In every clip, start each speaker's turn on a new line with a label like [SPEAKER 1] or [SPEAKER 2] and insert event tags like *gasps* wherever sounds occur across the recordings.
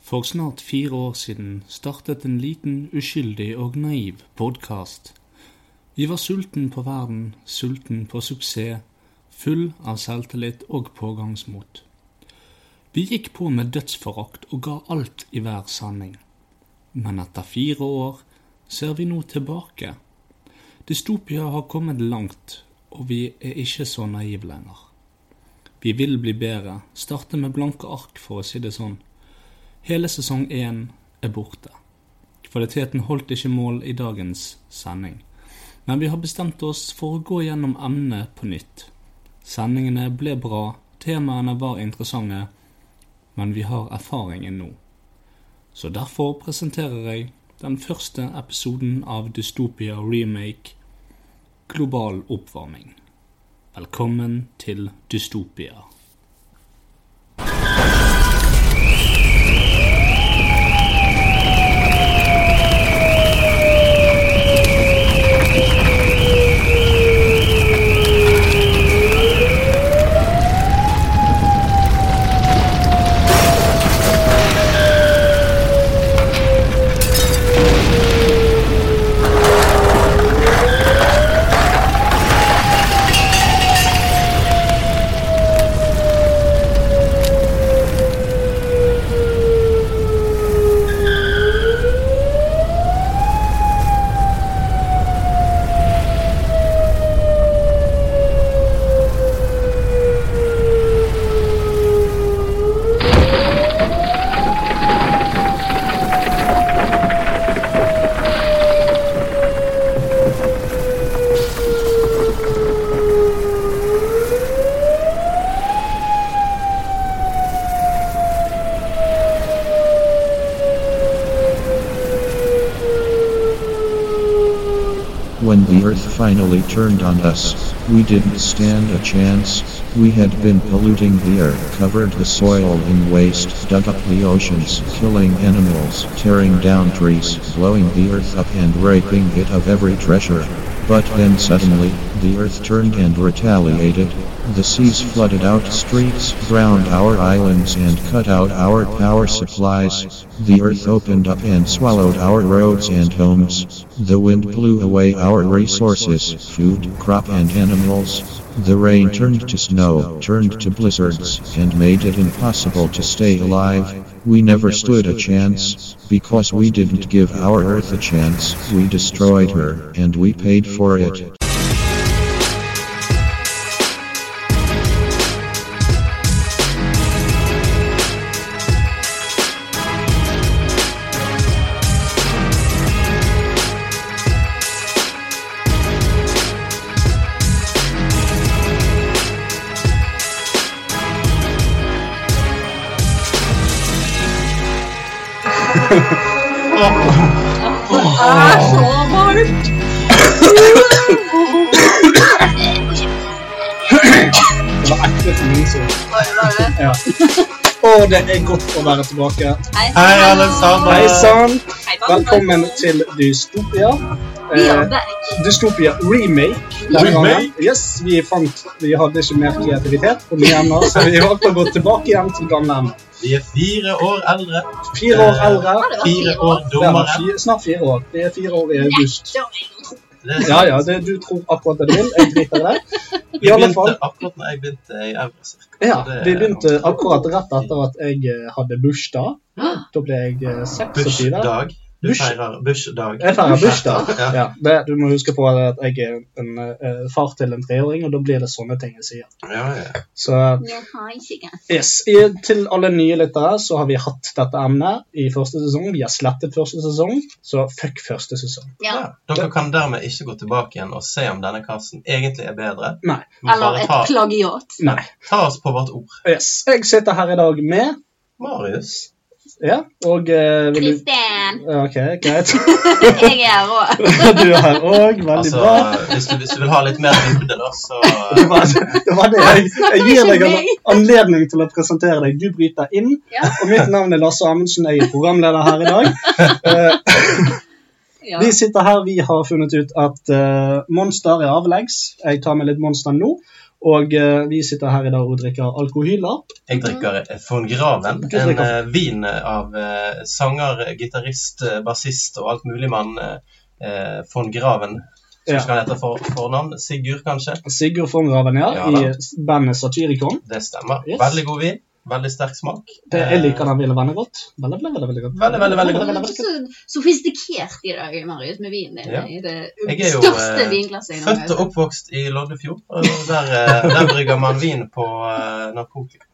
[SPEAKER 1] For snart fire år siden startet en liten, uskyldig og naiv podkast. Vi var sulten på verden, sulten på suksess, full av selvtillit og pågangsmot. Vi gikk på med dødsforakt og ga alt i hver sanning. Men etter fire år ser vi nå tilbake. Dystopia har kommet langt, og vi er ikke så naive lenger. Vi vil bli bedre, starte med blanke ark, for å si det sånn. Hele sesong én er borte. Kvaliteten holdt ikke mål i dagens sending. Men vi har bestemt oss for å gå gjennom emnet på nytt. Sendingene ble bra, temaene var interessante, men vi har erfaringen nå. Så derfor presenterer jeg den første episoden av Dystopia remake Global oppvarming. Velkommen til Dystopia.
[SPEAKER 2] When the earth finally turned on us, we didn't stand a chance. We had been polluting the earth, covered the soil in waste, dug up the oceans, killing animals, tearing down trees, blowing the earth up and raping it of every treasure. But then suddenly, the earth turned and retaliated. The seas flooded out streets, drowned our islands, and cut out our power supplies. The earth opened up and swallowed our roads and homes. The wind blew away our resources, food, crop, and animals. The rain turned to snow, turned to blizzards, and made it impossible to stay alive. We never stood a chance. Because we didn't give our Earth a chance, we destroyed her, and we paid for it.
[SPEAKER 3] Det er så varmt!
[SPEAKER 4] Det var ekkelt med lyset.
[SPEAKER 3] Bare, bare.
[SPEAKER 4] Ja. Å, det er godt å være tilbake.
[SPEAKER 3] Hei,
[SPEAKER 5] Hei, alle sammen.
[SPEAKER 4] Hei sann!
[SPEAKER 3] Hei, hva-
[SPEAKER 4] Velkommen til Dystopia.
[SPEAKER 3] Ja,
[SPEAKER 4] Eh,
[SPEAKER 3] det er-
[SPEAKER 4] Dystopia remake. denne
[SPEAKER 5] Remake?
[SPEAKER 4] gangen. Yes, vi fant Vi hadde ikke mer kreativitet på nye emner, så vi valgte å gå tilbake igjen til gamle emner.
[SPEAKER 5] Vi er fire år eldre,
[SPEAKER 4] Fire
[SPEAKER 5] Eh,
[SPEAKER 4] år eldre.
[SPEAKER 3] det var
[SPEAKER 5] fire
[SPEAKER 3] fire
[SPEAKER 5] år
[SPEAKER 3] år.
[SPEAKER 4] Det var
[SPEAKER 5] dommere.
[SPEAKER 4] fire, snart fire år. Det er fire år i august.
[SPEAKER 3] Det var ingen tro.
[SPEAKER 4] Ja, ja, det, du tror akkurat det du vil. Jeg driter i det.
[SPEAKER 5] sånn Vi
[SPEAKER 4] I alle
[SPEAKER 5] begynte
[SPEAKER 4] fall.
[SPEAKER 5] akkurat når jeg begynte i Eurocirka.
[SPEAKER 4] Ja, Vi begynte akkurat rett etter at jeg eh, hadde bursdag. Da ble jeg eh, 26.
[SPEAKER 5] Bush-dag. Du
[SPEAKER 4] Bush-
[SPEAKER 5] feirer Bush-dag.
[SPEAKER 4] Jeg feirer bursdag.
[SPEAKER 5] *laughs* Ja.
[SPEAKER 4] Ja, det, du må huske på at jeg er en eh, far til en treåring, og da blir det sånne ting jeg sier.
[SPEAKER 5] Ja, ja.
[SPEAKER 4] Så eh,
[SPEAKER 3] Jeg har ikke gang.
[SPEAKER 4] yes, I, Til alle nye lyttere så har vi hatt dette emnet i første sesong. Vi har slettet første sesong, så fuck første sesong.
[SPEAKER 3] Ja.
[SPEAKER 5] Ja. Dere kan dermed ikke gå tilbake igjen og se om denne casten egentlig er bedre.
[SPEAKER 4] Nei.
[SPEAKER 5] Men
[SPEAKER 3] Eller
[SPEAKER 5] bare
[SPEAKER 3] et
[SPEAKER 5] ta,
[SPEAKER 3] plagiat.
[SPEAKER 4] Nei.
[SPEAKER 5] ta oss på vårt ord.
[SPEAKER 4] Yes, Jeg sitter her i dag med
[SPEAKER 5] Marius.
[SPEAKER 4] Ja, og eh, vil du
[SPEAKER 3] Kristian,
[SPEAKER 4] Ja, OK, greit. *laughs*
[SPEAKER 3] jeg er her òg.
[SPEAKER 4] Du er her òg. Veldig
[SPEAKER 5] Altså,
[SPEAKER 4] bra.
[SPEAKER 5] hvis du, hvis du vil ha litt mer dybde, da, så
[SPEAKER 4] *laughs* Det var det. Var det. Jeg, jeg gir
[SPEAKER 3] Snakker
[SPEAKER 4] deg
[SPEAKER 3] ikke
[SPEAKER 4] an-
[SPEAKER 3] meg.
[SPEAKER 4] anledning til å presentere deg. Du bryter inn.
[SPEAKER 3] Ja.
[SPEAKER 4] Og mitt navn er Lasse Amundsen. Jeg er programleder her i dag. Eh,
[SPEAKER 3] Ja.
[SPEAKER 4] Vi sitter her, vi har funnet ut at eh, Monster er avleggs. Jeg tar med litt Monster nå. Og eh, vi sitter her i dag og drikker alkohyler.
[SPEAKER 5] Jeg drikker eh, von Graven,
[SPEAKER 4] Mm. Du
[SPEAKER 5] en
[SPEAKER 4] drikker-
[SPEAKER 5] eh, vin av eh, sanger, gitarist, eh, bassist og alt mulig mann eh, eh, von Graven.
[SPEAKER 4] Ja.
[SPEAKER 5] Hva skal han hete for fornavn? Sigurd, kanskje?
[SPEAKER 4] Sigurd von Graven, ja,
[SPEAKER 5] Ja da.
[SPEAKER 4] i s- bandet Satyricon.
[SPEAKER 5] Det stemmer.
[SPEAKER 4] Yes.
[SPEAKER 5] Veldig god vin. Veldig sterk smak.
[SPEAKER 4] Det,
[SPEAKER 5] Eh,
[SPEAKER 4] jeg liker den ville veldig godt. Veldig, veldig, veldig, veldig godt.
[SPEAKER 5] Veldig, veldig, veldig godt.
[SPEAKER 3] Du er så sofistikert i dag, Marius, med vinen din.
[SPEAKER 5] Ja.
[SPEAKER 3] I det
[SPEAKER 5] Jeg er jo,
[SPEAKER 3] største
[SPEAKER 5] eh,
[SPEAKER 3] vinglasset i
[SPEAKER 5] Født og
[SPEAKER 3] Norge.
[SPEAKER 5] oppvokst i Loddefjord. og Der, eh, der brygger man vin på eh, narkotika.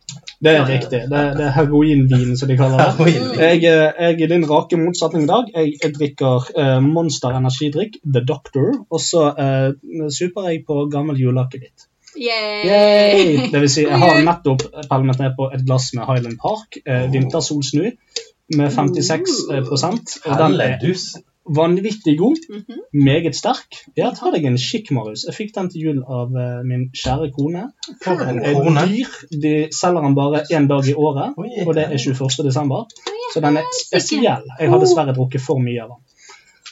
[SPEAKER 4] Det er riktig. Det, det er heroinvin, som de kaller det.
[SPEAKER 5] Heroinvin.
[SPEAKER 4] Jeg, eh, jeg er i din rake motsetning i dag. Jeg, jeg drikker eh, Monster energidrikk, The Doctor, og så eh, super jeg på gammel juleakevitt.
[SPEAKER 3] Yay!
[SPEAKER 4] Yay! Det vil si, jeg har nettopp pelmet ned på et glass med Highland Park, eh, vintersolsnu, med 56 prosent, og den er
[SPEAKER 5] Helledus.
[SPEAKER 4] vanvittig god.
[SPEAKER 3] Mhm.
[SPEAKER 4] Meget sterk. Ja, ta deg en skikk, Marius. Jeg fikk den til jul av eh, min kjære kone.
[SPEAKER 5] For en
[SPEAKER 4] En
[SPEAKER 5] krone.
[SPEAKER 4] dyr. De selger den bare én dag i året,
[SPEAKER 5] Oi.
[SPEAKER 4] og det er 21. desember. Så den er spesiell. Jeg har dessverre drukket for mye av den.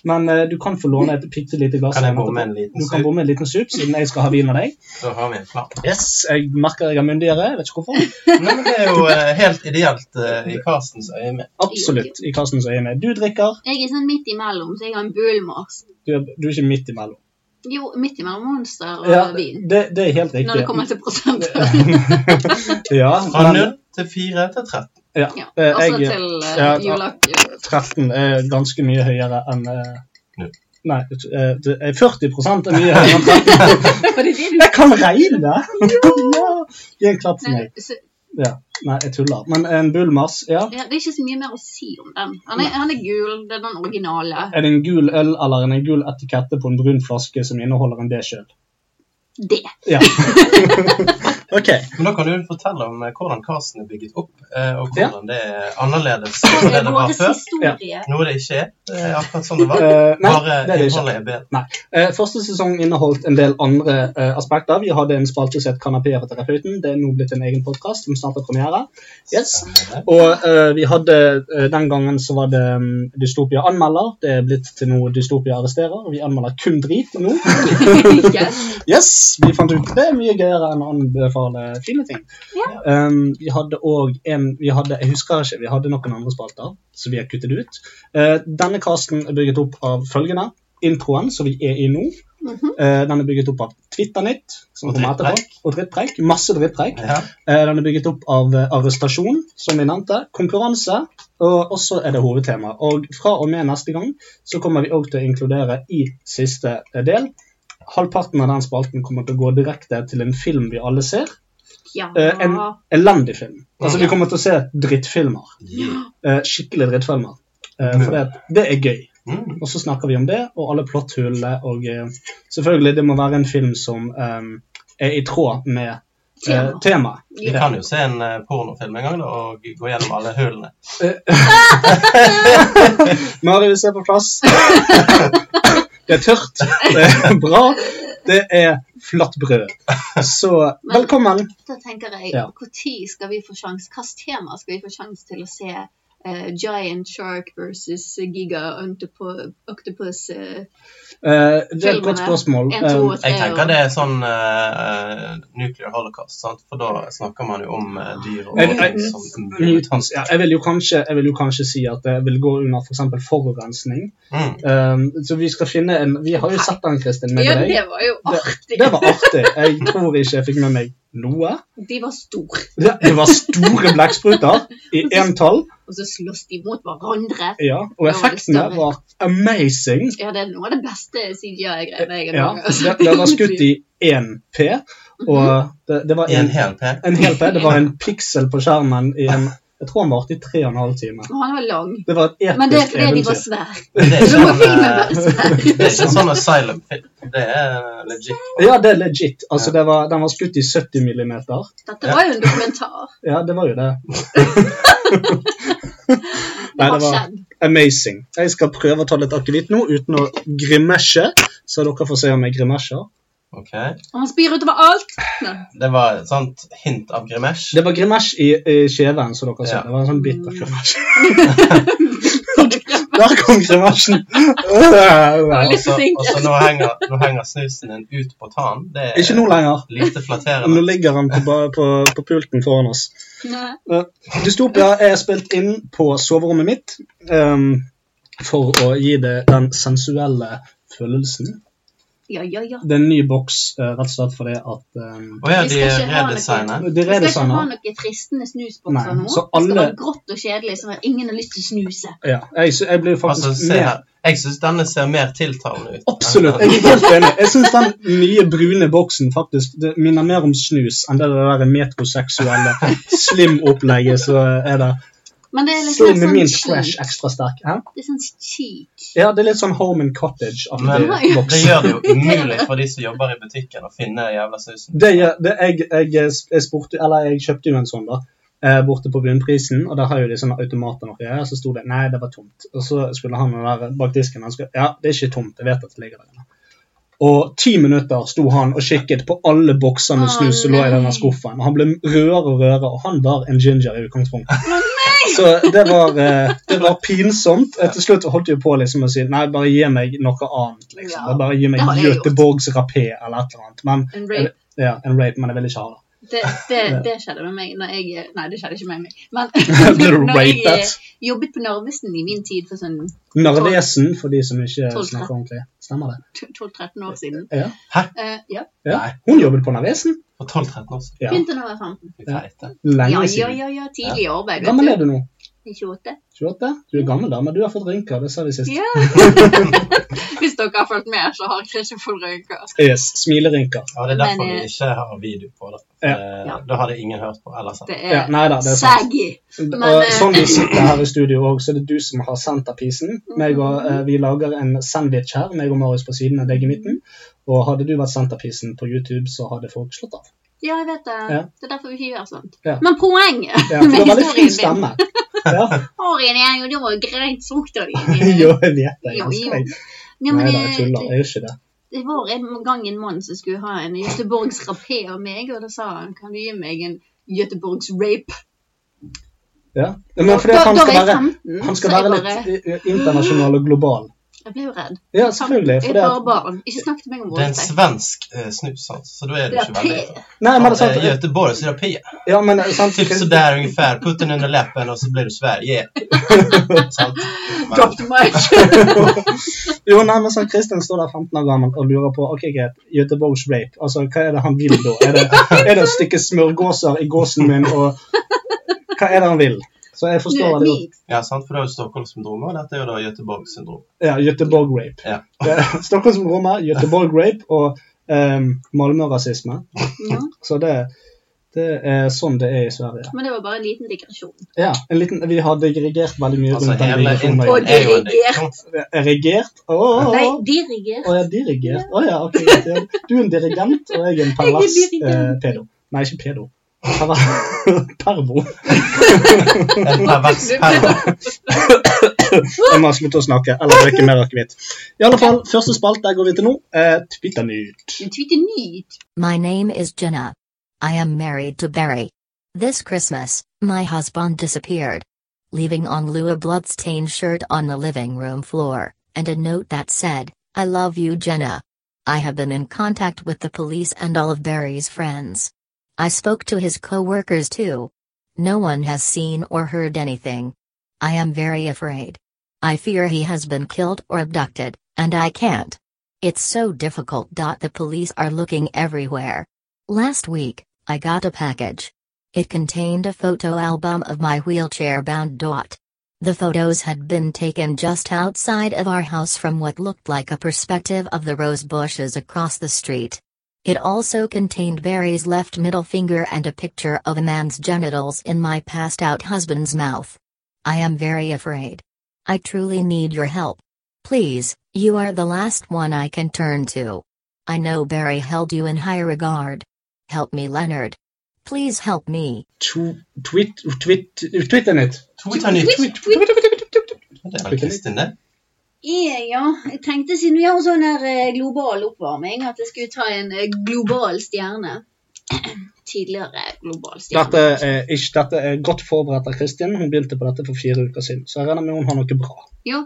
[SPEAKER 4] Men eh, du kan få låne et bitte lite glass.
[SPEAKER 5] Kan jeg
[SPEAKER 4] av den
[SPEAKER 5] bomme en
[SPEAKER 4] etterpå.
[SPEAKER 5] liten
[SPEAKER 4] Du kan
[SPEAKER 5] sup?
[SPEAKER 4] bomme en liten sup, siden jeg skal ha vin av deg.
[SPEAKER 5] Så har vi en plan.
[SPEAKER 4] Yes, Jeg merker jeg er myndigere. Jeg vet ikke hvorfor.
[SPEAKER 5] Nei, men det er jo eh, helt ideelt eh, i Carstens øyemed.
[SPEAKER 4] Absolutt. I Karstens øye med. Du drikker.
[SPEAKER 3] Jeg er sånn midt imellom, så jeg har en Bulmers.
[SPEAKER 4] Du er, du er ikke midt imellom.
[SPEAKER 3] Jo, midt imellom Monster og
[SPEAKER 4] Ja,
[SPEAKER 3] vin.
[SPEAKER 4] det, det er helt riktig.
[SPEAKER 3] Når det kommer til prosenter.
[SPEAKER 4] Ja,
[SPEAKER 5] Fra
[SPEAKER 4] men-
[SPEAKER 5] 0 til 4 til 13.
[SPEAKER 4] Ja.
[SPEAKER 3] Ja.
[SPEAKER 4] Eh,
[SPEAKER 3] Også
[SPEAKER 4] jeg-
[SPEAKER 3] til uh,
[SPEAKER 4] ja,
[SPEAKER 3] juleakevitt.
[SPEAKER 4] 13 er ganske mye høyere enn eh,
[SPEAKER 5] Null.
[SPEAKER 4] Nei, eh, det er 40 er mye høyere enn 13.
[SPEAKER 3] Var det det du
[SPEAKER 4] Jeg kan regne! ja. Gi en klapp til
[SPEAKER 3] Nei,
[SPEAKER 4] meg.
[SPEAKER 3] så,
[SPEAKER 4] Ja. Nei, jeg tuller. Men en Bulmers, ja.
[SPEAKER 3] ja, det er ikke så mye mer å si om den. Han er, han er gul, det er den originale.
[SPEAKER 4] Er det en gul øl eller en gul etikette på en brun flaske som inneholder en D-kjøl?
[SPEAKER 3] Det.
[SPEAKER 4] Ja. *laughs* ok.
[SPEAKER 5] Men da kan du fortelle om eh, hvordan Karsten er bygget opp, eh, og
[SPEAKER 4] Ja.
[SPEAKER 5] hvordan det er annerledes
[SPEAKER 3] Det
[SPEAKER 5] enn det
[SPEAKER 3] er
[SPEAKER 5] det
[SPEAKER 3] vår
[SPEAKER 5] var før.
[SPEAKER 3] historie.
[SPEAKER 5] Noe det ikke er. Det er akkurat sånn det var.
[SPEAKER 4] Eh, nei,
[SPEAKER 5] Bare
[SPEAKER 4] det er det ikke.
[SPEAKER 5] innholdet er bedre.
[SPEAKER 4] Eh, første sesong inneholdt en del andre eh, aspekter. Vi hadde en spalte som het Kanapé for terapeuten. Det er nå blitt en egen podkast som snart har premiere. Yes.
[SPEAKER 5] Stemmer det.
[SPEAKER 4] Og eh, vi hadde eh, den gangen så var det mm, Dystopia anmelder. Det er blitt til noe Dystopia arresterer. Vi anmelder kun drit nå.
[SPEAKER 3] *laughs* Yes.
[SPEAKER 4] Yes, Vi fant ut det er mye gøyere enn å anbefale fine ting. Um, vi hadde òg en vi hadde, Jeg husker ikke, vi hadde noen andre spalter som vi har kuttet ut. Eh, denne casten er bygget opp av følgende. Introen som vi er i nå.
[SPEAKER 3] Mhm.
[SPEAKER 4] eh, den er bygget opp av Twitternytt. Som
[SPEAKER 5] Og
[SPEAKER 4] kommer etterpå, og drittpreik. Masse drittpreik.
[SPEAKER 5] Ja.
[SPEAKER 4] Eh, Den er bygget opp av eh, arrestasjon, som vi nevnte, konkurranse, og også er det hovedtema. Og fra og med neste gang så kommer vi òg til å inkludere i siste eh, del. Halvparten av den spalten kommer til å gå direkte til en film vi alle ser.
[SPEAKER 3] Ja.
[SPEAKER 4] Eh, en
[SPEAKER 3] Ah.
[SPEAKER 4] elendig film. Altså Vi kommer til å se drittfilmer.
[SPEAKER 5] Yeah.
[SPEAKER 4] Eh, skikkelig drittfilmer. Eh, for det, det er gøy.
[SPEAKER 5] Mm.
[SPEAKER 4] Og så snakker vi om det, og alle plotthullene, og eh, selvfølgelig, det må være en film som eh, er i tråd med eh,
[SPEAKER 3] Tema.
[SPEAKER 4] temaet.
[SPEAKER 5] Vi kan jo se en eh, pornofilm en gang da, og gå gjennom alle hullene.
[SPEAKER 4] Marius er på plass. Det er tørt, det er bra, det er flatt brød. Så velkommen.
[SPEAKER 3] Da tenker jeg,
[SPEAKER 4] Ja.
[SPEAKER 3] når skal vi få sjans, hvilket tema skal vi få sjans til å se eh, Giant Shark versus Giga Octopu- Octopus eh,
[SPEAKER 4] Eh, det er et godt
[SPEAKER 3] Filmene.
[SPEAKER 4] spørsmål. Um,
[SPEAKER 3] En, to og
[SPEAKER 5] Jeg
[SPEAKER 3] tre
[SPEAKER 5] tenker
[SPEAKER 3] og-
[SPEAKER 5] det er sånn eh, eh, nuclear holocaust, sant? for da snakker man jo om eh, dyr og
[SPEAKER 4] Jeg- jeg-
[SPEAKER 5] ting som
[SPEAKER 4] Eh, mutans- ja, jeg, vil jo kanskje, jeg vil jo kanskje si at det vil gå under f.eks. forurensning.
[SPEAKER 5] mm.
[SPEAKER 4] Eh, så vi skal finne en Vi har jo sett den, Kristin, med
[SPEAKER 3] Ja,
[SPEAKER 4] deg.
[SPEAKER 3] det var jo artig.
[SPEAKER 4] Det var artig. Jeg tror ikke jeg fikk med meg noe.
[SPEAKER 3] De var store,
[SPEAKER 4] Det, det var store blekkspruter i én tall.
[SPEAKER 3] og så slåss de mot hverandre.
[SPEAKER 4] Ja, og effektene var amazing.
[SPEAKER 3] Ja, det er noe av det beste CGI-greiene jeg har
[SPEAKER 4] Ja,
[SPEAKER 3] laget, altså.
[SPEAKER 4] det, det var skutt i 1P, og
[SPEAKER 3] Mhm.
[SPEAKER 4] det, det var en,
[SPEAKER 5] En hel P.
[SPEAKER 4] en hel P. Det var en piksel på skjermen i en Jeg tror han varte i 3 12 timer.
[SPEAKER 3] *laughs* Og Han var lang.
[SPEAKER 4] Det var et
[SPEAKER 3] Men det er
[SPEAKER 4] episk
[SPEAKER 3] fordi de var
[SPEAKER 4] eventyr.
[SPEAKER 3] svære.
[SPEAKER 5] Men
[SPEAKER 4] *laughs*
[SPEAKER 5] Det er
[SPEAKER 3] Så
[SPEAKER 5] ikke
[SPEAKER 3] må
[SPEAKER 5] en,
[SPEAKER 3] filmen
[SPEAKER 5] eh,
[SPEAKER 3] være svær.
[SPEAKER 5] det er ikke en sånn asylum-film. Det er eh, legit.
[SPEAKER 4] Ja, det er legit. Altså, det var, den var skutt i 70 millimeter.
[SPEAKER 3] Dette var jo en dokumentar.
[SPEAKER 4] Ja, det var jo det.
[SPEAKER 3] Det
[SPEAKER 4] Nei,
[SPEAKER 3] har
[SPEAKER 4] det var
[SPEAKER 3] skjedd.
[SPEAKER 4] amazing. Jeg skal prøve å ta litt akevitt nå uten å grimesje, så dere får se om jeg grimesjer.
[SPEAKER 5] Ok.
[SPEAKER 3] Og han spyr utover
[SPEAKER 4] *laughs*
[SPEAKER 3] alt! Nei.
[SPEAKER 5] Det var et sånt hint av Grimesh.
[SPEAKER 4] Det var grimash i, i kjeven, som dere ser.
[SPEAKER 5] Ja.
[SPEAKER 4] Det var en sånn bitter
[SPEAKER 3] *laughs*
[SPEAKER 4] grimash. Der kom grimasjen! *laughs*
[SPEAKER 5] Og
[SPEAKER 3] litt
[SPEAKER 5] så
[SPEAKER 3] flink.
[SPEAKER 5] og så nå, henger- nå henger snusen din ut på tannen. Det er
[SPEAKER 4] Ikke nå lenger.
[SPEAKER 5] lite
[SPEAKER 4] Nå
[SPEAKER 5] flatterende.
[SPEAKER 4] ligger han på, ba- på, på pulten foran oss.
[SPEAKER 3] Nei.
[SPEAKER 4] Eh, Dystopia er spilt inn på soverommet mitt ehm, for å gi det den sensuelle følelsen.
[SPEAKER 3] Ja, ja, ja.
[SPEAKER 4] Det er en ny boks, eh, rett og slett fordi at ehm,
[SPEAKER 5] Å ja,
[SPEAKER 3] Vi
[SPEAKER 5] de
[SPEAKER 3] skal ikke ha noe
[SPEAKER 5] redesigner.
[SPEAKER 4] De
[SPEAKER 3] Vi skal ikke ha
[SPEAKER 4] redesigner.
[SPEAKER 3] noe fristende snusbokser
[SPEAKER 4] Nei,
[SPEAKER 3] nå.
[SPEAKER 4] så
[SPEAKER 3] Det
[SPEAKER 4] alle-
[SPEAKER 3] skal være grått og kjedelig, sånn at ingen har lyst til å snuse.
[SPEAKER 4] Ja, jeg, sy- jeg blir faktisk
[SPEAKER 5] Altså, se her. Jeg syns denne ser mer tiltalende ut.
[SPEAKER 4] Absolutt. Jeg er helt enig. Jeg syns den nye brune boksen faktisk det minner mer om snus enn det der metroseksuelle slim-opplegget som er der.
[SPEAKER 3] Men det er litt
[SPEAKER 4] Slim er min
[SPEAKER 3] mer sånn
[SPEAKER 4] fresh ekstra sterk. Hæ?
[SPEAKER 3] Det er sånn cheat.
[SPEAKER 4] Ja, det er litt sånn Home and Cottage-aktig
[SPEAKER 5] Men
[SPEAKER 3] Nei.
[SPEAKER 4] boks.
[SPEAKER 5] det gjør det jo
[SPEAKER 3] *laughs*
[SPEAKER 5] umulig for de som jobber i butikken, å finne den jævla snusen.
[SPEAKER 4] Det, gjør- det, jeg, jeg, jeg, spurte, eller jeg kjøpte jo en sånn, da. eh, Borte på Bunnprisen, og der har jo de sånne automater. Noe, og så sto det nei, det var tomt. Og så skulle han der bak disken han skulle, ja, det er ikke tomt. jeg vet at det ligger der inne. Og ti minutter sto han og kikket på alle bokser med
[SPEAKER 3] Å,
[SPEAKER 4] snus som lå i
[SPEAKER 3] nei.
[SPEAKER 4] denne skuffen. Og han ble rødere og rødere, og han var en ginger i utgangspunktet. Så det var, eh, det var pinsomt. Eh, Til slutt holdt jeg på liksom å si nei, bare gi meg noe annet. liksom.
[SPEAKER 3] Ja,
[SPEAKER 4] Bare gi meg
[SPEAKER 3] det hadde jeg gjort.
[SPEAKER 4] Göteborgs rapé eller et eller annet. Men
[SPEAKER 3] En rape.
[SPEAKER 4] ja, en rape, men jeg vil ikke ha det.
[SPEAKER 3] Det, det, det skjedde med meg når jeg Nei, det skjedde ikke med meg.
[SPEAKER 4] *laughs*
[SPEAKER 3] Men
[SPEAKER 4] Ble du
[SPEAKER 3] når jeg eh,
[SPEAKER 4] rapet?
[SPEAKER 3] jobbet på Narvesen i min tid for sånn
[SPEAKER 4] Narvesen, for de som ikke
[SPEAKER 3] Tolv,
[SPEAKER 4] snakker ordentlig. Stemmer det?
[SPEAKER 3] 12-13 år siden
[SPEAKER 4] Ja.
[SPEAKER 3] eh,
[SPEAKER 4] ja.
[SPEAKER 3] ja.
[SPEAKER 5] Nei.
[SPEAKER 4] Hun jobbet på Narvesen.
[SPEAKER 5] For 12-13 år siden.
[SPEAKER 4] Ja.
[SPEAKER 3] Begynte da jeg var 15.
[SPEAKER 5] Fy feite.
[SPEAKER 4] Lenge
[SPEAKER 3] sånn. Ja, ja,
[SPEAKER 4] siden.
[SPEAKER 3] ja, ja. Tidlig arbeid.
[SPEAKER 4] Hvor gammel er du nå? *laughs*
[SPEAKER 3] 28.
[SPEAKER 4] 28? Du er gammel, da, men du har fått rynker. Det sa vi sist. *laughs*
[SPEAKER 3] Ja. Hvis dere har fulgt med, så har dere ikke fått røyker.
[SPEAKER 4] Yes, Smilerynker.
[SPEAKER 5] Ja, det er derfor
[SPEAKER 3] Men, eh,
[SPEAKER 5] vi ikke har video på det.
[SPEAKER 4] Ja.
[SPEAKER 5] Eh,
[SPEAKER 3] Ja.
[SPEAKER 5] Da hadde ingen hørt på. Eller sånn. sant.
[SPEAKER 3] Det
[SPEAKER 4] Ja,
[SPEAKER 3] er
[SPEAKER 4] nei da, det er sant.
[SPEAKER 3] saggy. Eh, Men,
[SPEAKER 4] og
[SPEAKER 3] eh,
[SPEAKER 4] sånn vi sitter her i studio òg, så er det du som har centerpiecen. Meg og, eh, vi lager en sandwich her, meg og Marius på siden og deg i midten. Og hadde du vært centerpiecen på YouTube, så hadde folk slått av.
[SPEAKER 3] Ja, jeg vet det.
[SPEAKER 4] Ja.
[SPEAKER 3] Det er derfor vi ikke gjør sånt.
[SPEAKER 4] Ja.
[SPEAKER 3] Men poenget *laughs*
[SPEAKER 4] Ja, for det var veldig fin
[SPEAKER 3] historien din
[SPEAKER 4] stemme. Ja, *laughs*
[SPEAKER 3] Harryen er jo da greit sukter i.
[SPEAKER 4] jo, jeg vet det. Jeg
[SPEAKER 3] Jo,
[SPEAKER 4] elsker
[SPEAKER 3] jo.
[SPEAKER 4] deg.
[SPEAKER 3] Ja, men
[SPEAKER 4] Nei da, jeg
[SPEAKER 3] det,
[SPEAKER 4] tuller. Jeg gjør ikke det.
[SPEAKER 3] det var en gang en mann som skulle ha en Göteborgs rapé av meg, og da sa han kan du gi meg en Göteborgs rape?
[SPEAKER 4] Ja. Men fordi
[SPEAKER 3] da,
[SPEAKER 4] at han
[SPEAKER 3] da
[SPEAKER 4] skal
[SPEAKER 3] var jeg
[SPEAKER 4] være,
[SPEAKER 3] 15,
[SPEAKER 4] han skal
[SPEAKER 3] så
[SPEAKER 4] være
[SPEAKER 3] jeg bare
[SPEAKER 4] litt eh, internasjonal og global.
[SPEAKER 3] Jeg ble jo redd.
[SPEAKER 4] Ja, selvfølgelig.
[SPEAKER 3] Jeg
[SPEAKER 4] For
[SPEAKER 3] er
[SPEAKER 4] det
[SPEAKER 3] bare
[SPEAKER 4] at,
[SPEAKER 3] barn. Ikke snakk til meg om
[SPEAKER 5] Det er en
[SPEAKER 3] voldtekt.
[SPEAKER 5] svensk eh, snus, sant? så da er du
[SPEAKER 3] Det er
[SPEAKER 5] ikke
[SPEAKER 3] P.
[SPEAKER 5] veldig
[SPEAKER 4] nei, men det er
[SPEAKER 5] Ja,
[SPEAKER 4] sant.
[SPEAKER 5] det är Göteborgs rapi.
[SPEAKER 4] Ja, men det er sant.
[SPEAKER 5] Typ sådär ungefär. Put den under läppen och så blir du Sverige. Sant? Men-
[SPEAKER 3] Drop the mic.
[SPEAKER 4] Jo, nei, men sånn, Kristin står der 15 år gammel og lurer på ok, greit, Göteborgs rape. Altså, Hva er det han vil da? Er det, er det å stikke smørgåser i gåsen min og Hva er det han vil? Så jeg
[SPEAKER 3] Du
[SPEAKER 4] forstår
[SPEAKER 3] er
[SPEAKER 4] det jo.
[SPEAKER 3] lik.
[SPEAKER 5] Ja, sant? För du har ju Stockholmssyndrom och detta är ju då Göteborgssyndrom.
[SPEAKER 4] Ja, Göteborg rape.
[SPEAKER 5] Ja.
[SPEAKER 4] Stockholmsrommet, Göteborg rape og um, Malmö-rasisme.
[SPEAKER 3] Ja.
[SPEAKER 4] Så det, det er sånn det er i Sverige.
[SPEAKER 3] Men det var bare en liten digresjon.
[SPEAKER 4] Ja, en liten, vi har dirigert veldig mye
[SPEAKER 5] Alltså
[SPEAKER 4] rundt den
[SPEAKER 5] hela
[SPEAKER 4] digresjonen.
[SPEAKER 5] intron är ju en diktion.
[SPEAKER 4] Er Regert? Å, å,
[SPEAKER 3] Nei,
[SPEAKER 4] å.
[SPEAKER 3] dirigert.
[SPEAKER 4] Å, jeg er dirigert. Å ja, ok. greit, ja. Du er en dirigent, og jeg er en pervers
[SPEAKER 3] Jeg er
[SPEAKER 4] eh,
[SPEAKER 3] dirigent.
[SPEAKER 4] pedo. Nei, ikke pedo. Perver- *laughs* Pervo.
[SPEAKER 5] En pervers pervers.
[SPEAKER 4] Jeg må slutte å snakke, eller drikke mer akevitt. I alle fall, første spalt der går vi til nå. Eh, Twitternytt.
[SPEAKER 3] En tweet er nyt.
[SPEAKER 6] My name is Jenna. I am married to Barry. This Christmas, my husband disappeared. Leaving on Lou a bloodstained shirt on the living room floor, and a note that said, I love you, Jenna. I have been in contact with the police and all of Barry's friends. I spoke to his co workers too. No one has seen or heard anything. I am very afraid. I fear he has been killed or abducted, and I can't. It's so difficult. The police are looking everywhere. Last week, I got a package. It contained a photo album of my wheelchair bound dot. The photos had been taken just outside of our house from what looked like a perspective of the rose bushes across the street. It also contained Barry's left middle finger and a picture of a man's genitals in my passed out husband's mouth. I am very afraid. I truly need your help. Please, you are the last one I can turn to. I know Barry held you in high regard. Help me, Leonard. Please help me.
[SPEAKER 4] To- Twit... Twit... Twitternytt.
[SPEAKER 5] Twitternytt.
[SPEAKER 3] Tweet, tweet.
[SPEAKER 5] Det är väl Kristin det?
[SPEAKER 3] Eh, Ja, jeg tenkte siden vi har sånn her eh, global oppvarming, at jeg skulle ta en eh, global stjerne. *clears throat* Tidligere global stjerne.
[SPEAKER 4] Dette er, ikke, dette er godt forberedt av Kristin. Hun begynte på dette for fire uker siden, så jeg regner med hun har noe bra.
[SPEAKER 3] Jo.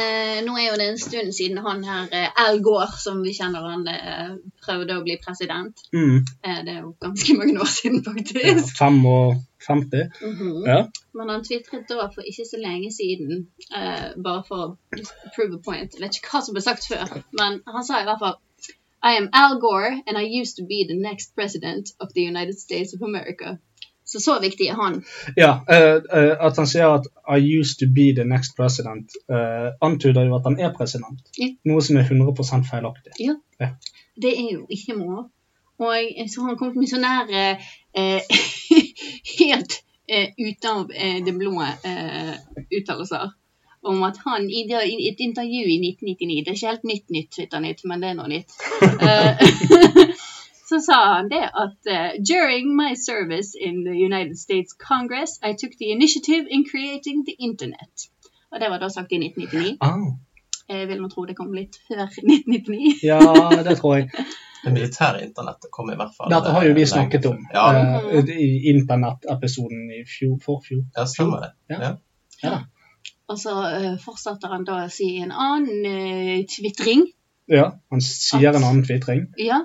[SPEAKER 3] Eh, nå er jo det en stund siden han her, eh, Al Gore, som vi kjenner han, eh, prøvde å bli president.
[SPEAKER 4] Mm.
[SPEAKER 3] Eh, det er jo ganske mange år siden,
[SPEAKER 4] Ja,
[SPEAKER 3] faktisk.
[SPEAKER 4] fem og 50.
[SPEAKER 3] Mhm.
[SPEAKER 4] Ja.
[SPEAKER 3] Men han tvitret da for ikke så lenge siden, eh, bare for å prove a point. Jeg vet ikke hva som ble sagt før, men han sa i hvert fall I am Al Gore, and I used to be the next president of the United States of America. Så så viktig er han.
[SPEAKER 4] ja eh, eh, at han sier at I used to be the next president, eh, antyder jo at han er president.
[SPEAKER 3] Ja.
[SPEAKER 4] Noe som er 100 feilaktig.
[SPEAKER 3] Ja.
[SPEAKER 4] Ja.
[SPEAKER 3] Det er jo ikke mål. Og jeg så han kom med sånn her eh, *laughs* helt eh, ut av eh, det blå eh, uttalelser om at han i det- i et intervju i 1999 Det er ikke helt nytt nytt, Twitter-nytt, men det er
[SPEAKER 4] *laughs*
[SPEAKER 3] noe nytt. Eh, *laughs* så sa han det at eh, During my service in the United States Congress, I took the initiative in creating the internet. Og det var da sagt i 1999.
[SPEAKER 4] Ah.
[SPEAKER 3] Jeg vil nå tro det kom litt før 1999.
[SPEAKER 4] Ja, det tror jeg.
[SPEAKER 5] Det militære internettet kom i hvert fall.
[SPEAKER 4] Dette har jo vi
[SPEAKER 5] eh,
[SPEAKER 4] snakket
[SPEAKER 5] lenge
[SPEAKER 4] om
[SPEAKER 5] før. Ja,
[SPEAKER 4] eh, i internettepisoden i fjor, forfjor.
[SPEAKER 5] ja stemmer det.
[SPEAKER 4] Ja.
[SPEAKER 5] Ja.
[SPEAKER 3] Og så eh, fortsatte han da å si en annen uh, tvitring.
[SPEAKER 4] Ja, han sier en annen tvitring,
[SPEAKER 3] Ja,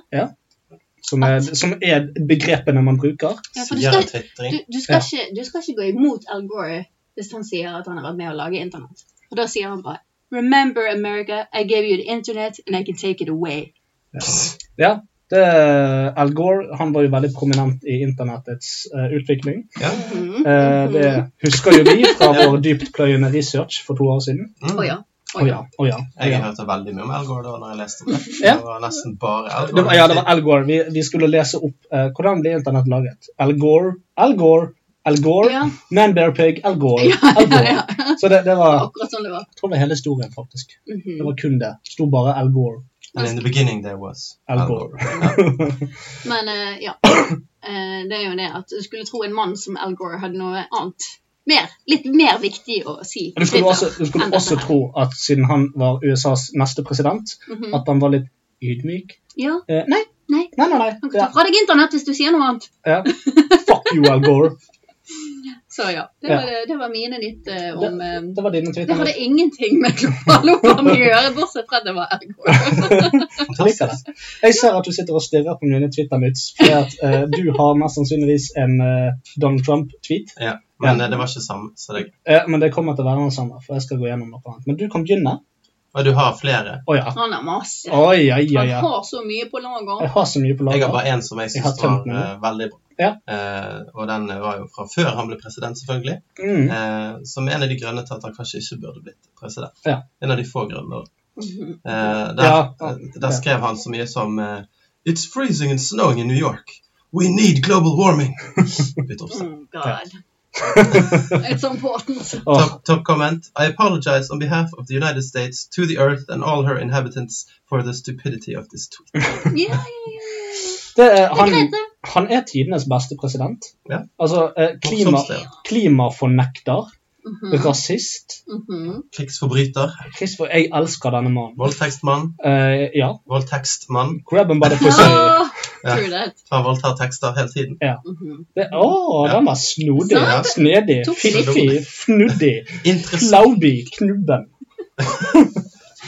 [SPEAKER 4] som, er- som er begrepene man bruker.
[SPEAKER 3] ja, for du
[SPEAKER 5] Sier en
[SPEAKER 3] skal, du,
[SPEAKER 5] tvitring.
[SPEAKER 3] du, skal
[SPEAKER 4] Ja.
[SPEAKER 3] ikke, du skal ikke gå imot Al Gore hvis han sier at han har vært med å lage internett. Og da sier han bare Remember America, I gave you the internet and I can take it away.
[SPEAKER 4] Ja, det, Al Gore han var jo veldig prominent i internettets eh, utvikling.
[SPEAKER 5] Ja.
[SPEAKER 3] Mhm.
[SPEAKER 4] Eh, det husker jo vi fra
[SPEAKER 3] *laughs*
[SPEAKER 4] vår dyptpløyende research for to år siden.
[SPEAKER 5] Mm.
[SPEAKER 3] Å ja.
[SPEAKER 4] Å ja, å ja. å
[SPEAKER 5] Jeg
[SPEAKER 4] ja.
[SPEAKER 5] hørte veldig mye om Al Gore da når jeg leste om det.
[SPEAKER 4] Ja.
[SPEAKER 5] Det var nesten bare Al
[SPEAKER 4] Det
[SPEAKER 5] Gore.
[SPEAKER 4] var, ja, det var Al Gore. Vi, vi skulle lese opp eh, hvordan ble internett laget. Al Gore, Al Gore, Al Gore,
[SPEAKER 3] Ja.
[SPEAKER 4] Man Bear Pig, Al Gore,
[SPEAKER 3] Ja,
[SPEAKER 4] Al Gore.
[SPEAKER 3] ja,
[SPEAKER 4] Så det, det var
[SPEAKER 3] Akkurat sånn det var.
[SPEAKER 4] jeg tror det var hele historien, faktisk.
[SPEAKER 3] Mhm.
[SPEAKER 4] Det var kun det. Det sto bare Al Gore.
[SPEAKER 5] And in the beginning there was
[SPEAKER 4] Al *laughs* Gore.
[SPEAKER 3] Men eh,
[SPEAKER 4] *coughs*
[SPEAKER 3] ja. Eh, det er jo det at du skulle tro en mann som Al Gore hadde noe annet. Mer, litt mer viktig å si.
[SPEAKER 4] Men Du skulle
[SPEAKER 3] Twitter
[SPEAKER 4] også, du skulle
[SPEAKER 3] enn dette
[SPEAKER 4] også
[SPEAKER 3] her.
[SPEAKER 4] tro at siden han var USAs neste president,
[SPEAKER 3] Mhm.
[SPEAKER 4] at han var litt ydmyk.
[SPEAKER 3] Ja,
[SPEAKER 4] Eh, nei,
[SPEAKER 3] nei.
[SPEAKER 4] nei, nei. nei.
[SPEAKER 3] Han kan
[SPEAKER 4] Ja,
[SPEAKER 3] ta fra deg internett hvis du sier noe annet.
[SPEAKER 4] ja. Fuck you, Al Gore.
[SPEAKER 3] Så ja, det
[SPEAKER 4] Ja.
[SPEAKER 3] var, det var mine nytt eh,
[SPEAKER 4] Det,
[SPEAKER 3] om eh,
[SPEAKER 4] det var dine
[SPEAKER 3] Det
[SPEAKER 4] tweeter.
[SPEAKER 3] hadde ingenting med global oppvarming å gjøre, bortsett fra at det var ergo.
[SPEAKER 4] Liker det. Jeg ser at du sitter og stirrer på mine Twitter-nytt, fordi at eh, du har mest sannsynligvis en eh, Donald Trump-tweet.
[SPEAKER 5] Ja. Men eh, det var ikke samme. Så det...
[SPEAKER 4] Eh, men det kommer til å være den samme, for jeg skal gå gjennom noe annet. Men du kan begynne.
[SPEAKER 5] Og du har flere.
[SPEAKER 4] Å ja.
[SPEAKER 3] Han har masse.
[SPEAKER 4] Oi, oi, oi,
[SPEAKER 3] Han
[SPEAKER 4] oi.
[SPEAKER 3] har så mye på lager.
[SPEAKER 4] Jeg har så mye på
[SPEAKER 5] Jeg har
[SPEAKER 4] lager.
[SPEAKER 5] bare én som jeg
[SPEAKER 4] Jeg har
[SPEAKER 5] syns var
[SPEAKER 4] tømt den.
[SPEAKER 5] eh, veldig bra.
[SPEAKER 4] Ja.
[SPEAKER 5] Eh, og den var jo fra før han ble president, selvfølgelig.
[SPEAKER 4] Mm.
[SPEAKER 5] Eh, som en av de grønne til at han kanskje ikke burde blitt president.
[SPEAKER 4] Ja.
[SPEAKER 5] En av de få grønne. da.
[SPEAKER 3] Mhm.
[SPEAKER 5] Eh, der,
[SPEAKER 4] Ja.
[SPEAKER 5] eh, der skrev han så mye som eh, It's freezing and snowing in New York. We need global warming! *laughs* Utropstegn.
[SPEAKER 3] Oh god. It's important.
[SPEAKER 4] Åh,
[SPEAKER 5] Top, top comment. I apologize on behalf of the United States to the earth and all her inhabitants for the stupidity of this tweet.
[SPEAKER 3] Ja, ja, ja, ja.
[SPEAKER 4] det er,
[SPEAKER 3] Det er greit,
[SPEAKER 4] han,
[SPEAKER 3] det.
[SPEAKER 4] han er tidenes beste president.
[SPEAKER 5] Ja.
[SPEAKER 4] Altså, eh, klima,
[SPEAKER 5] Morsomste.
[SPEAKER 4] klimafornekter,
[SPEAKER 3] Mhm,
[SPEAKER 4] rasist.
[SPEAKER 3] mhm.
[SPEAKER 5] Krigsforbryter.
[SPEAKER 4] Christopher, jeg elsker denne mannen.
[SPEAKER 5] Voldtekstmann.
[SPEAKER 4] Eh, ja.
[SPEAKER 5] Voldtekstmann.
[SPEAKER 4] Grab him by the pussy.
[SPEAKER 3] Ja,
[SPEAKER 5] Ja.
[SPEAKER 3] Ah, true that.
[SPEAKER 5] Han voldtar tekster hele tiden.
[SPEAKER 3] Mhm.
[SPEAKER 4] Det- Å, den var snodig.
[SPEAKER 5] Ja.
[SPEAKER 4] Snedig,
[SPEAKER 3] Tok
[SPEAKER 4] fiffig, fnuddig,
[SPEAKER 5] Interessant.
[SPEAKER 4] flaubi, knubben.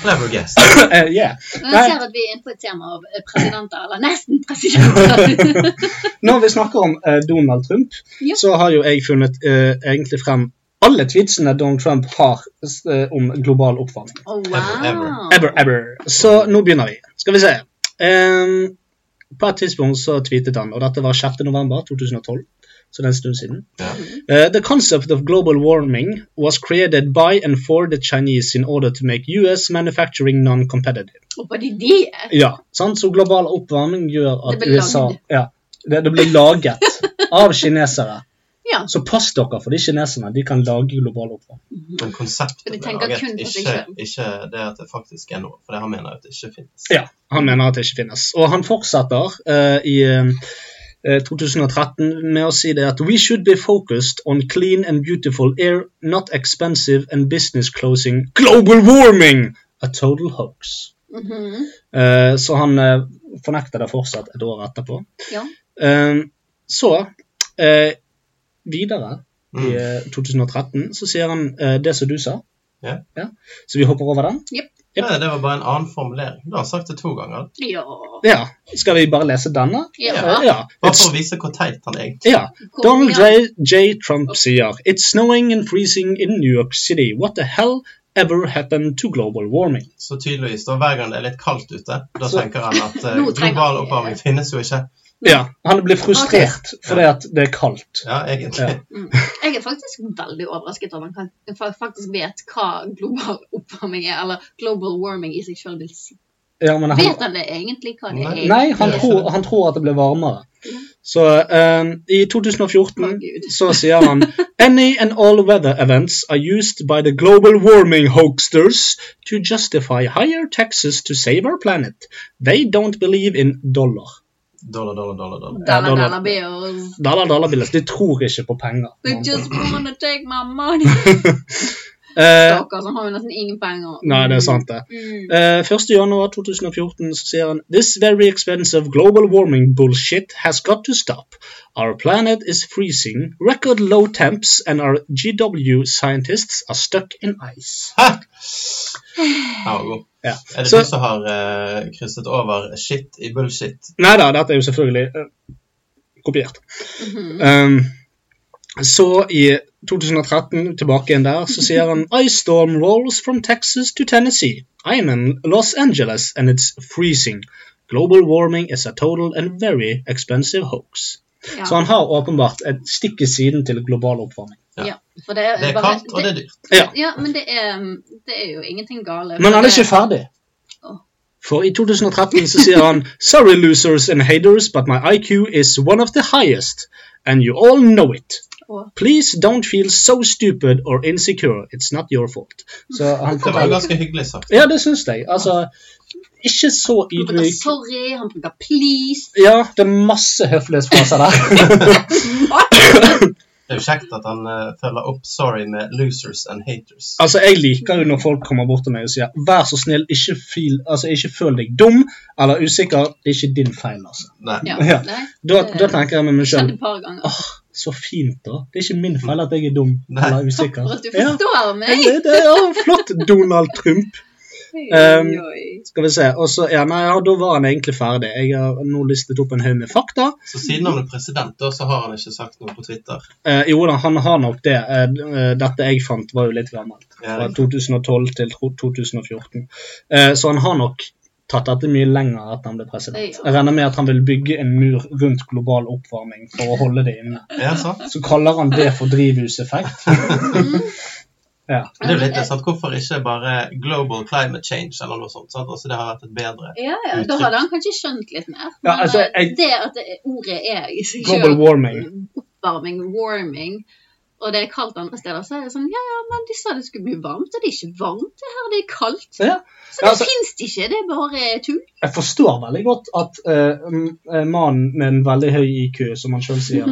[SPEAKER 5] Clever
[SPEAKER 4] *coughs*
[SPEAKER 5] guest.
[SPEAKER 4] *laughs* Eh, yeah.
[SPEAKER 3] Men
[SPEAKER 4] Nei.
[SPEAKER 3] Jeg ser at vi er inne på et tema av eh, presidenter, eller nesten
[SPEAKER 4] *laughs*
[SPEAKER 3] presidenter.
[SPEAKER 4] Når vi snakker om eh, Donald Trump,
[SPEAKER 3] Ja.
[SPEAKER 4] så har jo jeg funnet eh, egentlig frem alle tweetsene Donald Trump har eh, om global oppvarming.
[SPEAKER 3] Oh,
[SPEAKER 5] Ever, ever.
[SPEAKER 3] wow.
[SPEAKER 4] Ever, ever. Så nå begynner vi. Skal vi se. Em, på et tidspunkt så tweetet han, og dette var 6. november 2012, så det er en stund siden.
[SPEAKER 5] Ja.
[SPEAKER 4] Eh, the concept of global warming was created by and for the Chinese in order to make US manufacturing non-competitive.
[SPEAKER 3] Og på de de er.
[SPEAKER 4] Ja, sant? Så global oppvarming gjør at
[SPEAKER 3] Det ble
[SPEAKER 4] USA
[SPEAKER 3] lagd.
[SPEAKER 4] ja, det, det blir
[SPEAKER 3] *laughs*
[SPEAKER 4] laget av kinesere.
[SPEAKER 3] Ja.
[SPEAKER 4] Så pass dere for de kineserne. De kan lage global oppvarming.
[SPEAKER 5] Men konseptet
[SPEAKER 3] For de
[SPEAKER 5] ble
[SPEAKER 3] tenker
[SPEAKER 5] laget,
[SPEAKER 3] kun på seg
[SPEAKER 5] ikke,
[SPEAKER 3] selv.
[SPEAKER 5] ikke det at det faktisk er noe. For det han mener at det ikke finnes.
[SPEAKER 4] Ja, han mener at det ikke finnes. Og han fortsetter eh, i eh, eh, 2013 med å si det at We should be focused on clean and beautiful air, not expensive and business closing global warming! A total hoax.
[SPEAKER 3] Mhm.
[SPEAKER 4] Eh, så han eh, fornekter det fortsatt et år etterpå.
[SPEAKER 3] Ja.
[SPEAKER 4] Eh, så eh, videre i
[SPEAKER 5] Mm.
[SPEAKER 4] eh, 2013 så sier han eh, det som du sa.
[SPEAKER 5] Ja.
[SPEAKER 4] Så vi hopper over den.
[SPEAKER 5] Ja, det var bare en annen formulering. Du har sagt det to ganger.
[SPEAKER 3] Ja.
[SPEAKER 4] Ja. Skal vi bare lese denne?
[SPEAKER 3] Ja.
[SPEAKER 4] ja.
[SPEAKER 5] Bare
[SPEAKER 4] It's-
[SPEAKER 5] for å vise hvor teit han egentlig
[SPEAKER 4] ja.
[SPEAKER 3] Kom
[SPEAKER 4] Donald
[SPEAKER 3] igjen.
[SPEAKER 4] J. J. Trump sier It's snowing and freezing in New York City. What the hell ever happened to global warming?
[SPEAKER 5] Så tydeligvis, da hver gang det er litt kaldt ute, da
[SPEAKER 4] Så-
[SPEAKER 5] tenker han at eh,
[SPEAKER 3] Nå trenger-
[SPEAKER 5] global oppvarming finnes jo ikke.
[SPEAKER 4] Ja, Han blir frustrert fordi at det er kaldt.
[SPEAKER 5] Ja, egentlig.
[SPEAKER 4] Ja.
[SPEAKER 3] Mm. Jeg er faktisk veldig overrasket over at man kan- faktisk vet hva global *laughs* oppvarming er, eller global warming i seg selv vil si.
[SPEAKER 4] Ja, men han,
[SPEAKER 3] Vet han det egentlig hva det
[SPEAKER 5] Nei.
[SPEAKER 3] er?
[SPEAKER 4] nei, han
[SPEAKER 5] Ja.
[SPEAKER 4] tror, han tror at det blir varmere.
[SPEAKER 3] Ja.
[SPEAKER 4] Så eh, i
[SPEAKER 3] Å,
[SPEAKER 4] 2014
[SPEAKER 3] Gud.
[SPEAKER 4] så sier han Any and all weather events are used by the global warming hoaxsters to justify higher taxes to save our planet. They don't believe in dollar.
[SPEAKER 5] *laughs* Dollar, dollar, dollar, dollar.
[SPEAKER 3] Dollar,
[SPEAKER 4] dollar.
[SPEAKER 3] dollar bills.
[SPEAKER 4] Dollar, dollar, bills. De tror ikke på penger.
[SPEAKER 3] They er just wanna take my money.
[SPEAKER 4] Eh,
[SPEAKER 3] Stakkar, så har jo nesten ingen penger.
[SPEAKER 4] nei, det er sant, det.
[SPEAKER 3] Mm.
[SPEAKER 4] Eh, 1. januar 2014 så sier han This very expensive global warming bullshit has got to stop. Our planet is freezing, record low temps, and our GW scientists are stuck in ice.
[SPEAKER 5] Hæ? Den var god.
[SPEAKER 4] Ja.
[SPEAKER 5] Er det
[SPEAKER 4] Så-
[SPEAKER 5] du som har eh, krysset over shit i bullshit?
[SPEAKER 4] Nei da, dette er jo selvfølgelig eh, kopiert.
[SPEAKER 3] Mhm.
[SPEAKER 4] Um, så i 2013, tilbake igjen der, så sier han Ice storm rolls from Texas to Tennessee. I'm in Los Angeles and it's freezing. Global warming is a total and very expensive hoax.
[SPEAKER 3] Ja.
[SPEAKER 4] Så han har åpenbart et stikk i siden til global oppvarming.
[SPEAKER 3] ja. For det er,
[SPEAKER 5] Det er
[SPEAKER 3] bare-
[SPEAKER 5] kaldt, og det er dyrt.
[SPEAKER 4] Ja,
[SPEAKER 3] Ja, men det er, mm, det er jo ingenting gale. Eh,
[SPEAKER 4] Men han er
[SPEAKER 3] Det-
[SPEAKER 4] ikke ferdig.
[SPEAKER 3] Åh.
[SPEAKER 4] For i 2013 så sier han Sorry losers and haters, but my IQ is one of the highest. And you all know it.
[SPEAKER 3] Åh.
[SPEAKER 4] Please don't feel so stupid or insecure. It's not your fault. Så han
[SPEAKER 5] Det var
[SPEAKER 4] forteller
[SPEAKER 5] ganske hyggelig sagt.
[SPEAKER 4] Ja, det syns jeg. Altså, ikke så
[SPEAKER 3] Han bruker
[SPEAKER 4] ydmyk.
[SPEAKER 3] sorry, han bruker
[SPEAKER 4] *laughs*
[SPEAKER 3] please.
[SPEAKER 4] Ja, det er masse høflighetsfraser der. *laughs*
[SPEAKER 5] Det er jo kjekt at han eh, følger opp sorry med losers and haters.
[SPEAKER 4] Altså, Jeg liker jo når folk kommer bort til meg og sier 'vær så snill, ikke, feel, altså, ikke føl deg dum eller usikker'. Det er ikke din feil, altså.
[SPEAKER 5] Nei.
[SPEAKER 3] Ja,
[SPEAKER 4] Ja.
[SPEAKER 3] nei.
[SPEAKER 4] Da, da tenker jeg Ah, med meg
[SPEAKER 3] Det skjedde
[SPEAKER 4] sjøl
[SPEAKER 3] et par ganger.
[SPEAKER 4] Åh, så fint, da. Det er ikke min feil at jeg er dum
[SPEAKER 5] Nei.
[SPEAKER 4] eller
[SPEAKER 3] Takk
[SPEAKER 4] usikker.
[SPEAKER 3] for at du
[SPEAKER 4] Ja,
[SPEAKER 3] forstår meg.
[SPEAKER 4] det, det er flott, Donald Trump.
[SPEAKER 3] Oi,
[SPEAKER 4] Um,
[SPEAKER 3] oi.
[SPEAKER 4] Skal vi se. Og så, ja, nei, ja, Da var han egentlig ferdig. Jeg har nå listet opp en haug med fakta.
[SPEAKER 5] Så siden han er president, da, så har han ikke sagt noe på Twitter.
[SPEAKER 4] Eh, jo da, han har nok det. Eh, eh, dette jeg fant, var jo litt gammelt.
[SPEAKER 5] Ja,
[SPEAKER 4] Fra
[SPEAKER 5] riktig.
[SPEAKER 4] 2012 til tro- 2014. Eh, så han har nok tatt dette mye lenger etter han ble president.
[SPEAKER 3] Ja.
[SPEAKER 4] Jeg regner med at han vil bygge en mur rundt global oppvarming for å holde det inne.
[SPEAKER 5] Ja, sant?
[SPEAKER 4] Så kaller han det for drivhuseffekt.
[SPEAKER 3] *laughs* Mm.
[SPEAKER 4] ja.
[SPEAKER 5] Men Det er jo litt sant? Hvorfor ikke bare global climate change eller noe sånt? sant? Altså, det har vært et bedre
[SPEAKER 3] Ja, ja, da hadde han kanskje skjønt litt mer.
[SPEAKER 4] Ja, altså,
[SPEAKER 3] eh,
[SPEAKER 4] jeg-
[SPEAKER 3] det at det, ordet er i seg
[SPEAKER 4] Global
[SPEAKER 3] selv
[SPEAKER 4] warming.
[SPEAKER 3] oppvarming, warming, og det er kaldt andre steder, så er det sånn, ja, ja, men de sa det skulle bli varmt, og det er ikke varmt det her, det er kaldt.
[SPEAKER 4] Ja.
[SPEAKER 3] Så
[SPEAKER 4] Ja,
[SPEAKER 3] det
[SPEAKER 4] altså-
[SPEAKER 3] finnes det ikke, det er bare tull.
[SPEAKER 4] Jeg forstår veldig godt at eh, m- eh, mannen med en veldig høy IQ, som han sjøl sier,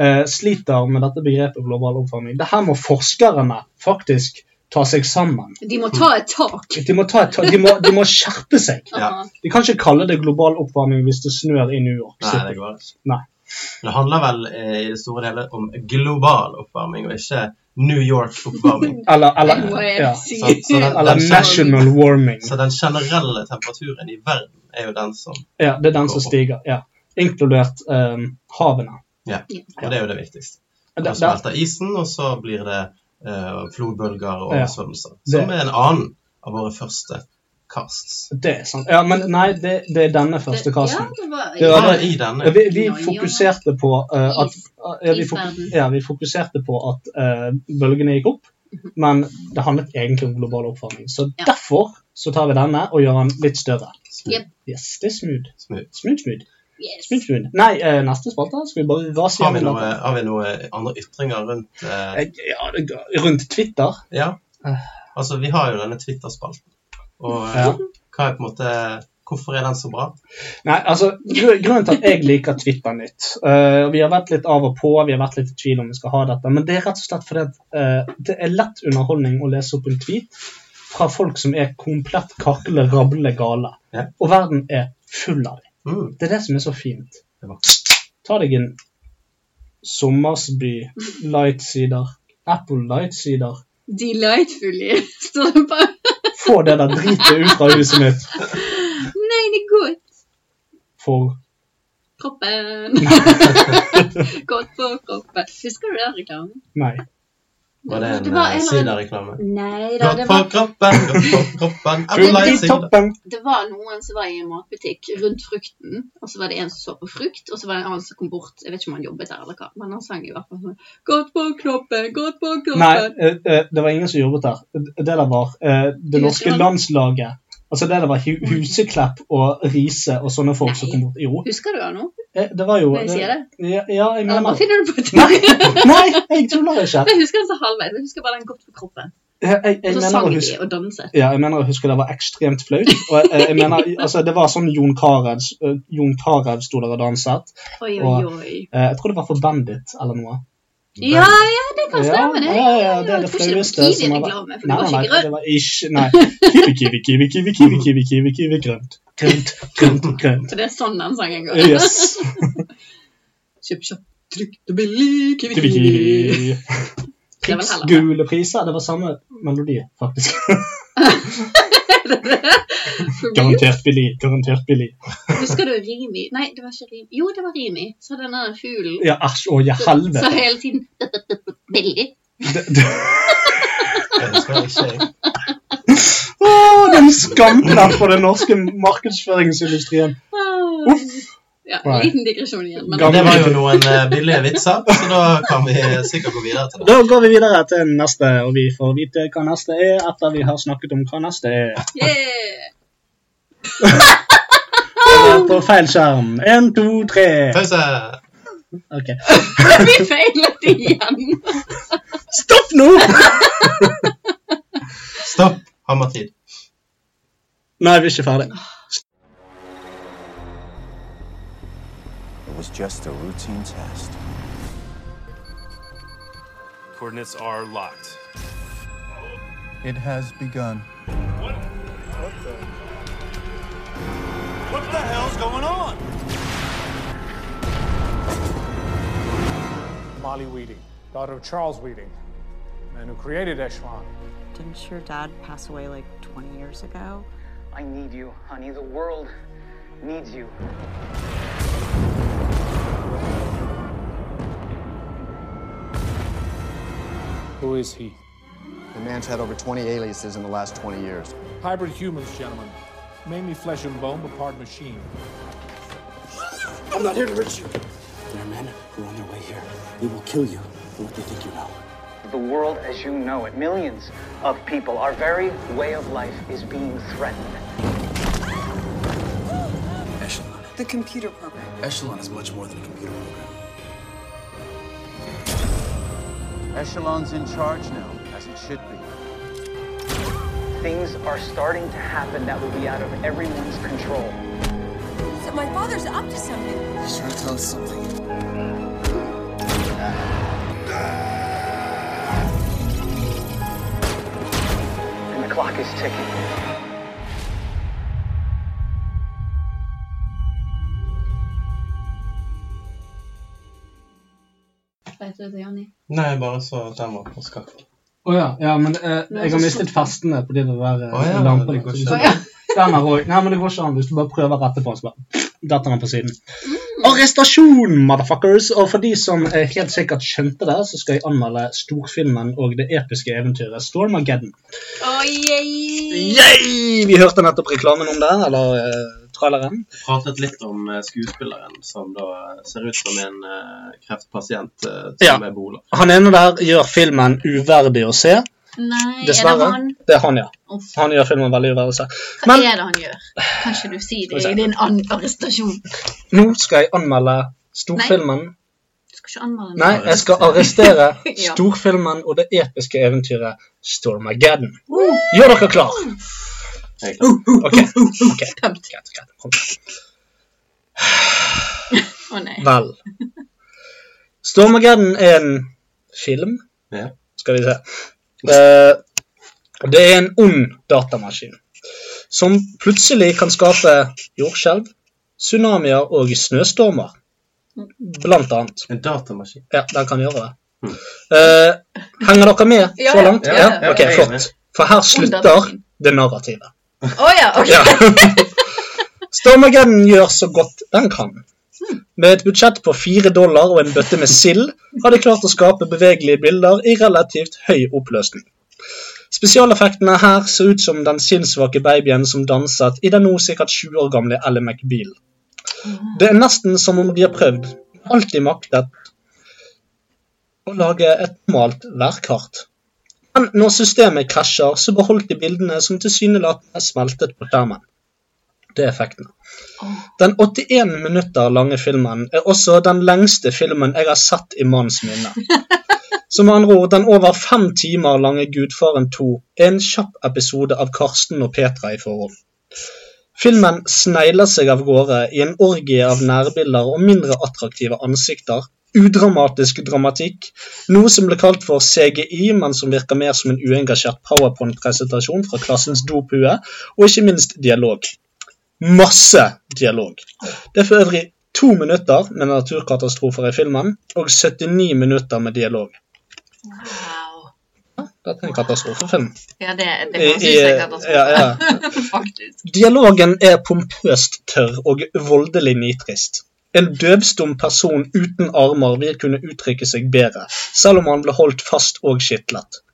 [SPEAKER 4] eh, sliter med dette begrepet global oppvarming. Det her må forskerne faktisk ta seg sammen.
[SPEAKER 3] De må ta et tak.
[SPEAKER 4] De må, ta et, ta- de må, de må skjerpe seg.
[SPEAKER 5] Ja.
[SPEAKER 4] De kan ikke kalle det global oppvarming hvis det snør i New York.
[SPEAKER 5] Nei,
[SPEAKER 4] City.
[SPEAKER 5] det går ikke.
[SPEAKER 4] Nei.
[SPEAKER 5] Det handler vel eh, i det store hele om global oppvarming, og ikke New
[SPEAKER 4] *laughs*
[SPEAKER 5] York-oppvarming.
[SPEAKER 4] Eller, eller,
[SPEAKER 3] Må jeg
[SPEAKER 4] ja.
[SPEAKER 3] si.
[SPEAKER 5] Så- så den-
[SPEAKER 4] eller national warming.
[SPEAKER 5] Så den generelle temperaturen i verden er jo den som
[SPEAKER 4] Ja, det er den som stiger. Ja. Inkludert um, havene.
[SPEAKER 5] Ja,
[SPEAKER 3] Ja.
[SPEAKER 5] og det er jo det viktigste.
[SPEAKER 4] Det,
[SPEAKER 5] Da
[SPEAKER 4] det,
[SPEAKER 5] smelter isen, og så blir det eh, flodbølger og
[SPEAKER 4] Ja.
[SPEAKER 5] oversvømmelser. Som
[SPEAKER 4] Det-
[SPEAKER 5] er en annen av våre første casts.
[SPEAKER 4] det er sant. Ja, men nei, det, det er denne første casten.
[SPEAKER 3] Ja, det var,
[SPEAKER 4] Det var
[SPEAKER 5] Hva er
[SPEAKER 4] det.
[SPEAKER 5] i
[SPEAKER 4] Ja,
[SPEAKER 5] denne?
[SPEAKER 4] Vi, vi fokuserte på eh, at ja, vi, fok
[SPEAKER 3] Isverden.
[SPEAKER 4] ja, vi fokuserte på at eh, bølgene gikk opp, men det handlet egentlig om global oppvarming. Så
[SPEAKER 3] Ja.
[SPEAKER 4] derfor så tar vi denne og gjør den litt større.
[SPEAKER 3] Jep.
[SPEAKER 4] Yes, det er smooth.
[SPEAKER 5] Smooth.
[SPEAKER 4] Smooth, smooth.
[SPEAKER 3] Yes.
[SPEAKER 4] Smooth, smooth. Nei, eh, neste spalte skal vi bare rase
[SPEAKER 5] Har vi
[SPEAKER 4] gjennom
[SPEAKER 5] noe, har vi noe andre ytringer rundt eh,
[SPEAKER 4] dette. Eh, Ja, det- rundt Twitter.
[SPEAKER 5] Ja. Altså, vi har jo denne Twitter-spalten. Og eh,
[SPEAKER 4] Ja.
[SPEAKER 5] hva er på en måte Hvorfor er den så bra?
[SPEAKER 4] Nei, altså, gru- Grunnen til at jeg liker Twitter nytt eh, Vi har vært litt av og på, vi har vært litt i tvil om vi skal ha dette. Men det er rett og slett fordi at, eh, det er lett underholdning å lese opp en tweet fra folk som er komplett karkle, rable gale.
[SPEAKER 5] Ja.
[SPEAKER 4] Og verden er full av dem.
[SPEAKER 5] Mm.
[SPEAKER 4] Det er det som er så fint.
[SPEAKER 5] Det var-
[SPEAKER 4] Ta deg en Sommersby, Lightsider, Apple Lightsider.
[SPEAKER 3] Delightfully, *laughs* står det bare.
[SPEAKER 4] Få det der dritet ut fra huset mitt
[SPEAKER 3] Nei, det er godt.
[SPEAKER 4] for *laughs*
[SPEAKER 3] Kroppen. godt for kroppen. Husker du den reklamen?
[SPEAKER 4] meg.
[SPEAKER 5] Var det
[SPEAKER 3] Det
[SPEAKER 5] en
[SPEAKER 3] var en
[SPEAKER 5] eh,
[SPEAKER 3] eller annen-
[SPEAKER 5] Sida-reklame?
[SPEAKER 3] Nei da,
[SPEAKER 5] Godt
[SPEAKER 3] det
[SPEAKER 5] for
[SPEAKER 3] var,
[SPEAKER 5] kroppen, godt for
[SPEAKER 3] *laughs*
[SPEAKER 5] kroppen. Apple
[SPEAKER 4] Ut i
[SPEAKER 5] Light Sida.
[SPEAKER 4] toppen!
[SPEAKER 3] det var noen som var i en matbutikk rundt frukten, og så var det en som så på frukt, og så var det en annen som kom bort, jeg vet ikke om han jobbet der eller hva, men han sang i hvert fall sånn, godt for kroppen, godt for
[SPEAKER 4] Nei,
[SPEAKER 3] kroppen.
[SPEAKER 4] eh, eh, det var ingen som jobbet der. Det der var eh, det norske
[SPEAKER 3] Husland.
[SPEAKER 4] landslaget. Altså det der var Hu- Huseklepp og Riise og sånne folk som
[SPEAKER 3] Nei.
[SPEAKER 4] kom bort. Jo,
[SPEAKER 3] Husker du han nå?
[SPEAKER 4] eh, det var jo
[SPEAKER 3] Når jeg sier det?
[SPEAKER 4] Ja, ja, jeg
[SPEAKER 3] Eller bare
[SPEAKER 4] mener
[SPEAKER 3] finner du på
[SPEAKER 4] Nei,
[SPEAKER 3] det?
[SPEAKER 4] *laughs* nei, jeg tuller
[SPEAKER 3] *laughs*
[SPEAKER 4] ikke.
[SPEAKER 3] Jeg husker den så halvveis, jeg husker bare den godt for kroppen.
[SPEAKER 4] Eh, Jeg, jeg,
[SPEAKER 3] Og så
[SPEAKER 4] mener,
[SPEAKER 3] sang
[SPEAKER 4] å
[SPEAKER 3] de
[SPEAKER 4] huske,
[SPEAKER 3] og danset.
[SPEAKER 4] ja, jeg mener å huske det var ekstremt flaut. Og jeg, jeg mener, altså, det var sånn Jon Carew eh, Jon Carew sto der og danset.
[SPEAKER 3] Oi, oi,
[SPEAKER 4] Og-
[SPEAKER 3] oi.
[SPEAKER 4] Eh, Jeg tror det var for Bandit eller noe.
[SPEAKER 3] Ja, ja, det kan stemme, det.
[SPEAKER 4] Ja, ja, ja, det er det
[SPEAKER 3] jeg tror ikke det var
[SPEAKER 4] flaueste som har vært.
[SPEAKER 3] Kiwi-reklame, for det
[SPEAKER 4] nei,
[SPEAKER 3] var ikke grønt.
[SPEAKER 4] det var ikke Nei. Kiwi, kiwi, kiwi, kiwi, kiwi, kiwi, kiwi, kiwi, grønt. Grønt, grønt, grønt.
[SPEAKER 3] *laughs* Så det er sånn den sangen går.
[SPEAKER 4] Yes.
[SPEAKER 3] Kjøp kjapt, trygt og billig,
[SPEAKER 4] Kiwi,
[SPEAKER 3] kiwi-kiwi.
[SPEAKER 4] kiwi.
[SPEAKER 3] Det er vel
[SPEAKER 4] Priks,
[SPEAKER 3] heller det.
[SPEAKER 4] gule priser. Det var samme melodi, faktisk. *laughs*
[SPEAKER 3] For real?
[SPEAKER 4] Garantert billig, garantert billig.
[SPEAKER 3] Husker du Rimi? Nei, det var ikke Rimi. Jo, det var Rimi. Så denne fuglen.
[SPEAKER 4] Ja, æsj, å, ja,
[SPEAKER 3] Så
[SPEAKER 4] helvete.
[SPEAKER 3] hele tiden *laughs* Billig.
[SPEAKER 4] Det- det-
[SPEAKER 5] Det husker jeg ikke jeg.
[SPEAKER 4] Å, den skamplatt på den norske markedsføringsindustrien.
[SPEAKER 3] Ah.
[SPEAKER 4] Uff.
[SPEAKER 3] Ja,
[SPEAKER 4] Nei.
[SPEAKER 3] liten digresjon igjen. Men
[SPEAKER 4] Gammel-
[SPEAKER 5] Det var jo noen eh, billige vitser, så da kan vi sikkert gå videre til det.
[SPEAKER 4] Da går vi videre til neste, og vi får vite hva neste er etter vi har snakket om hva neste er.
[SPEAKER 3] yeah. *laughs*
[SPEAKER 4] Over På feil skjerm. Én, to, tre.
[SPEAKER 5] Pause!
[SPEAKER 4] Ok.
[SPEAKER 3] Vi feilet igjen.
[SPEAKER 4] Stopp nå!
[SPEAKER 5] Stopp! Hammertid.
[SPEAKER 4] Nei, vi er ikke ferdig.
[SPEAKER 7] It was just a routine test.
[SPEAKER 8] Coordinates are locked.
[SPEAKER 7] It has begun.
[SPEAKER 8] What the hell's going on?
[SPEAKER 9] Molly Weeding, daughter of Charles Weeding, the man who created Echelon.
[SPEAKER 10] Didn't your dad pass away like 20 years ago?
[SPEAKER 11] I need you, honey. The world needs you.
[SPEAKER 9] Who is he?
[SPEAKER 7] The man's had over 20 aliases in the last 20 years.
[SPEAKER 9] Hybrid humans, gentlemen. Mainly flesh and bone, but part machine.
[SPEAKER 8] I'm not here to hurt you. There are men who are on their way here. They will kill you for what they think you know.
[SPEAKER 11] The world as you know it, millions of people, our very way of life is being threatened.
[SPEAKER 8] Echelon.
[SPEAKER 10] The computer program.
[SPEAKER 8] Echelon is much more than a computer program.
[SPEAKER 7] Echelon's in charge now, as it should be.
[SPEAKER 11] Things are starting to happen that will be out of everyone's control.
[SPEAKER 10] So my father's up to something.
[SPEAKER 8] He's trying to tell us something.
[SPEAKER 11] And the clock is ticking.
[SPEAKER 3] Vet du det, Janni?
[SPEAKER 5] Nei, bare så at den var på skaff.
[SPEAKER 4] Å ja, ja, men eh, jeg har mistet festene på de der
[SPEAKER 5] Å
[SPEAKER 4] eh,
[SPEAKER 5] ja,
[SPEAKER 4] lampene.
[SPEAKER 5] det går
[SPEAKER 4] så hvis
[SPEAKER 5] ikke.
[SPEAKER 4] du- Den er også- Nei, men det går ikke an hvis du bare prøver rett på, så bare pff, detter den på siden.
[SPEAKER 3] Mm.
[SPEAKER 4] Arrestasjon, motherfuckers! Og for de som eh, helt sikkert skjønte det, så skal jeg anmelde storfilmen og det episke eventyret Stormageddon.
[SPEAKER 3] Oh, yay.
[SPEAKER 4] Yay! Vi hørte nettopp reklamen om det, eller eh, traileren.
[SPEAKER 5] Pratet litt om eh, skuespilleren som da ser ut som en eh, kreftpasient eh,
[SPEAKER 4] Ja.
[SPEAKER 5] som er boler.
[SPEAKER 4] Han ene der gjør filmen uverdig å se.
[SPEAKER 3] Nei, er det
[SPEAKER 4] Dessverre.
[SPEAKER 3] han?
[SPEAKER 4] Det er han, ja.
[SPEAKER 3] Uff.
[SPEAKER 4] Han gjør filmen veldig uverdig å se.
[SPEAKER 3] Hva
[SPEAKER 4] Men-
[SPEAKER 3] er det han gjør? Kan ikke du si det
[SPEAKER 4] Skal vi se.
[SPEAKER 3] i din an- arrestasjon?
[SPEAKER 4] Nå skal jeg anmelde storfilmen
[SPEAKER 3] Du skal ikke anmelde
[SPEAKER 4] Nei, jeg skal arrestere
[SPEAKER 3] Ja.
[SPEAKER 4] storfilmen og det episke eventyret Stormageddon. Gjør dere klar!
[SPEAKER 5] egentlig. OK. ok,
[SPEAKER 3] Tapt.
[SPEAKER 5] greit, greit. Kom.
[SPEAKER 3] Å nei.
[SPEAKER 4] Vel. Stormageddon er en film,
[SPEAKER 5] Ja.
[SPEAKER 4] skal vi se. Eh, det er en ond datamaskin som plutselig kan skape jordskjelv, tsunamier og snøstormer. Blant annet.
[SPEAKER 5] En datamaskin.
[SPEAKER 4] Ja, den kan gjøre det.
[SPEAKER 5] Hmm.
[SPEAKER 4] Eh, henger dere med
[SPEAKER 3] Ja,
[SPEAKER 4] så
[SPEAKER 3] ja.
[SPEAKER 4] langt?
[SPEAKER 5] Ja, ja,
[SPEAKER 4] Ok,
[SPEAKER 5] jeg er med.
[SPEAKER 4] flott. For her slutter
[SPEAKER 3] datamaskin.
[SPEAKER 4] det narrativet.
[SPEAKER 3] Å ja, ok.
[SPEAKER 4] Ja. Stormageddon gjør så godt den kan. Med et budsjett på fire dollar og en bøtte med sild har de klart å skape bevegelige bilder i relativt høy oppløsning. Spesialeffektene her ser ut som den sinnssvake babyen som danset i den nå sikkert 20 år gamle Ally McBeal. Det er nesten som om de har prøvd, alltid maktet, å lage et normalt værkart. Men når systemet krasjer, så beholdt de bildene som tilsynelatende smeltet på skjermen. Det er effekten. Den 81 minutter lange filmen er også den lengste filmen jeg har sett i manns minne. Som med andre ord, den over fem timer lange Gudfaren 2 er en kjapp episode av Karsten og Petra i forhold. Filmen snegler seg av gårde i en orgie av nærbilder og mindre attraktive ansikter, udramatisk dramatikk, noe som ble kalt for CGI, men som virker mer som en uengasjert powerpoint-presentasjon fra klassens dopue, og ikke minst dialog. Masse dialog. Det er for øvrig to minutter med naturkatastrofer i filmen, og 79 minutter med dialog.
[SPEAKER 3] Wow.
[SPEAKER 4] Dette er en katastrofefilm.
[SPEAKER 3] Ja, det, det
[SPEAKER 4] I-
[SPEAKER 3] kan synes jeg
[SPEAKER 4] i-
[SPEAKER 3] katastrofe.
[SPEAKER 4] ja, ja.
[SPEAKER 3] *laughs* Faktisk.
[SPEAKER 4] Dialogen er pompøst tørr og voldelig nitrist. En døvstum person uten armer vil kunne uttrykke seg bedre, selv om han ble holdt fast og skitlet.
[SPEAKER 3] *laughs*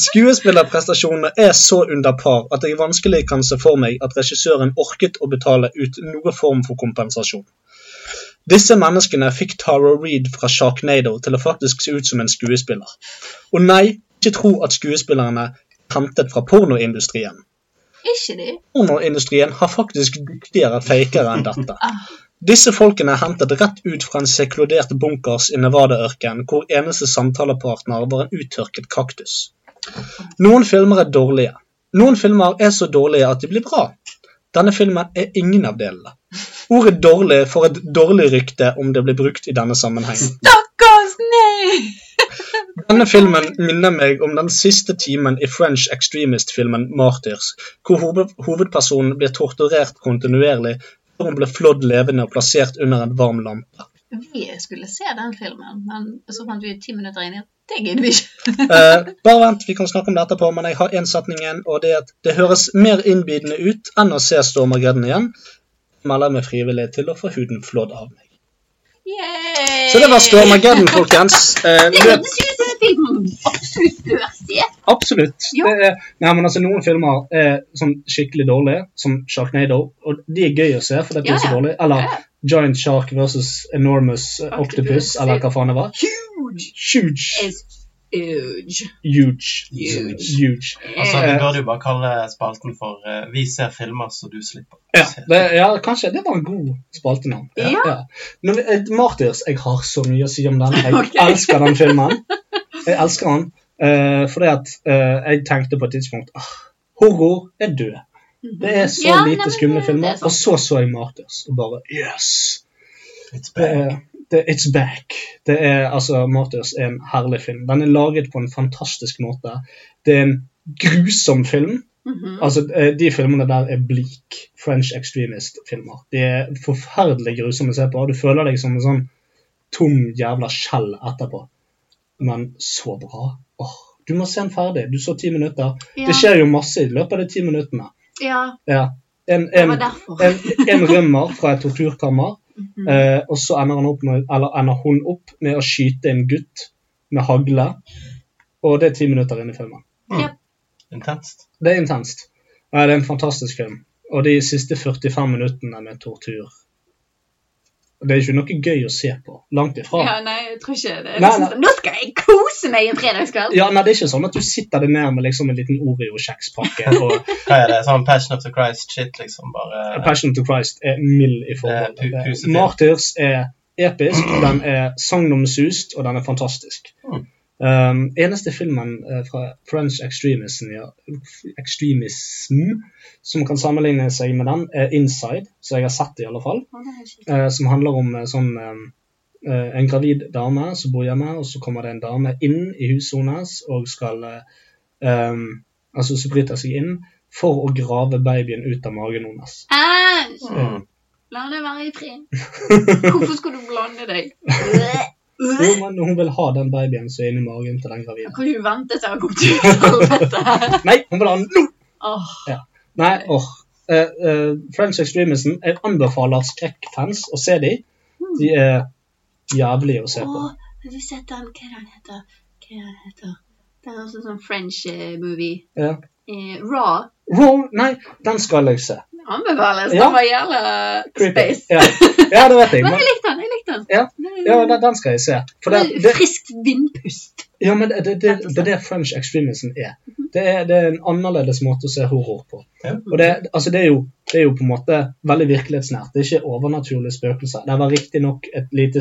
[SPEAKER 4] Skuespillerprestasjonene er så under par at jeg vanskelig kan se for meg at regissøren orket å betale ut noen form for kompensasjon. Disse menneskene fikk Tara Reid fra Sharknado til å faktisk se ut som en skuespiller. Og nei, ikke tro at skuespillerne er hentet fra pornoindustrien.
[SPEAKER 3] Ikke de?
[SPEAKER 4] Pornoindustrien har faktisk dyktigere fakere enn dette. Disse folkene er hentet rett ut fra en sekludert bunkers i Nevada-ørkenen, hvor eneste samtalepartner var en uttørket kaktus. Noen filmer er dårlige. Noen filmer er så dårlige at de blir bra. Denne filmen er ingen av delene. Ordet 'dårlig' får et dårlig rykte om det blir brukt i denne sammenhengen.
[SPEAKER 3] Stakkars, nei!
[SPEAKER 4] Denne filmen minner meg om den siste timen i French Extremist-filmen Martyrs, hvor hoved- hovedpersonen blir torturert kontinuerlig før hun blir flådd levende og plassert under en varm lampe.
[SPEAKER 3] Vi skulle se den filmen, men så fant vi ti minutter inn i at det gidder vi ikke.
[SPEAKER 4] *laughs* Eh, bare vent, vi kan snakke om det etterpå, men jeg har én setning igjen, og det er at det høres mer innbydende ut enn å se Stormageddon igjen. Melder meg frivillig til å få huden flådd av meg.
[SPEAKER 3] Yay!
[SPEAKER 4] Så det var Stormageddon, folkens.
[SPEAKER 3] *laughs*
[SPEAKER 4] Eh,
[SPEAKER 3] Det
[SPEAKER 4] løp
[SPEAKER 3] hørtes ut som en film man absolutt bør se.
[SPEAKER 4] Absolutt.
[SPEAKER 3] Ja.
[SPEAKER 4] Det er, nei, men altså, noen filmer er sånn skikkelig dårlige, som Sharknado, og de er gøy å se, for det er
[SPEAKER 3] Ja,
[SPEAKER 4] så
[SPEAKER 3] ja.
[SPEAKER 4] dårlig. Eller
[SPEAKER 3] Ja.
[SPEAKER 4] Giant Shark versus Enormous eh, Octopus,
[SPEAKER 3] Octopus,
[SPEAKER 4] eller hva faen det var.
[SPEAKER 3] Huge
[SPEAKER 4] Huge.
[SPEAKER 3] is huge.
[SPEAKER 4] Huge.
[SPEAKER 3] Huge.
[SPEAKER 4] Huge.
[SPEAKER 5] Altså,
[SPEAKER 4] Eh.
[SPEAKER 5] Vi burde jo bare kalle spalten for eh, 'Vi ser filmer så du slipper'.
[SPEAKER 4] Ja, det, ja, kanskje det var en god spaltenavn.
[SPEAKER 3] Ja.
[SPEAKER 4] Når vi- eh, Martyrs, jeg har så mye å si om den. Jeg
[SPEAKER 3] *laughs* Ok.
[SPEAKER 4] elsker den filmen. Jeg elsker den. eh, fordi at eh, jeg tenkte på et tidspunkt ah, Horror er død. Det er så
[SPEAKER 3] Ja, nei,
[SPEAKER 4] lite
[SPEAKER 3] men
[SPEAKER 4] skumle
[SPEAKER 3] det-
[SPEAKER 4] filmer.
[SPEAKER 3] det er sant.
[SPEAKER 4] Og så så jeg Martyrs, og bare Yes!
[SPEAKER 5] It's
[SPEAKER 4] Det
[SPEAKER 5] bad.
[SPEAKER 4] er, det, it's back. Det er, altså, Martyrs er en herlig film. Den er laget på en fantastisk måte. Det er en grusom film.
[SPEAKER 3] Mhm.
[SPEAKER 4] Altså, eh, De filmene der er bleak French extremist-filmer. De er forferdelig grusomme å se på. Du føler deg som en sånn tom jævla skjell etterpå. Men så bra. Åh, du må se den ferdig. Du så ti minutter.
[SPEAKER 3] Ja.
[SPEAKER 4] Det skjer jo masse i løpet av de ti minuttene.
[SPEAKER 3] Ja,
[SPEAKER 4] Ja. En,
[SPEAKER 3] det
[SPEAKER 4] en,
[SPEAKER 3] var derfor.
[SPEAKER 4] en,
[SPEAKER 3] Mhm. *laughs*
[SPEAKER 4] en rømmer fra et torturkammer, eh, og så ender, han opp med, eller ender hun opp med å skyte en gutt med hagle. Og det er ti minutter inn i filmen.
[SPEAKER 5] Intenst.
[SPEAKER 4] Det er intenst. Nei, det er en fantastisk film. Og de siste 45 minuttene med tortur Det er ikke noe gøy å se på. Langt ifra.
[SPEAKER 3] Ja, nei, jeg tror ikke det.
[SPEAKER 4] Nei,
[SPEAKER 3] Liksom,
[SPEAKER 4] nei.
[SPEAKER 3] Nå skal jeg kose meg en fredagskveld!
[SPEAKER 4] Ja, nei, Det er ikke sånn at du sitter deg ned med liksom en liten Oreo-kjekspakke. og
[SPEAKER 5] Hva er det? Sånn Passion of the Christ shit, liksom. Bare
[SPEAKER 4] Passion to Christ er mild i forhold.
[SPEAKER 5] Det er pu- pusefilm.
[SPEAKER 4] Martyrs er episk, den er sagnomsust, og den er fantastisk. Um, eneste filmen eh, fra French extremism, ja, extremism som kan sammenligne seg med den, er Inside, som jeg har sett i alle fall. Eh, som handler om eh, sånn eh, en gravid dame som bor hjemme, og så kommer det en dame inn i huset hennes og skal eh, um, Altså som bryter seg inn for å grave babyen ut av magen hennes.
[SPEAKER 3] Æsj!
[SPEAKER 4] Mm.
[SPEAKER 3] La det være i
[SPEAKER 4] *laughs*
[SPEAKER 3] fred. Hvorfor skal du blande deg?
[SPEAKER 4] Jo, men hun vil ha den babyen som er inni magen til den gravide.
[SPEAKER 3] Kan du vente til han kommer til helvete?
[SPEAKER 4] Nei, hun vil ha den nå!
[SPEAKER 3] Åh,
[SPEAKER 4] Nei, åh. Eh, eh, French Extremism, jeg anbefaler skrekkfans å se de. De er jævlige å se på.
[SPEAKER 3] åh, har du sett den? Hva er den heter? Hva er den heter? Det er også en sånn French eh, movie.
[SPEAKER 4] Ja.
[SPEAKER 3] Eh, Raw.
[SPEAKER 4] Raw, nei, den skal jeg se.
[SPEAKER 3] Anbefales.
[SPEAKER 4] Ja.
[SPEAKER 3] Den var jævla
[SPEAKER 4] Creepy.
[SPEAKER 3] space.
[SPEAKER 4] Ja. ja, det vet jeg.
[SPEAKER 3] Men
[SPEAKER 4] Men,
[SPEAKER 3] jeg likte den, jeg likte den.
[SPEAKER 4] ja, ja
[SPEAKER 3] Mm.
[SPEAKER 4] den, den skal jeg se. For det, det,
[SPEAKER 3] Friskt vindpust.
[SPEAKER 4] ja, men det, det, det, det er det French Extremism er. Det er, det er en annerledes måte å se horror på. Og det, altså det, er jo, det er jo på en måte veldig virkelighetsnært. Det er ikke overnaturlige spøkelser. Det var riktignok et lite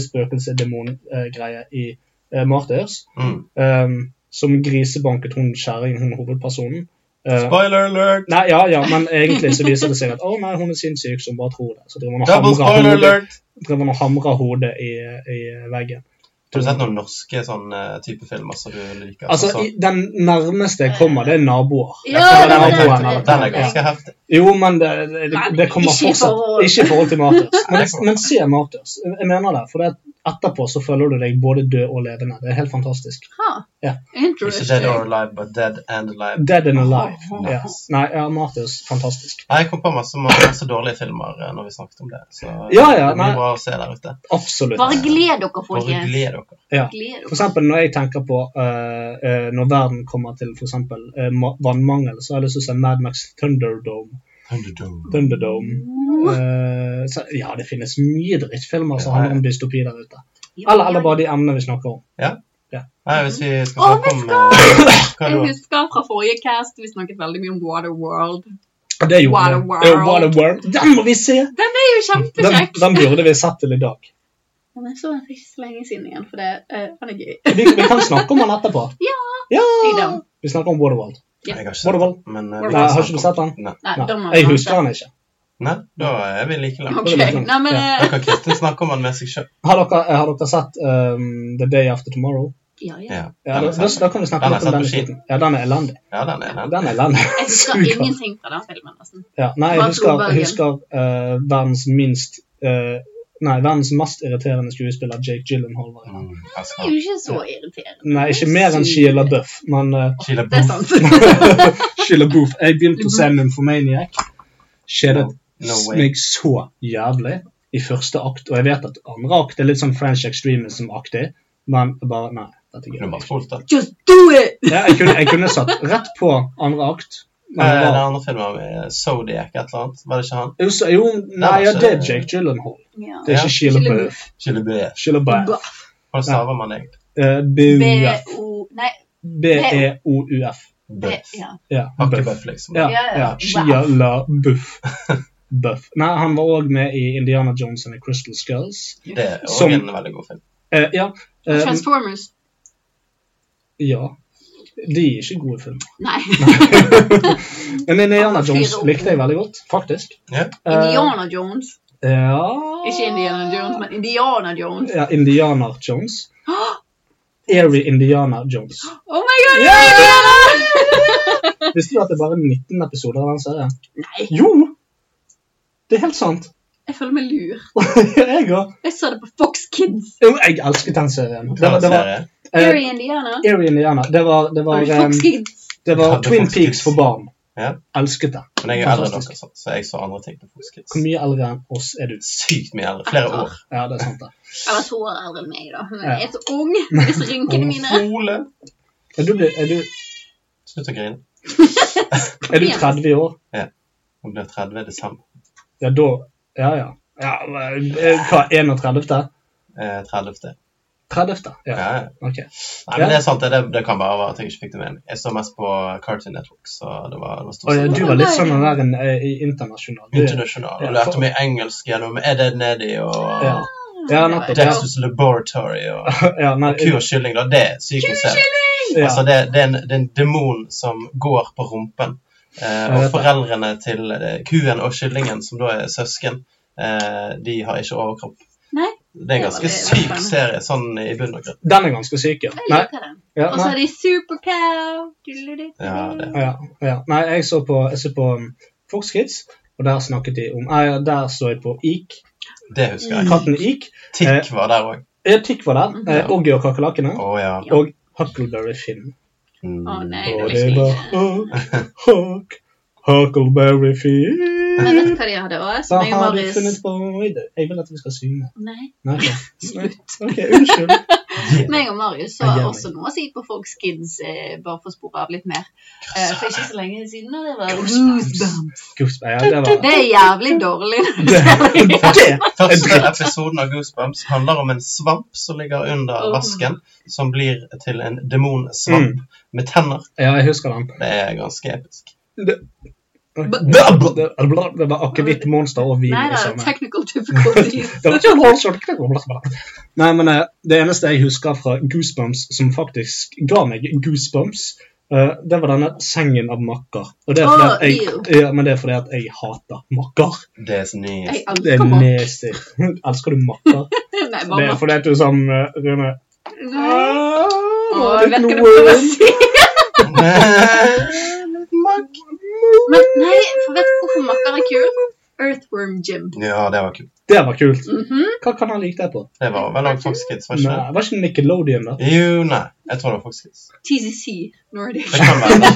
[SPEAKER 4] spøkelse-demon-greie i eh, Martyrs,
[SPEAKER 5] Mm.
[SPEAKER 4] ehm, som grisebanket hun kjerringen, hun hovedpersonen. Eh,
[SPEAKER 5] Spoiler alert!
[SPEAKER 4] Nei, ja, ja, men egentlig så viser det seg at å nei, hun er sinnssyk som bare tror det. Så driver hun
[SPEAKER 3] altså,
[SPEAKER 4] og
[SPEAKER 5] Double
[SPEAKER 4] hamrer
[SPEAKER 5] spoiler
[SPEAKER 4] hodet,
[SPEAKER 5] alert!
[SPEAKER 4] driver hun og hamrer hodet i, i veggen.
[SPEAKER 5] Har du sett noen norske sånn eh, type filmer som du liker?
[SPEAKER 4] Altså,
[SPEAKER 5] Sånn-
[SPEAKER 4] i, den nærmeste jeg kommer, det er naboer.
[SPEAKER 3] Ja,
[SPEAKER 5] den,
[SPEAKER 3] det var
[SPEAKER 5] er,
[SPEAKER 4] det.
[SPEAKER 5] den, er, den er ganske heftig.
[SPEAKER 4] Jo, men det, det, det kommer
[SPEAKER 3] Ikke i forhold.
[SPEAKER 4] fortsatt Ikke i forhold til
[SPEAKER 3] *laughs*
[SPEAKER 4] Martyrs. Men, men se Martyrs. Jeg mener det. For det at etterpå så føler du deg både død og levende. Det er helt fantastisk.
[SPEAKER 3] Ha.
[SPEAKER 4] Ja.
[SPEAKER 5] Ikke dead or
[SPEAKER 3] Interesting.
[SPEAKER 5] alive, but dead and alive.
[SPEAKER 4] Dead and alive. Ja. Nei, ja, Martyrs. Fantastisk.
[SPEAKER 5] Nei, Jeg kom på masse, masse dårlige filmer eh, når vi snakket om det. Så eh,
[SPEAKER 4] Ja, ja,
[SPEAKER 5] det blir
[SPEAKER 4] nei.
[SPEAKER 5] bra å se der ute.
[SPEAKER 4] Absolutt.
[SPEAKER 3] Bare gled dere,
[SPEAKER 5] Bare gled
[SPEAKER 3] folkens.
[SPEAKER 5] dere.
[SPEAKER 4] Ja.
[SPEAKER 3] Gled
[SPEAKER 4] For
[SPEAKER 3] dere.
[SPEAKER 4] eksempel når jeg tenker på eh, eh, når verden kommer til for eksempel eh, ma- vannmangel, så har jeg lyst til å se Mad Max Thunderdome.
[SPEAKER 5] Thunderdome.
[SPEAKER 4] Thunderdome.
[SPEAKER 3] Mm.
[SPEAKER 4] Eh, så, ja, det finnes mye drittfilmer som handler om dystopi der ute. Eller, eller bare de emnene vi snakker om.
[SPEAKER 5] Ja.
[SPEAKER 4] Ja.
[SPEAKER 5] Nei, hvis vi skal
[SPEAKER 3] Å,
[SPEAKER 5] snakke
[SPEAKER 3] vi
[SPEAKER 5] om eh, hva
[SPEAKER 3] Jeg
[SPEAKER 5] da?
[SPEAKER 3] husker fra forrige cast vi snakket veldig mye om Waterworld.
[SPEAKER 4] Og det gjorde vi.
[SPEAKER 3] Waterworld.
[SPEAKER 4] Eh, Waterworld. Den må vi se!
[SPEAKER 3] Den Mm. er jo
[SPEAKER 4] Den,
[SPEAKER 3] kjempekjekk.
[SPEAKER 4] den burde vi sett til i dag.
[SPEAKER 3] Men jeg så den for ikke så lenge siden igjen, for det eh, den er gøy.
[SPEAKER 4] Vi, vi kan snakke om den etterpå.
[SPEAKER 3] Ja,
[SPEAKER 4] Ja!
[SPEAKER 3] jeg er down.
[SPEAKER 4] Vi snakker om Waterworld.
[SPEAKER 5] Jeg
[SPEAKER 3] Ja.
[SPEAKER 5] har ikke sett
[SPEAKER 4] Waterworld.
[SPEAKER 5] den. men, eh,
[SPEAKER 3] Waterworld.
[SPEAKER 5] vi kan
[SPEAKER 4] Nei, har
[SPEAKER 5] snakke
[SPEAKER 4] ikke du
[SPEAKER 5] om
[SPEAKER 4] sett den?
[SPEAKER 5] den. Nei.
[SPEAKER 3] Nei,
[SPEAKER 4] Nei,
[SPEAKER 3] da må
[SPEAKER 4] jeg
[SPEAKER 3] man
[SPEAKER 4] husker
[SPEAKER 3] se.
[SPEAKER 4] den ikke.
[SPEAKER 5] Nei, da er vi like langt.
[SPEAKER 3] Ok, nei, men
[SPEAKER 4] sånn, Ja.
[SPEAKER 5] Da
[SPEAKER 3] eh,
[SPEAKER 5] kan Kristin snakke om den med seg sjøl.
[SPEAKER 4] Har dere, eh, har dere sett um, The Day After Tomorrow?
[SPEAKER 3] ja, ja.
[SPEAKER 5] Ja,
[SPEAKER 4] Ja, da,
[SPEAKER 5] den
[SPEAKER 4] da,
[SPEAKER 5] er sant.
[SPEAKER 4] da kan vi snakke
[SPEAKER 5] Den er
[SPEAKER 4] litt om
[SPEAKER 5] satt
[SPEAKER 4] den.
[SPEAKER 5] på
[SPEAKER 4] skiten. Ja, den er elendig.
[SPEAKER 5] Ja, den er den.
[SPEAKER 4] Den er elendig.
[SPEAKER 3] Jeg husker
[SPEAKER 4] Super.
[SPEAKER 3] ingenting fra den filmen. nesten.
[SPEAKER 4] Ja. Nei,
[SPEAKER 3] Hva
[SPEAKER 4] jeg
[SPEAKER 3] tror
[SPEAKER 4] husker, jeg
[SPEAKER 3] Bergen?
[SPEAKER 4] husker eh, verdens minst eh, Nei, verdens mest irriterende skuespiller, Jake Gyllenhaal. var i den.
[SPEAKER 5] Mm, jeg
[SPEAKER 3] Det er
[SPEAKER 5] skal-
[SPEAKER 3] jo ikke så irriterende.
[SPEAKER 4] Nei, ikke mer enn Sheila Buff, men eh,
[SPEAKER 5] Sheila
[SPEAKER 3] Det er
[SPEAKER 5] Booth.
[SPEAKER 4] *laughs*
[SPEAKER 3] sant.
[SPEAKER 4] Sheila Booth. Jeg begynte å se Nymphomaniac. Skjedet
[SPEAKER 5] No way.
[SPEAKER 4] meg så jævlig i første akt, og jeg vet at andre akt er litt sånn French extremism-aktig, men bare Nei. dette
[SPEAKER 5] Kunne
[SPEAKER 4] gidder
[SPEAKER 5] bare
[SPEAKER 4] jeg ikke.
[SPEAKER 5] spolt den.
[SPEAKER 3] Just do it!
[SPEAKER 4] Ja, jeg, kunne, jeg kunne satt rett på andre akt.
[SPEAKER 5] Eh,
[SPEAKER 4] Men det
[SPEAKER 5] Den
[SPEAKER 4] var,
[SPEAKER 5] andre filmen med Zodiac, et eller annet. Var det ikke han?
[SPEAKER 4] jo, så- jo, nei, ja, det er Jake Gyllenhaal.
[SPEAKER 3] Ja.
[SPEAKER 4] Det er ikke Sheila
[SPEAKER 3] Sheila
[SPEAKER 4] Buff.
[SPEAKER 5] Sheila Booth.
[SPEAKER 4] Sheila Buff.
[SPEAKER 5] Hvordan staver man egentlig?
[SPEAKER 4] Eh, BUF.
[SPEAKER 3] B-O Nei,
[SPEAKER 4] E B-E-O-U-F.
[SPEAKER 3] B...
[SPEAKER 5] Booth.
[SPEAKER 3] Ja.
[SPEAKER 4] Ja. Buff.
[SPEAKER 5] Hakkebøff, liksom.
[SPEAKER 4] Ja,
[SPEAKER 3] Ja, ja.
[SPEAKER 4] ja. Sheila Buff. Buff. Nei, han var òg med i Indiana Jones and the Crystal Skulls.
[SPEAKER 5] Det er også
[SPEAKER 4] Som-
[SPEAKER 5] en veldig god film.
[SPEAKER 4] Eh, ja. eh,
[SPEAKER 3] Transformers.
[SPEAKER 4] ja. De er ikke gode filmer. *laughs*
[SPEAKER 3] Nei. *laughs*
[SPEAKER 4] Men Indiana Jones
[SPEAKER 3] Fire ord.
[SPEAKER 4] likte jeg veldig godt, faktisk.
[SPEAKER 5] Ja.
[SPEAKER 4] Eh,
[SPEAKER 3] Indiana Jones.
[SPEAKER 4] ja.
[SPEAKER 3] Ikke Indiana Jones, men Indiana Jones.
[SPEAKER 4] Ja, Indiana
[SPEAKER 3] *gasps*
[SPEAKER 4] Jones. Airy Indiana Jones.
[SPEAKER 3] Oh my god!
[SPEAKER 4] Ja!
[SPEAKER 3] Indiana!
[SPEAKER 4] *laughs* Visste du at det er bare 19 episoder av den serien?
[SPEAKER 3] Nei,
[SPEAKER 4] Jo! Det er helt sant. *laughs*
[SPEAKER 3] jeg føler meg lur.
[SPEAKER 4] jeg òg.
[SPEAKER 3] Jeg så det på Fox Kids.
[SPEAKER 4] Jo, Jeg elsket den serien. Det var, det var,
[SPEAKER 5] Serie.
[SPEAKER 4] eh,
[SPEAKER 3] Gary Indiana.
[SPEAKER 4] Airy Indiana. Det var, det var, eh,
[SPEAKER 3] Var det Fox
[SPEAKER 4] em,
[SPEAKER 3] Kids?
[SPEAKER 4] det
[SPEAKER 5] Ja,
[SPEAKER 4] var
[SPEAKER 5] det
[SPEAKER 4] Twin
[SPEAKER 5] faktisk
[SPEAKER 4] Peaks
[SPEAKER 5] fins.
[SPEAKER 4] for barn.
[SPEAKER 5] Ja.
[SPEAKER 4] Elsket det.
[SPEAKER 5] Men jeg er eldre enn
[SPEAKER 4] Fantastisk.
[SPEAKER 5] dere, så- så jeg så andre ting på Fox Kids.
[SPEAKER 4] Hvor mye eldre enn oss er du?
[SPEAKER 5] Sykt mye eldre. Flere år.
[SPEAKER 4] Ja, det er sant, det.
[SPEAKER 3] Jeg var to år eldre enn meg, da. Men
[SPEAKER 4] Ja.
[SPEAKER 3] jeg er så ung. Jeg er så rynkene mine.
[SPEAKER 5] Ole!
[SPEAKER 4] Er du, er du,
[SPEAKER 5] Slutt å grine.
[SPEAKER 4] er du 30 år?
[SPEAKER 5] Hun blir 30 i desember.
[SPEAKER 4] Ja, da Ja, ja. ja eh, hva, 31.?
[SPEAKER 5] Eh, 30.
[SPEAKER 4] 30.? Ja.
[SPEAKER 5] Ja, ja.
[SPEAKER 4] Ok.
[SPEAKER 5] Nei, men det er sant. Det, det- det kan bare være at jeg ikke fikk det med meg. Jeg så mest på Cartoon Network, så det var, det var
[SPEAKER 4] Og,
[SPEAKER 5] stort
[SPEAKER 4] ja,
[SPEAKER 5] sett
[SPEAKER 4] du var litt sånn den der en, eh, internasjonal. Du-
[SPEAKER 5] internasjonal. Og lærte meg engelsk gjennom Er det nedi og
[SPEAKER 4] Ja. Ja, nettopp.
[SPEAKER 5] Dexter's Laboratory og,
[SPEAKER 4] *laughs* Ja, nei,
[SPEAKER 5] og Kurkylling, da. Det er psykoselv.
[SPEAKER 4] Ja.
[SPEAKER 5] Altså, det, det, er en, det er en demon som går på rumpen. Eh,
[SPEAKER 4] Jeg
[SPEAKER 5] og
[SPEAKER 4] vet det.
[SPEAKER 5] foreldrene til eh, kuen og kyllingen, som da er søsken, eh, de har ikke overkropp.
[SPEAKER 3] Nei.
[SPEAKER 5] Det er en ganske syk serie, sånn i bunn og grunn.
[SPEAKER 4] Den er ganske syk, ja.
[SPEAKER 3] Jeg Altså,
[SPEAKER 4] Nei,
[SPEAKER 3] liker den.
[SPEAKER 4] ja,
[SPEAKER 3] Og
[SPEAKER 4] nei.
[SPEAKER 3] så er de supercow. Du-du-du.
[SPEAKER 5] Ja, det.
[SPEAKER 4] Ja, ja. Nei, jeg så på, jeg så på um, Fox Kids, og der snakket de om Nei, der så jeg på Ik.
[SPEAKER 5] det husker jeg.
[SPEAKER 4] Katten Ik.
[SPEAKER 5] Tikk var der òg.
[SPEAKER 4] Mm. Eh, Tikk var der. Eh,
[SPEAKER 5] Ja.
[SPEAKER 4] Oggy og kakerlakkene.
[SPEAKER 5] Å ja.
[SPEAKER 4] Og Huckleberry Finn.
[SPEAKER 3] Å nei, det
[SPEAKER 4] Og
[SPEAKER 3] blir
[SPEAKER 4] det
[SPEAKER 3] ikke
[SPEAKER 4] var Huck, Huck, Huckleberry
[SPEAKER 3] Men
[SPEAKER 4] Finn.
[SPEAKER 3] vet du hva de hadde òg?
[SPEAKER 4] Da
[SPEAKER 3] Som jeg og
[SPEAKER 4] har du funnet
[SPEAKER 3] Marius
[SPEAKER 4] på i det. Jeg vil at vi skal synge.
[SPEAKER 3] Nei.
[SPEAKER 4] Nei, ok. Ok, unnskyld.
[SPEAKER 3] Meg og Marius så
[SPEAKER 4] Nei, jeg-
[SPEAKER 3] også noe å si på Folks Kids, eh, bare for å spore av litt mer. Eh, for ikke så lenge siden, og det var Goosebumps.
[SPEAKER 4] Goosebumps. Ja, det var
[SPEAKER 3] Det er jævlig dårlig.
[SPEAKER 5] Første episoden av Goosebumps handler om en svamp som ligger under
[SPEAKER 3] Åh.
[SPEAKER 5] vasken, som blir til en demonsvamp med tenner.
[SPEAKER 4] Ja, jeg husker den.
[SPEAKER 5] Det er ganske episk.
[SPEAKER 4] Det- Det var akevitt, monster og vin
[SPEAKER 3] Nei
[SPEAKER 4] i
[SPEAKER 3] da,
[SPEAKER 4] samme.
[SPEAKER 3] technical difficulties.
[SPEAKER 4] *laughs* Det var ikke en hård shot, knekk, blablabla. Nei, men eh, Det eneste jeg husker fra Goosebumps som faktisk ga meg goosebumps, eh, det var denne sengen av makker. Og det er fordi,
[SPEAKER 3] Åh,
[SPEAKER 4] at, jeg, ja, men det er fordi at jeg hater makker.
[SPEAKER 5] Det er snilt. *laughs*
[SPEAKER 3] Jeg
[SPEAKER 4] Det er
[SPEAKER 3] elsker mamma.
[SPEAKER 4] nasty. *laughs* Elsker du makker?
[SPEAKER 3] Nei,
[SPEAKER 4] Det er
[SPEAKER 3] mamma.
[SPEAKER 4] fordi at du er sånn eh, Rune
[SPEAKER 3] Nei. Å,
[SPEAKER 4] «Ah,
[SPEAKER 3] jeg
[SPEAKER 4] det er
[SPEAKER 3] vet hva du
[SPEAKER 4] noe-
[SPEAKER 3] prøver å si. Men nei, for vet du hvorfor makker er kul? Earthworm Jim.
[SPEAKER 5] Ja, det var kult.
[SPEAKER 4] Det var kult.
[SPEAKER 3] Mhm.
[SPEAKER 4] Hva kan han like deg på?
[SPEAKER 5] Det var vel òg Fox Kids, var
[SPEAKER 4] Nei,
[SPEAKER 5] ikke det?
[SPEAKER 4] Var ikke Nickelodeon, da?
[SPEAKER 5] Jo, nei. Jeg tror det var Fox Kids.
[SPEAKER 3] TCC Nordic.
[SPEAKER 5] Det kan være det.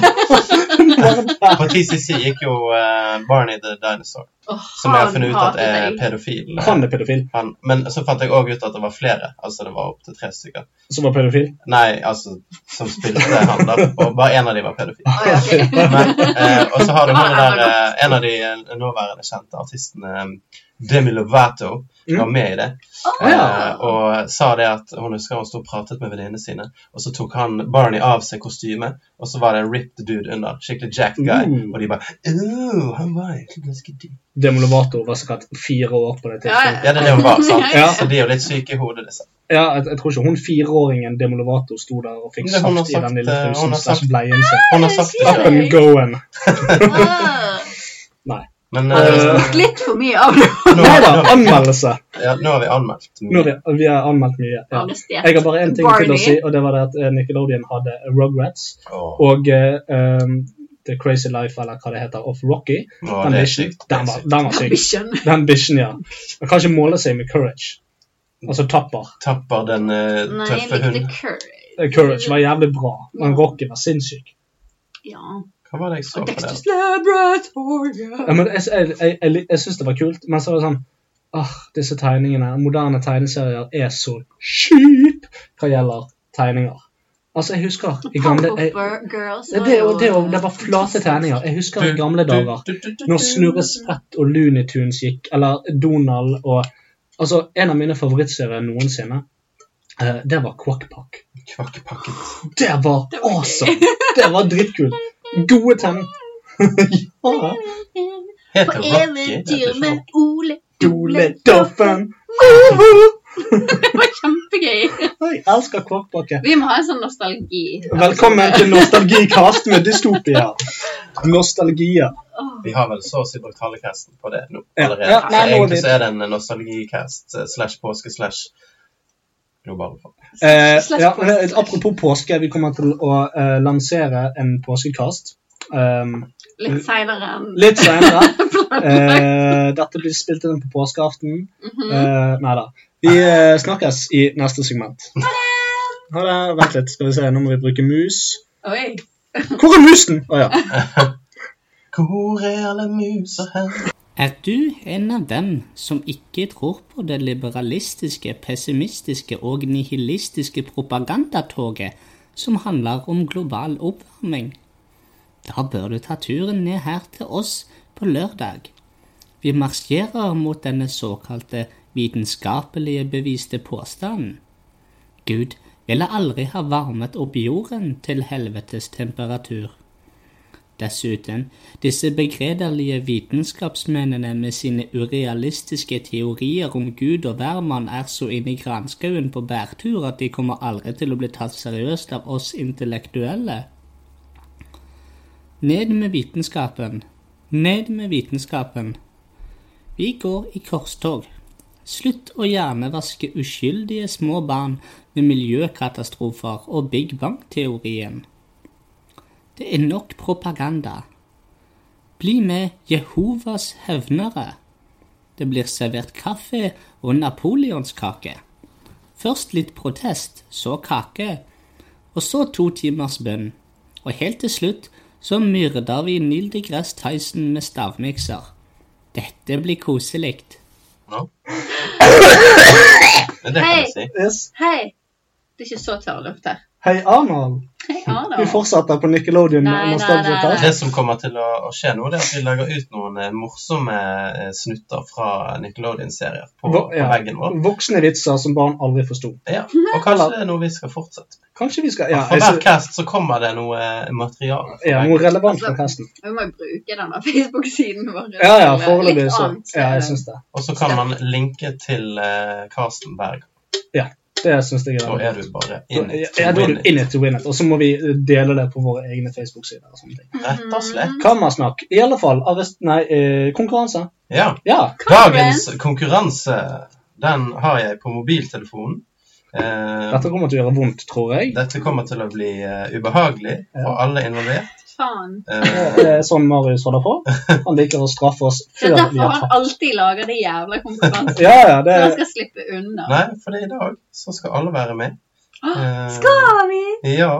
[SPEAKER 5] På TCC gikk jo eh, Barney the Dinosaur,
[SPEAKER 3] Åh,
[SPEAKER 5] som jeg har
[SPEAKER 3] han
[SPEAKER 5] funnet ut at
[SPEAKER 3] hater
[SPEAKER 5] er
[SPEAKER 3] deg.
[SPEAKER 5] pedofil.
[SPEAKER 4] Han er pedofil.
[SPEAKER 5] Han, men så fant jeg òg ut at det var flere, altså det var opptil tre stykker.
[SPEAKER 4] Som var pedofil.
[SPEAKER 5] Nei, altså som spilte han, da. Og bare én av de var pedofil.
[SPEAKER 3] Å, ja, ok.
[SPEAKER 4] *laughs*
[SPEAKER 5] Men, eh, og så har du
[SPEAKER 3] Ja,
[SPEAKER 5] han
[SPEAKER 3] det var
[SPEAKER 5] der, eh, en av de eh, nåværende kjente artistene, eh, Demi Lovato,
[SPEAKER 4] Mm.
[SPEAKER 5] var med i det.
[SPEAKER 3] Å,
[SPEAKER 5] Eh, og sa det at hun husker hun sto og pratet med venninnene sine, og så tok han Barney av seg kostymet, og så var det en ripped dude under. Skikkelig jacked guy.
[SPEAKER 4] Mm.
[SPEAKER 5] Og de bare «Åh, han var egentlig ganske dyr.
[SPEAKER 4] Demolovato var sikkert fire år på det tidspunktet.
[SPEAKER 5] Ja, det er det hun var, sant?
[SPEAKER 4] Ja.
[SPEAKER 5] Så de er jo litt syke i hodet, liksom. disse.
[SPEAKER 4] Ja, jeg, jeg tror ikke hun fireåringen Demolovato sto der og fikk
[SPEAKER 5] Men hun har
[SPEAKER 4] saft i
[SPEAKER 5] sagt,
[SPEAKER 4] den lille
[SPEAKER 5] eh, hun
[SPEAKER 4] trusen
[SPEAKER 5] har
[SPEAKER 4] slash
[SPEAKER 5] sagt-
[SPEAKER 4] bleien sin.
[SPEAKER 5] Hun har sagt det
[SPEAKER 4] Up
[SPEAKER 5] selv.
[SPEAKER 4] and going.
[SPEAKER 3] Ah.
[SPEAKER 5] Men
[SPEAKER 3] Har vi
[SPEAKER 5] eh,
[SPEAKER 3] spurt litt for mye av det?
[SPEAKER 5] nå,
[SPEAKER 4] Nei da,
[SPEAKER 5] nå,
[SPEAKER 4] anmeldelse!
[SPEAKER 5] ja, nå har vi anmeldt.
[SPEAKER 4] Nå er det, vi har anmeldt mye. Ja. Jeg har bare én ting til å si, og det var det at eh, Nickelodeon hadde Rugrats
[SPEAKER 5] Åh,
[SPEAKER 4] og eh, um, The Crazy Life, eller hva det heter, of Rocky.
[SPEAKER 5] åh,
[SPEAKER 4] Den
[SPEAKER 5] det er
[SPEAKER 4] bikkjen
[SPEAKER 5] sykt. Det er
[SPEAKER 4] den var,
[SPEAKER 5] sykt.
[SPEAKER 4] den var syk.
[SPEAKER 3] Bikkjen.
[SPEAKER 4] Den bikkjen, ja. Man kan ikke måle seg med courage. Altså tapper.
[SPEAKER 5] Tapper den eh,
[SPEAKER 3] Nei, jeg
[SPEAKER 5] tøffe
[SPEAKER 3] likte
[SPEAKER 5] hunden.
[SPEAKER 3] Curry.
[SPEAKER 4] Eh, Courage var jævlig bra, men Rocky var sinnssyk.
[SPEAKER 3] Ja.
[SPEAKER 5] Hva var det jeg så
[SPEAKER 3] Og
[SPEAKER 5] på der?
[SPEAKER 3] Dexter's Laboratory.
[SPEAKER 4] Ja, men jeg, jeg, jeg, jeg, jeg syns det var kult, men så var det sånn Åh, disse tegningene, moderne tegneserier er så kjip hva gjelder tegninger. Altså, jeg husker i gamle jeg,
[SPEAKER 3] Powerpuff Girls
[SPEAKER 4] det, det, og det, og det var flate tegninger. Jeg husker i gamle dager når Snurre Sprett og Looney Tunes gikk, eller Donald og Altså, en av mine favorittserier noensinne, eh, det var Quackpack.
[SPEAKER 5] Kvakkepakket.
[SPEAKER 4] Det var
[SPEAKER 3] Det var gøy.
[SPEAKER 4] awesome! Det var dritkult. Gode tegninger. *laughs* ja.
[SPEAKER 3] På
[SPEAKER 5] Heter Rocky? Det heter
[SPEAKER 3] eventyr
[SPEAKER 5] ikke
[SPEAKER 3] med
[SPEAKER 5] Rocky.
[SPEAKER 3] Ole
[SPEAKER 4] Dole
[SPEAKER 3] Doffen. *laughs*
[SPEAKER 4] Doffen. Ovo!
[SPEAKER 3] Det var kjempegøy.
[SPEAKER 4] Jeg elsker Kvakkbakke.
[SPEAKER 3] Vi må ha en sånn nostalgi.
[SPEAKER 4] Velkommen til Nostalgikast med dystopia. Nostalgia.
[SPEAKER 5] Vi har vel så å si brukt halve casten på det nå
[SPEAKER 4] Ja.
[SPEAKER 5] allerede.
[SPEAKER 4] Ja,
[SPEAKER 5] så
[SPEAKER 4] nei, nå er
[SPEAKER 5] egentlig
[SPEAKER 4] det-
[SPEAKER 5] så er det en nostalgicast eh, slash påske slash global form.
[SPEAKER 4] Eh, ja, men, eh, apropos påske, vi kommer til å eh, lansere en påskekast. Um,
[SPEAKER 3] Litt seinere enn
[SPEAKER 4] litt
[SPEAKER 3] *laughs*
[SPEAKER 4] senere. Eh, dette blir spilt inn på påskeaften.
[SPEAKER 3] Mhm.
[SPEAKER 4] Eh, nei da. Vi eh, snakkes i neste segment. Ha det! Vent litt, skal vi se. Nå må vi bruke mus.
[SPEAKER 3] Oi.
[SPEAKER 4] Hvor er musen? Å ja.
[SPEAKER 5] Hvor er alle musa hen?
[SPEAKER 12] Er du en av dem som ikke tror på det liberalistiske, pessimistiske og nihilistiske propagandatoget som handler om global oppvarming? Da bør du ta turen ned her til oss på lørdag. Vi marsjerer mot denne såkalte vitenskapelige beviste påstanden. Gud ville aldri ha varmet opp jorden til helvetes temperatur. Dessuten, disse begredelige vitenskapsmennene med sine urealistiske teorier om Gud og hvermann er så inne i granskauen på bærtur at de kommer aldri til å bli tatt seriøst av oss intellektuelle. Ned med vitenskapen. Ned med vitenskapen. Vi går i korstog. Slutt å hjernevaske uskyldige små barn med miljøkatastrofer og Big Bang-teorien. Det er nok propaganda. Bli med Jehovas hevnere. Det blir servert kaffe og napoleonskake. Først litt protest, så kake, og så to timers bønn. Og helt til slutt så myrder vi Neil deGrasse Tyson med stavmikser. Dette blir koselig.
[SPEAKER 5] No.
[SPEAKER 3] Men det kan jeg si. Hei! Det er ikke så tørr luft her.
[SPEAKER 4] Hei, Arnold.
[SPEAKER 3] Hei, Arnold.
[SPEAKER 4] Vi fortsetter på Nickelodeon.
[SPEAKER 3] Nei,
[SPEAKER 4] med
[SPEAKER 3] nei, nei, nei.
[SPEAKER 4] nostalgia
[SPEAKER 5] Det som kommer til å, å skje nå, det er at vi lager ut noen eh, morsomme eh, snutter fra Nickelodeon-serier på, på veggen vår.
[SPEAKER 4] Voksne vitser som barn aldri forsto.
[SPEAKER 5] Ja, Og kanskje det er noe vi skal fortsette med.
[SPEAKER 4] Kanskje vi skal ja,
[SPEAKER 5] For
[SPEAKER 4] jeg
[SPEAKER 5] hver
[SPEAKER 4] så-
[SPEAKER 5] cast så kommer det noe eh, materiale. fra
[SPEAKER 4] ja,
[SPEAKER 5] veggen.
[SPEAKER 4] Noe relevant fra casten.
[SPEAKER 3] Vi må jo bruke den der Facebook-siden vår.
[SPEAKER 4] Ja, ja,
[SPEAKER 3] til, eh,
[SPEAKER 4] foreløpig
[SPEAKER 3] litt
[SPEAKER 4] så.
[SPEAKER 3] annet.
[SPEAKER 4] Ja, jeg syns det.
[SPEAKER 5] Og så kan man linke til eh, Carsten Berg.
[SPEAKER 4] Ja, det syns jeg er
[SPEAKER 5] Da er du bare in
[SPEAKER 4] Ja,
[SPEAKER 5] it
[SPEAKER 4] ja,
[SPEAKER 5] to
[SPEAKER 4] da er
[SPEAKER 5] win
[SPEAKER 4] du
[SPEAKER 5] it.
[SPEAKER 4] in it to win it. Og så må vi eh, dele det på våre egne Facebook-sider. og sånne
[SPEAKER 3] Mm.
[SPEAKER 4] ting.
[SPEAKER 5] Rett og slett.
[SPEAKER 4] Kammersnakk. I alle fall arrest... Nei, eh, konkurranse.
[SPEAKER 5] Ja.
[SPEAKER 4] Ja.
[SPEAKER 5] Dagens konkurranse, den har jeg på mobiltelefonen. Eh,
[SPEAKER 4] Dette kommer til å gjøre vondt, tror jeg.
[SPEAKER 5] dette kommer til å bli eh, ubehagelig for alle involvert.
[SPEAKER 3] Faen.
[SPEAKER 5] Eh,
[SPEAKER 4] Det er sånn Marius holder på. Han liker å straffe oss
[SPEAKER 3] Det
[SPEAKER 4] før
[SPEAKER 3] er
[SPEAKER 4] vi
[SPEAKER 3] derfor
[SPEAKER 4] har
[SPEAKER 3] han
[SPEAKER 4] tatt.
[SPEAKER 3] alltid lager de jævla konkurransene.
[SPEAKER 4] *laughs* Ja, ja, det
[SPEAKER 3] Så han
[SPEAKER 4] er
[SPEAKER 3] skal slippe unna. Ah,
[SPEAKER 5] Nei, for i dag så skal alle være med. Eh,
[SPEAKER 3] Skal vi?
[SPEAKER 5] Ja,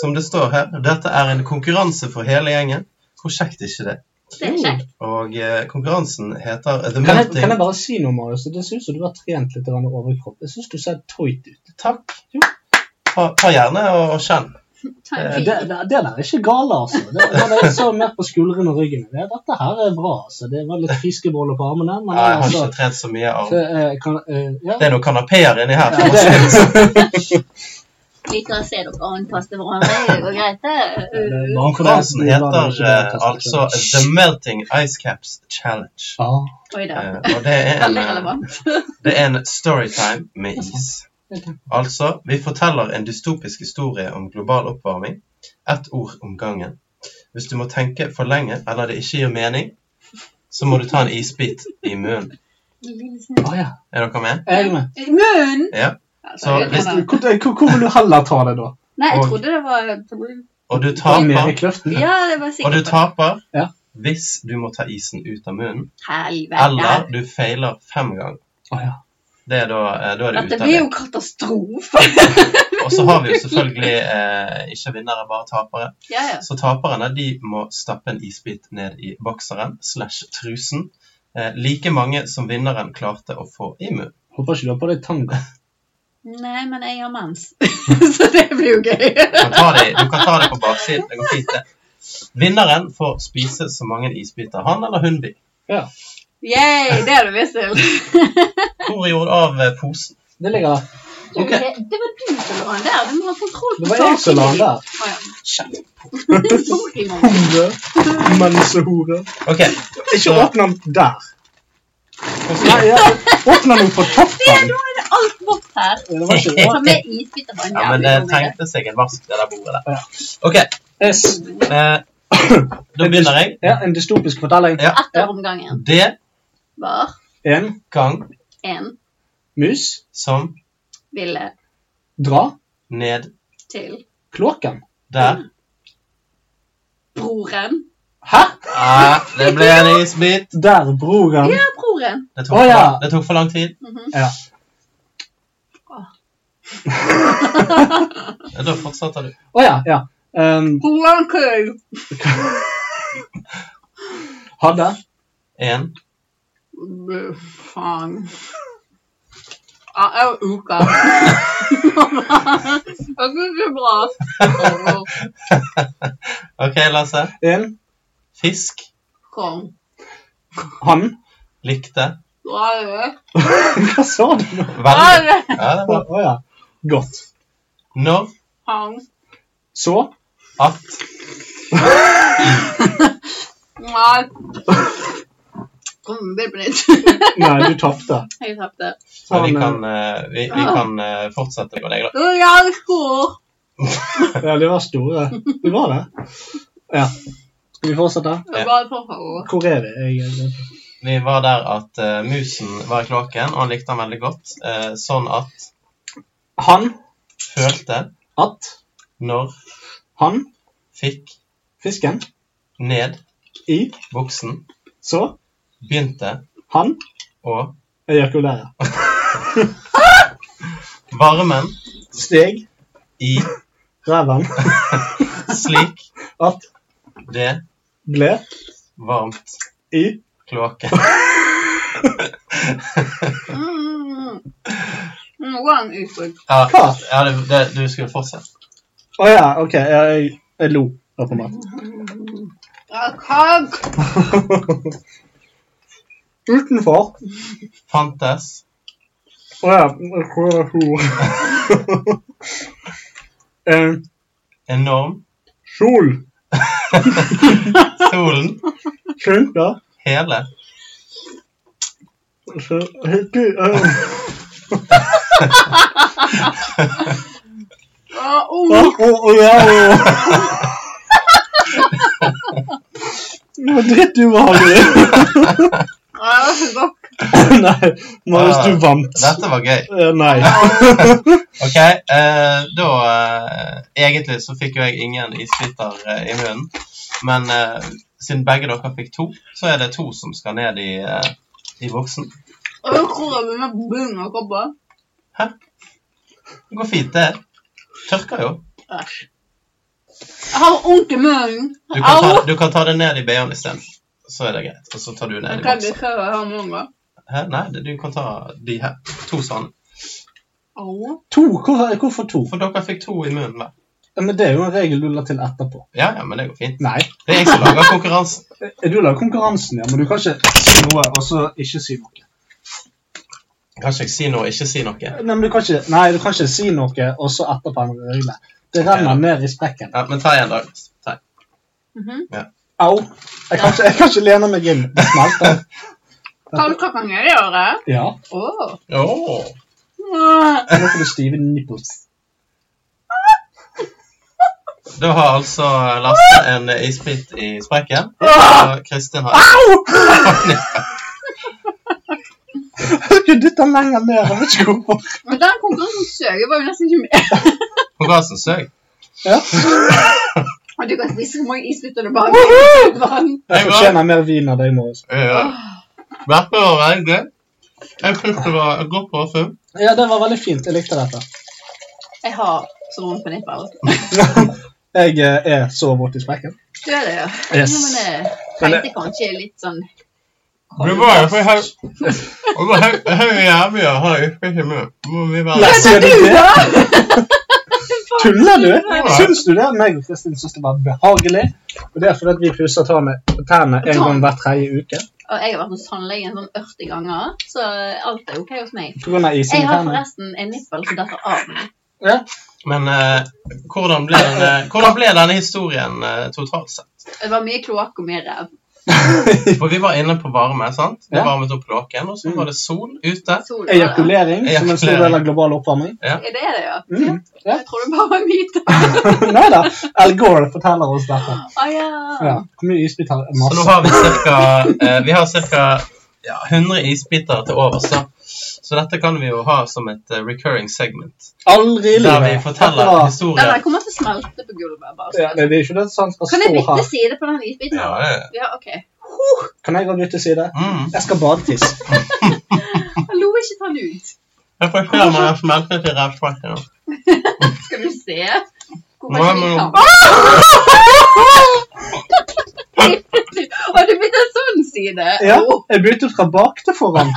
[SPEAKER 5] som det står her. Dette er en konkurranse for hele gjengen. Hvor kjekt er ikke det?
[SPEAKER 3] Det er kjekt.
[SPEAKER 5] Og eh, konkurransen heter The
[SPEAKER 4] Kan jeg, kan jeg
[SPEAKER 5] Melting
[SPEAKER 4] bare si noe, Marius? Det ser ut som du har trent litt grann overkropp. Jeg syns du ser tøyt ut.
[SPEAKER 5] Takk. Ta, ta gjerne og kjenn.
[SPEAKER 3] Ta
[SPEAKER 4] Eh,
[SPEAKER 3] en
[SPEAKER 4] Det,
[SPEAKER 3] tid.
[SPEAKER 4] det, det der er ikke gale, altså. Det, det, det jeg så mer på skuldrene og ryggen. Det, dette her er bra. altså. Det var litt fiskeboller på armene. Men
[SPEAKER 5] Ja, jeg har
[SPEAKER 4] altså,
[SPEAKER 5] ikke trent så mye arm.
[SPEAKER 4] det, eh, kan, eh, ja.
[SPEAKER 5] Det er noen kanapeer inni her.
[SPEAKER 4] Ja, det,
[SPEAKER 3] Liker å se dere anpaste hverandre. Det går greit,
[SPEAKER 5] *laughs*
[SPEAKER 3] det.
[SPEAKER 4] det-
[SPEAKER 3] Uh,
[SPEAKER 4] bare for det som
[SPEAKER 5] Konkurransen
[SPEAKER 4] er bra,
[SPEAKER 5] heter
[SPEAKER 4] det er sånn. ikke
[SPEAKER 5] eh,
[SPEAKER 4] det.
[SPEAKER 5] altså The Melting Ice Caps Challenge.
[SPEAKER 4] Ah,
[SPEAKER 3] Oi da.
[SPEAKER 5] Eh, og det er en,
[SPEAKER 3] Veldig
[SPEAKER 5] eh,
[SPEAKER 3] relevant.
[SPEAKER 5] det er en storytime med is. Altså, vi forteller en dystopisk historie om global oppvarming. Ett ord om gangen. Hvis du må tenke for lenge eller det ikke gir mening, så må du ta en isbit i munnen.
[SPEAKER 4] ah, ja.
[SPEAKER 5] Er dere med?
[SPEAKER 4] Jeg er med.
[SPEAKER 3] Eh, Munn!
[SPEAKER 5] Ja.
[SPEAKER 3] Altså,
[SPEAKER 5] Så
[SPEAKER 3] jeg
[SPEAKER 5] hvis
[SPEAKER 3] kan-
[SPEAKER 4] Hvor, hvor- hvor vil du heller ta det, da?
[SPEAKER 3] Nei, jeg
[SPEAKER 5] og-
[SPEAKER 3] trodde det var
[SPEAKER 5] Og du
[SPEAKER 4] Mer i
[SPEAKER 5] taper,
[SPEAKER 4] kløften?
[SPEAKER 3] Ja, det var
[SPEAKER 5] og du
[SPEAKER 3] sikkert.
[SPEAKER 5] taper
[SPEAKER 4] Ja.
[SPEAKER 5] hvis du må ta isen ut av munnen, eller
[SPEAKER 3] Helvete.
[SPEAKER 5] du feiler fem ganger.
[SPEAKER 4] Ah, ja.
[SPEAKER 5] Det er da, eh, da er det
[SPEAKER 3] Dette
[SPEAKER 5] ute av det.
[SPEAKER 3] blir jo katastrofe. *laughs*
[SPEAKER 5] Og så har vi jo selvfølgelig eh, ikke vinnere, bare tapere.
[SPEAKER 3] Ja, ja.
[SPEAKER 5] Så taperne de må stappe en isbit ned i bokseren slash trusen. Eh, like mange som vinneren klarte å få i munnen.
[SPEAKER 4] Håper ikke du har på deg tanga.
[SPEAKER 3] Nei, men jeg har mens. *laughs* Så det blir jo gøy.
[SPEAKER 5] Du kan ta det, du kan ta det på baksiden. Det går fint, det. Vinneren får spise så mange isbiter han eller hun vil.
[SPEAKER 4] Ja.
[SPEAKER 3] Yay, det har du *laughs* lyst til.
[SPEAKER 5] Hvor er gjort av eh, posen?
[SPEAKER 4] Det ligger der.
[SPEAKER 3] Du,
[SPEAKER 5] Ok.
[SPEAKER 3] det, det var du som la den der. Du må ha kontroll på
[SPEAKER 4] Det var jeg som la den der.
[SPEAKER 3] Å, ja. *laughs* Sorry, mamma.
[SPEAKER 4] Hore. Mensehore.
[SPEAKER 5] Ok,
[SPEAKER 4] Ikke
[SPEAKER 5] så-
[SPEAKER 4] åpne den der. Nei,
[SPEAKER 5] posen.
[SPEAKER 4] ja. åpne den på
[SPEAKER 3] Ja,
[SPEAKER 4] toppen.
[SPEAKER 3] nå er det alt vått her.
[SPEAKER 4] Det var ikke det.
[SPEAKER 5] *laughs*
[SPEAKER 3] Ta med isbiter på en
[SPEAKER 5] Ja, men eh,
[SPEAKER 3] jævlig
[SPEAKER 5] det
[SPEAKER 3] god middag.
[SPEAKER 5] tenkte seg en vask det der bordet der. Ok,
[SPEAKER 4] Yes.
[SPEAKER 5] eh, *clears throat* da begynner jeg.
[SPEAKER 4] Ja, en dystopisk fortelling.
[SPEAKER 5] Ja.
[SPEAKER 3] Etter omgangen
[SPEAKER 5] Det
[SPEAKER 3] var
[SPEAKER 4] En
[SPEAKER 5] gang
[SPEAKER 3] en
[SPEAKER 4] mus
[SPEAKER 5] som
[SPEAKER 3] ville
[SPEAKER 4] dra
[SPEAKER 5] ned
[SPEAKER 3] til
[SPEAKER 4] kloakken.
[SPEAKER 5] der.
[SPEAKER 3] broren.
[SPEAKER 4] Hæ?
[SPEAKER 5] Ah, det ble en isbit.
[SPEAKER 4] Der, broren.
[SPEAKER 3] Ja, broren.
[SPEAKER 5] Det tok,
[SPEAKER 4] Å, ja.
[SPEAKER 5] for, det tok for lang tid.
[SPEAKER 4] Ja.
[SPEAKER 5] Ja, Da fortsetter du.
[SPEAKER 4] Å ja. ja. Um,
[SPEAKER 3] Broren køy.
[SPEAKER 4] hadde
[SPEAKER 5] Én.
[SPEAKER 3] Bø, Faen. Ja, jeg var *laughs* uka. Det går ikke bra.
[SPEAKER 5] OK, Lasse.
[SPEAKER 4] en
[SPEAKER 5] Fisk
[SPEAKER 3] Kom.
[SPEAKER 4] han. *laughs*
[SPEAKER 5] likte
[SPEAKER 3] Bra, det.
[SPEAKER 4] Hva sa du nå?
[SPEAKER 3] Bra,
[SPEAKER 5] veldig
[SPEAKER 3] det.
[SPEAKER 5] ja, det
[SPEAKER 4] Å
[SPEAKER 5] var.
[SPEAKER 4] ja. Godt.
[SPEAKER 5] Når
[SPEAKER 3] Han.
[SPEAKER 4] Så
[SPEAKER 5] at
[SPEAKER 3] Nei. Kom med på Mm, nytt.
[SPEAKER 4] Nei, du tapte.
[SPEAKER 3] *laughs* Jeg tapte.
[SPEAKER 5] Men
[SPEAKER 4] Sånn,
[SPEAKER 5] vi kan, eh, vi, vi kan eh, fortsette med deg, da.
[SPEAKER 3] Å, jeg har hår.
[SPEAKER 4] eh, Ja, de var store. De var det. Ja. Skal vi fortsette?
[SPEAKER 3] Jeg Bare for hår.
[SPEAKER 4] Hvor er vi? Jeg,
[SPEAKER 5] Vi var der at eh, musen var i kloakken, og han likte han veldig godt. eh, sånn at
[SPEAKER 4] han
[SPEAKER 5] følte
[SPEAKER 4] at
[SPEAKER 5] når
[SPEAKER 4] han
[SPEAKER 5] fikk
[SPEAKER 4] fisken
[SPEAKER 5] ned
[SPEAKER 4] i
[SPEAKER 5] buksen,
[SPEAKER 4] så
[SPEAKER 5] begynte
[SPEAKER 4] han
[SPEAKER 5] å
[SPEAKER 4] ejakulerer.
[SPEAKER 5] varmen
[SPEAKER 4] Steg
[SPEAKER 5] i
[SPEAKER 4] reven
[SPEAKER 5] slik
[SPEAKER 4] at
[SPEAKER 5] det
[SPEAKER 4] ble
[SPEAKER 5] varmt
[SPEAKER 4] i
[SPEAKER 5] kloakken.
[SPEAKER 3] Mm. Nå går han ut på
[SPEAKER 5] Ja, ja det, det, du skulle fortsette.
[SPEAKER 4] Å ja, OK. Jeg, jeg lo, åpenbart.
[SPEAKER 3] Ja, kakk.
[SPEAKER 4] *laughs* Utenfor
[SPEAKER 5] Fantes
[SPEAKER 4] Å ja. Hvor er hun? *laughs* Eh,
[SPEAKER 5] enorm
[SPEAKER 4] Sol
[SPEAKER 5] solen
[SPEAKER 4] skinte
[SPEAKER 5] hele
[SPEAKER 4] så hyggelig eh,
[SPEAKER 3] Å,
[SPEAKER 4] å,
[SPEAKER 3] oh.
[SPEAKER 4] å, å, ja, å. Det var drittubehagelig.
[SPEAKER 3] Ja, det var så godt.
[SPEAKER 4] *laughs* Nei, Marius, du vant.
[SPEAKER 5] Dette var gøy.
[SPEAKER 4] Eh, Nei.
[SPEAKER 5] Ok, eh, da eh, Egentlig så fikk jo jeg ingen isbiter eh, i munnen. Men eh, siden begge dere fikk to, så er det to som skal ned i, eh, i boksen.
[SPEAKER 3] Og da tror jeg vi med bunnen og kroppen.
[SPEAKER 5] Det går fint, det. Tørker jo.
[SPEAKER 3] Æsj. Jeg har vondt i munnen.
[SPEAKER 5] Du kan ta, du kan ta det ned i BH-en isteden. Så er det greit. Og så tar du
[SPEAKER 3] Jeg
[SPEAKER 5] ned i
[SPEAKER 3] kan ikke
[SPEAKER 5] boksen.
[SPEAKER 3] høre her mange.
[SPEAKER 5] Hæ? Nei, det- du kan ta de her. To sånne.
[SPEAKER 3] Au.
[SPEAKER 4] To? Hvorfor, hvorfor to?
[SPEAKER 5] For dere fikk to i munnen hver.
[SPEAKER 4] Ja, Men Det er jo en regel du la til etterpå.
[SPEAKER 5] Ja, ja, men det går fint.
[SPEAKER 4] Nei.
[SPEAKER 5] Det er jeg som lager konkurransen.
[SPEAKER 4] Du la konkurransen, ja, men du kan ikke si noe og så ikke si noe.
[SPEAKER 5] Kan ikke jeg si noe, ikke si noe.
[SPEAKER 4] Nei, men du kan ikke, nei, du kan ikke si noe og så etterpå endre øynene. Det renner
[SPEAKER 5] Ja.
[SPEAKER 4] ned i sprekken.
[SPEAKER 5] Ja, men ta igjen, da. Ta.
[SPEAKER 3] Mhm.
[SPEAKER 4] Au! Jeg kan ikke, jeg kan ikke lene meg inn. Det smelter.
[SPEAKER 3] Hva du kan jeg gjøre?
[SPEAKER 4] Ja.
[SPEAKER 3] Å.
[SPEAKER 5] Åh.
[SPEAKER 4] Nå får du stive nipples.
[SPEAKER 5] Da har altså Lasse en isbit i sprekken. Og Kristin har
[SPEAKER 4] Du dytter den lenger ned. Jeg vet ikke hvorfor.
[SPEAKER 3] Men den konkurransesøket var jo nesten ikke med. *laughs*
[SPEAKER 5] konkurransen søk.
[SPEAKER 4] Ja.
[SPEAKER 3] Og du kan spise så mange isbiter du bare vil.
[SPEAKER 4] Jeg fortjener mer vin av deg, Marius.
[SPEAKER 5] Dette var veldig gøy. Jeg syns det var et godt parfyme.
[SPEAKER 4] Ja, det var veldig fint. Jeg likte dette.
[SPEAKER 3] Jeg har så vondt på nipper. altså.
[SPEAKER 4] Jeg eh, er så våt i sprekken.
[SPEAKER 3] Du er det, ja.
[SPEAKER 4] Yes.
[SPEAKER 3] Ja, men jeg tenkte kanskje litt sånn
[SPEAKER 5] Det var jo for høyt. Og det er høy jævlig å ha isbit i munnen. Må vi være-
[SPEAKER 4] Nei, sier du det? *laughs* Tuller du?
[SPEAKER 5] Ja.
[SPEAKER 4] Syns du det? Meg og Kristin syns det var behagelig. Og det er fordi at vi pusser tærne, tærne en gang hver tredje uke.
[SPEAKER 3] Og jeg har vært hos tannlegen sånn 80 ganger, så alt er OK hos meg.
[SPEAKER 4] På grunn av isen i
[SPEAKER 3] Jeg har
[SPEAKER 4] tærne.
[SPEAKER 3] forresten en nippel som detter av meg.
[SPEAKER 4] Ja.
[SPEAKER 5] Men eh, hvordan, ble denne, hvordan ble denne historien eh, totalt sett?
[SPEAKER 3] Det var mye kloakk og mye ræv.
[SPEAKER 5] For vi var inne på varme. sant? Det
[SPEAKER 4] Ja. Mm.
[SPEAKER 5] varmet opp kloakken, og så var det sol ute.
[SPEAKER 3] Sol var det.
[SPEAKER 4] Ejakulering som en stor del av global
[SPEAKER 5] *laughs*
[SPEAKER 4] oppvarming.
[SPEAKER 5] Ja.
[SPEAKER 3] Ja, Det er det, ja.
[SPEAKER 4] Mm. Ja.
[SPEAKER 3] Jeg tror det bare var en
[SPEAKER 4] *laughs*
[SPEAKER 3] myte.
[SPEAKER 4] Nei da. Al Gore forteller oss dette.
[SPEAKER 3] Å Ah, ja.
[SPEAKER 4] Ja. Hvor mye isbit har
[SPEAKER 5] Så nå
[SPEAKER 4] Masse.
[SPEAKER 5] har vi cirka, eh, vi har cirka ja, 100 isbiter til overs. da. Så dette kan vi jo ha som et eh, recurring segment.
[SPEAKER 4] Aldri i
[SPEAKER 5] Der vi
[SPEAKER 4] livet. Dette
[SPEAKER 5] forteller
[SPEAKER 4] var-
[SPEAKER 3] Den der
[SPEAKER 5] historier.
[SPEAKER 3] kommer til å smelte på gulvet. bare.
[SPEAKER 4] Ja, det det er ikke det som skal
[SPEAKER 3] Kan jeg
[SPEAKER 4] stå
[SPEAKER 3] bytte
[SPEAKER 4] her.
[SPEAKER 3] side på den isbiten?
[SPEAKER 5] Ja, det-
[SPEAKER 3] ja OK.
[SPEAKER 4] Kan jeg gå og bytte side?
[SPEAKER 5] Mm.
[SPEAKER 4] Jeg skal badetisse.
[SPEAKER 3] Jeg lo ikke ta den ut.
[SPEAKER 5] Jeg får se om jeg har smeltet i revsprekken.
[SPEAKER 3] Skal du se? Hvorfor
[SPEAKER 5] Nei,
[SPEAKER 3] ikke vi
[SPEAKER 5] men-
[SPEAKER 3] kan? Å, du begynte en sånn side!
[SPEAKER 4] Ja, jeg bytter fra bak til
[SPEAKER 5] *laughs*
[SPEAKER 4] foran.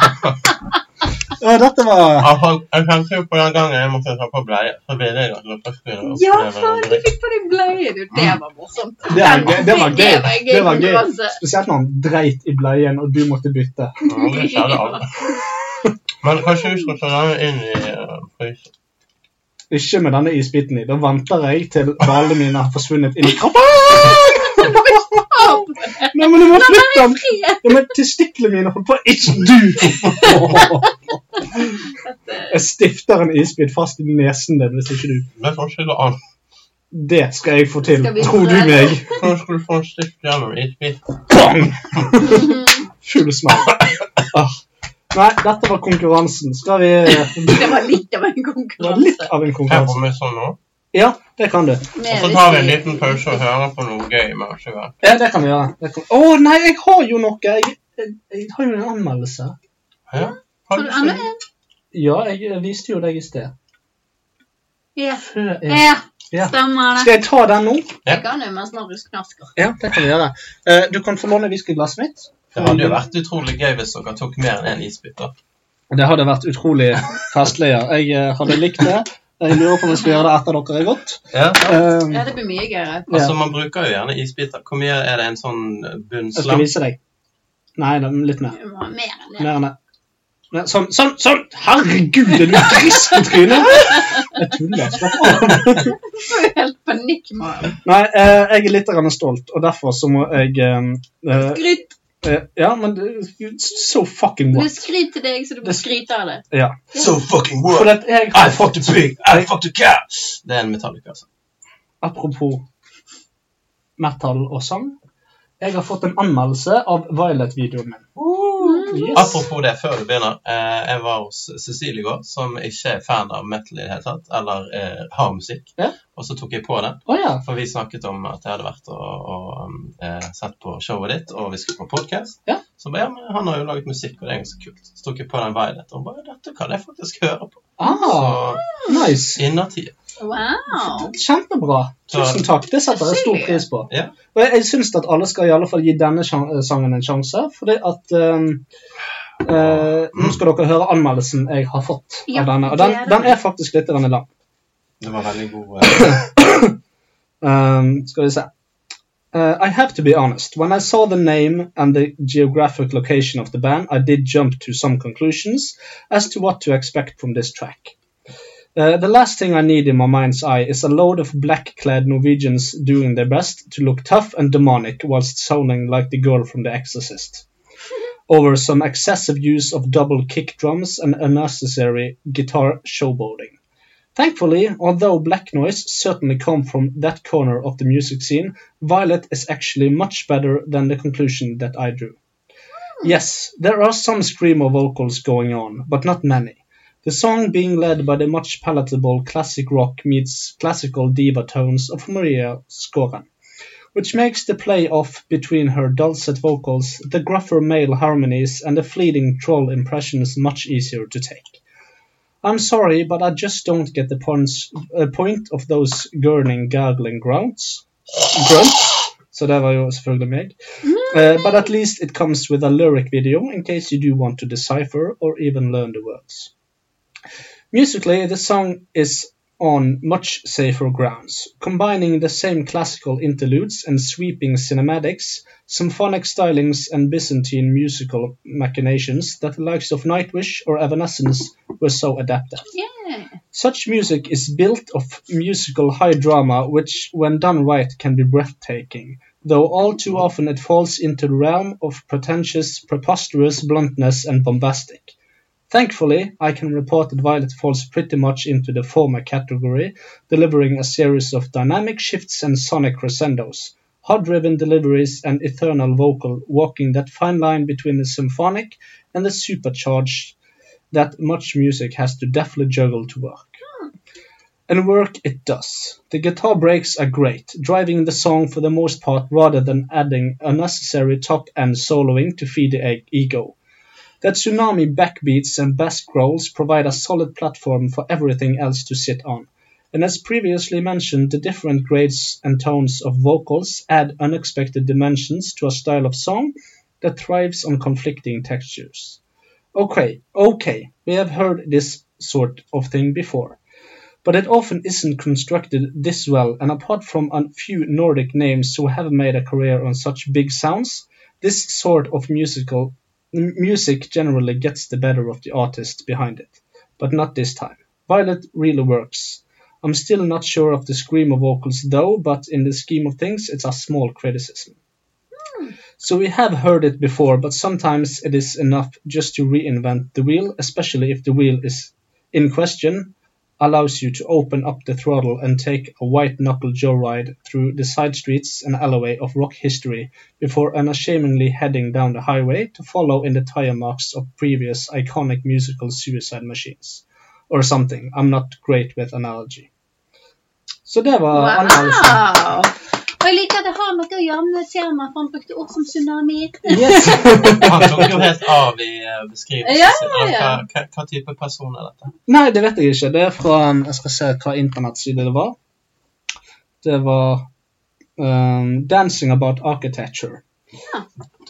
[SPEAKER 4] Ja, dette var
[SPEAKER 5] Jeg fant- jeg tenkte jo på den gangen jeg måtte ta på bleie, så ville jeg at dere skulle
[SPEAKER 3] Ja,
[SPEAKER 5] oppleve noe
[SPEAKER 3] faen, du
[SPEAKER 5] dritt.
[SPEAKER 3] fikk på deg bleie, du. Det var morsomt.
[SPEAKER 4] Det var gøy. Det var gøy.
[SPEAKER 3] Det var gøy.
[SPEAKER 4] Det var gøy.
[SPEAKER 3] konkurranse.
[SPEAKER 4] Spesielt når han dreit i bleien, og du måtte bytte.
[SPEAKER 5] Ja, det skjedde aldri. Men kanskje vi skal ta den inn i eh, frysen.
[SPEAKER 4] Ikke med denne isbiten i. Da venter jeg til hvalene mine har forsvunnet inn i kroppen.
[SPEAKER 3] opp!
[SPEAKER 4] Nei, men du må
[SPEAKER 3] La
[SPEAKER 4] flytte
[SPEAKER 3] meg
[SPEAKER 4] den!
[SPEAKER 3] i fred!
[SPEAKER 4] Ja, men Testiklene mine holder på Ikke du! Jeg stifter en isbit fast i nesen din hvis ikke du
[SPEAKER 5] Det er forskjell an.
[SPEAKER 4] Det skal jeg få til.
[SPEAKER 3] Skal vi
[SPEAKER 4] Tror du
[SPEAKER 3] prøve?
[SPEAKER 4] meg?
[SPEAKER 5] Hvordan skulle du få en stift gjennom isbit?
[SPEAKER 4] Bang!
[SPEAKER 3] Mhm.
[SPEAKER 4] Full smell. Ah. Nei, dette var konkurransen. Skal vi
[SPEAKER 3] Det var litt av en
[SPEAKER 4] Det var litt
[SPEAKER 3] konkurranse.
[SPEAKER 4] av en
[SPEAKER 5] Jeg får
[SPEAKER 4] konkurranse.
[SPEAKER 5] med sånn nå.
[SPEAKER 4] Ja, det kan du.
[SPEAKER 5] Og så tar vi en liten pause og hører på noe gøy. med oss i gang.
[SPEAKER 4] Ja, det kan vi gjøre. Det kan- Å nei, jeg har jo noe! Jeg, jeg, jeg har jo en anmeldelse.
[SPEAKER 5] Ja. Har du
[SPEAKER 3] Anne?
[SPEAKER 5] sett?
[SPEAKER 4] Ja, jeg viste jo deg i sted.
[SPEAKER 3] Ja.
[SPEAKER 4] Før jeg-
[SPEAKER 3] ja,
[SPEAKER 4] Ja.
[SPEAKER 3] stemmer det.
[SPEAKER 4] Skal jeg ta den nå?
[SPEAKER 3] Jeg kan jo mens Marius knasker.
[SPEAKER 4] Ja, det kan vi gjøre. Eh, Du kan få låne whiskyglasset mitt.
[SPEAKER 5] Det hadde jo vært utrolig gøy hvis dere tok mer enn én isbit. da.
[SPEAKER 4] Det hadde vært utrolig festlig. ja. Jeg eh, hadde likt det. Jeg lurer på om jeg skal gjøre det etter dere er gått.
[SPEAKER 5] Ja.
[SPEAKER 4] Eh,
[SPEAKER 3] Ja, det blir mye gøyere.
[SPEAKER 5] Altså,
[SPEAKER 4] ja.
[SPEAKER 5] Man bruker jo gjerne isbiter. Hvor mye er det en sånn
[SPEAKER 4] Jeg skal
[SPEAKER 5] bunnslam?
[SPEAKER 4] vise deg. Nei, det er litt mer.
[SPEAKER 3] Vi må ha mer enn det.
[SPEAKER 4] Mer enn det. Nei, Sånn, sånn, sånn! Herregud, er du trist i trynet? Jeg tuller. Slapp av.
[SPEAKER 3] Du får jo helt panikk, Marius.
[SPEAKER 4] Nei, eh, jeg er litt grann stolt, og derfor så må jeg eh, eh,
[SPEAKER 3] Skryt.
[SPEAKER 4] eh, Ja, men det- So fucking
[SPEAKER 3] Du
[SPEAKER 4] what?
[SPEAKER 3] skryter til deg, så du må skryte av det.
[SPEAKER 4] Ja.
[SPEAKER 5] So fucking
[SPEAKER 4] For
[SPEAKER 5] what?
[SPEAKER 4] at jeg
[SPEAKER 5] I fucked a pig! I fucked a cat! Det er en Metallica. altså.
[SPEAKER 4] Apropos metal og sang. Jeg har fått en anmeldelse av Violet-videoen min.
[SPEAKER 3] Mm.
[SPEAKER 4] Yes.
[SPEAKER 5] Apropos det, før du begynner. Eh, jeg var hos Cecilie i går, som ikke er fan av metal i det hele tatt, eller eh, hard musikk.
[SPEAKER 4] Ja.
[SPEAKER 5] Og så tok jeg på den.
[SPEAKER 4] Å ja.
[SPEAKER 5] For vi snakket om at jeg hadde vært og, og um, eh, sett på showet ditt, og vi skulle på podcast.
[SPEAKER 4] Ja.
[SPEAKER 5] Så ba jeg, ja, men han har jo laget musikk, og det er ganske kult. Så tok jeg på den Violet, og hun bare, dette kan jeg faktisk høre på.
[SPEAKER 4] Ah, nice.
[SPEAKER 5] Så innertid.
[SPEAKER 3] Wow.
[SPEAKER 4] Kjempebra. Tusen takk. Det setter jeg stor pris på.
[SPEAKER 5] Ja.
[SPEAKER 4] Og jeg, jeg syns at alle skal i alle fall gi denne sjan- eh, sangen en sjanse, fordi at ehm, eh, Nå skal dere høre anmeldelsen jeg har fått
[SPEAKER 3] Ja,
[SPEAKER 4] av denne. Og
[SPEAKER 3] det
[SPEAKER 4] den,
[SPEAKER 3] er det.
[SPEAKER 4] den er faktisk litt grann lang.
[SPEAKER 5] Det var veldig god. Eh,
[SPEAKER 4] Um, skal vi se. Uh, I have to be honest. When I saw the name and the geographic location of the band, I did jump to some conclusions as to what to expect from this track. Uh, the last thing I need in my mind's eye is a load of black clad Norwegians doing their best to look tough and demonic whilst sounding like the girl from The Exorcist. Over some excessive use of double kick drums and unnecessary guitar showboating. Thankfully, although black noise certainly come from that corner of the music scene, Violet is actually much better than the conclusion that I drew. Yes, there are some screamo vocals going on, but not many. The song being led by the much palatable classic rock meets classical diva tones of Maria Skoran, which makes the play-off between her dulcet vocals, the gruffer male harmonies, and the fleeting troll impressions much easier to take. I'm sorry, but I just don't get the points, uh, point of those gurning, gargling grunts. Grunts. Så det var jo selvfølgelig meg. Uh, but at least it comes with a lyric video in case you do want to decipher or even learn the words. Musically, the song is on much safer grounds, combining the same classical interludes and sweeping cinematics, symphonic stylings, and Byzantine musical machinations that the likes of Nightwish or Evanescence were so adept at.
[SPEAKER 3] Yeah.
[SPEAKER 4] Such music is built of musical high drama, which, when done right, can be breathtaking, though all too often it falls into the realm of pretentious, preposterous bluntness and bombastic. Thankfully, I can report that Violet falls pretty much into the former category, delivering a series of dynamic shifts and sonic crescendos, hard driven deliveries, and eternal vocal, walking that fine line between the symphonic and the supercharged that much music has to deftly juggle to work. And work it does. The guitar breaks are great, driving the song for the most part rather than adding unnecessary top end soloing to feed the e- ego. The tsunami backbeats and bass growls provide a solid platform for everything else to sit on. And as previously mentioned, the different grades and tones of vocals add unexpected dimensions to a style of song that thrives on conflicting textures. Okay, okay, we have heard this sort of thing before. But it often isn't constructed this well, and apart from a few Nordic names who have made a career on such big sounds, this sort of musical m- music generally gets the better of the artist behind it. But not this time. Violet really works. I'm still not sure of the screamer vocals though, but in the scheme of things, it's a small criticism. So we have heard it before, but sometimes it is enough just to reinvent the wheel, especially if the wheel is in question, allows you to open up the throttle and take a white knuckle joyride through the side streets and alleyway of rock history before unashamedly heading down the highway to follow in the tire marks of previous iconic musical suicide machines. Or something. I'm not great with analogy. Så det var
[SPEAKER 3] Wow! Og jeg liker at det har noe å gjøre med temaet, for han brukte ord som tsunami.
[SPEAKER 4] Yes.
[SPEAKER 5] *laughs* Han tok jo helt av i eh, beskrivelsen
[SPEAKER 3] Ja,
[SPEAKER 5] sin.
[SPEAKER 3] ja, ja.
[SPEAKER 5] Hva, hva, hva type person er dette?
[SPEAKER 4] Nei, det vet jeg ikke. Det er fra um, Jeg skal se hva internettside det var. Det var um, 'Dancing About
[SPEAKER 3] *laughs*
[SPEAKER 4] Architecture'.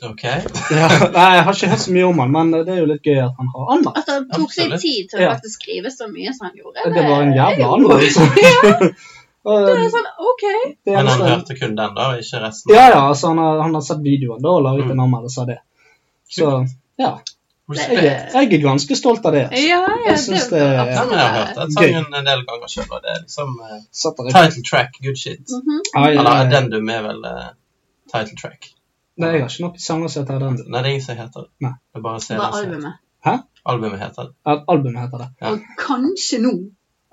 [SPEAKER 5] Ok.
[SPEAKER 4] Ja, nei, jeg har ikke hørt så mye om han, men det er jo litt gøy at han har anmeldt.
[SPEAKER 3] At han Altså, tok seg
[SPEAKER 4] Absolutt.
[SPEAKER 3] tid til å
[SPEAKER 4] Ja.
[SPEAKER 3] faktisk skrive så mye som han gjorde.
[SPEAKER 4] Det var en
[SPEAKER 3] er
[SPEAKER 4] jævla liksom.
[SPEAKER 3] jo- *laughs*
[SPEAKER 4] anmeldelse. *laughs*
[SPEAKER 3] Det er sånn, ok.
[SPEAKER 4] Det
[SPEAKER 5] Men han
[SPEAKER 4] eneste-
[SPEAKER 5] hørte kun den, da, og ikke resten?
[SPEAKER 4] Ja, ja, altså han har, han har sett videoen da, og laget en anmeldelse av det. Så ja. Jeg, er- jeg er ganske stolt av det. altså.
[SPEAKER 3] Ja, ja,
[SPEAKER 4] Jeg synes det er
[SPEAKER 5] Ja, men jeg har hørt den
[SPEAKER 4] gøy.
[SPEAKER 5] sangen en del ganger sjøl, og det er liksom eh,
[SPEAKER 4] Satt der i-
[SPEAKER 5] title track, good shit.
[SPEAKER 3] Mhm.
[SPEAKER 4] Ja, ja,
[SPEAKER 5] Eller
[SPEAKER 4] ja.
[SPEAKER 5] addendum er vel eh, title track.
[SPEAKER 4] Nei, jeg har ikke noen sanger som heter den.
[SPEAKER 5] Nei, det er ingen som heter det.
[SPEAKER 4] Nei.
[SPEAKER 5] Det er bare CD-en
[SPEAKER 3] Bare
[SPEAKER 5] som heter det.
[SPEAKER 3] albumet.
[SPEAKER 4] Hæ?
[SPEAKER 5] Albumet heter det.
[SPEAKER 4] Ja, Albumet heter det.
[SPEAKER 5] Ja.
[SPEAKER 3] Og kanskje nå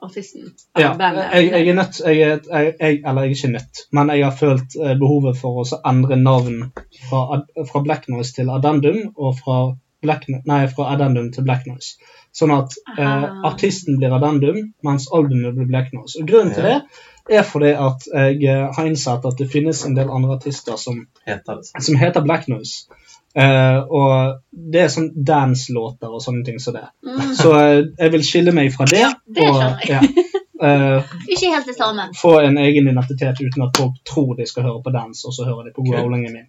[SPEAKER 3] artisten.
[SPEAKER 4] Ja,
[SPEAKER 3] eller bandet.
[SPEAKER 4] jeg, jeg er nødt, jeg, er- jeg, jeg, eller jeg er ikke nødt, men jeg har følt eh, behovet for å så endre navn fra, ad- fra Black Noise til Addendum, og fra, Black, No- nei, fra Addendum til Black Noise. Sånn at eh,
[SPEAKER 3] Ah.
[SPEAKER 4] artisten blir Addendum, mens albumet blir Black Noise. Og grunnen til
[SPEAKER 5] Ja.
[SPEAKER 4] det er fordi at jeg eh, har innsett at det finnes en del andre artister som
[SPEAKER 5] Heter det.
[SPEAKER 4] som heter Black Noise. Eh, og det er sånn dance-låter og sånne ting som det.
[SPEAKER 3] Mm.
[SPEAKER 4] Så eh, jeg vil skille meg fra det.
[SPEAKER 3] det
[SPEAKER 4] og,
[SPEAKER 3] skjønner jeg.
[SPEAKER 4] ja, eh,
[SPEAKER 3] Ikke helt det samme.
[SPEAKER 4] få en egen identitet uten at folk tror de skal høre på dance, og så hører de på
[SPEAKER 5] Kult.
[SPEAKER 4] growlingen min.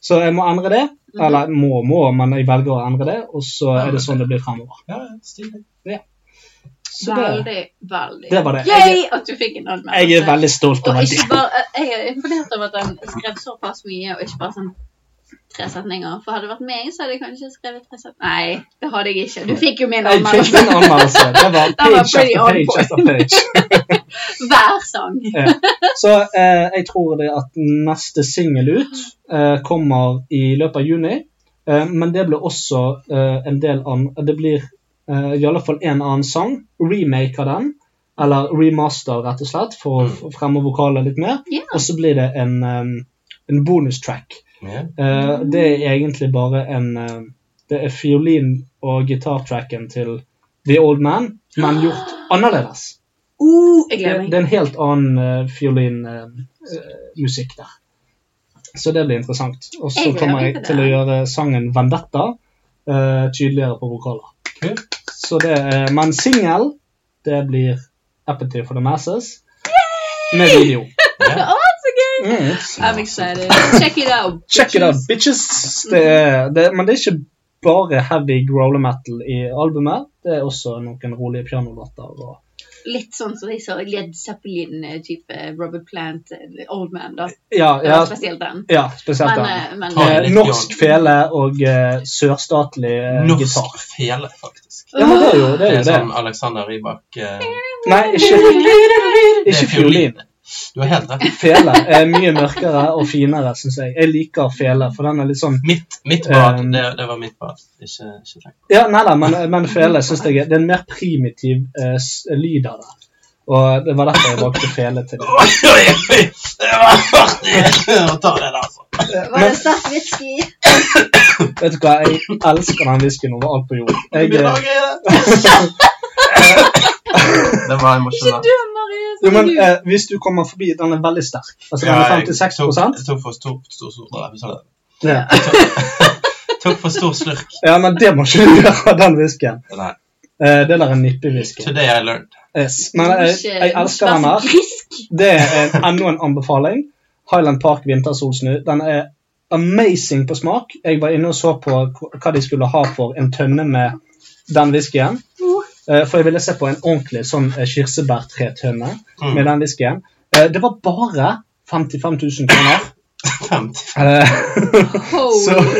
[SPEAKER 4] Så jeg må endre det.
[SPEAKER 3] Mhm.
[SPEAKER 4] Eller må, må, men jeg velger å endre det, og så er det sånn det blir fremover.
[SPEAKER 5] Ja, ja, stilig.
[SPEAKER 4] Så det,
[SPEAKER 3] Veldig, veldig.
[SPEAKER 4] det var det. Jeg,
[SPEAKER 3] Yay at du fikk en anmeldelse.
[SPEAKER 4] jeg er veldig stolt
[SPEAKER 3] Og
[SPEAKER 4] over det.
[SPEAKER 3] ikke bare, eh, jeg er imponert over at han skrev såpass mye, og ikke bare sånn tre setninger. For hadde det vært meg, så hadde jeg kanskje skrevet tre setninger. Nei, det hadde jeg ikke. Du fikk jo min
[SPEAKER 4] Jeg fikk min
[SPEAKER 3] anmeldelse.
[SPEAKER 4] anmeldelse. Det
[SPEAKER 3] *laughs*
[SPEAKER 4] var
[SPEAKER 3] var
[SPEAKER 4] page
[SPEAKER 3] pretty
[SPEAKER 4] etter
[SPEAKER 3] on
[SPEAKER 4] page
[SPEAKER 3] point.
[SPEAKER 4] etter page.
[SPEAKER 3] Hver sang.
[SPEAKER 4] Ja. Så eh, jeg tror det at neste singel ut eh, kommer i løpet av juni. Eh, men det blir også eh, en del av Det blir eh, i alle fall en annen sang. Remake av den. Eller remaster, rett og slett, for å f- fremme vokalene litt mer.
[SPEAKER 3] Ja.
[SPEAKER 4] Og så blir det en, eh, en bonustrack.
[SPEAKER 5] Ja.
[SPEAKER 4] Eh, det er egentlig bare en eh, Det er fiolin- og gitartracken til The Old Man, men gjort annerledes.
[SPEAKER 3] Uh,
[SPEAKER 4] Det,
[SPEAKER 3] jeg gleder
[SPEAKER 4] det
[SPEAKER 3] meg.
[SPEAKER 4] er en helt annen uh, fiolinmusikk eh, der. Så det blir interessant. Og så
[SPEAKER 3] Jeg gleder
[SPEAKER 4] kommer
[SPEAKER 3] meg
[SPEAKER 4] jeg
[SPEAKER 3] til
[SPEAKER 4] til å
[SPEAKER 3] det.
[SPEAKER 4] gjøre sangen 'Vendetta' eh, tydeligere på vokaler.
[SPEAKER 5] Kult.
[SPEAKER 4] Så det er, men singel, det blir 'Appetite for the Masses' med video.
[SPEAKER 5] Ja.
[SPEAKER 3] *laughs* Å, så gøy!
[SPEAKER 4] Mm.
[SPEAKER 3] I'm excited. Check it out.
[SPEAKER 4] Check it out,
[SPEAKER 3] bitches.
[SPEAKER 4] bitches! Det er, det, men det er ikke bare heavy growler metal i albumet. Det er også noen rolige pianolåter. og
[SPEAKER 3] Litt sånn som de så Led Zeppelin-type Robert Plant, eh, Old Man, da.
[SPEAKER 4] Ja,
[SPEAKER 3] Det
[SPEAKER 4] ja,
[SPEAKER 3] var spesielt den.
[SPEAKER 4] ja spesielt
[SPEAKER 3] Men,
[SPEAKER 4] den.
[SPEAKER 3] eh, men
[SPEAKER 5] Ta
[SPEAKER 4] Eh,
[SPEAKER 5] litt
[SPEAKER 4] norsk
[SPEAKER 5] piano.
[SPEAKER 4] fele og eh, sørstatlig eh, gitar.
[SPEAKER 5] Norsk fele, faktisk.
[SPEAKER 4] Ja, men det er jo det.
[SPEAKER 5] Det
[SPEAKER 4] Er
[SPEAKER 5] er
[SPEAKER 4] jo det.
[SPEAKER 5] som Alexander Rybak eh,
[SPEAKER 4] Nei, ikke,
[SPEAKER 5] Det
[SPEAKER 4] ikke fiolin.
[SPEAKER 5] Du har helt rett.
[SPEAKER 4] Fele er mye mørkere og finere, syns jeg. Jeg liker fele, for den er litt sånn
[SPEAKER 5] Mitt, mitt bad.
[SPEAKER 4] Um,
[SPEAKER 5] Det, det var mitt bad. Ikke, ikke tenk.
[SPEAKER 4] Ja, nei da, men, men fele syns jeg er Det er en mer primitiv eh, s- lyd av det. Og det var derfor jeg valgte fele til det.
[SPEAKER 5] Oi, oi, oi! *laughs* Det var artig å ta det der, altså.
[SPEAKER 3] Var det sterk whisky?
[SPEAKER 4] Vet du hva, jeg elsker den whiskyen over alt på jord. Jeg, eh,
[SPEAKER 5] *laughs* Det var
[SPEAKER 3] Ikke
[SPEAKER 5] emosjonelt.
[SPEAKER 3] du, Marius.
[SPEAKER 4] jo, men eh, hvis du kommer forbi Den er veldig sterk. Altså, den
[SPEAKER 5] Ja,
[SPEAKER 4] er
[SPEAKER 5] jeg tok-
[SPEAKER 4] 56
[SPEAKER 5] Jeg tok for stor, stor, stor, nei, jeg sa det.
[SPEAKER 4] ja.
[SPEAKER 5] tok for stor slurk.
[SPEAKER 4] ja, men det må ikke du gjøre, den whiskyen.
[SPEAKER 5] Nei.
[SPEAKER 4] Eh, det der er nippewhisky.
[SPEAKER 5] Today I learned.
[SPEAKER 4] Yes. Men jeg, jeg elsker den her. Det er en- enda en anbefaling. Highland Park vintersolsnu. Den er amazing på smak. Jeg var inne og så på hva- hva de skulle ha for en tønne med den whiskyen. Eh, For jeg ville se på en ordentlig sånn eh, kirsebærtretønne
[SPEAKER 5] Mm.
[SPEAKER 4] med den whiskyen. Eh, Det var bare 55 000 kroner.
[SPEAKER 5] 50.
[SPEAKER 4] Eh, Så-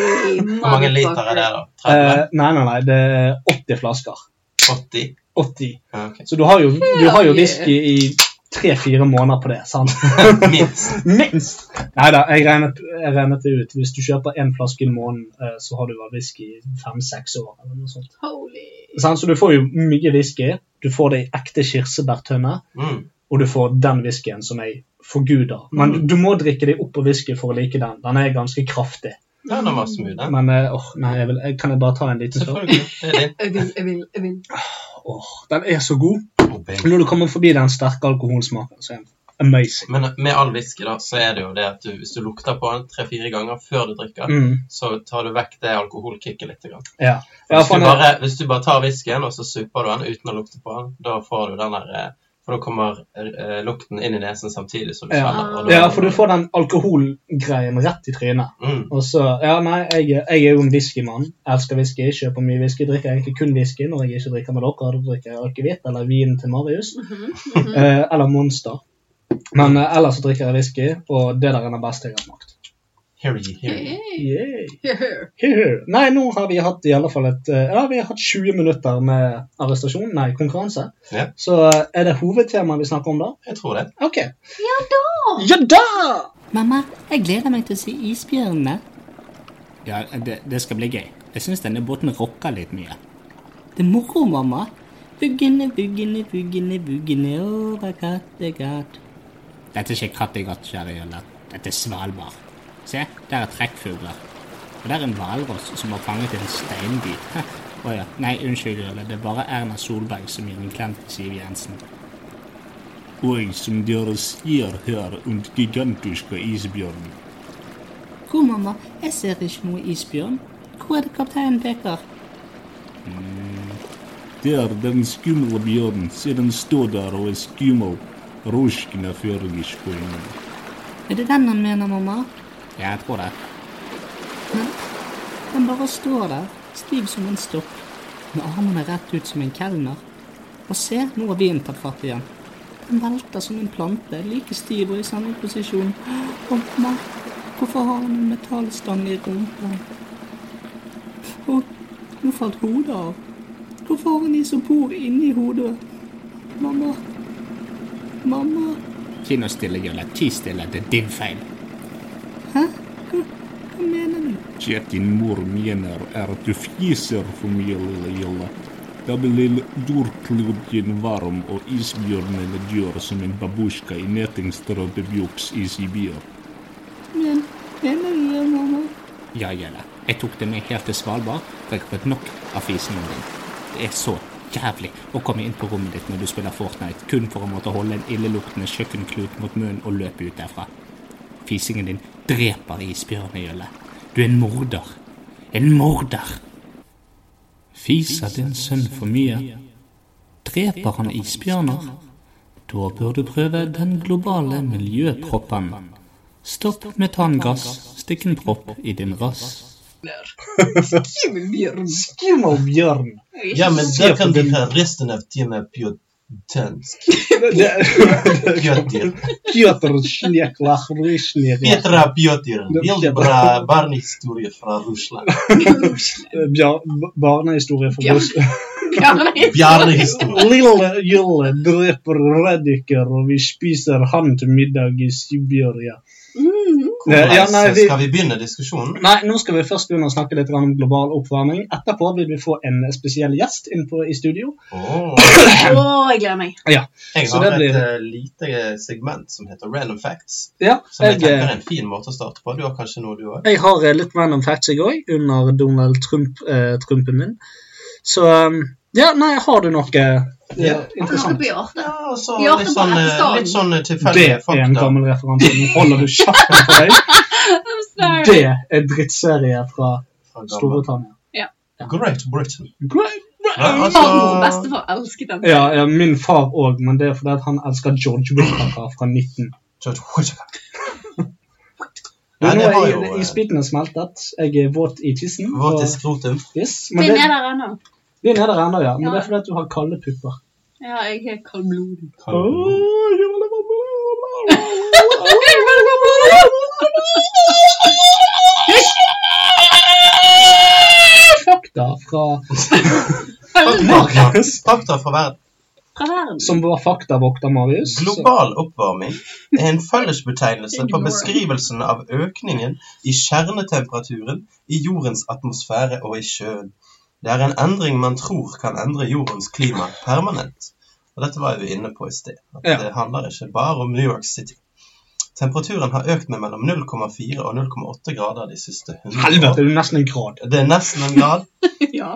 [SPEAKER 5] Hvor mange liter er det, da? 30?
[SPEAKER 4] eh, Nei, nei, nei. Det er 80 flasker.
[SPEAKER 5] 80?
[SPEAKER 4] 80.
[SPEAKER 5] Ja, ok. *laughs*
[SPEAKER 4] Så du har jo, du har jo whisky i tre-fire måneder på det. sant? *laughs*
[SPEAKER 5] Minst.
[SPEAKER 4] Minst! Nei da, jeg regnet, jeg regnet det ut. Hvis du kjøper én flaske i måneden, eh, så har du vært whisky i fem-seks år. eller noe sånt. Sant? Så du får jo mye whisky. Du får det i ekte kirsebærtønne,
[SPEAKER 5] Mm.
[SPEAKER 4] og du får den whiskyen som jeg forguder. Men du må drikke deg opp på whisky for å like den. Den er ganske kraftig.
[SPEAKER 5] Ja, den var smooth,
[SPEAKER 3] *laughs*
[SPEAKER 5] den.
[SPEAKER 4] Men eh, åh, nei, jeg vil, jeg, kan jeg bare ta en liten slurk?
[SPEAKER 3] Jeg vil, jeg vil, jeg vil.
[SPEAKER 4] Åh, den er så god. Når du kommer forbi den sterke alkoholsmaken, så er den amazing.
[SPEAKER 5] Men med all whisky da, så er det jo det at du, hvis du lukter på den tre-fire ganger før du drikker,
[SPEAKER 4] Mm.
[SPEAKER 5] så tar du vekk det alkoholkicket litt. Grann.
[SPEAKER 4] Ja. Ja,
[SPEAKER 5] Hvis,
[SPEAKER 4] for
[SPEAKER 5] du
[SPEAKER 4] den er-
[SPEAKER 5] bare, hvis du bare tar whiskyen og så super du den uten å lukte på den, da får du den der eh, For da kommer eh, lukten inn i nesen samtidig som du svelger.
[SPEAKER 4] ja.
[SPEAKER 5] og da-
[SPEAKER 4] ja, for du får den alkoholgreien rett i trynet.
[SPEAKER 5] Mm.
[SPEAKER 4] Og så, ja, nei, jeg, jeg er jo en whiskymann. Elsker whisky, kjøper mye whisky. Drikker egentlig kun whisky når jeg ikke drikker med dere. Da drikker jeg akevitt eller vin til Marius. *laughs* Eh, eller Monster. Men eh, ellers så drikker jeg whisky, og det der er det beste jeg har smakt.
[SPEAKER 5] Hear ye, hear ye.
[SPEAKER 4] Yay. Huhu. Nei, nå har vi hatt i alle fall et eh, Ja, vi har hatt 20 minutter med arrestasjon, nei, konkurranse.
[SPEAKER 5] Ja.
[SPEAKER 4] Så eh, er det hovedtemaet vi snakker om da?
[SPEAKER 5] Jeg tror det.
[SPEAKER 4] OK. Ja da!
[SPEAKER 12] Mamma, jeg gleder meg til å se isbjørnene. Ja, det, det skal bli gøy. Jeg syns denne båten rocker litt mye. Det er moro, mamma. Buggene, buggene, buggene, buggene over Kattegat. Dette er ikke Kattegat, kjære Jølle. Dette er Svalbard. Se, der er trekkfugler. Og der er en hvalross som har fanget en steinbit. *laughs* Heh. Å ja. Nei, unnskyld, Jølle. Det er bare Erna Solberg som gir en klem til Siv Jensen.
[SPEAKER 13] Oi, som dere sier her, und gigantiske isbjørn.
[SPEAKER 12] Hvor, mamma? Jeg ser ikke noe isbjørn. Hvor er det kapteinen peker?
[SPEAKER 13] Mm. Der, den skumle bjørn, se den stå der og er skummel. Ruskene fergeskoene.
[SPEAKER 12] Er det den han mener, mamma?
[SPEAKER 13] Ja, jeg tror det.
[SPEAKER 12] Den bare står der, stiv som en stokk, med armene rett ut som en kelner. Og se, nå har vinden tatt fatt igjen. Den velter som en plante, like stiv og i samme posisjon. Å, mamma, hvorfor har han en metallstang i rumpa? Å, nå falt hodet av. Hvorfor har han isopor inni hodet? Mamma, mamma.
[SPEAKER 1] Ti nå stille, Jølle. Ti stille. Det er din feil.
[SPEAKER 12] Hæ? Hva, hva mener du?
[SPEAKER 13] Kjært din mor mener er at du fjeser for mye, lille Jella. Da blir jordkloden varm, og isbjørnene dør som en babusjka i nettingstrømpebuks i Sibir.
[SPEAKER 12] Men, mener du det, mamma?
[SPEAKER 1] Ja, Jelle. Jeg tok det med helt til Svalbard, for jeg har fått nok av fisingen din. Det er så jævlig å komme inn på rommet ditt når du spiller Fortnite, kun for å måtte holde en illeluktende kjøkkenklut mot munnen og løpe ut derfra. Fisingen din dreper isbjørnen, Jølle. Du er en morder. En morder. Fiser din sønn for mye? Dreper han isbjørner? Da bør du prøve den globale miljøproppen. Stopp metangass, stikk en propp i din rass.
[SPEAKER 4] Skimmelbjørn. Skimmelbjørn.
[SPEAKER 5] Ja, men da kan vi ha resten av timen pjotensk.
[SPEAKER 4] *laughs*
[SPEAKER 5] Pjotir.
[SPEAKER 4] Pjotr Sneklach Rysjnek.
[SPEAKER 5] Petra Pjotir. Veldig bra barnehistorie fra Russland. Э,
[SPEAKER 4] Barnehistorie for oss.
[SPEAKER 5] Bjarnehistorie.
[SPEAKER 4] Lille Jølle dreper reddiker, og vi spiser han til middag i Siberia.
[SPEAKER 5] Hvordan
[SPEAKER 4] *laughs* Ja, nei, vi-
[SPEAKER 5] skal vi begynne diskusjonen?
[SPEAKER 4] Nei, nå skal vi først begynne å snakke litt grann om global oppvarming. Etterpå vil vi få en spesiell gjest inn på, i studio.
[SPEAKER 3] Å, jeg gleder meg.
[SPEAKER 4] Ja.
[SPEAKER 5] Jeg
[SPEAKER 4] Så
[SPEAKER 5] har
[SPEAKER 4] det blir-
[SPEAKER 5] et eh, lite segment som heter Random Facts.
[SPEAKER 4] Ja,
[SPEAKER 5] Som jeg,
[SPEAKER 4] jeg- eh,
[SPEAKER 5] tenker er en fin måte å starte på. Du har kanskje noe, du òg?
[SPEAKER 4] Jeg har eh, litt random facts jeg òg, under Donald Trump, eh, Trumpen min. Så um, ja, nei, har du noe eh,
[SPEAKER 5] Ja.
[SPEAKER 3] Noe
[SPEAKER 4] interessant?
[SPEAKER 3] på hjertet.
[SPEAKER 5] Ja, så
[SPEAKER 3] Vi har
[SPEAKER 5] litt
[SPEAKER 3] det på
[SPEAKER 5] sånn, eh,
[SPEAKER 3] etterstaden.
[SPEAKER 5] litt sånn eh,
[SPEAKER 4] Det
[SPEAKER 5] tilfeldige
[SPEAKER 4] er en
[SPEAKER 5] fakta.
[SPEAKER 4] gammel referanse. Nå holder du kjeften på deg.
[SPEAKER 3] I'm sorry.
[SPEAKER 4] Det er drittserie fra
[SPEAKER 5] gammel.
[SPEAKER 4] Storbritannia.
[SPEAKER 3] Ja.
[SPEAKER 5] *laughs* Great Britain.
[SPEAKER 4] Great.
[SPEAKER 5] Ja, *laughs*
[SPEAKER 3] Farmor og
[SPEAKER 5] altså,
[SPEAKER 3] bestefar elsket den.
[SPEAKER 4] Ja, ja, min far òg, men det er fordi at han elsker George Whittaker fra 19.
[SPEAKER 5] George Washington.
[SPEAKER 4] Du,
[SPEAKER 5] Nei,
[SPEAKER 4] nå
[SPEAKER 5] det
[SPEAKER 4] er
[SPEAKER 5] var jo eh,
[SPEAKER 4] jeg- isbiten er smeltet. Jeg er våt i tissen.
[SPEAKER 5] Våt
[SPEAKER 4] og-
[SPEAKER 5] i skrotum.
[SPEAKER 4] Yes, men
[SPEAKER 3] Finn er
[SPEAKER 4] det,
[SPEAKER 3] der ennå.
[SPEAKER 4] vi er nede der ennå, ja. Men
[SPEAKER 3] Ja.
[SPEAKER 4] det er fordi at du har kalde pupper.
[SPEAKER 3] Ja, jeg er kaldblodig.
[SPEAKER 4] Åh, jeg vil ha- Fakta fra
[SPEAKER 5] Fakta fra- fakta fra verden.
[SPEAKER 3] fra verden.
[SPEAKER 4] Som var faktavokter, Marius.
[SPEAKER 5] Global oppvarming er en fellesbetegnelse på beskrivelsen av økningen i kjernetemperaturen i jordens atmosfære og i sjøen. Det er en endring man tror kan endre jordens klima permanent. Og dette var vi inne på i sted. At
[SPEAKER 4] Ja.
[SPEAKER 5] Det handler ikke bare om New York City. Temperaturen har økt med mellom 0,4 og 0,8 grader de siste 100
[SPEAKER 4] Helvete, det er jo nesten en grad.
[SPEAKER 5] Det er nesten en grad.
[SPEAKER 3] ja.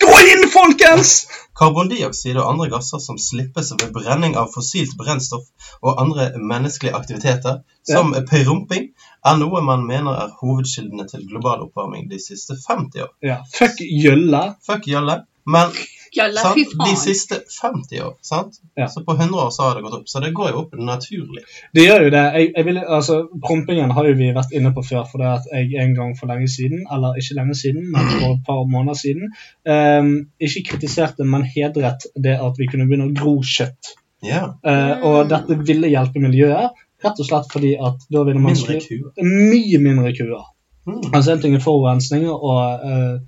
[SPEAKER 4] Gå inn, folkens!
[SPEAKER 5] Karbondioksid og andre gasser som slippes ved brenning av fossilt brennstoff og andre menneskelige aktiviteter, som perumping, er noe man mener er hovedkildene til global oppvarming de siste 50 år.
[SPEAKER 4] Ja, fuck gjølle.
[SPEAKER 5] Fuck jølle, men
[SPEAKER 3] Jalla, fy
[SPEAKER 5] sant, de
[SPEAKER 3] faen.
[SPEAKER 5] siste 50 år, sant? Så på 100 år så har det gått opp, så det går jo opp naturlig.
[SPEAKER 4] Det gjør jo det. Jeg, jeg vil, altså, Prompingen har jo vi vært inne på før, for det at jeg en gang for lenge siden, eller ikke lenge siden, men for et par måneder siden, ehm, ikke kritiserte, men hedret det at vi kunne begynne å gro kjøtt.
[SPEAKER 5] Ja.
[SPEAKER 4] Eh, og dette ville hjelpe miljøet, rett og slett fordi at da ville man
[SPEAKER 5] Mindre Hmm.
[SPEAKER 4] slippe- Mye mindre kuer. Altså En ting er forurensning og eh,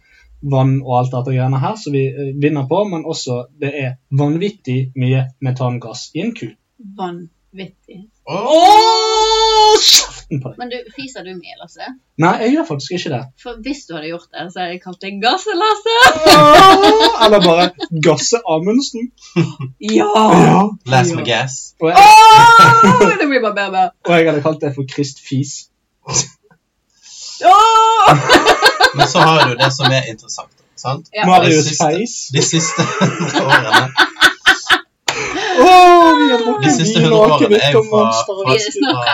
[SPEAKER 4] vann og alt dette greiene her, som vi eh, vinner på, men også det er vanvittig mye metangass i en ku.
[SPEAKER 3] Vanvittig.
[SPEAKER 4] Åh, kjeften på deg!
[SPEAKER 3] Men du, fiser du mye, Lasse?
[SPEAKER 4] Nei, jeg gjør faktisk ikke
[SPEAKER 3] *laughs*
[SPEAKER 4] det.
[SPEAKER 3] For hvis du hadde gjort det, så hadde jeg kalt deg Gasse-Lasse!
[SPEAKER 4] Åh, Eller bare Gasse Amundsen.
[SPEAKER 3] Ja!
[SPEAKER 5] Last med gas.
[SPEAKER 4] Og jeg,
[SPEAKER 3] Åh, *laughs* det blir bare bedre.
[SPEAKER 4] og jeg hadde kalt det for Krist Fis.
[SPEAKER 3] Åh!
[SPEAKER 5] Men så har du det som er interessant, sant?
[SPEAKER 3] Ja.
[SPEAKER 4] Marius
[SPEAKER 5] De siste-
[SPEAKER 4] Feis.
[SPEAKER 5] De siste 100
[SPEAKER 3] *laughs*
[SPEAKER 5] årene
[SPEAKER 4] Åh, vi har
[SPEAKER 5] De
[SPEAKER 4] drukket
[SPEAKER 5] siste
[SPEAKER 4] vin
[SPEAKER 5] 100
[SPEAKER 4] og
[SPEAKER 5] årene er
[SPEAKER 4] akevitt
[SPEAKER 5] jo
[SPEAKER 4] og
[SPEAKER 5] fra,
[SPEAKER 4] monster.
[SPEAKER 5] fra,
[SPEAKER 3] Vi er snart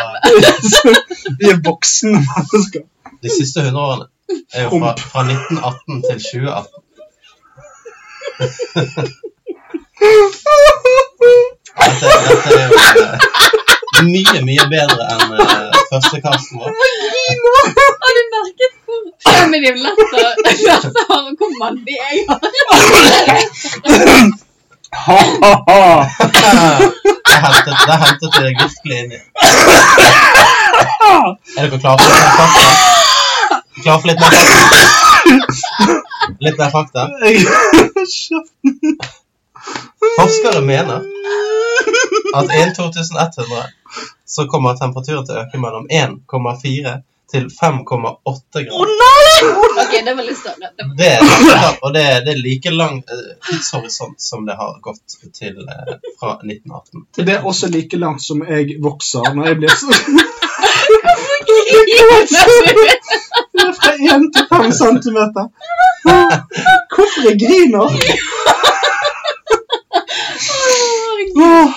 [SPEAKER 5] fra
[SPEAKER 4] Vi er voksne mennesker.
[SPEAKER 5] De siste 100 årene er jo fra, fra 1918 til 2018. Dette, dette er jo eh, mye, mye bedre enn eh, første kasten vår.
[SPEAKER 3] Har du merket hvor Ja, men det er jo lett *laughs* å Lasse har kommet det jeg har.
[SPEAKER 4] Ha, ha,
[SPEAKER 5] *laughs*
[SPEAKER 4] ha.
[SPEAKER 5] Det hentet, det hentet jeg virkelig inn i. Er dere klare for litt mer fakta? Klare for litt mer fakta? Litt mer fakta? Forskere mener at innen 2100 så kommer temperaturen til å øke mellom 1,4 til 5,8 grader.
[SPEAKER 3] Ok, det var litt større. Det var...
[SPEAKER 5] Det
[SPEAKER 4] *laughs*
[SPEAKER 5] er, resultat, og det er, det er like lang eh, tidshorisont som det har gått til eh, fra 1918.
[SPEAKER 4] Det er også like langt som jeg vokser når jeg blir så Fra 1 til 5 centimeter. Hvorfor jeg griner? Åh,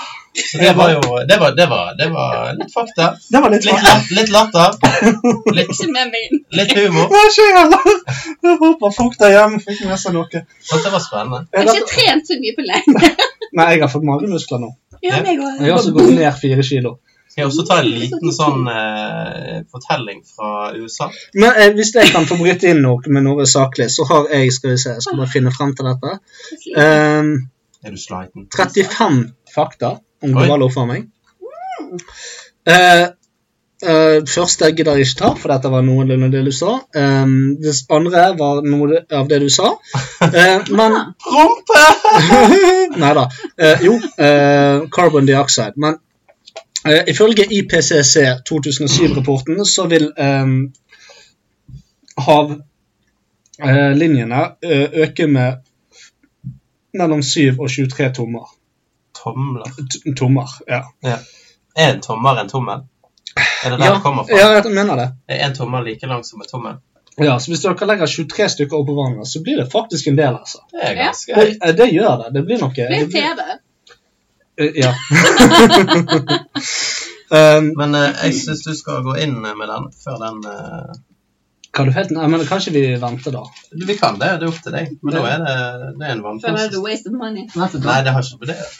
[SPEAKER 5] Så det var jo Det var, det var, det var litt fakta.
[SPEAKER 4] Det var litt
[SPEAKER 5] Litt,
[SPEAKER 4] vanskelig.
[SPEAKER 5] la- litt latter. Litt,
[SPEAKER 3] Ikke med meg inn.
[SPEAKER 5] litt humor.
[SPEAKER 4] Nei, ikke jeg heller. Jeg håper folk der hjemme fikk med seg noe.
[SPEAKER 5] Så det var spennende.
[SPEAKER 3] Jeg har ikke trent så mye på
[SPEAKER 4] *laughs*
[SPEAKER 3] lenge.
[SPEAKER 4] Nei, jeg har fått magemuskler nå.
[SPEAKER 3] Ja, meg også.
[SPEAKER 4] Jeg har også gått ned fire kilo.
[SPEAKER 5] Skal jeg også ta en liten sånn eh, fortelling fra USA?
[SPEAKER 4] Men eh, hvis jeg kan få bryte inn noe med noe saklig, så har jeg Skal vi se, jeg skal bare finne frem til dette. Ehm,
[SPEAKER 5] Er du sliten?
[SPEAKER 4] 35 fakta
[SPEAKER 5] Oi.
[SPEAKER 4] om global oppvarming. Eh, eh, første gidder jeg ikke ta, for dette var noenlunde det du sa. Ehm, det andre var noe av det du sa. Eh, men
[SPEAKER 5] Rumpe!
[SPEAKER 4] Nei da. jo, eh, carbon dioxide. Men eh, ifølge IPCC 2007-rapporten så vil um, havlinjene eh, øke med mellom 7 og 23 tommer.
[SPEAKER 5] Tomler.
[SPEAKER 4] T tommer, ja.
[SPEAKER 5] Ja. Er en tommer en tommel? Er det der
[SPEAKER 4] Ja,
[SPEAKER 5] det kommer
[SPEAKER 4] ja,
[SPEAKER 5] fra?
[SPEAKER 4] jeg mener det.
[SPEAKER 5] Er en tommel like lang som en tommel?
[SPEAKER 4] Ja, så Hvis dere legger 23 stykker oppå hverandre, så blir det faktisk en del. altså.
[SPEAKER 5] Det er
[SPEAKER 3] Ja.
[SPEAKER 5] ganske
[SPEAKER 4] Det,
[SPEAKER 5] høyt.
[SPEAKER 4] eh, det gjør det. Det blir noe.
[SPEAKER 3] Det
[SPEAKER 4] det
[SPEAKER 3] er
[SPEAKER 4] blir-
[SPEAKER 3] TV.
[SPEAKER 4] eh,
[SPEAKER 3] *laughs*
[SPEAKER 4] Ja. um,
[SPEAKER 5] Men eh, jeg syns du skal gå inn med den før den eh,
[SPEAKER 4] kan du helt, nei, men Kanskje vi venter, da?
[SPEAKER 5] Vi kan det, det er opp til deg. Men da er det, det er en
[SPEAKER 3] Føler du
[SPEAKER 5] vannpose.
[SPEAKER 3] waste of money?
[SPEAKER 5] Nei, det har ikke med det å gjøre.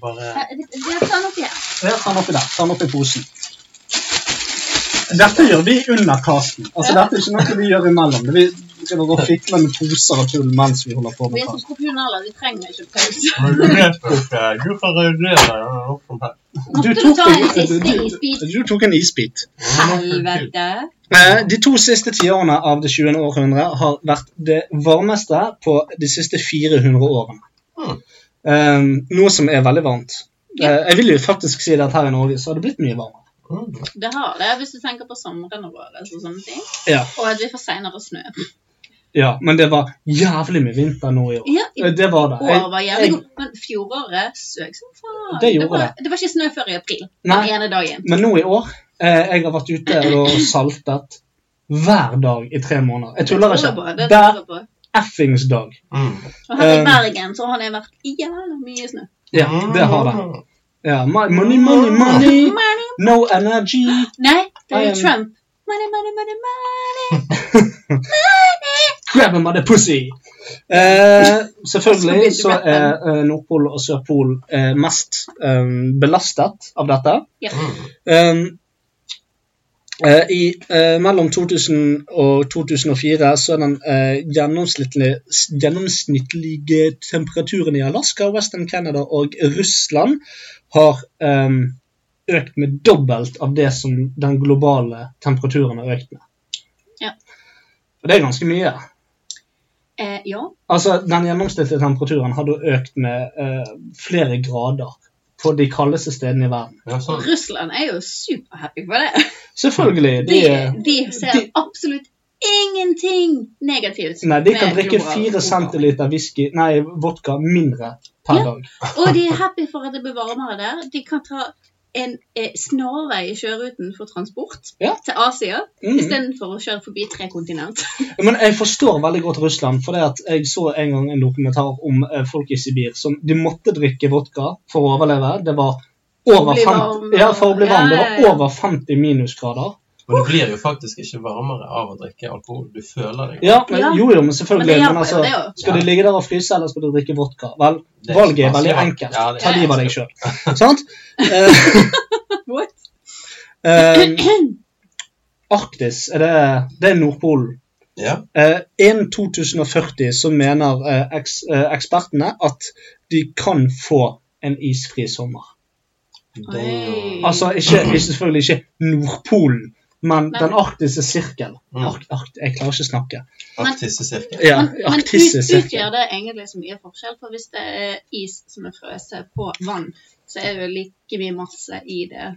[SPEAKER 5] Bare
[SPEAKER 3] Her, Det det er sånn oppi her.
[SPEAKER 4] Ja, ta den oppi der. Ta den oppi posen. Dette gjør vi under casten. Altså, dette er ikke noe vi gjør imellom. Vi driver og fikler med poser og tull mens vi holder på
[SPEAKER 3] Vi
[SPEAKER 4] med
[SPEAKER 3] er så
[SPEAKER 4] casten.
[SPEAKER 3] profesjonelle, vi trenger ikke pause.
[SPEAKER 5] Men du vet ikke, du kan reagere eller noe som helst.
[SPEAKER 4] Du
[SPEAKER 3] Måtte du
[SPEAKER 4] tok
[SPEAKER 3] ta en
[SPEAKER 4] en,
[SPEAKER 3] siste
[SPEAKER 4] du,
[SPEAKER 3] isbit?
[SPEAKER 4] du tok en isbit.
[SPEAKER 3] Helvete.
[SPEAKER 4] Eh, De to siste tiårene av det 20.
[SPEAKER 3] Hmm.
[SPEAKER 4] århundret har vært det varmeste på de siste 400 årene.
[SPEAKER 5] Mm.
[SPEAKER 4] Um, noe som er veldig varmt. Eh, jeg vil jo faktisk si det at her i Norge så har det blitt mye varmere.
[SPEAKER 3] Det har det, hvis du tenker på somrene våre og sånne ting.
[SPEAKER 4] Ja.
[SPEAKER 3] Og at vi får senere snø.
[SPEAKER 4] ja, men det var jævlig mye vinter nå i år.
[SPEAKER 3] Ja, i
[SPEAKER 4] Eh, Det var det.
[SPEAKER 3] år
[SPEAKER 4] Jeg,
[SPEAKER 3] var jævlig god. Men fjoråret søk som faen.
[SPEAKER 4] Det gjorde
[SPEAKER 3] var,
[SPEAKER 4] det.
[SPEAKER 3] det var ikke snø før i april.
[SPEAKER 4] Nei.
[SPEAKER 3] Den ene dagen.
[SPEAKER 4] men nå i år eh, Jeg har vært ute og saltet hver dag i tre måneder. Jeg tuller
[SPEAKER 3] Det tror
[SPEAKER 4] ikke.
[SPEAKER 3] jeg på, det tror
[SPEAKER 4] Hver
[SPEAKER 3] jeg på.
[SPEAKER 4] effings dag.
[SPEAKER 5] Mm.
[SPEAKER 3] Og her i
[SPEAKER 4] Um,
[SPEAKER 3] Bergen så har det vært jævlig mye snø.
[SPEAKER 4] Ja, det har det. Ja, my- money, money, *laughs* money.
[SPEAKER 3] Ah. Money.
[SPEAKER 4] No energy.
[SPEAKER 3] Nei, det
[SPEAKER 4] I
[SPEAKER 3] er
[SPEAKER 4] am-
[SPEAKER 3] jo Trump. Money, money, money,
[SPEAKER 4] *laughs*
[SPEAKER 3] money.
[SPEAKER 4] Grab him by the pussy! Eh, selvfølgelig så er eh, Nordpol og Sørpol eh, mest eh, belastet av dette.
[SPEAKER 3] Ja.
[SPEAKER 4] Um, eh, I eh, mellom 2000 og 2004 så er den eh, gjennomsnittlige, s- gjennomsnittlige temperaturen i Alaska, Western Canada og Russland har em, økt med dobbelt av det som den globale temperaturen har økt med.
[SPEAKER 3] Ja.
[SPEAKER 4] Og det er ganske mye.
[SPEAKER 3] Eh, ja.
[SPEAKER 4] Altså, Den gjennomsnittlige temperaturen har da økt med eh, flere grader på de kaldeste stedene i verden.
[SPEAKER 3] Og Russland er jo superhappy for det.
[SPEAKER 4] Selvfølgelig.
[SPEAKER 5] Mm.
[SPEAKER 3] De,
[SPEAKER 4] De,
[SPEAKER 3] de ser absolutt ingenting negativt.
[SPEAKER 4] Nei, de kan
[SPEAKER 3] med
[SPEAKER 4] drikke
[SPEAKER 3] global
[SPEAKER 4] fire
[SPEAKER 3] oppvarming.
[SPEAKER 4] centiliter whisky, nei, vodka mindre per dag.
[SPEAKER 3] Og de er happy for at det blir varmere der. De kan ta en eh, snarvei i sjøruten for transport til Asia
[SPEAKER 4] Mhm.
[SPEAKER 3] istedenfor å kjøre forbi tre kontinent. *laughs*
[SPEAKER 4] Men jeg forstår veldig godt Russland, for det at jeg så en gang en dokumentar om eh, folk i Sibir som de måtte drikke vodka for å overleve. Det var over
[SPEAKER 5] Bli
[SPEAKER 4] 50,
[SPEAKER 5] varm.
[SPEAKER 4] ja, for å bli varm. Det
[SPEAKER 5] Ja, ja,
[SPEAKER 4] var
[SPEAKER 5] ja.
[SPEAKER 4] over 50 minusgrader.
[SPEAKER 5] Og du blir jo faktisk ikke varmere av å drikke alkohol. Du føler deg
[SPEAKER 4] Ja, men, jo, jo, men
[SPEAKER 5] Men
[SPEAKER 4] selvfølgelig.
[SPEAKER 5] det
[SPEAKER 4] Men,
[SPEAKER 5] hjelper jo,
[SPEAKER 4] altså,
[SPEAKER 5] det jo.
[SPEAKER 4] skal
[SPEAKER 5] Ja.
[SPEAKER 4] du ligge der og fryse, eller skal du drikke vodka? Vel,
[SPEAKER 5] Det er
[SPEAKER 4] valget
[SPEAKER 5] vanskelig
[SPEAKER 4] er veldig
[SPEAKER 5] valg.
[SPEAKER 4] enkelt.
[SPEAKER 5] Ja, det er
[SPEAKER 4] Ta livet av deg sjøl. *laughs* Sant?
[SPEAKER 3] What?
[SPEAKER 4] Ehm, Arktis, er det, det er Nordpolen. Eh, Innen 2040 så mener eh, eks, eh, ekspertene at de kan få en isfri sommer. Altså
[SPEAKER 5] *clears throat*
[SPEAKER 4] ikke, ikke- selvfølgelig ikke Nordpolen, men
[SPEAKER 3] Nei.
[SPEAKER 4] den arktiske sirkel.
[SPEAKER 5] Mm.
[SPEAKER 4] Ark, ark, jeg klarer ikke å snakke.
[SPEAKER 5] Arktiske sirkel.
[SPEAKER 4] Ja,
[SPEAKER 3] men men ut,
[SPEAKER 4] arktiske sirkel.
[SPEAKER 3] utgjør det egentlig så mye forskjell? For hvis det er is som er frøset på vann, så er det jo like mye masse i det.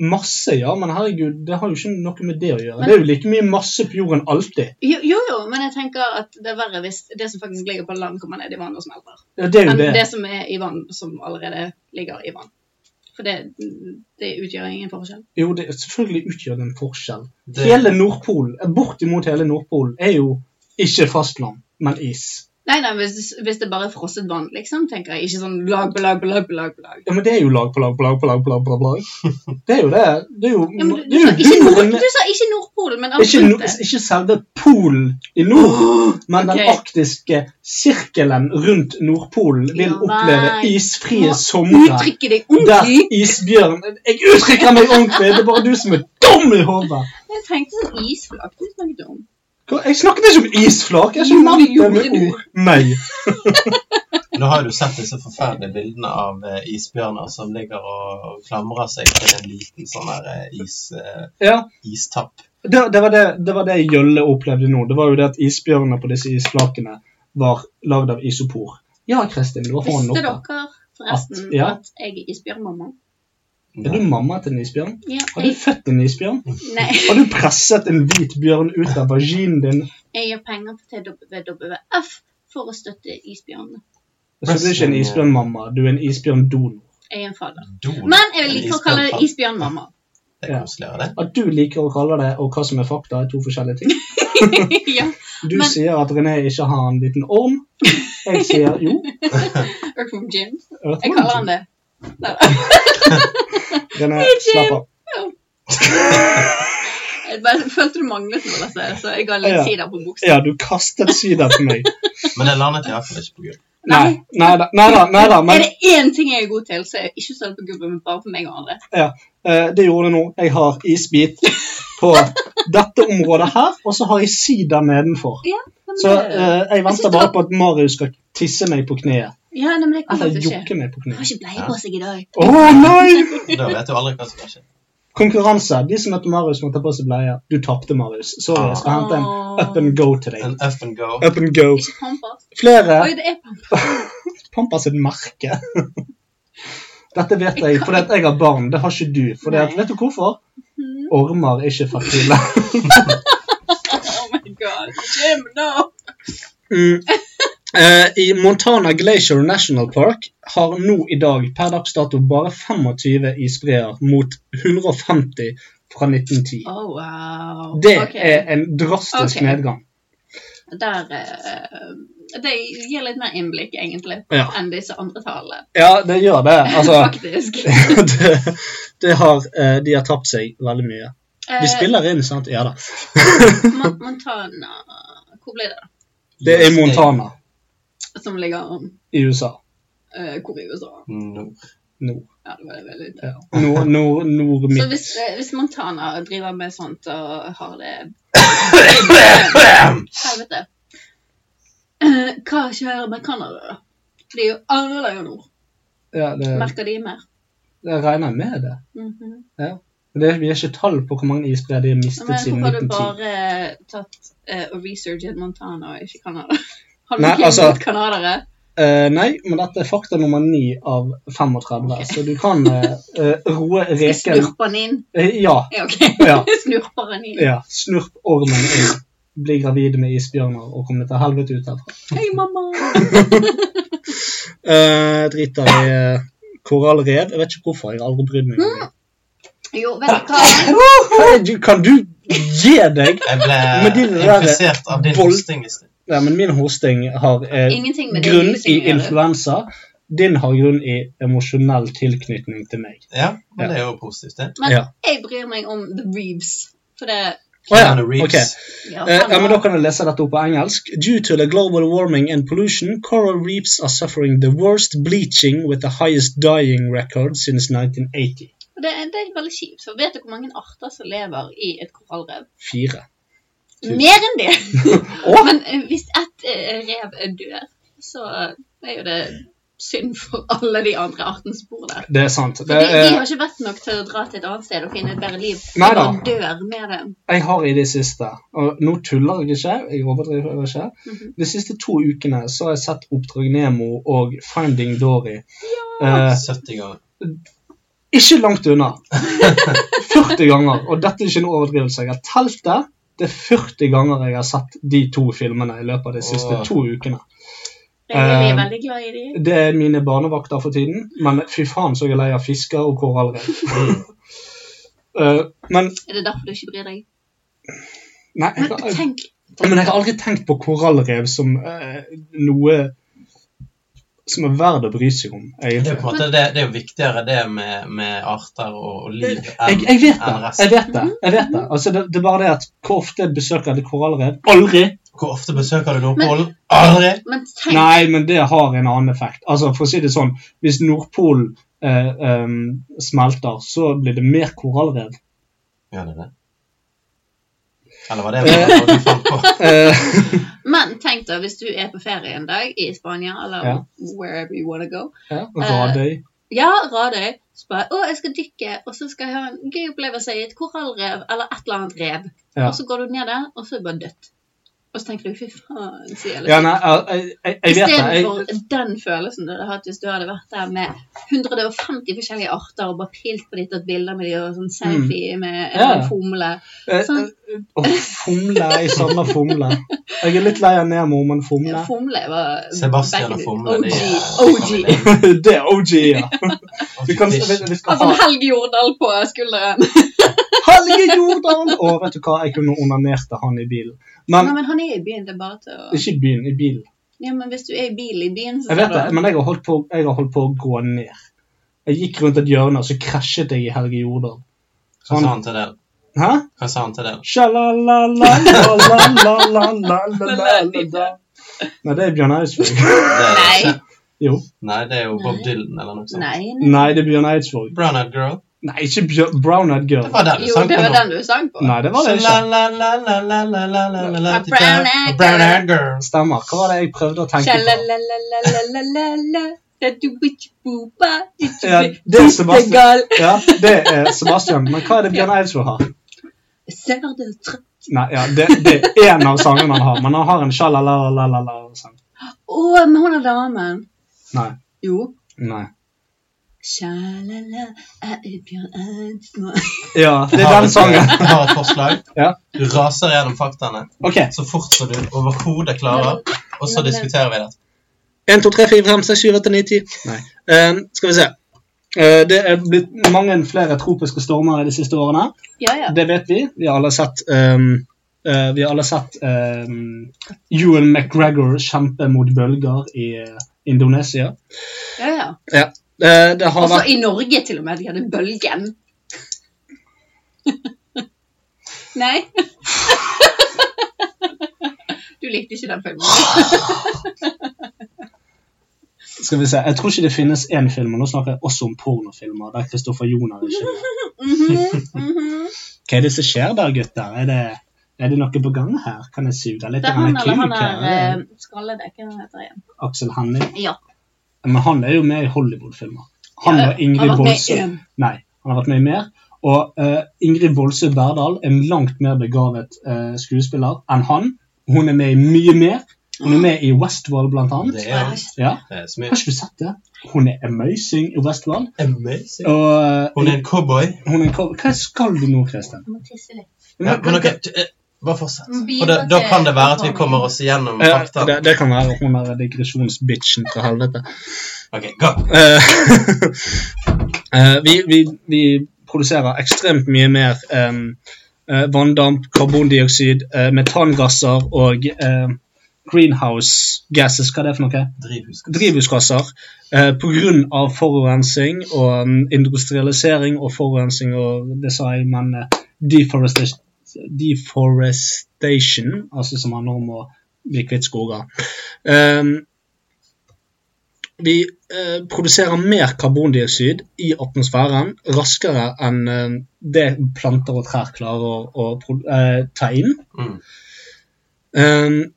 [SPEAKER 4] Masse, ja, men herregud, det har jo ikke noe med det å gjøre.
[SPEAKER 3] Men-
[SPEAKER 4] Det er jo like mye masse på jorden alltid.
[SPEAKER 3] Jo, jo, jo, men jeg tenker at det er verre hvis det som faktisk ligger på land, kommer ned i vann og smelter.
[SPEAKER 4] Ja, det er jo
[SPEAKER 3] Enn
[SPEAKER 4] det.
[SPEAKER 3] det som er i vann, som allerede ligger i vann. For det, det utgjør ingen forskjell.
[SPEAKER 4] Jo, det, selvfølgelig utgjør det en forskjell.
[SPEAKER 5] Det-
[SPEAKER 4] Hele Nordpolen, bortimot hele Nordpolen, er jo ikke fastland, men is.
[SPEAKER 3] Nei, nei, hvis, hvis det bare er frosset vann, liksom, tenker jeg. Ikke sånn lag på lag på lag på lag. på lag.
[SPEAKER 4] Ja, men det er jo lag på lag på lag på lag på lag. På lag, på lag. Det er jo det. Det er jo,
[SPEAKER 3] Ja, men du,
[SPEAKER 4] det
[SPEAKER 3] du,
[SPEAKER 4] er jo
[SPEAKER 3] sa ikke
[SPEAKER 4] jorden
[SPEAKER 3] nord,
[SPEAKER 4] med-
[SPEAKER 3] du sa ikke Nordpolen, men
[SPEAKER 4] ikke, no,
[SPEAKER 3] absolutt.
[SPEAKER 4] ikke selve polen i nord, men den
[SPEAKER 3] *gasps* ok.
[SPEAKER 4] arktiske sirkelen rundt Nordpolen vil oppleve
[SPEAKER 3] nei.
[SPEAKER 4] isfrie
[SPEAKER 3] Må
[SPEAKER 4] somre.
[SPEAKER 3] uttrykke deg
[SPEAKER 4] Der isbjørn Jeg uttrykker meg ordentlig! Det er bare du som er dum i hodet!
[SPEAKER 3] Jeg tenkte sånn isflak. Du snakket om.
[SPEAKER 4] Hva? Jeg snakket ikke om isflak. Jeg har
[SPEAKER 3] Jo,
[SPEAKER 4] ikke
[SPEAKER 3] det
[SPEAKER 4] nevnt det
[SPEAKER 3] gjorde
[SPEAKER 4] med
[SPEAKER 3] du.
[SPEAKER 4] ord. Nei.
[SPEAKER 5] Nå har du sett disse forferdelige bildene av eh, isbjørner som ligger og, og klamrer seg til en liten sånn her eh, is, eh,
[SPEAKER 4] Ja.
[SPEAKER 5] istapp.
[SPEAKER 4] Det, det, var det, det var det Jølle opplevde nå. Det var jo det at isbjørnene på disse isflakene var lagd av isopor. Ja, Kristin, du har hånden
[SPEAKER 3] Visste
[SPEAKER 4] oppe.
[SPEAKER 3] dere forresten
[SPEAKER 4] At- ja.
[SPEAKER 3] at jeg er isbjørnmamma?
[SPEAKER 4] Er du mamma til en isbjørn?
[SPEAKER 3] Ja,
[SPEAKER 4] Har du
[SPEAKER 3] jeg,
[SPEAKER 4] født en isbjørn?
[SPEAKER 3] Nei.
[SPEAKER 4] Har du presset en hvit bjørn ut av vaginen din?
[SPEAKER 3] jeg gir penger til WWF for å støtte isbjørnene.
[SPEAKER 4] Så du er ikke en isbjørnmamma, du er en isbjørndonor.
[SPEAKER 3] Jeg er en fader.
[SPEAKER 5] Donor.
[SPEAKER 3] Men jeg liker å kalle det isbjørnmamma. *laughs*
[SPEAKER 5] Det er koseligere, det.
[SPEAKER 4] At du liker å kalle det og hva som er fakta, er to forskjellige ting.
[SPEAKER 3] ja.
[SPEAKER 4] Du
[SPEAKER 3] Men-
[SPEAKER 4] sier at René ikke har en liten orm.
[SPEAKER 3] *laughs*
[SPEAKER 4] Jeg sier jo.
[SPEAKER 3] Earthworm Jim.
[SPEAKER 4] Earthworm
[SPEAKER 3] Jeg kaller
[SPEAKER 4] Jim.
[SPEAKER 3] han det. Nei.
[SPEAKER 4] René,
[SPEAKER 3] Jim.
[SPEAKER 4] slapp av.
[SPEAKER 3] Jeg bare følte du manglet noe, altså, så jeg ga litt
[SPEAKER 4] Ja.
[SPEAKER 3] sider på buksa.
[SPEAKER 4] Ja, du kastet sider på
[SPEAKER 3] *laughs*
[SPEAKER 4] meg.
[SPEAKER 5] Men det landet iallfall ikke på gulvet.
[SPEAKER 4] Nei, nei da, nei da, nei da, men
[SPEAKER 3] Er det én ting jeg er god til, så er jeg ikke sølv på gubben, men bare på meg og andre.
[SPEAKER 4] ja, eh, det gjorde det nå. Jeg har isbit på
[SPEAKER 3] *laughs*
[SPEAKER 4] dette området her, og så har jeg sider nedenfor.
[SPEAKER 3] Ja, men
[SPEAKER 4] Så
[SPEAKER 3] det-
[SPEAKER 4] eh, jeg venter bare på at Marius skal tisse meg på kneet.
[SPEAKER 3] Ja, nei, men det kommer
[SPEAKER 4] Eller
[SPEAKER 3] til å skje.
[SPEAKER 4] jokke meg på
[SPEAKER 3] Jeg har
[SPEAKER 4] kneet.
[SPEAKER 3] ikke bleie på seg i dag.
[SPEAKER 4] Å nei!
[SPEAKER 5] Da vet du aldri hva som kan skje.
[SPEAKER 4] Konkurranse. De som møtte Marius, må ta på seg bleie. Du tapte, Marius. Sorry, jeg skal hente en up and go til deg.
[SPEAKER 5] En up and go.
[SPEAKER 4] Up and go.
[SPEAKER 3] Ikke pampers.
[SPEAKER 4] Flere
[SPEAKER 3] Oi, det er pampers.
[SPEAKER 4] Pampa sitt merke. *laughs* Dette vet jeg fordi at jeg har barn. Det har ikke du. Fordi at, vet du hvorfor? Mhm. Ormer er ikke fertile.
[SPEAKER 3] Oh my god. Jim, no!
[SPEAKER 4] Mm. *laughs* Eh, I Montana Glacier National Park har nå i dag per dags dato bare 25 isbreer mot 150 fra 1910.
[SPEAKER 3] Oh, wow.
[SPEAKER 4] Det
[SPEAKER 3] Ok.
[SPEAKER 4] er en drastisk
[SPEAKER 3] Ok.
[SPEAKER 4] nedgang.
[SPEAKER 3] Der eh, Det gir litt mer innblikk, egentlig,
[SPEAKER 4] Ja.
[SPEAKER 3] enn disse andre tallene.
[SPEAKER 4] Ja, det gjør det. Altså,
[SPEAKER 3] Faktisk.
[SPEAKER 4] *laughs* det, det har, eh, de har tapt seg veldig mye.
[SPEAKER 3] Eh,
[SPEAKER 4] De spiller inn, sant? Ja
[SPEAKER 3] *laughs*
[SPEAKER 4] da.
[SPEAKER 3] Mon- Montana Hvor ble det?
[SPEAKER 4] Det er i Montana
[SPEAKER 3] Som ligger
[SPEAKER 4] i USA.
[SPEAKER 3] eh, hvor i USA?
[SPEAKER 4] Nord.
[SPEAKER 3] Ja, det var det veldig
[SPEAKER 4] Ja. Nord, nord, nord
[SPEAKER 3] Så
[SPEAKER 4] midt.
[SPEAKER 3] hvis, eh, hvis Montana driver med sånt og har det Helvete. Eh, Hva skjer med Canada, da? For de er jo annerledes nord.
[SPEAKER 4] Ja, det,
[SPEAKER 3] Merker de mer?
[SPEAKER 4] jeg regner med det.
[SPEAKER 3] Mhm.
[SPEAKER 4] Ja. Men det. Vi har ikke tall på hvor mange isbreer de har mistet
[SPEAKER 3] Men
[SPEAKER 4] siden
[SPEAKER 3] hvorfor har du
[SPEAKER 4] 1910.
[SPEAKER 3] bare tatt eh, og researchet Montana og ikke Canada? *laughs* Har du
[SPEAKER 4] Nei,
[SPEAKER 3] ikke
[SPEAKER 4] altså-
[SPEAKER 3] mot canadere?
[SPEAKER 4] Eh, nei, men dette er fakta nummer 9 av 35, så du kan eh, eh, roe
[SPEAKER 3] Jeg
[SPEAKER 4] reken
[SPEAKER 3] snurper den inn.
[SPEAKER 4] Eh, Ja.
[SPEAKER 3] Ja, ok.
[SPEAKER 4] *laughs* Ja.
[SPEAKER 3] Jeg *laughs* snurper den inn.
[SPEAKER 4] ja. Snurp ormen inn. Bli gravid med isbjørner og komme til helvete ut herfra.
[SPEAKER 3] Hei,
[SPEAKER 4] *laughs*
[SPEAKER 3] mamma!
[SPEAKER 4] Eh, driter i eh, korallrev. Jeg vet ikke hvorfor. Jeg har aldri brydd meg om det.
[SPEAKER 3] Jo, vet du hva?
[SPEAKER 4] Hva er det- Kan du gi deg?
[SPEAKER 5] Jeg ble
[SPEAKER 4] Med de der-
[SPEAKER 5] infisert av din
[SPEAKER 4] Vold-
[SPEAKER 5] hosting i sted.
[SPEAKER 4] Ja, men min hosting har eh,
[SPEAKER 3] Ingenting med det
[SPEAKER 4] grunn
[SPEAKER 3] hosting
[SPEAKER 4] i
[SPEAKER 3] å gjøre.
[SPEAKER 4] influensa. Din har grunn i emosjonell tilknytning til meg.
[SPEAKER 5] Ja, men det er jo positivt, det.
[SPEAKER 3] Men
[SPEAKER 4] Ja.
[SPEAKER 3] jeg bryr meg om The Reeves. For det
[SPEAKER 4] Å ja,
[SPEAKER 5] Keanu Reeves.
[SPEAKER 4] ok.
[SPEAKER 3] Ja,
[SPEAKER 4] Eh, ja,
[SPEAKER 3] faen,
[SPEAKER 4] men Da kan jeg lese dette opp på engelsk. Due to the global warming and pollution, coral reefs are suffering the worst bleaching with the highest dying record since 1980.
[SPEAKER 3] og det, det er veldig kjipt. For vet du hvor mange arter som lever i et korallrev?
[SPEAKER 4] Fire. Tusen.
[SPEAKER 3] Mer enn
[SPEAKER 4] *laughs*
[SPEAKER 3] det!
[SPEAKER 4] Å!
[SPEAKER 3] Men eh, hvis ett eh, rev dør, så er jo det synd for alle de andre artene som bor der.
[SPEAKER 4] Det er sant.
[SPEAKER 3] For
[SPEAKER 4] Det
[SPEAKER 3] de, de har
[SPEAKER 4] er,
[SPEAKER 3] ikke vett nok til å dra til et annet sted og finne et bedre liv.
[SPEAKER 4] Nei da.
[SPEAKER 3] Og dør med det.
[SPEAKER 4] Eh, jeg har i det siste og Nå tuller jeg ikke, jeg overdriver ikke.
[SPEAKER 3] Mhm.
[SPEAKER 4] De siste to ukene så har jeg sett Oppdrag Nemo og Finding Dory. Eh,
[SPEAKER 5] 70 ganger.
[SPEAKER 4] Ikke langt unna. *laughs* 40 ganger. Og dette er ikke noe overdrivelse. Jeg har telt det. Det er 40 ganger jeg har sett de to filmene i løpet av de siste
[SPEAKER 5] Åh.
[SPEAKER 4] to ukene.
[SPEAKER 3] Jeg er
[SPEAKER 4] Eh,
[SPEAKER 3] veldig glad i de.
[SPEAKER 4] Det er mine barnevakter for tiden, men fy faen så jeg er lei av fisker og korallrev.
[SPEAKER 5] Mm.
[SPEAKER 4] *laughs* Eh, men
[SPEAKER 3] Er det derfor du ikke bryr deg?
[SPEAKER 4] nei, jeg,
[SPEAKER 3] Men
[SPEAKER 4] har- jeg,
[SPEAKER 3] tenk
[SPEAKER 4] men jeg har aldri tenkt på korallrev som eh, noe som er verdt å bry seg om,
[SPEAKER 5] Det er
[SPEAKER 4] egentlig.
[SPEAKER 5] jo på en måte det, det er jo viktigere det med, med arter og, og liv
[SPEAKER 4] jeg,
[SPEAKER 5] enn
[SPEAKER 4] jeg vet det.
[SPEAKER 5] enn
[SPEAKER 4] jeg
[SPEAKER 5] resten.
[SPEAKER 4] vet Det jeg vet
[SPEAKER 3] Mm.
[SPEAKER 4] det. Altså, det, det er bare det at hvor ofte besøker jeg et korallrev? Aldri!
[SPEAKER 5] Hvor ofte besøker du Nordpolen? Aldri!
[SPEAKER 3] Men tenk
[SPEAKER 4] Nei, men det har en annen effekt. Altså, for å si det sånn, Hvis Nordpolen eh, em, smelter, så blir det mer korallrev.
[SPEAKER 5] Gjør det det? Eller var det bare noe du fant
[SPEAKER 3] *laughs*
[SPEAKER 5] på?
[SPEAKER 4] Eh,
[SPEAKER 3] Men tenk da, hvis du er på ferie en dag i Spania, eller
[SPEAKER 4] Ja.
[SPEAKER 3] wherever you wanna go.
[SPEAKER 4] ja, Radøy.
[SPEAKER 3] Ja, Radøy. Så bare, å, jeg skal dykke, og så skal jeg ha en gøy opplevelse i et korallrev, eller et eller annet rev.
[SPEAKER 4] Ja.
[SPEAKER 3] Og så går du ned der, og så er det bare dødt. Og så tenker du, fy faen, liksom.» så jævlig.
[SPEAKER 4] Ja, nei, jeg, jeg, jeg vet det. Jeg,
[SPEAKER 3] Istedenfor den følelsen du hadde hatt hvis du hadde vært der med 150 forskjellige arter og bare pilt på ditt og tatt bilder med dem og sånn selfie med
[SPEAKER 4] Mm.
[SPEAKER 3] en
[SPEAKER 4] Ja.
[SPEAKER 3] fomle.
[SPEAKER 4] eh,
[SPEAKER 3] Sånn.
[SPEAKER 4] eh, åh, fomle. Jeg savner fomle. Jeg er litt lei av Nemo, men fomle
[SPEAKER 3] Fomle var
[SPEAKER 5] Sebastian
[SPEAKER 3] back in
[SPEAKER 5] og
[SPEAKER 3] the-
[SPEAKER 5] Fomle. de er-
[SPEAKER 3] OG. OG.
[SPEAKER 4] *laughs* Det er OG, ja. Vi, kan, vi,
[SPEAKER 5] Fish.
[SPEAKER 4] vi skal
[SPEAKER 3] Altså
[SPEAKER 4] ha
[SPEAKER 3] Helge Jordal på skulderen.
[SPEAKER 4] Helge Jordal! Og vet du hva, jeg kunne onanert av han i bilen. Men
[SPEAKER 3] Nei, men han er i byen, det er bare til å
[SPEAKER 4] ikke i byen, i bilen.
[SPEAKER 3] Ja, men hvis du er i bil i byen, så
[SPEAKER 4] Jeg vet det, men jeg har holdt på, jeg har holdt på å gå ned. Jeg gikk rundt et hjørne, og så krasjet jeg i Helge Jordal.
[SPEAKER 5] Hva sa han til det?
[SPEAKER 4] Hæ?
[SPEAKER 5] Hva sa han til det?
[SPEAKER 4] Sjalalalalalalalalala. Nei, det er Bjørn Eidsvåg.
[SPEAKER 5] det
[SPEAKER 3] Nei.
[SPEAKER 4] Jo.
[SPEAKER 5] Nei, det er jo Bob
[SPEAKER 3] Nei.
[SPEAKER 5] Dylan eller noe sånt.
[SPEAKER 3] Nei, nei.
[SPEAKER 4] Nei, det er Bjørn Eidsvåg.
[SPEAKER 5] Brown Eyed Girl.
[SPEAKER 4] Nei, ikke Bjørn Brown Eyed Girl.
[SPEAKER 5] Det var den du
[SPEAKER 3] Jo,
[SPEAKER 5] sang
[SPEAKER 3] det
[SPEAKER 5] på
[SPEAKER 3] var
[SPEAKER 5] nå.
[SPEAKER 3] den du sang på.
[SPEAKER 4] Nei, det var det
[SPEAKER 5] La,
[SPEAKER 4] ikke.
[SPEAKER 5] la, la, la, la, la, la, la, la, la,
[SPEAKER 3] A brown
[SPEAKER 5] A
[SPEAKER 3] eyed
[SPEAKER 5] brown eyed girl.
[SPEAKER 4] Stemmer. Hva var det jeg prøvde å tenke på?
[SPEAKER 3] Sjalalalalalalalala. Da du ikke boba, ikke
[SPEAKER 4] Ja,
[SPEAKER 3] bli
[SPEAKER 4] det er Sebastian.
[SPEAKER 3] bittegal.
[SPEAKER 4] Ja, det er Sebastian. Men hva er det Bjørn Eidsvåg har?
[SPEAKER 3] Ser du tre-
[SPEAKER 4] Nei, ja, det, det er en av sangene han har, men han har en sjalalalalalala-sang.
[SPEAKER 3] Å, men hun er damen.
[SPEAKER 4] Nei.
[SPEAKER 3] Jo.
[SPEAKER 4] Nei.
[SPEAKER 3] Sjalala, jeg er Bjørn Eidsmo
[SPEAKER 4] Ja, det er
[SPEAKER 5] Har
[SPEAKER 4] den
[SPEAKER 5] et-
[SPEAKER 4] sangen.
[SPEAKER 5] Jeg har et forslag.
[SPEAKER 4] Ja.
[SPEAKER 5] Du raser gjennom faktaene så fort som du overhodet klarer, og så diskuterer vi det.
[SPEAKER 4] 1, 2, 3, 4, 5, 6, 7, 8, 9, 10. Eh, skal vi se. Eh, det er blitt mange flere tropiske stormer de siste årene.
[SPEAKER 3] Ja, ja.
[SPEAKER 4] Det vet vi. Vi har alle sett ehm, eh, Vi har alle sett ehm, Ewan McGregor kjempe mot bølger i eh, Indonesia.
[SPEAKER 3] ja, ja.
[SPEAKER 4] Ja. Eh, det har
[SPEAKER 3] Også
[SPEAKER 4] vært
[SPEAKER 3] i Norge til og med. Vi hadde bølgen. Nei? Du likte ikke den filmen?
[SPEAKER 4] Skal vi se. Jeg tror ikke det finnes én film, og nå snakker jeg også om pornofilmer. der Kristoffer Joner er ikke med.
[SPEAKER 3] Mhm, mhm.
[SPEAKER 4] Hva er det som skjer der, gutter? Er det, er det noe på gang her? Kan jeg suge litt
[SPEAKER 3] Det er eh, han eller han
[SPEAKER 4] kuk her?
[SPEAKER 3] er eh, skrallede. Hva er det han heter igjen?
[SPEAKER 4] Aksel Hennie?
[SPEAKER 3] Ja.
[SPEAKER 4] Men han er jo med i Hollywood-filmer. Han
[SPEAKER 3] Ja,
[SPEAKER 4] og Ingrid
[SPEAKER 3] han har vært med i
[SPEAKER 4] Bolsø
[SPEAKER 3] en.
[SPEAKER 4] Nei, han har vært med i mer. Og eh, Ingrid Bolsø Berdal er en langt mer begavet eh, skuespiller enn han. Hun er med i mye mer. Hun er med i Westworld, blant annet.
[SPEAKER 5] Det er eh, hun.
[SPEAKER 4] ja.
[SPEAKER 5] Det er så mye.
[SPEAKER 4] Har ikke du sett det? Hun er amazing i Westworld.
[SPEAKER 5] Amazing.
[SPEAKER 4] Og, eh,
[SPEAKER 5] Hun er en cowboy.
[SPEAKER 4] Hun er en cowboy. Hva skal du nå, Kristian?
[SPEAKER 3] Jeg må tisse litt.
[SPEAKER 5] Ja, men ok, eh, bare fortsett.
[SPEAKER 3] Vi
[SPEAKER 5] For da, da
[SPEAKER 3] til-
[SPEAKER 5] kan det være at vi kommer oss igjennom
[SPEAKER 4] Ja,
[SPEAKER 5] fakta.
[SPEAKER 4] det, det kan være hun der digresjonsbitchen fra helvete.
[SPEAKER 5] Ok, gå.
[SPEAKER 4] *laughs* Eh, vi, vi, vi produserer ekstremt mye mer em, eh, vanndamp, karbondioksid, eh, metangasser og eh, greenhouse gases. Hva er det for noe?
[SPEAKER 5] Drivhusgasser.
[SPEAKER 4] Drivhusgasser. eh, på grunn av forurensning og mm, industrialisering og forurensning og det sa jeg, men eh, deforestation, deforestation, altså som handler om å bli kvitt skoger. Em, vi eh, produserer mer karbondioksid i atmosfæren raskere enn eh, det planter og trær klarer å, å pro- eh, ta inn. Um,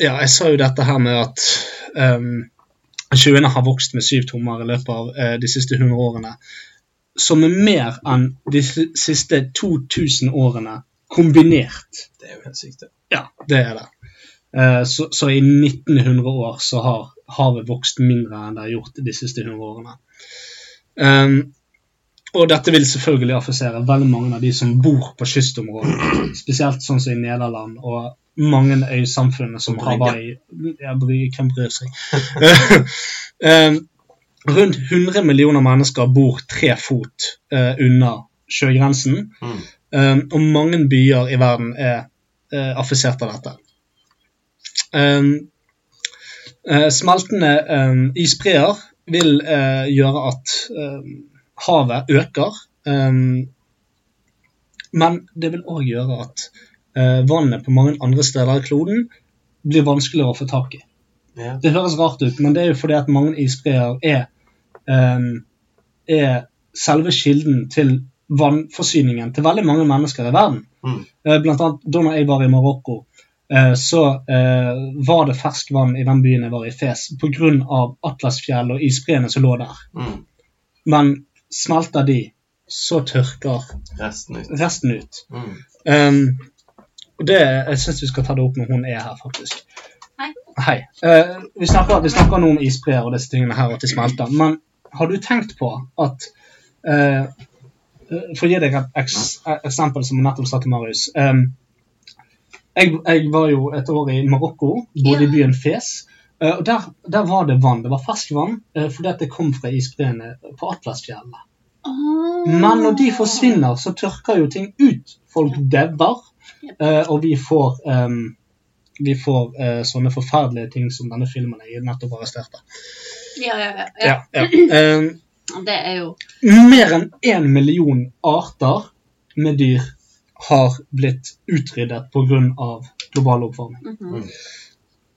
[SPEAKER 4] ja, jeg sa jo dette her med at um, sjøene har vokst med syv tommer i løpet av eh, de siste 100 årene. Som er mer enn de si- siste 2000 årene kombinert.
[SPEAKER 5] Det er jo helt sykt, det.
[SPEAKER 4] Ja, det er det. Eh, Så, så i 1900 år så har havet vokst mindre enn det har gjort de siste 100 årene. Ehm, og dette vil selvfølgelig affisere veldig mange av de som bor på kystområder, spesielt sånn som i Nederland og mange øysamfunn som
[SPEAKER 5] Brygge.
[SPEAKER 4] Hawaii ja, Brygge, Hvem bryr seg? *laughs* Ehm, rundt 100 millioner mennesker bor tre fot eh, unna sjøgrensen. Um, og mange byer i verden er uh, affisert av dette. Um, eh, smeltende um, isbreer vil eh, gjøre at um, havet øker. Um, men det vil òg gjøre at eh, vannet på mange andre steder i kloden blir vanskeligere å få tak i.
[SPEAKER 5] Ja.
[SPEAKER 4] Det høres rart ut, men det er jo fordi at mange isbreer er ehm, er selve kilden til vannforsyningen til veldig mange mennesker i verden.
[SPEAKER 5] Mm.
[SPEAKER 4] Eh, Blant annet da når jeg var i Marokko, eh, så eh, var det ferskvann i den byen jeg var i, Fes, pga. Atlasfjell og isbreene som lå der.
[SPEAKER 5] Mm.
[SPEAKER 4] Men smelter de, så tørker
[SPEAKER 5] Resten ut.
[SPEAKER 4] resten ut.
[SPEAKER 5] Mm.
[SPEAKER 4] Ehm, og det, jeg syns vi skal ta det opp når hun er her, faktisk.
[SPEAKER 3] Hei.
[SPEAKER 4] Hei. Eh, vi, snakker, vi snakker nå om isbreer og disse tingene her, og at de smelter. Men har du tenkt på at eh, eh, For å gi deg et eks eksempel som jeg nettopp sa til Marius. Em, jeg, jeg var jo et år i Marokko, bodde i byen Fes. eh, og der, der var det vann. Det var ferskvann uh, fordi at det kom fra isbreene på Atlasfjellet.
[SPEAKER 3] Ah.
[SPEAKER 4] Men når de forsvinner, så tørker jo ting ut. Folk dauer, eh, og vi får, em, vi får eh, sånne forferdelige ting som denne filmen jeg nettopp arresterte.
[SPEAKER 3] Ja, ja, ja. ja.
[SPEAKER 4] Ja, ja. Em,
[SPEAKER 3] Det er jo
[SPEAKER 4] mer enn én million arter med dyr har blitt utryddet pga. global oppvarming.
[SPEAKER 3] mhm.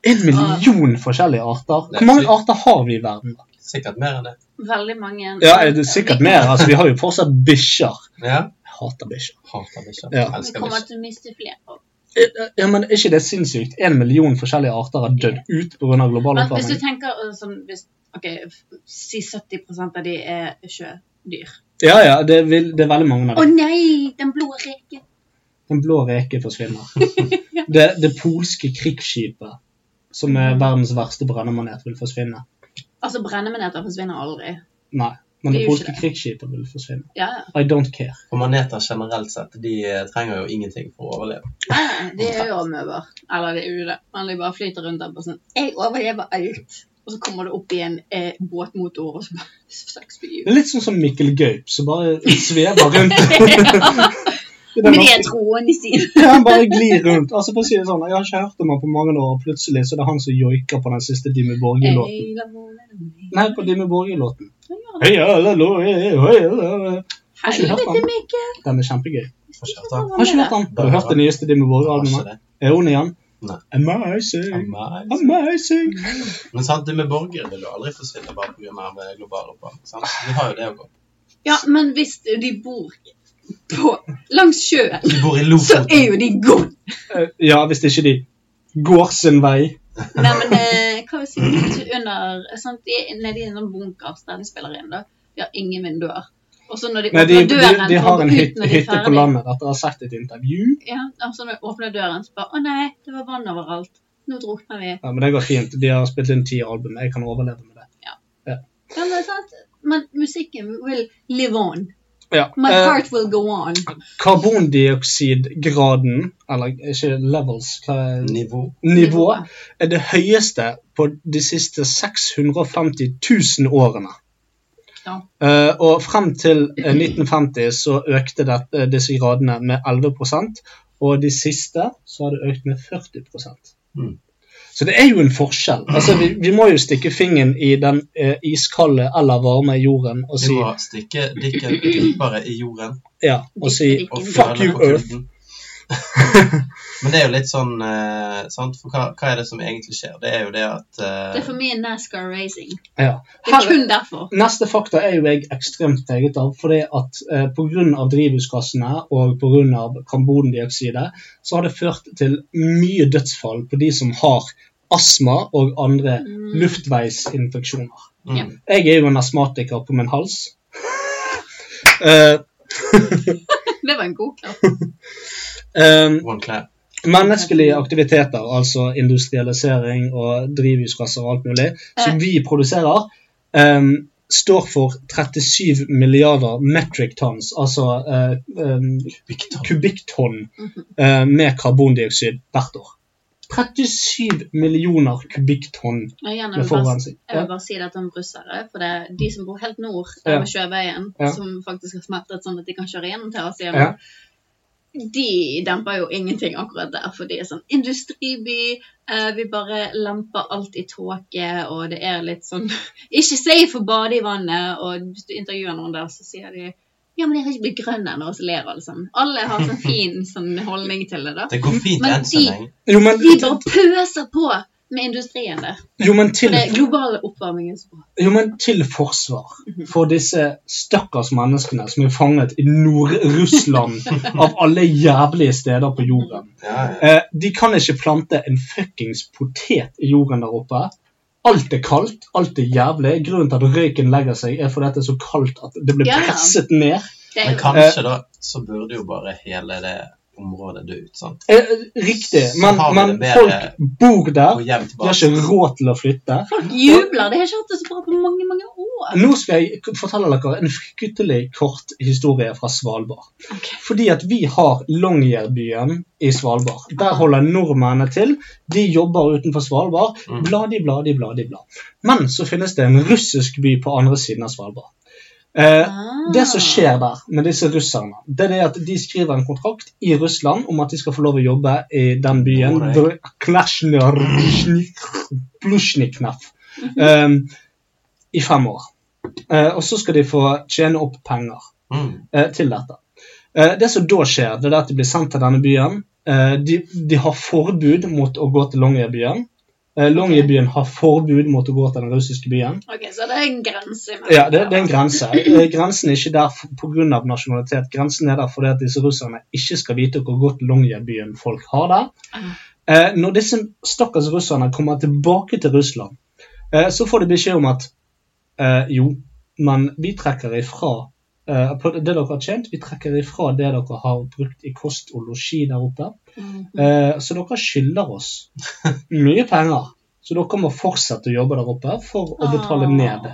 [SPEAKER 4] En million forskjellige arter.
[SPEAKER 5] Det er
[SPEAKER 4] Hvor mange
[SPEAKER 5] sykt.
[SPEAKER 4] arter har vi i verden? da?
[SPEAKER 5] Sikkert mer enn det.
[SPEAKER 3] veldig mange
[SPEAKER 4] Ja, er det sikkert mer. Altså, vi har jo fortsatt bikkjer.
[SPEAKER 5] Ja.
[SPEAKER 4] Jeg hater bikkjer.
[SPEAKER 5] Hater bikkjer.
[SPEAKER 4] Ja.
[SPEAKER 3] Vi
[SPEAKER 5] Elsker
[SPEAKER 3] kommer
[SPEAKER 5] bikkjer.
[SPEAKER 3] til å miste flere.
[SPEAKER 4] Eh, Ja, men er ikke det sinnssykt? En million forskjellige arter har dødd ut pga. global
[SPEAKER 3] Men hvis du
[SPEAKER 4] oppvarming.
[SPEAKER 3] tenker eh, som hvis, Ok, f- si 70 av de er sjødyr.
[SPEAKER 4] Ja, ja, det, vil, det er veldig mange
[SPEAKER 3] Å
[SPEAKER 4] av dem.
[SPEAKER 3] nei, den blå reken!
[SPEAKER 4] Den blå reke
[SPEAKER 3] *laughs*
[SPEAKER 4] forsvinner. *laughs* Det, det polske krigsskipet, som er verdens verste brennemanet, vil forsvinne.
[SPEAKER 3] Altså, brennemaneter forsvinner aldri.
[SPEAKER 4] Nei. Men
[SPEAKER 3] Det
[SPEAKER 4] de
[SPEAKER 3] er jo
[SPEAKER 4] polske
[SPEAKER 3] ikke det.
[SPEAKER 4] krigsskipene vil forsvinne.
[SPEAKER 3] Ja, ja.
[SPEAKER 4] I don't care.
[SPEAKER 5] Og maneter generelt sett, de eh, trenger jo ingenting for å overleve.
[SPEAKER 3] Nei, Det er jo amøber. Eller det er jo det. Men de bare flyter rundt der på sånn Jeg overlever alt. Og så kommer det opp i en eh, båtmotor, og så bare *laughs* Saks fy.
[SPEAKER 4] *laughs* Litt sånn som Mikkel Gaup, som bare svever
[SPEAKER 3] *laughs*
[SPEAKER 4] rundt.
[SPEAKER 3] Med de trådene sine.
[SPEAKER 4] *laughs* Ja, han bare glir rundt. Altså for å si det sånn, Jeg har ikke hørt om han på mange år, og plutselig så er det han som joiker på den siste Dimmu Borgir-låten. Nei, på Dimmu Borgir-låten. Hei, alle, lo, hei, hei, hei, alle. Har ikke hørt
[SPEAKER 3] Helvete,
[SPEAKER 4] den.
[SPEAKER 3] Mikkel!
[SPEAKER 4] Den er kjempegøy.
[SPEAKER 5] Har
[SPEAKER 4] Har ikke hørt den. Har du hørt det nyeste Dimmu
[SPEAKER 5] Har ikke
[SPEAKER 4] Borgir-albumet?
[SPEAKER 5] det.
[SPEAKER 4] Er hun igjen?
[SPEAKER 5] Nei.
[SPEAKER 4] Amazing.
[SPEAKER 5] Amazing.
[SPEAKER 4] Amazing.
[SPEAKER 5] Men sant, det med borgere vil jo aldri forsvinne bare pga. eh, global oppvarming. sant? Vi har jo det å gå. på.
[SPEAKER 3] Ja, men hvis de bor på, langs sjøen,
[SPEAKER 5] Vi bor i
[SPEAKER 3] så
[SPEAKER 5] Lofoten.
[SPEAKER 3] er jo de gone.
[SPEAKER 4] Eh, Ja, hvis ikke de går sin vei.
[SPEAKER 3] Nei, men eh, hva vil jeg si litt under sant? De er nede i en sånn bunkers der de spiller inn. da. De har ingen vinduer. Og så når de
[SPEAKER 4] Nei, de,
[SPEAKER 3] åpner
[SPEAKER 4] de,
[SPEAKER 3] døren
[SPEAKER 4] de har
[SPEAKER 3] for å
[SPEAKER 4] en
[SPEAKER 3] gå ut
[SPEAKER 4] hytte,
[SPEAKER 3] når de er
[SPEAKER 4] hytte på
[SPEAKER 3] ferdig-
[SPEAKER 4] landet etter å ha sett et intervju.
[SPEAKER 3] Ja, og så når de åpner døren, så bare Å nei, det var vann overalt. Nå drukner vi.
[SPEAKER 4] Ja, men det går fint. De har spilt inn ti album. Jeg kan overleve med det.
[SPEAKER 3] Ja, men, sant? men musikken will live on.
[SPEAKER 4] Ja.
[SPEAKER 3] My
[SPEAKER 4] eh,
[SPEAKER 3] heart will go on.
[SPEAKER 4] karbondioksidgraden, eller ikke levels, hva er
[SPEAKER 5] Nivå.
[SPEAKER 4] nivå, er det høyeste på de siste 650 000 årene.
[SPEAKER 3] Ja.
[SPEAKER 4] Eh, og frem til eh, 1950 så økte dette, disse gradene med 11 og de siste så har det økt med 40
[SPEAKER 5] Mm.
[SPEAKER 4] Så det er jo en forskjell. Altså, vi, vi må jo stikke fingeren i den eh, iskalde eller varme jorden og
[SPEAKER 5] Vi
[SPEAKER 4] si,
[SPEAKER 5] må stikke dikken dypere i jorden
[SPEAKER 4] ja, og si
[SPEAKER 5] og
[SPEAKER 4] fuck
[SPEAKER 5] fjerne
[SPEAKER 4] you,
[SPEAKER 5] på
[SPEAKER 4] Earth.
[SPEAKER 5] kulden. *laughs* Men det er jo litt sånn eh, sant? For hva, hva er det som egentlig skjer? Det er jo det at
[SPEAKER 3] Det er
[SPEAKER 5] eh,
[SPEAKER 3] for mye NASCAR racing.
[SPEAKER 4] Ja.
[SPEAKER 3] Det er kun derfor.
[SPEAKER 4] Neste fakta er jo jeg ekstremt preget av, fordi at eh, pga. drivhusgassene og pga. karbondioksidet, så har det ført til mye dødsfall på de som har astma og andre luftveisinfeksjoner.
[SPEAKER 3] Ja.
[SPEAKER 4] Jeg er jo en astmatiker på min hals. *laughs* Eh,
[SPEAKER 3] Det var en god
[SPEAKER 4] *laughs*
[SPEAKER 3] klapp.
[SPEAKER 4] eh,
[SPEAKER 5] One clap.
[SPEAKER 4] menneskelige aktiviteter, altså industrialisering og drivhusgasser og alt mulig, som vi produserer, em, står for 37 milliarder metric tons, altså eh, em, kubikktonn eh, med karbondioksid hvert år. 37 millioner kubikktonn.
[SPEAKER 3] Og igjen,
[SPEAKER 4] Med
[SPEAKER 3] jeg, vil bare,
[SPEAKER 4] forurensning.
[SPEAKER 3] jeg vil
[SPEAKER 4] Ja.
[SPEAKER 3] bare si dette om russere. For det er de som bor helt nord
[SPEAKER 4] Ja.
[SPEAKER 3] ja. ved sjøveien,
[SPEAKER 4] Ja.
[SPEAKER 3] som faktisk har smeltet sånn at de kan kjøre gjennom terrasien,
[SPEAKER 4] Ja.
[SPEAKER 3] de demper jo ingenting akkurat der. For de er sånn industriby, eh, vi bare lemper alt i tåke, og det er litt sånn *laughs* Ikke safe å bade i vannet. Og hvis du intervjuer noen der, så sier de ja, men jeg har ikke blitt grønn ennå, og så ler alle sammen. Alle har
[SPEAKER 4] *laughs*
[SPEAKER 3] sånn fin sånn holdning til det, da.
[SPEAKER 5] Det går fint
[SPEAKER 3] Men
[SPEAKER 5] enn så
[SPEAKER 3] de-
[SPEAKER 5] lenge.
[SPEAKER 4] Jo, men,
[SPEAKER 3] De bare pøser på med industrien der.
[SPEAKER 4] jo, men til
[SPEAKER 3] Det er globale oppvarmingen som
[SPEAKER 4] Jo, men til forsvar for disse stakkars menneskene som er fanget i Nord-Russland av alle jævlige steder på jorden.
[SPEAKER 5] Ja, ja.
[SPEAKER 4] Eh, de kan ikke plante en fuckings potet i jorden der oppe. Alt er kaldt, alt er jævlig. Grunnen til at røyken legger seg, er fordi det er så kaldt at det blir
[SPEAKER 3] Ja, ja.
[SPEAKER 4] presset ned.
[SPEAKER 3] Det er
[SPEAKER 5] Men
[SPEAKER 3] jo-
[SPEAKER 5] kanskje
[SPEAKER 4] Eh.
[SPEAKER 5] da, så burde jo bare hele det området dø ut, sant?
[SPEAKER 4] Eh, riktig,
[SPEAKER 5] Så
[SPEAKER 4] men,
[SPEAKER 5] har vi
[SPEAKER 4] men
[SPEAKER 5] det bedre.
[SPEAKER 4] folk bor
[SPEAKER 5] Og
[SPEAKER 4] der.
[SPEAKER 5] jevnt
[SPEAKER 4] De har ikke råd til å flytte.
[SPEAKER 3] Folk jubler. De har ikke hatt det så bra på mange mange år.
[SPEAKER 4] Nå skal jeg k- fortelle dere en fryktelig kort historie fra Svalbard. Fordi at vi har Longyearbyen i Svalbard. Der holder nordmennene til. De jobber utenfor Svalbard.
[SPEAKER 5] Mm.
[SPEAKER 4] Bla, de, bla, de, bla, de, bla. Men så finnes det en russisk by på andre siden av Svalbard. Eh, det som skjer der med disse russerne, det er det at de skriver en kontrakt i Russland om at de skal få lov å jobbe i den byen
[SPEAKER 5] Hvor er
[SPEAKER 4] Vr- Klasjnjor- Snik- Plusjniknev, em, i fem år. Eh, og så skal de få tjene opp penger
[SPEAKER 5] Mm.
[SPEAKER 4] eh, til dette. Eh, det som da skjer, det er at de blir sendt til denne byen. Eh, de, de har forbud mot å gå til Longyearbyen. Eh, Longyearbyen har forbud mot å gå til den russiske byen.
[SPEAKER 3] Ok, Så det er en grense. imellom.
[SPEAKER 4] Ja, det, det er en grense. Eh, Grensen er ikke der f- på grunn av nasjonalitet. Grensen er der fordi at disse russerne ikke skal vite hvor godt Longyearbyen folk har der. Eh, når disse stakkars russerne kommer tilbake til Russland, eh, så får de beskjed om at eh, jo, men vi trekker ifra eh, på det dere har tjent, vi trekker ifra det dere har brukt i kost og losji der oppe.
[SPEAKER 3] Mhm.
[SPEAKER 4] Eh, så dere skylder oss *laughs* mye penger. Så dere må fortsette å jobbe der oppe for å betale ned.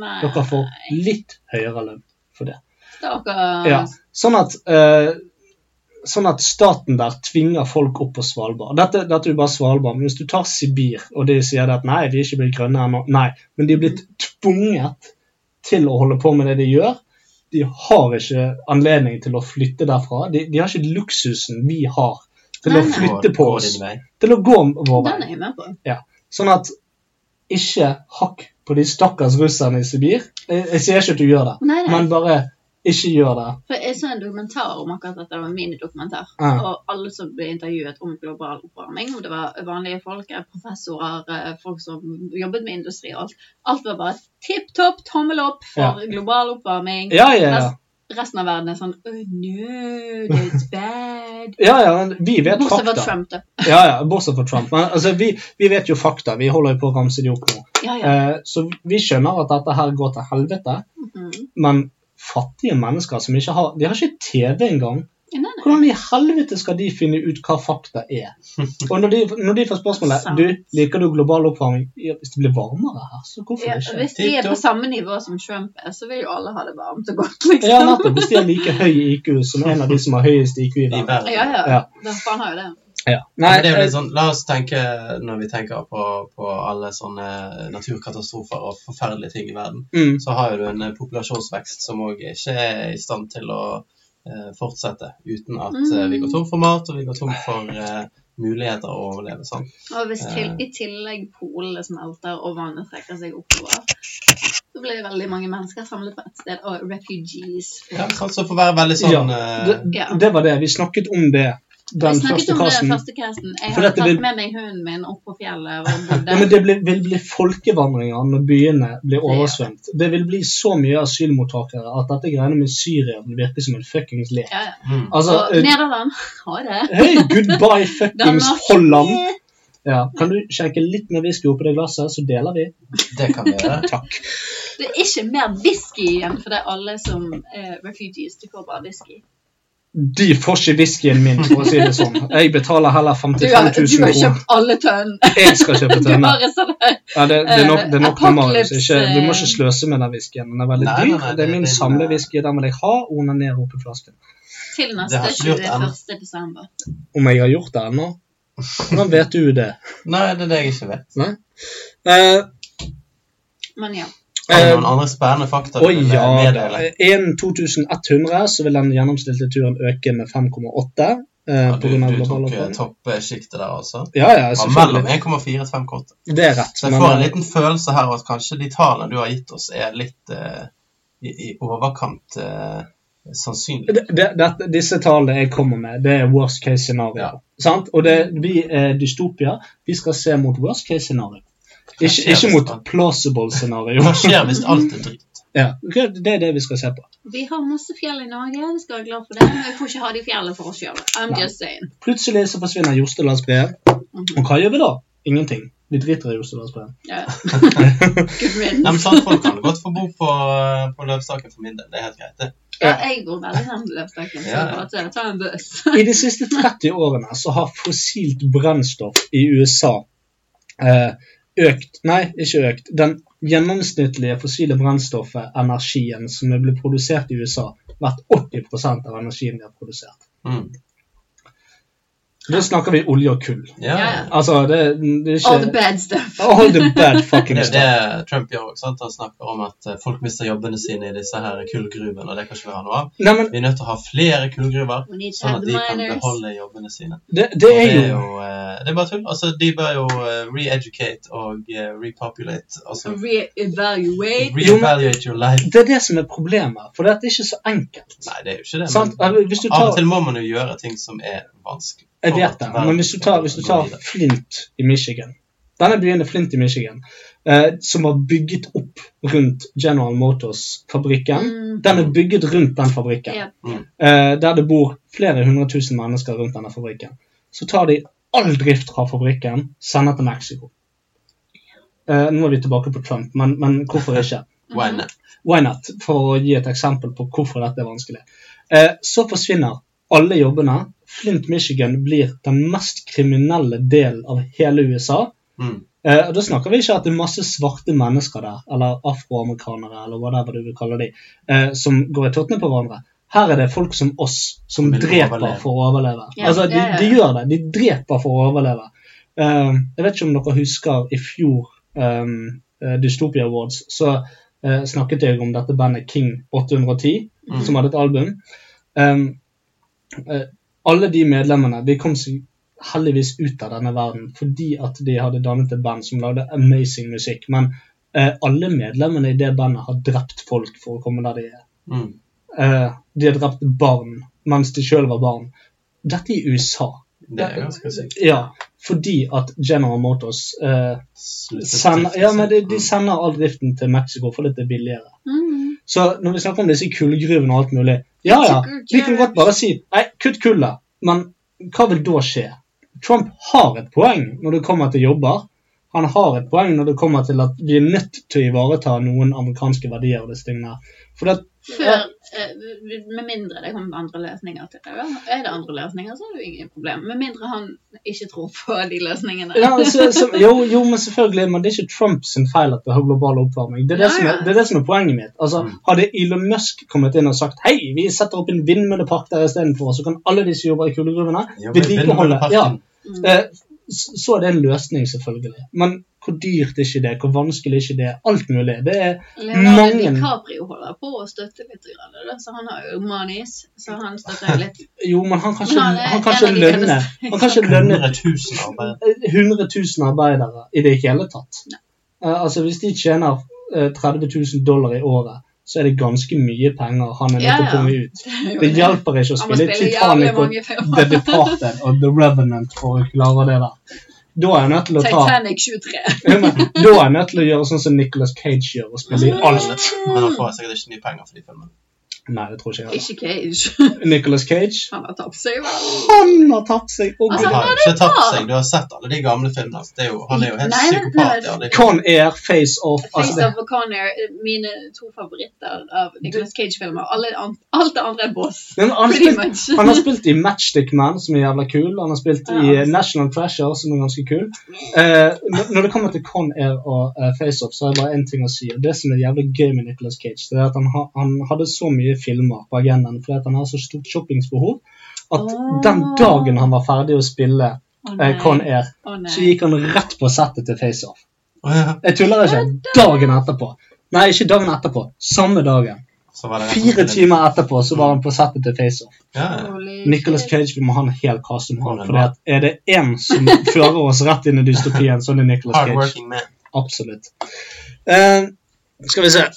[SPEAKER 3] nei.
[SPEAKER 4] Dere får litt høyere lønn for det.
[SPEAKER 3] Stakkars.
[SPEAKER 4] Ja, sånn at, eh, sånn at staten der tvinger folk opp på Svalbard. Dette, dette er jo bare Svalbard, men hvis du tar Sibir, og de sier det at nei, de er ikke blitt grønne ennå, nei, men de er blitt tvunget til å holde på med det de gjør. De har ikke anledning til å flytte derfra. De, de har ikke luksusen vi har til
[SPEAKER 3] Nei,
[SPEAKER 4] å
[SPEAKER 3] nei.
[SPEAKER 4] flytte på
[SPEAKER 5] Gå- gå
[SPEAKER 4] oss.
[SPEAKER 5] din vei.
[SPEAKER 4] Til å gå vår vei.
[SPEAKER 3] Den er jeg med på.
[SPEAKER 4] Ja. Sånn at ikke hakk på de stakkars russerne i Sibir. Jeg, jeg sier ikke at du gjør det,
[SPEAKER 3] Nei, nei.
[SPEAKER 4] men bare ikke gjør det.
[SPEAKER 3] For jeg så en dokumentar om akkurat dette, det var en minidokumentar.
[SPEAKER 4] Ja.
[SPEAKER 3] Og alle som ble intervjuet om global oppvarming, om det var vanlige folk, eh, professorer, eh, folk som jobbet med industri og alt, alt var bare tipp topp, tommel opp for global oppvarming.
[SPEAKER 4] Ja, ja, ja.
[SPEAKER 3] Rest- Resten av verden er sånn Oh no, that's bad.
[SPEAKER 4] Ja, ja, men vi vet
[SPEAKER 3] Bortsett fra
[SPEAKER 4] fakta.
[SPEAKER 3] Trump, da.
[SPEAKER 4] Ja, ja, bortsett fra Trump. Men altså, vi, vi vet jo fakta. Vi holder jo på å ramse de opp nå.
[SPEAKER 3] Ja, ja.
[SPEAKER 4] Eh, så vi skjønner at dette her går til helvete,
[SPEAKER 3] Mhm.
[SPEAKER 4] men fattige mennesker som ikke har De har ikke TV engang.
[SPEAKER 3] Nei, nei.
[SPEAKER 4] Hvordan i helvete skal de finne ut hva fakta
[SPEAKER 3] *laughs*
[SPEAKER 4] er? Og når de, når de får spørsmålet
[SPEAKER 3] Sant.
[SPEAKER 4] du, liker du global oppvarming, ja, hvis det blir varmere her, så hvorfor
[SPEAKER 3] Ja,
[SPEAKER 4] ikke?
[SPEAKER 3] hvis de er på samme nivå som Trump er, så vil jo alle ha det varmt og godt, liksom.
[SPEAKER 4] Ja, nettopp. Hvis de har like høy IQ som en av de som har høyest IQ i verden.
[SPEAKER 3] Ja, ja.
[SPEAKER 4] Ja.
[SPEAKER 3] Da får han ha jo det.
[SPEAKER 4] Nei,
[SPEAKER 5] Men det er jo
[SPEAKER 4] eh,
[SPEAKER 5] litt sånn, La oss tenke, når vi tenker på, på alle sånne naturkatastrofer og forferdelige ting i verden,
[SPEAKER 4] Mm.
[SPEAKER 5] så har jo du en eh, populasjonsvekst som òg ikke er i stand til å eh, fortsette uten at eh, vi går tom for mat, og vi går tom for eh, muligheter å overleve. sant?
[SPEAKER 3] Og hvis til,
[SPEAKER 5] Eh.
[SPEAKER 3] i tillegg polene smelter og vannet trekker seg oppover, så blir det veldig mange mennesker samlet på ett sted, og refugees.
[SPEAKER 5] Ja, sant, Så for å være veldig sånn eh,
[SPEAKER 4] det,
[SPEAKER 3] Ja.
[SPEAKER 4] det var det. Vi snakket om det den
[SPEAKER 3] Jeg snakket
[SPEAKER 4] første
[SPEAKER 3] om det i
[SPEAKER 4] kassen.
[SPEAKER 3] første casten. Jeg
[SPEAKER 4] For dette
[SPEAKER 3] hadde tatt
[SPEAKER 4] vil-
[SPEAKER 3] med meg hunden min opp på
[SPEAKER 4] *laughs*
[SPEAKER 3] fjellet og bodde
[SPEAKER 4] Ja, men det blir, vil bli folkevandringer når byene blir oversvømt. Det vil bli så mye asylmottakere at dette greiene med Syria vil virke som en fuckings lek.
[SPEAKER 3] ja, ja.
[SPEAKER 5] mm.
[SPEAKER 4] Altså,
[SPEAKER 3] Og
[SPEAKER 4] eh,
[SPEAKER 3] Nederland, *laughs* ha det.
[SPEAKER 4] hey, goodbye fuckings
[SPEAKER 3] Danmark,
[SPEAKER 4] Holland!
[SPEAKER 3] *laughs* eh,
[SPEAKER 4] Ja, kan du skjenke litt mer whisky oppi det glasset, så deler vi?
[SPEAKER 5] Det
[SPEAKER 4] *laughs*
[SPEAKER 5] kan vi gjøre.
[SPEAKER 4] Takk.
[SPEAKER 3] *laughs* Det er ikke mer whisky igjen, for det er alle som er refugees. Du får bare whisky.
[SPEAKER 4] De får ikke whiskyen min, for å si det sånn. Jeg betaler heller
[SPEAKER 3] Du har,
[SPEAKER 4] 55
[SPEAKER 3] du
[SPEAKER 4] 000
[SPEAKER 3] har
[SPEAKER 4] kroner.
[SPEAKER 3] kjøpt alle tønn.
[SPEAKER 4] Jeg skal kjøpe
[SPEAKER 3] *laughs* Du
[SPEAKER 4] tønne.
[SPEAKER 3] har en sånn her
[SPEAKER 4] Ja, det, det er nok, det er nok med Marius.
[SPEAKER 3] Apocalypse,
[SPEAKER 4] Ikke, du må
[SPEAKER 3] eh.
[SPEAKER 4] ikke sløse med den whiskyen. Den er veldig
[SPEAKER 5] Nei, nei,
[SPEAKER 4] dyr.
[SPEAKER 5] nei,
[SPEAKER 4] Det er
[SPEAKER 5] det-
[SPEAKER 4] min
[SPEAKER 5] det-
[SPEAKER 4] samlewhisky. Den vil jeg ha og onanere oppi flasken.
[SPEAKER 3] til
[SPEAKER 5] Det har
[SPEAKER 3] neste
[SPEAKER 5] ikke gjort ennå.
[SPEAKER 3] 21. desember.
[SPEAKER 4] Om jeg har gjort det ennå? Hvordan vet du det?
[SPEAKER 5] Nei, det er det jeg ikke vet.
[SPEAKER 4] Nei? Eh,
[SPEAKER 3] Men ja.
[SPEAKER 5] Har du
[SPEAKER 4] Eh,
[SPEAKER 5] noen andre spennende fakta du
[SPEAKER 4] Å
[SPEAKER 5] vil eh,
[SPEAKER 4] ja da.
[SPEAKER 5] meddele?
[SPEAKER 4] 1 2100, så vil den gjennomsnittlige turen øke med 5,8. Eh,
[SPEAKER 5] Ja,
[SPEAKER 4] på
[SPEAKER 5] du,
[SPEAKER 4] grunn av
[SPEAKER 5] du
[SPEAKER 4] global
[SPEAKER 5] tok eh,
[SPEAKER 4] oppvarming.
[SPEAKER 5] toppsjiktet der, altså.
[SPEAKER 4] Ja, ja,
[SPEAKER 5] Det var mellom
[SPEAKER 4] selvfølgelig.
[SPEAKER 5] 1,4 og 5,8.
[SPEAKER 4] Det er rett.
[SPEAKER 5] Så jeg
[SPEAKER 4] men,
[SPEAKER 5] får en
[SPEAKER 4] eh,
[SPEAKER 5] liten følelse her av at kanskje de tallene du har gitt oss, er litt eh, i, i overkant eh, sannsynlig.
[SPEAKER 4] det, det, det- disse tallene jeg kommer med, det er worst case scenario.
[SPEAKER 5] Ja.
[SPEAKER 4] Sant? Og det, vi er dystopier. Vi skal se mot worst case scenario. Ikke,
[SPEAKER 5] skjer
[SPEAKER 4] ikke
[SPEAKER 5] hvis
[SPEAKER 4] mot
[SPEAKER 5] man-
[SPEAKER 4] plausible scenario.
[SPEAKER 5] Hva skjer hvis alt er dritt?
[SPEAKER 4] ja, det er det vi skal se på.
[SPEAKER 3] Vi har masse fjell i Norge, vi skal være glad for det, men vi får ikke ha de fjellene for oss sjøl. I'm
[SPEAKER 4] Nei.
[SPEAKER 3] just saying.
[SPEAKER 4] Plutselig så forsvinner Jostelandsbreen. Og hva gjør vi da? Ingenting. Vi driter i Jostelandsbreen.
[SPEAKER 5] *laughs*
[SPEAKER 3] Ja. Good riddance.
[SPEAKER 5] Nei, men sant, folk kan godt få bo på, eh, på Løvstaken for min del. Det er helt greit, det.
[SPEAKER 3] Ja, jeg går veldig nærme løpstakken, så
[SPEAKER 5] Ja, ja.
[SPEAKER 3] jeg bare tar- tar en
[SPEAKER 5] *laughs*
[SPEAKER 3] buss.
[SPEAKER 4] I de siste 30 årene så har fossilt brennstoff i USA eh, økt Nei, ikke økt. Den gjennomsnittlige fossile brennstoffet, energien som er blitt produsert i USA, vært 80 av energien de har produsert.
[SPEAKER 5] Mm.
[SPEAKER 4] Da snakker vi olje og kull.
[SPEAKER 5] Ja,
[SPEAKER 3] Ja,
[SPEAKER 5] ja.
[SPEAKER 3] ja.
[SPEAKER 4] Altså, det, det er ikke
[SPEAKER 3] *laughs* All the bad stuff.
[SPEAKER 4] All the bad
[SPEAKER 5] Det
[SPEAKER 4] fucking
[SPEAKER 5] er jo
[SPEAKER 4] stuff.
[SPEAKER 5] det Trump gjør også. sant? Han snakker om at eh, folk mister jobbene sine i disse her kullgruvene, og det kan ikke vi ha noe av.
[SPEAKER 4] Nei, men
[SPEAKER 5] Vi er nødt til å ha flere kullgruver,
[SPEAKER 3] We need to
[SPEAKER 5] sånn
[SPEAKER 3] have
[SPEAKER 5] at
[SPEAKER 3] the
[SPEAKER 5] de kan
[SPEAKER 3] miners.
[SPEAKER 5] beholde jobbene sine.
[SPEAKER 4] det, det
[SPEAKER 5] Og det,
[SPEAKER 4] er
[SPEAKER 5] er
[SPEAKER 4] jo
[SPEAKER 5] jo, eh, det er bare tull. Altså, de bør jo eh, re-educate og eh, repopulate. Altså,
[SPEAKER 3] Reevaluate.
[SPEAKER 5] re-evaluate your life.
[SPEAKER 4] det er det som er problemet, for dette er ikke så enkelt.
[SPEAKER 5] Nei, det er jo ikke det.
[SPEAKER 4] Sant? altså,
[SPEAKER 5] Men
[SPEAKER 4] Hvis du
[SPEAKER 5] av og
[SPEAKER 4] tar,
[SPEAKER 5] til må man jo gjøre ting som er vanskelig.
[SPEAKER 4] Jeg vet det, men hvis du tar, hvis du tar Flint i Michigan Denne byen er Flint i Michigan, eh, som var bygget opp rundt General Motors-fabrikken.
[SPEAKER 3] Mm.
[SPEAKER 4] Den er bygget rundt den fabrikken,
[SPEAKER 3] Ja.
[SPEAKER 4] eh, der det bor flere hundre tusen mennesker rundt denne fabrikken. Så tar de all drift fra fabrikken, sender til Mexico. Eh, nå er vi tilbake på Trump, men, men hvorfor ikke?
[SPEAKER 5] Why not?
[SPEAKER 4] Why not? For å gi et eksempel på hvorfor dette er vanskelig. Eh, så forsvinner alle jobbene. Flint, Michigan blir den mest kriminelle delen av hele USA.
[SPEAKER 5] Mm.
[SPEAKER 4] Eh, Eh, og Da snakker vi ikke at det er masse svarte mennesker der, eller afroamerikanere, eller whatever du vil kalle de, eh, som går i tottene på hverandre. Her er det folk som oss, som
[SPEAKER 5] Som vil
[SPEAKER 4] dreper
[SPEAKER 5] overleve.
[SPEAKER 4] for å overleve.
[SPEAKER 5] Ja,
[SPEAKER 4] altså, de,
[SPEAKER 5] ja, ja.
[SPEAKER 4] de gjør det. De dreper for å overleve. Eh, jeg vet ikke om dere husker i fjor ehm, eh, Dystopia Awards, så eh, snakket jeg om dette bandet King 810,
[SPEAKER 14] Mm.
[SPEAKER 4] som hadde et album. Ehm, eh, alle de medlemmene de kom seg heldigvis ut av denne verden fordi at de hadde dannet et band som lagde amazing musikk. Men eh, alle medlemmene i det bandet har drept folk for å komme der de er.
[SPEAKER 5] Mm.
[SPEAKER 4] Eh, de har drept barn mens de sjøl var barn. Dette i USA.
[SPEAKER 5] Det er ganske sykt.
[SPEAKER 4] Ja, fordi at General Motors eh, sender, ja, men de, de
[SPEAKER 5] sånn.
[SPEAKER 4] sender all driften til Mexico fordi det er billigere.
[SPEAKER 3] Mm.
[SPEAKER 4] Så når vi snakker om disse kullgruvene og alt mulig Ja ja, vi kan godt bare si Nei, kutt kullet. Men hva vil da skje? Trump har et poeng når det kommer til jobber. Han har et poeng når det kommer til at vi er nødt til å ivareta noen amerikanske verdier. og disse tingene. For det,
[SPEAKER 3] Før, eh, med mindre det kommer andre løsninger til det. vel? Er det andre løsninger, så er det jo ingen problem. Med mindre han ikke tror på de løsningene.
[SPEAKER 4] ja, så, så, jo, jo, men selvfølgelig, men det er ikke Trumps feil at vi har global oppvarming. Det er det,
[SPEAKER 3] Ja,
[SPEAKER 4] som er,
[SPEAKER 3] ja.
[SPEAKER 4] det er det som er poenget mitt. Altså,
[SPEAKER 5] Mm.
[SPEAKER 4] Hadde Elon Musk kommet inn og sagt hei, vi setter opp en vindmøllepark der istedenfor, så kan alle de som jobber i kulegruvene,
[SPEAKER 5] Ja, men
[SPEAKER 4] vedlikeholde
[SPEAKER 5] vindmølleparken-
[SPEAKER 4] ja. Eh, s- Så er det en løsning, selvfølgelig. Men hvor dyrt er ikke det? Hvor vanskelig er ikke det? Alt mulig. Det er
[SPEAKER 3] Leonardo
[SPEAKER 4] mange
[SPEAKER 3] DiCaprio holder på å støtte litt, grann, da, så han har jo manis, så han støtter litt.
[SPEAKER 4] Jo, men han kan ikke,
[SPEAKER 3] Men han er
[SPEAKER 4] han kan
[SPEAKER 3] en
[SPEAKER 4] ikke
[SPEAKER 3] av de
[SPEAKER 4] lønne
[SPEAKER 3] rikeste.
[SPEAKER 4] Han kan ikke lønne
[SPEAKER 5] 100 000 arbeid.
[SPEAKER 4] 100 000 arbeidere i det hele tatt. Eh, altså Hvis de tjener eh, 30 000 dollar i året, så er det ganske mye penger han er nødt til å
[SPEAKER 3] Ja, ja.
[SPEAKER 4] komme ut.
[SPEAKER 3] *laughs* Det er jo
[SPEAKER 4] Det
[SPEAKER 3] det.
[SPEAKER 4] hjelper ikke å
[SPEAKER 3] Han må
[SPEAKER 4] spille
[SPEAKER 3] spille jævlig
[SPEAKER 4] Titanic og
[SPEAKER 3] mange *laughs* filmer.
[SPEAKER 4] The Departed og The Revenant for å klare det der. Da er jeg nødt til å ta *laughs*
[SPEAKER 3] Titanic 23.
[SPEAKER 4] Ja, men Da er jeg nødt til å gjøre sånn som Nicolas Cage gjør, og spille i alt.
[SPEAKER 5] Men han får sikkert ikke mye penger for de filmene.
[SPEAKER 4] Nei, det tror ikke jeg heller.
[SPEAKER 3] *laughs* Ikke Cage. *laughs*
[SPEAKER 4] Nicolas Cage
[SPEAKER 3] Han har tapt seg, vel.
[SPEAKER 4] Han har tapt seg! og
[SPEAKER 3] Altså,
[SPEAKER 5] Han
[SPEAKER 4] Gud.
[SPEAKER 5] har jo ikke tapt seg. Du har sett alle de gamle filmene. hans. Det er jo, han er jo helt
[SPEAKER 3] Nei, men-
[SPEAKER 5] psykopat. i alle de
[SPEAKER 4] Con Air, Face Off altså
[SPEAKER 3] Face
[SPEAKER 4] det-
[SPEAKER 3] Off og Conair, eh, mine to favoritter av Nicolas Cage-filmer. Alle an- Alt det andre er boss.
[SPEAKER 4] Men han, har
[SPEAKER 3] Pretty
[SPEAKER 4] spilt,
[SPEAKER 3] much.
[SPEAKER 4] han har spilt i Matchstick Man, som er jævla kul. Han har spilt i eh, National Treasure, som er ganske kul. Eh, når- når det kommer til Con Air og eh, Face Off, så er det bare én ting å si. og Det som er jævlig gøy med Nicolas Cage, det er at han, har- han hadde så mye filmer på agendaen fordi at han har så stort shoppingsbehov at den dagen han var ferdig å spille
[SPEAKER 3] Ah. Å
[SPEAKER 4] eh,
[SPEAKER 3] nei.
[SPEAKER 4] Con Air,
[SPEAKER 3] Å nei.
[SPEAKER 4] så gikk han rett på settet til Face Off.
[SPEAKER 5] Ja.
[SPEAKER 4] Jeg tuller ikke. Dagen etterpå. Nei, ikke dagen etterpå. Samme dagen.
[SPEAKER 5] Så var det
[SPEAKER 4] Fire timer etterpå så var han på settet til FaceOff.
[SPEAKER 5] Ja,
[SPEAKER 3] Mm.
[SPEAKER 4] Nicolas Cage vi må ha en hel cast om han.
[SPEAKER 5] Hvordan
[SPEAKER 4] For er det én som fører oss rett inn i dystopien, så er det Nicolas Cage.
[SPEAKER 5] Hardworking man.
[SPEAKER 4] Absolutt. Eh, skal vi se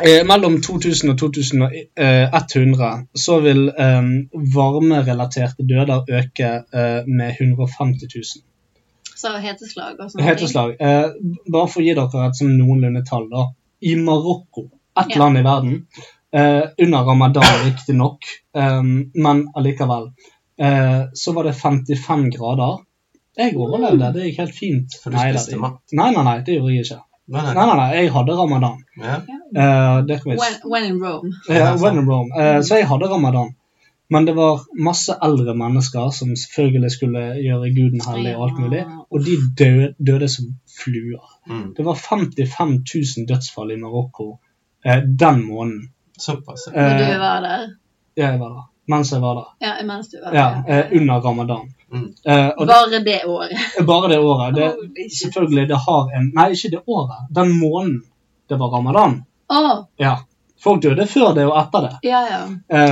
[SPEAKER 4] Eh, Mellom 2000 og 2100 så vil eh, varmerelaterte døder øke eh, med 150 000.
[SPEAKER 3] Så heteslag og sånn. sånne
[SPEAKER 4] Heteslag. Eh, bare for å gi dere et sånn noenlunde tall, da. I Marokko, et
[SPEAKER 3] Ja.
[SPEAKER 4] land i verden, eh, under ramadan riktignok, eh, men allikevel, eh, så var det 55 grader. Jeg overlevde, det gikk helt fint.
[SPEAKER 5] For du
[SPEAKER 4] Nei,
[SPEAKER 5] spiste
[SPEAKER 4] det-
[SPEAKER 5] mat.
[SPEAKER 4] Nei, nei, nei, det gjorde jeg ikke.
[SPEAKER 5] Nei, nei.
[SPEAKER 4] Nei, nei, nei, jeg hadde ramadan.
[SPEAKER 5] Ja.
[SPEAKER 4] Eh, det kan
[SPEAKER 3] ting.
[SPEAKER 4] vi
[SPEAKER 3] When, when in Rome.
[SPEAKER 4] ja, when in Rome. Eh, så jeg hadde ramadan. Men det var masse eldre mennesker som selvfølgelig skulle gjøre guden hellig og alt mulig, og de døde, døde som fluer.
[SPEAKER 5] Mm.
[SPEAKER 4] Det var 55 000 dødsfall i Marokko eh, den måneden.
[SPEAKER 5] Såpass.
[SPEAKER 3] Når du
[SPEAKER 4] Eh,
[SPEAKER 3] var der.
[SPEAKER 4] jeg var der. Mens jeg var der.
[SPEAKER 3] Ja, mens du var
[SPEAKER 4] Ja,
[SPEAKER 3] der.
[SPEAKER 4] eh, under ramadan.
[SPEAKER 3] Mm.
[SPEAKER 4] Eh, og det,
[SPEAKER 3] Bare det året. *laughs*
[SPEAKER 4] bare det året. Det, selvfølgelig, det har en Nei, ikke det året. Den måneden det var ramadan.
[SPEAKER 3] Å,
[SPEAKER 4] Ja. Folk døde før det og etter det.
[SPEAKER 3] ja, ja.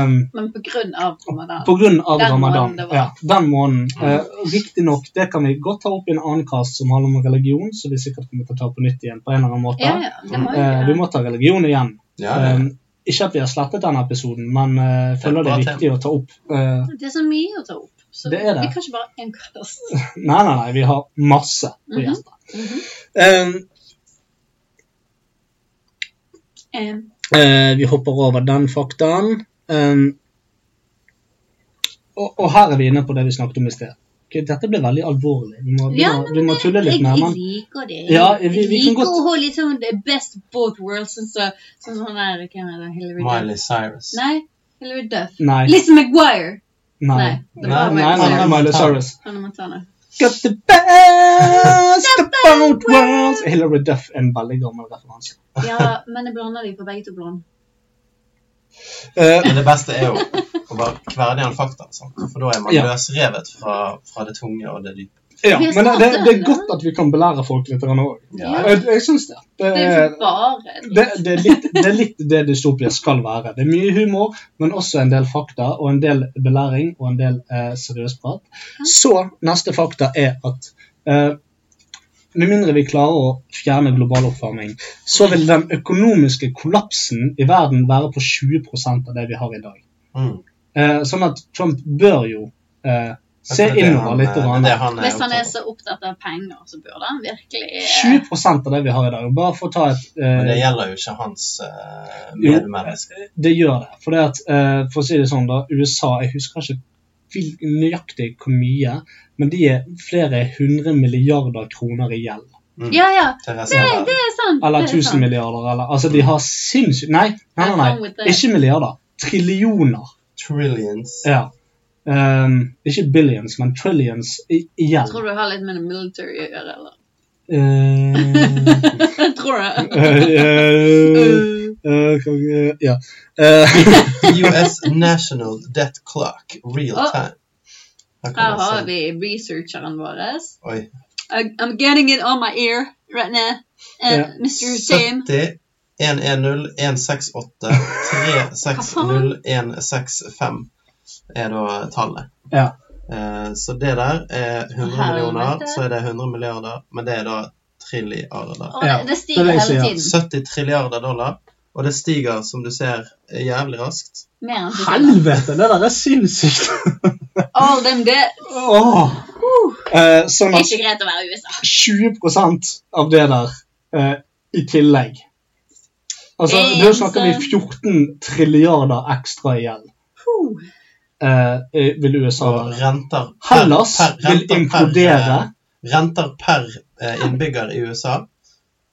[SPEAKER 4] Um,
[SPEAKER 3] Men på grunn av ramadan.
[SPEAKER 4] På grunn av
[SPEAKER 3] Den
[SPEAKER 4] ramadan.
[SPEAKER 3] måneden det var. Mm.
[SPEAKER 4] Ja, den måneden. Eh, Riktignok, det kan vi godt ta opp i en annen kast som handler om religion, så vi sikkert kommer til å ta på nytt igjen på en eller annen måte.
[SPEAKER 3] Ja, ja, det må vi
[SPEAKER 4] Eh,
[SPEAKER 3] gjøre.
[SPEAKER 4] vi må ta religion igjen.
[SPEAKER 5] Ja, ja.
[SPEAKER 4] Eh, ikke at vi har slettet den episoden, men eh, jeg føler det
[SPEAKER 5] bra
[SPEAKER 4] er
[SPEAKER 5] tema.
[SPEAKER 4] viktig å ta opp. Eh,
[SPEAKER 3] Det er så mye å ta opp. Så
[SPEAKER 4] Det er det.
[SPEAKER 3] vi kan ikke bare ha en kast.
[SPEAKER 4] nei, nei, nei, vi har masse på
[SPEAKER 3] Mhm,
[SPEAKER 4] gjester.
[SPEAKER 3] mhm.
[SPEAKER 4] Eh,
[SPEAKER 3] Eh,
[SPEAKER 4] Eh, vi hopper over den faktaen. Um, og, og her er vi inne på det vi snakket om i sted. Ok, dette ble veldig alvorlig. Vi må, vi
[SPEAKER 3] Ja,
[SPEAKER 4] må, vi må tulle litt
[SPEAKER 3] jeg
[SPEAKER 4] mer. men-
[SPEAKER 3] liker det.
[SPEAKER 4] Ja, vi, vi
[SPEAKER 3] jeg
[SPEAKER 4] kan
[SPEAKER 3] liker
[SPEAKER 4] godt
[SPEAKER 3] å ha litt sånn the best of both worlds, sånn som så, sånn der Hvem er det? Hillary Duff?
[SPEAKER 5] Miley Cyrus.
[SPEAKER 3] Nei, Hillary Duff.
[SPEAKER 4] Nei.
[SPEAKER 3] Lizzie McGuire.
[SPEAKER 4] Nei.
[SPEAKER 3] sånn Nei, det var
[SPEAKER 4] Nei, nei, nei, Miley Cyrus.
[SPEAKER 3] Hannah Montana.
[SPEAKER 4] got the best of both worlds. Hilary Duff er en veldig gammel referanse.
[SPEAKER 3] Ja, men jeg blander de for begge to blond.
[SPEAKER 4] Eh,
[SPEAKER 5] Men det beste er jo å bare kverne igjen fakta, sant? for da er man
[SPEAKER 4] Ja.
[SPEAKER 5] løsrevet fra, fra det tunge og det dype.
[SPEAKER 4] Ja, men det, det, det er godt at vi kan belære folk litt òg.
[SPEAKER 5] Ja.
[SPEAKER 4] Jeg, jeg syns det. Det,
[SPEAKER 3] Det er jo
[SPEAKER 4] er-
[SPEAKER 3] ikke bare
[SPEAKER 4] det, det, er litt, det er litt det dystopia skal være. Det er mye humor, men også en del fakta, og en del belæring og en del eh, seriøs prat. Så neste fakta er at eh, med mindre vi klarer å fjerne global oppvarming, så vil den økonomiske kollapsen i verden være på 20 av det vi har i dag.
[SPEAKER 5] Mm.
[SPEAKER 4] Eh, sånn at Trump bør jo eh, se
[SPEAKER 5] Det er det
[SPEAKER 4] innover
[SPEAKER 5] han- eh,
[SPEAKER 4] litt.
[SPEAKER 5] det er det han
[SPEAKER 3] Hvis han er så opptatt av penger, så burde han virkelig eh,
[SPEAKER 4] 20 av det vi har i dag. og Bare for å ta et eh,
[SPEAKER 5] Men det gjelder jo ikke hans eh,
[SPEAKER 4] Jo.
[SPEAKER 5] medmennesker.
[SPEAKER 4] Det gjør det. For, det at, eh, for å si det sånn, da, USA Jeg husker ikke hvil- nøyaktig hvor mye, men de er flere hundre milliarder kroner i gjeld.
[SPEAKER 5] Mm.
[SPEAKER 3] Ja, ja.
[SPEAKER 5] Det
[SPEAKER 3] Det, det er sant.
[SPEAKER 4] Eller
[SPEAKER 3] det er
[SPEAKER 4] 1000
[SPEAKER 3] sant.
[SPEAKER 4] milliarder, eller Altså, de har sinnssykt Nei, nei, nei,
[SPEAKER 3] Wrong with
[SPEAKER 4] nei.
[SPEAKER 3] that.
[SPEAKER 4] ikke milliarder. Trillioner.
[SPEAKER 5] Trillions.
[SPEAKER 4] Ja. Ehm, ikke billions, men trillions i, i gjeld.
[SPEAKER 3] Tror du det har litt med det military å gjøre, eller? *laughs*
[SPEAKER 4] Eh, *laughs*
[SPEAKER 3] Tror du?
[SPEAKER 4] eh, eh, eh, kan- eh, ja.
[SPEAKER 5] *laughs*
[SPEAKER 4] Eh,
[SPEAKER 5] US National Debt Clock, real
[SPEAKER 3] Å.
[SPEAKER 5] time. Her kommer
[SPEAKER 3] Her har
[SPEAKER 5] se.
[SPEAKER 3] vi researcheren vår.
[SPEAKER 5] Oi.
[SPEAKER 3] I- I'm getting it on my ear right now. And
[SPEAKER 5] Ja.
[SPEAKER 3] Mr. Same.
[SPEAKER 5] 70 110 168 360 165 er da tallet.
[SPEAKER 4] ja.
[SPEAKER 5] Eh, Så det der er 100
[SPEAKER 3] Helvete.
[SPEAKER 5] millioner, så er det 100 milliarder, men det er da trilliarder.
[SPEAKER 3] Å,
[SPEAKER 4] Ja,
[SPEAKER 3] det- Det
[SPEAKER 4] det er
[SPEAKER 3] stiger
[SPEAKER 4] det jeg
[SPEAKER 3] hele
[SPEAKER 4] sier.
[SPEAKER 3] tiden.
[SPEAKER 5] 70 trilliarder dollar, og det stiger, som du ser, jævlig raskt.
[SPEAKER 3] Mer enn det.
[SPEAKER 4] Helvete, det der er sinnssykt!
[SPEAKER 3] All them dead.
[SPEAKER 4] Åh. Eh, sånn at
[SPEAKER 3] Ikke greit å være i USA.
[SPEAKER 4] 20 av det der eh, i tillegg. Altså,
[SPEAKER 3] Hey,
[SPEAKER 4] Da snakker vi
[SPEAKER 3] altså.
[SPEAKER 4] 14 trilliarder ekstra igjen.
[SPEAKER 3] Huh.
[SPEAKER 4] eh, eh, vil USA
[SPEAKER 5] Og
[SPEAKER 4] være.
[SPEAKER 5] renter per,
[SPEAKER 4] Hellas
[SPEAKER 5] per,
[SPEAKER 4] vil
[SPEAKER 5] renter per,
[SPEAKER 4] implodere.
[SPEAKER 5] eh, Renter per eh, innbygger i USA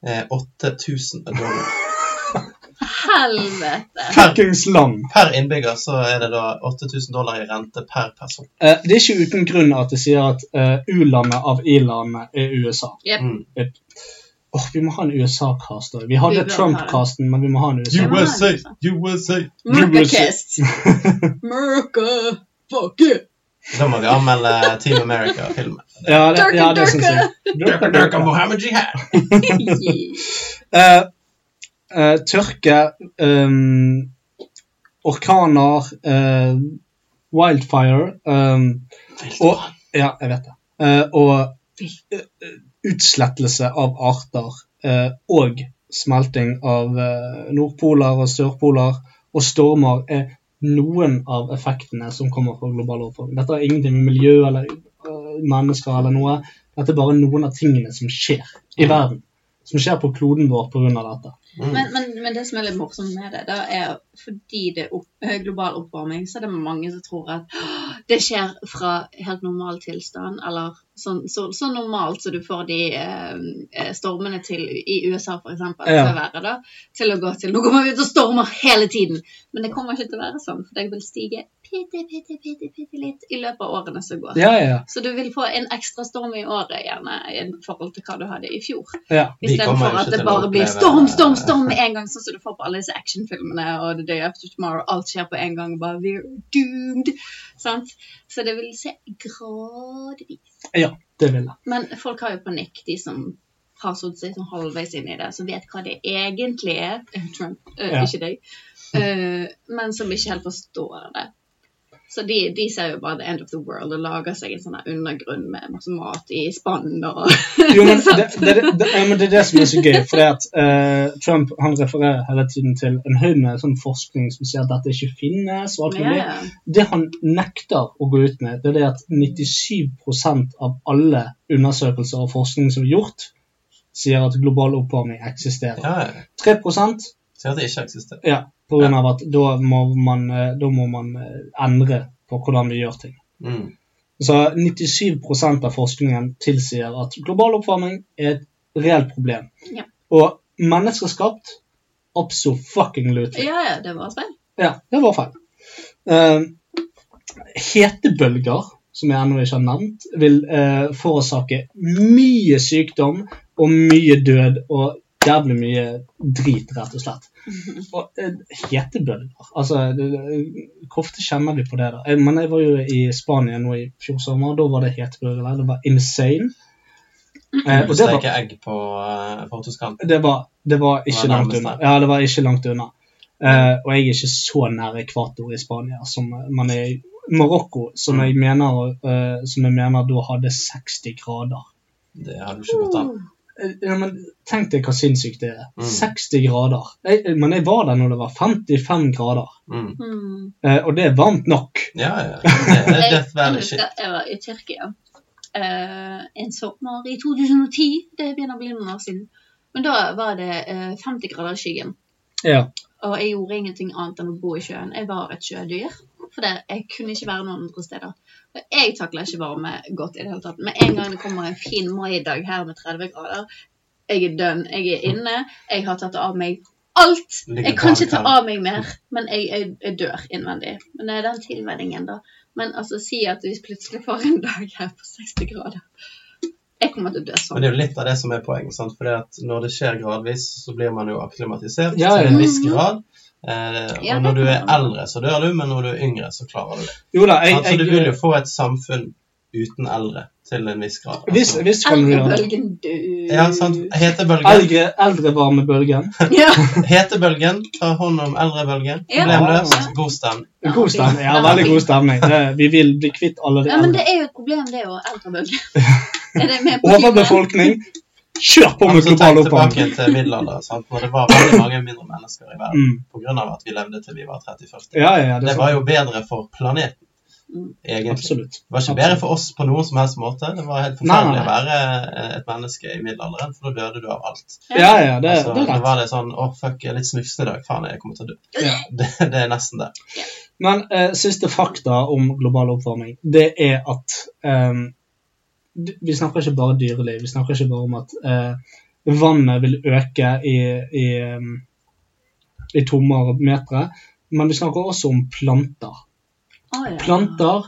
[SPEAKER 5] er 8000 dollar.
[SPEAKER 3] Helvete.
[SPEAKER 4] Fuckings land!
[SPEAKER 5] Per innbygger så er det da 8000 dollar i rente per person.
[SPEAKER 4] Eh, det er ikke uten grunn at de sier at eh, U-landet av I-landet er USA.
[SPEAKER 3] Jep.
[SPEAKER 5] Mm.
[SPEAKER 4] Åh, Vi må ha en USA-cast. også. Vi hadde
[SPEAKER 3] Vi bør ha det.
[SPEAKER 4] Trump-casten, men vi må liksom. ha en USA.
[SPEAKER 3] må ha
[SPEAKER 5] USA,
[SPEAKER 3] det, altså.
[SPEAKER 5] USA.
[SPEAKER 3] America kissed. America. Fuck it.
[SPEAKER 5] Da må vi anmelde Team America-filmen.
[SPEAKER 4] Ja, det,
[SPEAKER 3] Durka,
[SPEAKER 4] ja, det syns
[SPEAKER 3] durka.
[SPEAKER 4] jeg. Durka, durka.
[SPEAKER 5] Mohammed Jihad.
[SPEAKER 4] Eh, eh, tørke, ehm, orkaner, eh, wildfire ehm, og, Ja, jeg vet det. Eh, og eh, utslettelse av arter. eh, og smelting av eh, nordpoler og sørpoler. Og stormer er noen av effektene som kommer fra global oppvarming. Dette har ingenting med miljø eller eh, mennesker eller noe. Dette er bare noen av tingene som skjer i verden som skjer på kloden vår pga. dette.
[SPEAKER 3] Men, men, men det som er litt morsomt med det, da er fordi det er opp, eh, global oppvarming, så er det mange som tror at «Åh, det skjer fra helt normal tilstand, eller sånn så, så normalt som du får de eh, eh, stormene til i USA, for eksempel, til
[SPEAKER 4] Ja.
[SPEAKER 3] å være da, til å gå til Nå kommer vi ut og stormer hele tiden! Men det kommer ikke til å være sånn, for det vil stige bitte, bitte, bitte, bitte litt i løpet av årene som går.
[SPEAKER 4] Ja, ja,
[SPEAKER 3] Så du vil få en ekstra storm i året, gjerne, i forhold til hva du hadde i fjor.
[SPEAKER 4] ja.
[SPEAKER 5] Vi kommer jo ikke
[SPEAKER 3] Istedenfor at det
[SPEAKER 5] til å
[SPEAKER 3] bare blir
[SPEAKER 5] oppleve-
[SPEAKER 3] storm, storm, storm med en gang, sånn som du får på alle disse actionfilmene og The Day After Tomorrow. Alt skjer på en gang. Bare we're doomed. Sant? Så det vil se gradvis.
[SPEAKER 4] ja det vil jeg.
[SPEAKER 3] Men folk har jo panikk, de som har satt seg sånn halvveis inn i det, som vet hva det egentlig er. *laughs* Trump, eh,
[SPEAKER 4] Ja.
[SPEAKER 3] ikke deg. Eh, men som ikke helt forstår det. Så de, de ser jo bare the end of the world og lager seg en sånn her undergrunn med masse mat i spann og
[SPEAKER 4] Jo, men det, det, det, det, ja, men det er det som er så gøy. For det at eh, Trump han refererer hele tiden til en haug med sånn forskning som sier at dette ikke finnes. og alt
[SPEAKER 3] Ja,
[SPEAKER 4] mulig.
[SPEAKER 3] ja.
[SPEAKER 4] Det han nekter å gå ut med, det er det at 97 av alle undersøkelser og forskning som er gjort, sier at global oppvarming eksisterer.
[SPEAKER 5] Ja, ja.
[SPEAKER 4] 3
[SPEAKER 5] Sier at det ikke eksisterer.
[SPEAKER 4] ja, på grunn av at da må man, eh, da må man eh, endre på hvordan vi gjør ting.
[SPEAKER 5] Mm.
[SPEAKER 4] Så 97 av forskningen tilsier at global oppvarming er et reelt problem.
[SPEAKER 3] Ja.
[SPEAKER 4] Og menneskeskapt absolutt-fucking-lutely.
[SPEAKER 3] ja, ja, det var feil.
[SPEAKER 4] Ja, det var feil. Eh, hetebølger som jeg ennå ikke har nevnt, vil eh, forårsake mye sykdom og mye død og jævlig mye drit, rett og slett. Og eh, hetebølger. Altså, det, det, hvor ofte kjenner vi på det? da? Eh, Men jeg var jo i Spania nå i fjor sommer, og da var det hetebølger der. Det var insane.
[SPEAKER 5] Du
[SPEAKER 4] Eh, og det var,
[SPEAKER 5] steker egg på uh, fortauskanten.
[SPEAKER 4] det var, det var ikke
[SPEAKER 5] Det var
[SPEAKER 4] langt
[SPEAKER 5] nærmest
[SPEAKER 4] unna. Ja, det var ikke langt unna. Eh, og jeg er ikke så nær ekvator i Spania som man er i Marokko, som jeg mener, eh, som jeg mener da hadde 60 grader.
[SPEAKER 5] Det har du ikke gått an.
[SPEAKER 4] Eh, Ja, men tenk deg hva sinnssykt det er.
[SPEAKER 5] Mm.
[SPEAKER 4] 60 grader. Jeg, men jeg var der når det var 55 grader.
[SPEAKER 5] Mm.
[SPEAKER 4] Eh, og det er varmt nok.
[SPEAKER 5] Ja, ja. Det er Death
[SPEAKER 4] *laughs*
[SPEAKER 3] Jeg
[SPEAKER 5] Valley shit.
[SPEAKER 3] husker jeg var i Tyrkia eh, en sommer i 2010. Det begynner å bli noen år siden. Men da var det eh, 50 grader i skyggen.
[SPEAKER 4] Ja.
[SPEAKER 3] Og jeg gjorde ingenting annet enn å bo i sjøen. Jeg var et sjødyr. For det, jeg kunne ikke være noen andre steder. Og jeg takler ikke varme godt i det hele tatt. Med en gang det kommer en fin maidag her med 30 grader, jeg er dønn. Jeg er inne. Jeg har tatt av meg alt.
[SPEAKER 14] Ligger
[SPEAKER 3] Jeg kan ikke ta
[SPEAKER 14] barnekald.
[SPEAKER 3] av meg mer. Men jeg, jeg, jeg dør innvendig. Men det er den tilvenningen, da. Men altså, si at vi plutselig får en dag her på 60 grader. Jeg kommer til å dø sånn.
[SPEAKER 5] Men det er jo litt av det som er poenget. sant? Fordi at når det skjer gradvis, så blir man jo akklimatisert
[SPEAKER 4] Ja, ja.
[SPEAKER 5] til en viss
[SPEAKER 4] Mhm.
[SPEAKER 5] grad. Eh,
[SPEAKER 4] Ja,
[SPEAKER 5] og
[SPEAKER 4] det
[SPEAKER 5] når du er
[SPEAKER 4] kan man.
[SPEAKER 5] eldre, så dør du, men når du er yngre, så klarer du det.
[SPEAKER 4] Jo da, jeg-
[SPEAKER 5] altså, du
[SPEAKER 4] jeg-
[SPEAKER 5] vil jo få et samfunn uten eldre til en viss grad.
[SPEAKER 4] eh,
[SPEAKER 5] Altså,
[SPEAKER 4] Hvis, hvis kan du gjøre det.
[SPEAKER 3] Elgebølgen død.
[SPEAKER 5] Ja, sant. Hetebølgen.
[SPEAKER 4] Eldre, eldrevarmebølgen.
[SPEAKER 5] Hetebølgen tar hånd om eldrebølgen.
[SPEAKER 3] Ja.
[SPEAKER 5] Problemløst. God stemning.
[SPEAKER 4] God stemning. Ja, veldig god stemning. Det- Vi vil bli kvitt alle de
[SPEAKER 3] Ja, men
[SPEAKER 4] eldre.
[SPEAKER 3] det er jo et problem, det òg. Eldrebølgen.
[SPEAKER 4] *laughs*
[SPEAKER 3] Er det med på
[SPEAKER 4] Overbefolkning. Kjør på med
[SPEAKER 5] Altså,
[SPEAKER 4] global
[SPEAKER 5] tenk tilbake
[SPEAKER 4] oppvarming.
[SPEAKER 5] til middelalderen, sant? når det var veldig mange mindre mennesker i verden
[SPEAKER 4] Mm.
[SPEAKER 5] på grunn av at vi levde til vi var 30-40.
[SPEAKER 4] Ja, ja, ja, det
[SPEAKER 5] det
[SPEAKER 4] er
[SPEAKER 5] var
[SPEAKER 4] sant.
[SPEAKER 5] jo bedre for planeten, egentlig.
[SPEAKER 4] Absolutt.
[SPEAKER 5] Det var ikke bedre for oss på noen som helst måte. Det var helt
[SPEAKER 4] Nei, nei,
[SPEAKER 5] forferdelig å være eh, et menneske i middelalderen, for da døde du av alt.
[SPEAKER 4] Ja, ja, det-
[SPEAKER 5] altså,
[SPEAKER 4] det er rett.
[SPEAKER 5] Da var det sånn Å, fuck, jeg er litt snufsen i dag. Faen, jeg kommer til å dø.
[SPEAKER 4] Ja.
[SPEAKER 5] Det, det er nesten det.
[SPEAKER 4] Men eh, siste fakta om global oppvarming, det er at eh, d- Vi snakker ikke bare dyreliv, vi snakker ikke bare om at eh, vannet vil øke i, i, eh, i tommere metere, men vi snakker også om planter.
[SPEAKER 3] Å, ja.
[SPEAKER 4] Planter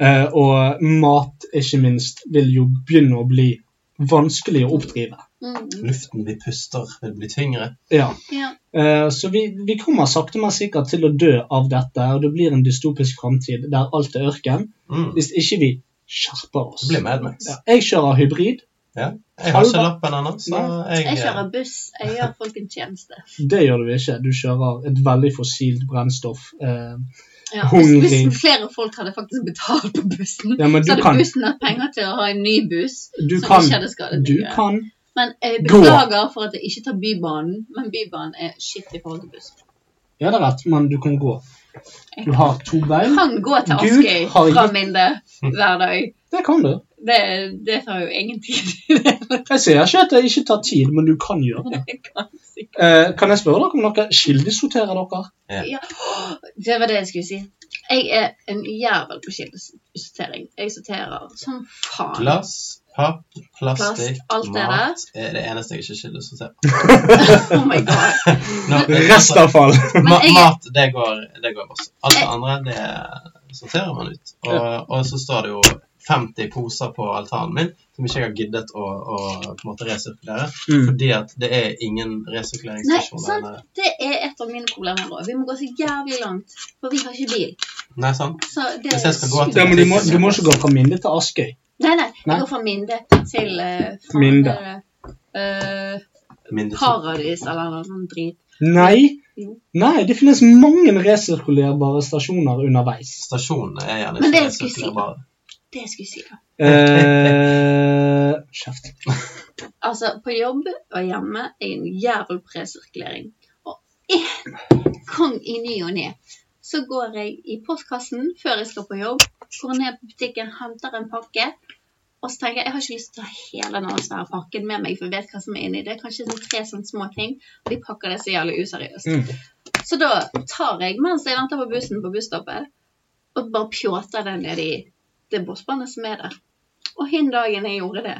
[SPEAKER 4] eh, og mat, ikke minst, vil jo begynne å bli vanskelig å oppdrive.
[SPEAKER 3] Mm.
[SPEAKER 5] Luften vi puster, vil bli tyngre.
[SPEAKER 4] Ja.
[SPEAKER 3] Ja.
[SPEAKER 4] Eh, Så vi, vi kommer sakte, men sikkert til å dø av dette, og det blir en dystopisk framtid der alt er ørken.
[SPEAKER 5] Mm.
[SPEAKER 4] Hvis ikke vi skjerper oss.
[SPEAKER 5] Det blir Mad Max.
[SPEAKER 4] Ja, jeg kjører hybrid.
[SPEAKER 5] Ja. Jeg har ikke
[SPEAKER 4] Halva-
[SPEAKER 5] lappen ennå, så
[SPEAKER 4] Nei.
[SPEAKER 5] jeg, eh,
[SPEAKER 3] Jeg kjører buss. Jeg gjør folk en tjeneste.
[SPEAKER 4] Det gjør du ikke. Du kjører et veldig fossilt brennstoff. eh,
[SPEAKER 3] Ja, hvis
[SPEAKER 4] Hungrig.
[SPEAKER 3] bussen, flere folk hadde faktisk betalt på bussen,
[SPEAKER 4] Ja, men du
[SPEAKER 3] så hadde
[SPEAKER 4] kan-
[SPEAKER 3] bussen hatt penger til å ha en ny buss.
[SPEAKER 4] Du
[SPEAKER 3] som
[SPEAKER 4] kan-
[SPEAKER 3] ikke hadde skadet
[SPEAKER 4] du
[SPEAKER 3] miljøet.
[SPEAKER 4] kan
[SPEAKER 3] Men jeg
[SPEAKER 4] gå.
[SPEAKER 3] beklager for at jeg ikke tar Bybanen, men Bybanen er shit i forhold til buss.
[SPEAKER 4] Ja, det er rett, men du kan gå. Du har to
[SPEAKER 3] Jeg
[SPEAKER 4] bein.
[SPEAKER 3] kan gå til
[SPEAKER 4] Gud
[SPEAKER 3] Askøy
[SPEAKER 4] har
[SPEAKER 3] fra
[SPEAKER 4] gitt-
[SPEAKER 3] Minde hver dag.
[SPEAKER 4] Det kan du.
[SPEAKER 3] Det, det tar jo ingen tid. *laughs*
[SPEAKER 4] Jeg sier ikke at det ikke tar tid, men du kan gjøre det. Eh, kan jeg spørre dere om dere kildesorterer dere?
[SPEAKER 3] Ja. Det var det jeg skulle si. Jeg er en jævel på kildesortering. Jeg sorterer som faen.
[SPEAKER 5] Glass, papp, plastikk,
[SPEAKER 3] Plast, alt det
[SPEAKER 5] mat er det eneste jeg ikke skylder seg
[SPEAKER 4] *laughs*
[SPEAKER 5] til.
[SPEAKER 3] Oh my god.
[SPEAKER 4] Restavfall.
[SPEAKER 5] altså, Ma
[SPEAKER 3] jeg-
[SPEAKER 5] mat, det går, det går også. Alt det andre, det sorterer man ut. Og, og så står det jo 50 poser på altanen min som ikke jeg har giddet å, å på en måte resirkulere.
[SPEAKER 4] Mm.
[SPEAKER 5] Fordi at det er ingen
[SPEAKER 3] Nei,
[SPEAKER 5] resirkuleringsstasjoner.
[SPEAKER 3] sant?
[SPEAKER 5] der.
[SPEAKER 3] Det er et av mine problemer òg. Vi må gå så jævlig langt, for vi har ikke bil.
[SPEAKER 5] Nei, sant?
[SPEAKER 3] Så det
[SPEAKER 5] Hvis jeg skal gå til
[SPEAKER 4] Ja, men du, må, du må ikke gå fra Minde til Askøy.
[SPEAKER 3] Nei, nei.
[SPEAKER 4] Nei.
[SPEAKER 3] Jeg går fra Minde til eh, fra-
[SPEAKER 4] Minde.
[SPEAKER 3] eh,
[SPEAKER 5] Minde til-
[SPEAKER 3] paradis eller noe sånt drit.
[SPEAKER 4] Nei.
[SPEAKER 3] Jo.
[SPEAKER 4] Nei, det finnes mange resirkulerbare stasjoner underveis.
[SPEAKER 5] *laughs* Stasjonene er gjerne
[SPEAKER 3] Men det
[SPEAKER 5] ikke
[SPEAKER 3] jeg skulle si,
[SPEAKER 5] resirkulerbare.
[SPEAKER 3] Det jeg skulle si, da.
[SPEAKER 4] Eh, Kjeft.
[SPEAKER 3] Altså, på jobb og hjemme er jeg en jævel på resirkulering. Og en gang i ny og ne så går jeg i postkassen før jeg skal på jobb, går ned på butikken, henter en pakke. Og så tenker jeg jeg har ikke lyst til å ta hele den svære pakken med meg, for jeg vet hva som er inni. Det er kanskje sånn tre sånne små ting, og de pakker det så jævlig useriøst. Så da tar jeg, mens jeg venter på bussen på busstoppet, og bare pjåter den ned i det bossbåndet som er der. Og hin dagen jeg gjorde det,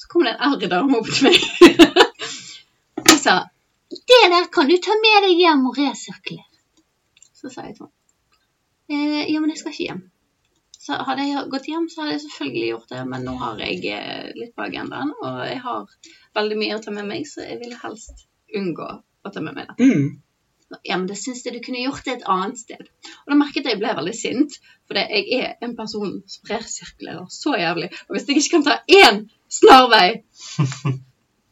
[SPEAKER 3] så kom det en eldre dame opp til meg *laughs* og sa Det der kan du ta med deg hjem og resirkulere. Så sa jeg til henne eh, Ja, men jeg skal ikke hjem. Så hadde jeg gått hjem, så hadde jeg selvfølgelig gjort det, men nå har jeg eh, litt på agendaen, og jeg har veldig mye å ta med meg, så jeg ville helst unngå å ta med meg det. Ja, men det syns jeg du kunne gjort det et annet sted. Og da merket jeg at jeg ble veldig sint, for det- jeg er en person som resirkulerer så jævlig. Og hvis jeg ikke kan ta én snarvei,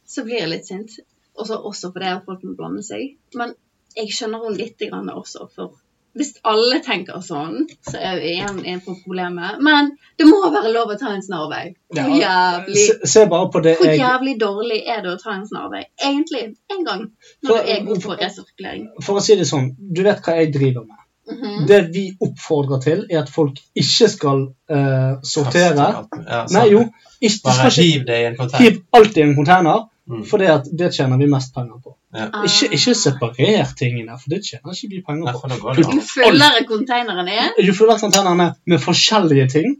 [SPEAKER 3] så blir jeg litt sint. Også, også fordi at folk må blande seg. Men jeg skjønner henne litt grann også, for hvis alle tenker sånn, så er vi igjen inne på problemet. Men det må være lov å ta en snarvei. Hvor
[SPEAKER 4] Ja,
[SPEAKER 3] jævlig,
[SPEAKER 4] se, se bare på det
[SPEAKER 3] hvor
[SPEAKER 4] jeg
[SPEAKER 3] jævlig dårlig er det å ta en snarvei? Egentlig, en gang, når du er god på resirkulering.
[SPEAKER 4] For å si det sånn, du vet hva jeg driver med.
[SPEAKER 3] Mhm.
[SPEAKER 4] Det vi oppfordrer til, er at folk ikke skal eh, sortere
[SPEAKER 5] Ja, sant.
[SPEAKER 4] Nei, jo. Ikke, du
[SPEAKER 5] Bare
[SPEAKER 4] skal
[SPEAKER 5] hiv
[SPEAKER 4] ikke
[SPEAKER 5] det i en container.
[SPEAKER 4] hiv alt i en container, for det, at det tjener vi mest penger på.
[SPEAKER 5] Ja.
[SPEAKER 4] Ikke, ikke separer tingene, for det tjener ikke vi penger på.
[SPEAKER 3] Jo fullere containeren er,
[SPEAKER 4] Jo fullere containeren er sånn, med forskjellige ting,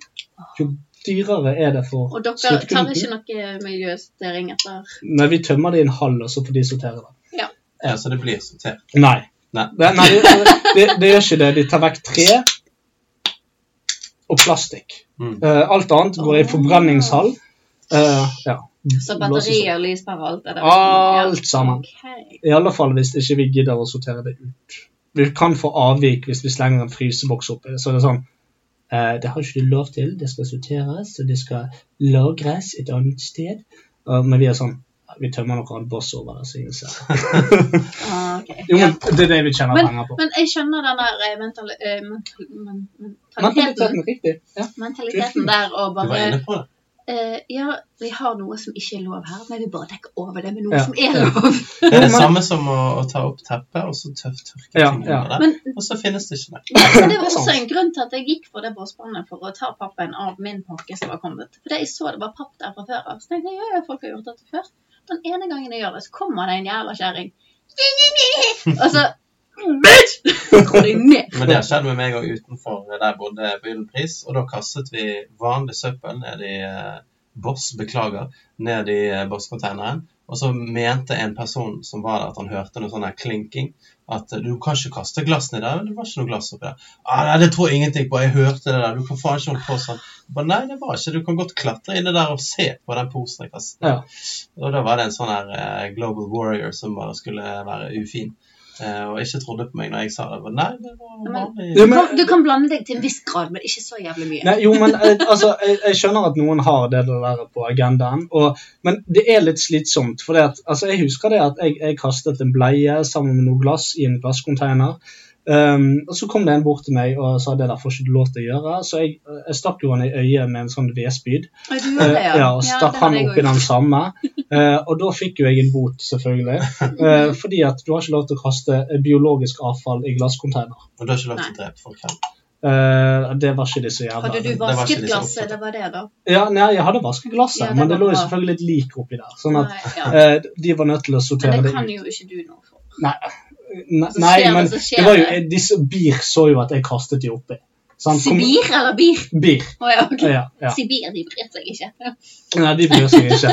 [SPEAKER 4] jo dyrere er det for
[SPEAKER 3] og dere tar
[SPEAKER 4] sluttkunden.
[SPEAKER 3] ikke noe miljøsortering etter
[SPEAKER 4] Nei, vi tømmer det i en halv, og så får de sortere det.
[SPEAKER 3] Ja.
[SPEAKER 5] Ja, så det blir sortert.
[SPEAKER 4] Nei.
[SPEAKER 5] Nei.
[SPEAKER 4] Det, nei, det, det, det gjør ikke det. De tar vekk tre og plastikk.
[SPEAKER 5] Mm.
[SPEAKER 4] Eh, alt annet går i forbrenningshall. Eh, ja.
[SPEAKER 3] Så
[SPEAKER 4] Blåses
[SPEAKER 3] batterier, lyspærer, alt det der.
[SPEAKER 4] Alt sammen.
[SPEAKER 3] Ok.
[SPEAKER 4] I alle fall hvis ikke vi gidder å sortere det ut. Vi kan få avvik hvis vi slenger en fryseboks oppi. Så det er sånn eh, Det har ikke du lov til. Det skal sorteres, og det skal lagres et annet sted. Eh, men vi er sånn Vi tømmer noe annet boss over det, så innser jeg.
[SPEAKER 3] Ah, ok.
[SPEAKER 4] Jo, men det er det vi tjener
[SPEAKER 3] Men,
[SPEAKER 4] penger på.
[SPEAKER 3] men jeg skjønner den der eh, mental, eh, mental, men,
[SPEAKER 4] Mentaliteten
[SPEAKER 3] mentaliteten,
[SPEAKER 4] er riktig. Ja.
[SPEAKER 3] mentaliteten der og
[SPEAKER 5] Du var
[SPEAKER 3] bare
[SPEAKER 5] inne på
[SPEAKER 4] *laughs*
[SPEAKER 5] det.
[SPEAKER 3] eh, Ja, vi har noe som ikke er lov her, men vi bare dekker over det med noe
[SPEAKER 4] Ja.
[SPEAKER 3] som er lov.
[SPEAKER 5] Det er det
[SPEAKER 4] Jo, men-
[SPEAKER 5] samme som å, å ta opp teppet, og så tøff tørke
[SPEAKER 4] Ja,
[SPEAKER 5] tingene
[SPEAKER 4] ja.
[SPEAKER 5] under det.
[SPEAKER 3] Men
[SPEAKER 5] Og så finnes det ikke mer.
[SPEAKER 3] Ja, men det var
[SPEAKER 4] Det er
[SPEAKER 3] også
[SPEAKER 4] sant.
[SPEAKER 3] en grunn til at jeg gikk for det båsbåndet for å ta pappen av min pakke som var kommet. For det jeg så det var papp der fra før av. Så tenkte jeg ja, ja, folk har gjort dette før. Den ene gangen jeg gjør det, så kommer det en jævla kjerring. *laughs* Og så mm, Bitch! *laughs* Så går de ned.
[SPEAKER 5] Men det har skjedd med meg òg utenfor eh, der jeg bodde på Gyllenpris. Og da kastet vi vanlig søppel ned i eh, Boss, beklager, ned i eh, Boss-containeren. Og så mente en person som var der, at han hørte noe sånn her klinking. At eh, du kan ikke kaste glass ned der. Det var ikke noe glass oppi der. Ah, nei, det tror jeg ingenting på. Jeg hørte det der. Du får faen ikke holde på sånn. Jeg Bare, nei, det var ikke. Du kan godt klatre inni der og se på den posen jeg kastet.
[SPEAKER 4] Ja.
[SPEAKER 5] Og da var det en sånn her eh, Global Warrior som bare skulle være ufin. eh, og ikke trodde på meg når jeg sa det. Jeg Bare, nei, det var vanlig.
[SPEAKER 3] Du kan, du kan blande deg til en viss grad, men ikke så jævlig mye.
[SPEAKER 4] Nei, jo, men eh, altså, jeg, jeg skjønner at noen har det der på agendaen, og, men det er litt slitsomt. For at, altså, jeg husker det at jeg, jeg kastet en bleie sammen med noe glass i en glasscontainer. Um, og Så kom det en bort til meg og sa det der får ikke du lov til å gjøre. Så jeg, jeg stakk jo han i øyet med en sånn vedspyd.
[SPEAKER 3] *laughs* Oi, du gjorde det,
[SPEAKER 4] Eh, ja, og stakk
[SPEAKER 3] det
[SPEAKER 4] han
[SPEAKER 3] hadde jeg
[SPEAKER 4] opp i
[SPEAKER 3] også.
[SPEAKER 4] den samme. Eh, og da fikk jo jeg en bot,
[SPEAKER 3] *laughs*
[SPEAKER 4] selvfølgelig. Eh, fordi at du har ikke lov til å kaste biologisk avfall i glasscontainer.
[SPEAKER 5] Og du har ikke lov til å drepe folk her.
[SPEAKER 4] Eh, det var ikke det så jævla
[SPEAKER 3] Hadde du
[SPEAKER 5] var ikke
[SPEAKER 3] vasket
[SPEAKER 5] liksom
[SPEAKER 3] glasset?
[SPEAKER 5] opptatt.
[SPEAKER 3] Det var det, da.
[SPEAKER 4] Ja, nei, jeg hadde vasket glasset,
[SPEAKER 3] Ja, det
[SPEAKER 4] men det
[SPEAKER 3] var
[SPEAKER 4] lå jo
[SPEAKER 3] bra.
[SPEAKER 4] selvfølgelig et lik oppi der. Sånn at
[SPEAKER 3] Nei, ja.
[SPEAKER 4] eh, de var nødt til å sortere
[SPEAKER 3] Men
[SPEAKER 4] det
[SPEAKER 3] det kan
[SPEAKER 4] ut.
[SPEAKER 3] jo ikke du noe for.
[SPEAKER 4] Nei, nei,
[SPEAKER 3] Så
[SPEAKER 4] nei
[SPEAKER 3] skjer det,
[SPEAKER 4] men
[SPEAKER 3] så skjer
[SPEAKER 4] det var jo,
[SPEAKER 3] det.
[SPEAKER 4] disse BIR så jo at jeg kastet de oppi. Sant? Kom-
[SPEAKER 3] Sibir eller bir?
[SPEAKER 4] BIR.
[SPEAKER 3] Å ja, ok.
[SPEAKER 4] Ja, ja.
[SPEAKER 3] Sibir, de bryr seg ikke.
[SPEAKER 4] Nei, de bryr seg ikke.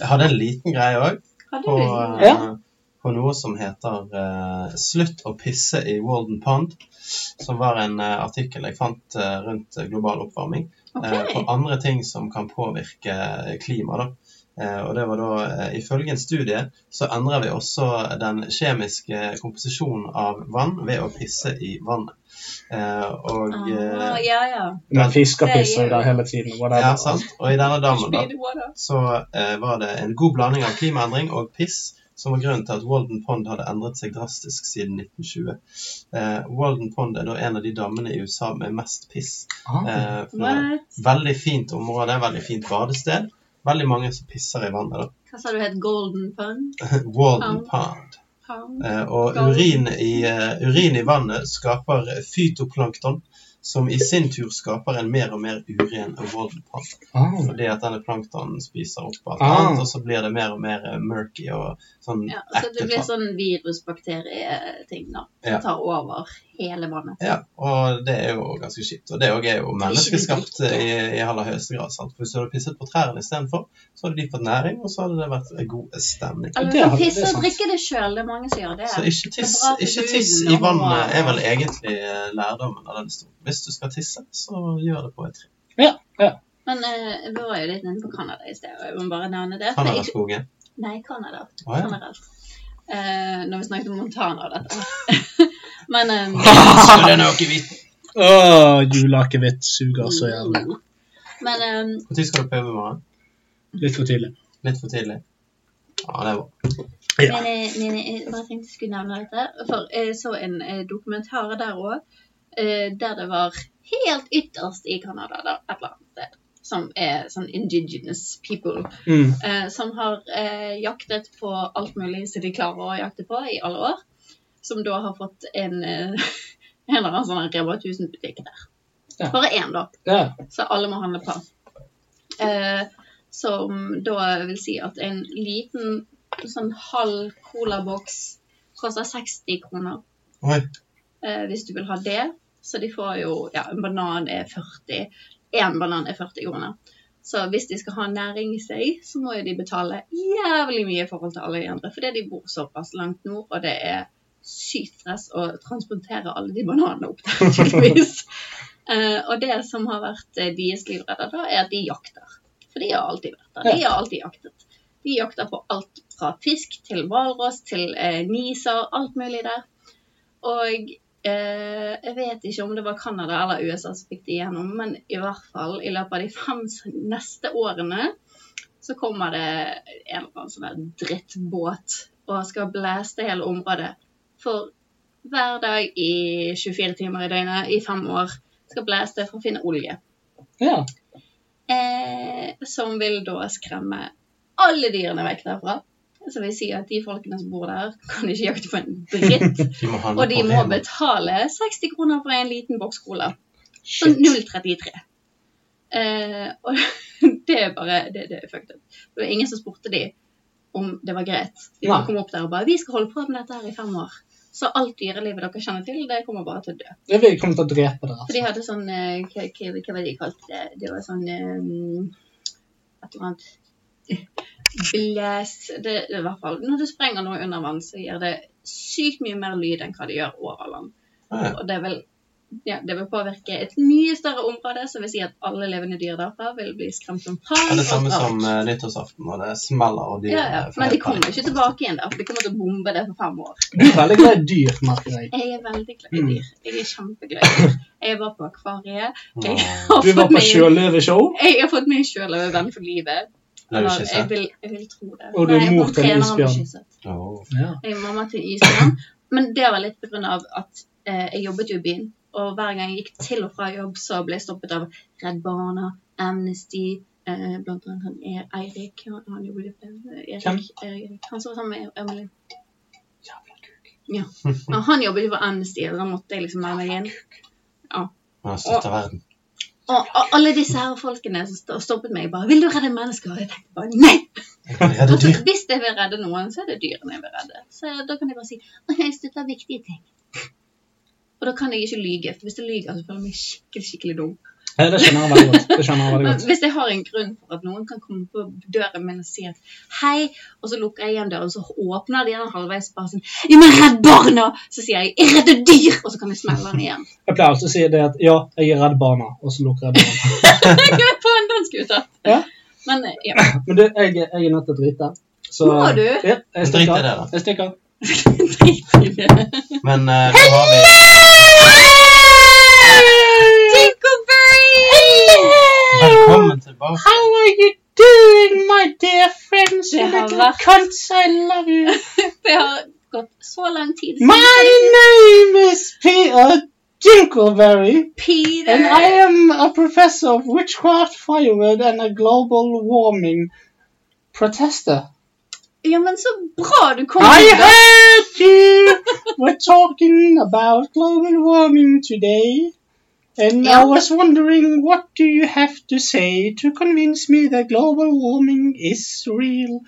[SPEAKER 5] Jeg hadde en liten greie òg
[SPEAKER 3] Hadde
[SPEAKER 5] på,
[SPEAKER 3] du
[SPEAKER 5] eh,
[SPEAKER 4] Ja.
[SPEAKER 5] på noe som heter eh, 'Slutt å pisse i Walden Pond', som var en eh, artikkel jeg fant eh, rundt eh, global oppvarming. eh,
[SPEAKER 3] Ok.
[SPEAKER 5] på andre ting som kan påvirke klima. Da. Eh, og det var da, eh, Ifølge en studie så endrer vi også den kjemiske komposisjonen av vann ved å pisse i vannet. Eh, og,
[SPEAKER 3] Ah,
[SPEAKER 5] eh,
[SPEAKER 3] ja, ja.
[SPEAKER 4] Men fisker
[SPEAKER 3] Det er
[SPEAKER 4] pisser jo
[SPEAKER 3] jo-
[SPEAKER 4] der hele tiden. whatever.
[SPEAKER 5] ja, sant? og i denne dammen da,
[SPEAKER 3] Speedwater.
[SPEAKER 5] så eh, var det en god blanding av klimaendring og piss som var grunnen til at Walden Pond hadde endret seg drastisk siden 1920. Eh, Walden Pond er da en av de dammene i USA med mest piss.
[SPEAKER 4] Ah.
[SPEAKER 5] Eh, for det
[SPEAKER 3] What?
[SPEAKER 5] er veldig fint område, veldig fint badested. Veldig mange som pisser i *laughs* vannet.
[SPEAKER 3] Hva sa du het Golden Pond?
[SPEAKER 5] da. Walden
[SPEAKER 3] Pond.
[SPEAKER 5] Pond.
[SPEAKER 3] Pond?
[SPEAKER 5] Eh, og
[SPEAKER 3] Golden.
[SPEAKER 5] urin i, eh, urin i vannet skaper fytoplankton, som i sin tur skaper en mer og mer uren Walden Pond.
[SPEAKER 4] Ah.
[SPEAKER 5] Fordi at denne planktonen spiser opp alt
[SPEAKER 4] Ah.
[SPEAKER 5] annet, og så blir det mer og mer eh, murky og sånn
[SPEAKER 3] Ja, så det
[SPEAKER 5] ekte
[SPEAKER 3] blir
[SPEAKER 5] faen.
[SPEAKER 3] sånn virusbakterieting da,
[SPEAKER 5] Ja.
[SPEAKER 3] som tar over hele vannet.
[SPEAKER 5] Ja, og det er jo ganske kjipt. Og det òg er jo menneskeskapt i, i aller høyeste grad. sant? For Hvis du hadde pisset på trærne istedenfor, så hadde de fått næring, og så hadde det vært en god stemning.
[SPEAKER 4] det
[SPEAKER 3] Eller du
[SPEAKER 4] er-
[SPEAKER 3] kan pisse
[SPEAKER 4] det er
[SPEAKER 3] og
[SPEAKER 4] sant.
[SPEAKER 3] drikke det sjøl, det er mange som gjør det.
[SPEAKER 5] Så ikke tiss,
[SPEAKER 3] Det er bra for
[SPEAKER 5] ikke tiss i
[SPEAKER 3] huden og-
[SPEAKER 5] vannet er vel egentlig eh, lærdommen av den historien. Hvis hvis du skal tisse, så gjør det på et tre.
[SPEAKER 4] Ja, ja.
[SPEAKER 3] Men eh, vi var jo litt inne på Canada i sted, og jeg må bare nevne det. for jeg- *laughs*
[SPEAKER 5] Canadaskogen.
[SPEAKER 3] Nei, Canada.
[SPEAKER 5] Å, ja.
[SPEAKER 3] Generelt. Eh, når vi snakket om Montana og dette. *laughs* Men eh,
[SPEAKER 5] Skulle den akevitt?
[SPEAKER 4] Åh, juleakevitt suger så jævlig.
[SPEAKER 3] Men eh,
[SPEAKER 5] Når skal du prøve i morgen?
[SPEAKER 4] Litt for tidlig.
[SPEAKER 5] Litt for tidlig? Ja, det er bra.
[SPEAKER 4] Ja.
[SPEAKER 3] Men, eh, men eh, jeg bare tenkte jeg skulle nevne dette. For jeg så en eh, dokumentar der òg, eh, der det var helt ytterst i Canada, da, et eller annet sted, som er sånn indigenous people,
[SPEAKER 14] Mm.
[SPEAKER 3] eh, som har eh, jaktet på alt mulig som de klarer å jakte på i alle år. Som da har fått en, eh, *laughs* en eller annen sånn Rema 1000-butikk der.
[SPEAKER 4] Ja.
[SPEAKER 3] Bare én, da.
[SPEAKER 4] Ja.
[SPEAKER 3] Så alle må handle på. Eh, som da vil si at en liten sånn halv colaboks koster 60 kroner.
[SPEAKER 5] Oi.
[SPEAKER 3] Eh, hvis du vil ha det. Så de får jo ja, en banan er 40 Én banan er 40 kroner. Så hvis de skal ha næring i seg, så må jo de betale jævlig mye i forhold til alle de andre. Fordi de bor såpass langt nord, og det er sykt stress å transportere alle de bananene opp der, *laughs* tydeligvis. Eh, og det som har vært eh, deres livredder, da, er at de jakter. For de har alltid vært der. De har alltid jaktet. De jakter på alt fra fisk til hvalross til eh, niser, alt mulig der. Og eh, jeg vet ikke om det var Canada eller USA som fikk det igjennom, men i hvert fall i løpet av de fem s- neste årene så kommer det en eller annen sånn der drittbåt og skal blæste hele området. For hver dag i 24 timer i døgnet i fem år skal blæste for å finne olje.
[SPEAKER 4] Ja.
[SPEAKER 3] Eh, som vil da skremme alle dyrene vekk derfra. Så vil si at de folkene som bor der, kan ikke jakte på en dritt.
[SPEAKER 5] De må handle
[SPEAKER 3] Og de
[SPEAKER 5] på
[SPEAKER 3] må
[SPEAKER 5] Rema.
[SPEAKER 3] betale 60 kroner for en liten boks cola. Så 0,33. Eh, *laughs* og det er bare det, det er fucked up. Det var ingen som spurte de om det var greit. De bare
[SPEAKER 4] Nei.
[SPEAKER 3] kom opp der og bare 'Vi skal holde på med dette her i fem år.' Så alt dyrelivet dere kjenner til, det kommer bare til å dø.
[SPEAKER 4] Jeg vil komme til å drepe dere.
[SPEAKER 3] For de hadde sånn eh, Hva, hva, hva var det de kalte det? Det var sånn eh, Et eller annet Blæs Det er i hvert fall Når du sprenger noe under vann, så gjør det sykt mye mer lyd enn hva det gjør over land.
[SPEAKER 5] Ja.
[SPEAKER 3] Og det vil, ja, det vil påvirke et mye større område, som vil si at alle levende dyr derfra vil bli skremt som faen.
[SPEAKER 5] Det er det samme
[SPEAKER 3] og alt.
[SPEAKER 5] som eh, nyttårsaften, når det smeller og dyr
[SPEAKER 3] ja, ja. Men de kommer jo ikke tilbake igjen der, for de kommer til å bombe det for fem år.
[SPEAKER 4] Du er veldig glad i dyr, merker jeg.
[SPEAKER 3] Jeg er veldig glad i
[SPEAKER 4] Mm.
[SPEAKER 3] dyr. Jeg er kjempeglad i dyr. Jeg var på akvariet. Jeg har
[SPEAKER 4] Du var
[SPEAKER 3] fått
[SPEAKER 4] på
[SPEAKER 3] meg en-
[SPEAKER 4] sjøløveshow,
[SPEAKER 3] Jeg har fått meg sjøl en venn for livet.
[SPEAKER 4] Ble du
[SPEAKER 3] Eller,
[SPEAKER 4] kysset?
[SPEAKER 3] Jeg vil, jeg vil tro det.
[SPEAKER 4] og du
[SPEAKER 3] Nei,
[SPEAKER 4] er
[SPEAKER 3] jeg
[SPEAKER 4] mor
[SPEAKER 3] var
[SPEAKER 4] til en
[SPEAKER 3] trener, han ble
[SPEAKER 4] isbjørn.
[SPEAKER 3] kysset.
[SPEAKER 4] Ja.
[SPEAKER 3] Jeg er mamma til en isbjørn. Men det var litt pga. at eh, jeg jobbet jo i byen. Og hver gang jeg gikk til og fra jobb, så ble jeg stoppet av Redd Barna, Amnesty eh, Blant annet han er Eirik. Han, han jobber i Erik,
[SPEAKER 4] Hvem?
[SPEAKER 3] Erik. Han som var sammen med Emily. Ja. Ja, Han jobbet jo for Amnesty, og da måtte jeg liksom melde meg inn. Ja.
[SPEAKER 5] Man støtter verden.
[SPEAKER 3] Og, og alle disse her folkene som sto- stoppet meg bare 'Vil du redde mennesker?' Og jeg tenkte bare 'Nei!' Altså,
[SPEAKER 5] Redde dyr.
[SPEAKER 3] Hvis jeg vil redde noen, så er det dyrene jeg vil redde. Så da kan jeg bare si 'Å, jeg støtter viktige ting'. Og da kan jeg ikke lyge. For hvis jeg lyger, så føler jeg meg skikkelig, skikkelig dum.
[SPEAKER 4] Ja, det skjønner jeg veldig godt. Det skjønner jeg veldig
[SPEAKER 3] Men
[SPEAKER 4] godt.
[SPEAKER 3] hvis jeg har en grunn for at noen kan komme på døren min og si at 'hei', og så lukker jeg igjen døren, og så åpner de den halvveis bare sånn 'Ja, men redd barna!' Så sier jeg 'Jeg redder dyr!' Og så kan jeg smelle den
[SPEAKER 5] *laughs*
[SPEAKER 3] igjen.
[SPEAKER 4] Jeg pleier alltid å si det at ja, jeg er redd barna, og så lukker jeg barna.
[SPEAKER 3] Jeg er på en dansk ute.
[SPEAKER 4] Ja.
[SPEAKER 3] Men eh, ja.
[SPEAKER 4] Men du, jeg, jeg er nødt til å drite. Så,
[SPEAKER 3] Må du?
[SPEAKER 4] Ja, jeg
[SPEAKER 5] Drit i det,
[SPEAKER 4] stikker.
[SPEAKER 5] da.
[SPEAKER 4] Jeg stikker.
[SPEAKER 5] Men eh, nå har vi Velkommen tilbake.
[SPEAKER 14] How are you doing, my dear friends?
[SPEAKER 3] Det
[SPEAKER 14] You
[SPEAKER 3] har
[SPEAKER 14] little
[SPEAKER 3] vært-
[SPEAKER 14] cunts, I love you.
[SPEAKER 3] *laughs* Det har gått så lang tid
[SPEAKER 14] My name is Peter Dingleberry,
[SPEAKER 3] Peter.
[SPEAKER 14] and I am a professor of witchcraft, firewood, and a global warming protester.
[SPEAKER 3] Ja, men så bra du kom
[SPEAKER 14] I
[SPEAKER 3] hit, da.
[SPEAKER 14] heard you! We're talking about global warming today. And I was wondering, what do you have to say to convince me that global warming is real?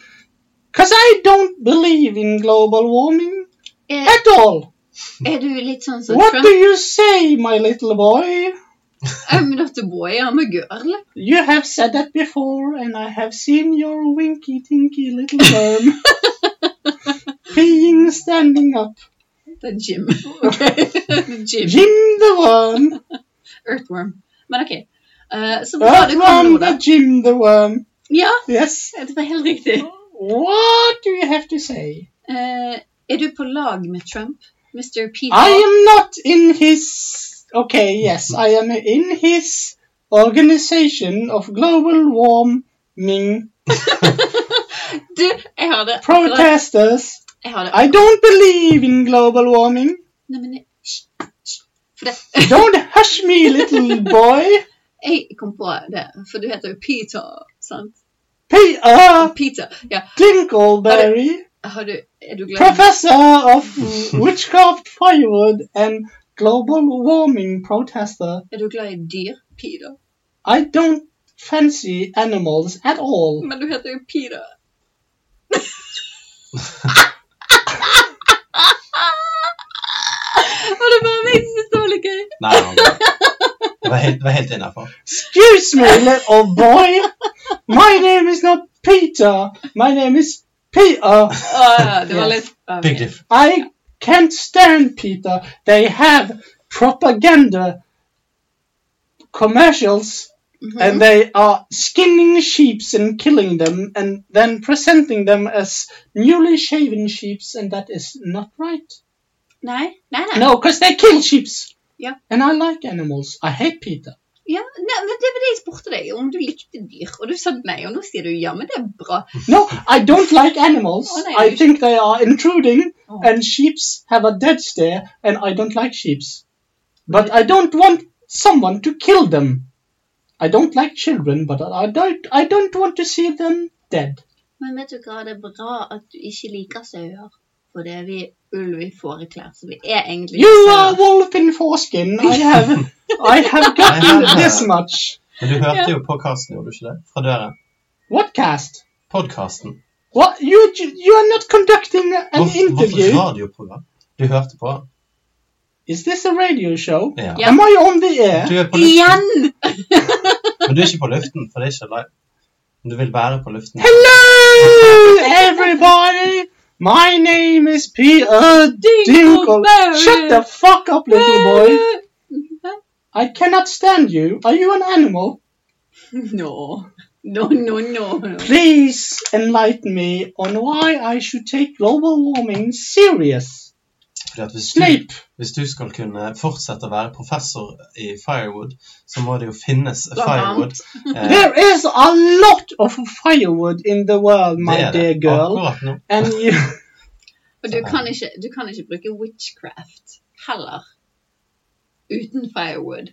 [SPEAKER 14] Because I don't believe in global warming at all.
[SPEAKER 3] Er du litt sånn som
[SPEAKER 14] What
[SPEAKER 3] Trump?
[SPEAKER 14] do you say, my little boy?
[SPEAKER 3] I'm not a boy, I'm a girl.
[SPEAKER 14] You have said that before, and I have seen your winky tinky little worm peeing standing up. *laughs*
[SPEAKER 3] The Jim. Okay. Jim.
[SPEAKER 14] Jim the worm.
[SPEAKER 3] Earthworm. Men OK. Eh, så bra det kom
[SPEAKER 14] Earthworm
[SPEAKER 3] nå, da.
[SPEAKER 14] the Jim the Worm.
[SPEAKER 3] Ja,
[SPEAKER 14] Yes.
[SPEAKER 3] det var helt riktig.
[SPEAKER 14] What do you have to say?
[SPEAKER 3] Eh, er du på lag med Trump? Mr. Peter?
[SPEAKER 14] I am not in his. Okay, yes, I am in his organization of global warming
[SPEAKER 3] Du, jeg har det. akkurat-
[SPEAKER 14] protesters.
[SPEAKER 3] Jeg har det.
[SPEAKER 14] I don't believe in global warming.
[SPEAKER 3] Nei, men jeg, hysj, hysj. For det, *laughs*
[SPEAKER 14] Don't hush me, *laughs* little boy.
[SPEAKER 3] jeg kom på det, for du heter jo Peter, sant?
[SPEAKER 14] Peter
[SPEAKER 3] Peter, ja.
[SPEAKER 14] *laughs* Klinkleberry,
[SPEAKER 3] Har du, er du glad?
[SPEAKER 14] professor of witchcraft, firewood, and global warming protester.
[SPEAKER 3] Er du glad i dyr, Peter?
[SPEAKER 14] I don't fancy animals at all.
[SPEAKER 3] Men du heter jo Peter. Og det var meg som syntes det var litt gøy.
[SPEAKER 5] Nei, han var- det var helt, det var helt
[SPEAKER 3] *laughs*
[SPEAKER 5] innafor.
[SPEAKER 14] Excuse *laughs* me, little boy. My name is not Peter. My name is Peter.
[SPEAKER 3] Å, ja, det var litt...
[SPEAKER 5] Big diff.
[SPEAKER 14] I can't stand Peter. They have propaganda commercials and they are skinning sheeps and killing them and then presenting them as newly shaven sheeps and that is not right.
[SPEAKER 3] Nei, nei, nei.
[SPEAKER 14] No, because they kill sheeps.
[SPEAKER 3] Ja.
[SPEAKER 14] And I like animals. I hate Peter.
[SPEAKER 3] Ja, nei, men det var det jeg spurte deg, om du likte dyr. Og du sa nei, og nå sier du ja, men det er bra.
[SPEAKER 14] No, I don't like animals.
[SPEAKER 3] Oh, no,
[SPEAKER 14] I
[SPEAKER 3] you
[SPEAKER 14] think they are intruding,
[SPEAKER 3] Oh.
[SPEAKER 14] and sheeps have a dead stare, and I don't like sheeps. But I don't want someone to kill them. I don't like children, but I don't. I don't want to see them dead.
[SPEAKER 3] Men vet du hva, det er bra at du ikke liker sauer. For det er vi ulv i fåreklær, så vi er egentlig
[SPEAKER 14] You
[SPEAKER 3] ikke
[SPEAKER 14] are wolf in foreskin. I
[SPEAKER 3] *laughs*
[SPEAKER 14] have. I have gotten this much.
[SPEAKER 5] Men du hørte jo podkasten, gjorde du ikke det? Fra døren.
[SPEAKER 14] What cast?
[SPEAKER 5] Podkasten.
[SPEAKER 14] What you? You are not conducting an
[SPEAKER 5] Hvorfor, hvorfor
[SPEAKER 14] interview.
[SPEAKER 5] radioprogram? Du hørte på.
[SPEAKER 14] Is this a radio show?
[SPEAKER 5] Ja.
[SPEAKER 3] Ja.
[SPEAKER 14] Am I on the air?
[SPEAKER 5] Du er på luften,
[SPEAKER 3] Igjen!
[SPEAKER 5] men du er ikke på luften, for det er ikke live. Men du vil være på luften.
[SPEAKER 14] Hello, everybody. My name is Peter Dinkle.
[SPEAKER 3] Dingleberry.
[SPEAKER 14] Shut the fuck up, little boy.
[SPEAKER 3] *laughs* Hæ?
[SPEAKER 14] I cannot stand you. Are you an animal?
[SPEAKER 3] No. No, no, no.
[SPEAKER 14] Please enlighten me on why I should take global warming serious.
[SPEAKER 5] Fordi at hvis, du,
[SPEAKER 14] Snape.
[SPEAKER 5] hvis du skal kunne fortsette å være professor i Firewood, så må det jo finnes
[SPEAKER 3] Blant *laughs*
[SPEAKER 5] Firewood.
[SPEAKER 3] annet.
[SPEAKER 5] Eh,
[SPEAKER 14] There is a lot of firewood in the world,
[SPEAKER 5] det
[SPEAKER 14] my
[SPEAKER 5] er det
[SPEAKER 14] dear girl.
[SPEAKER 5] akkurat nå.
[SPEAKER 14] And you,
[SPEAKER 3] Og du kan ikke, du kan ikke bruke witchcraft heller uten firewood.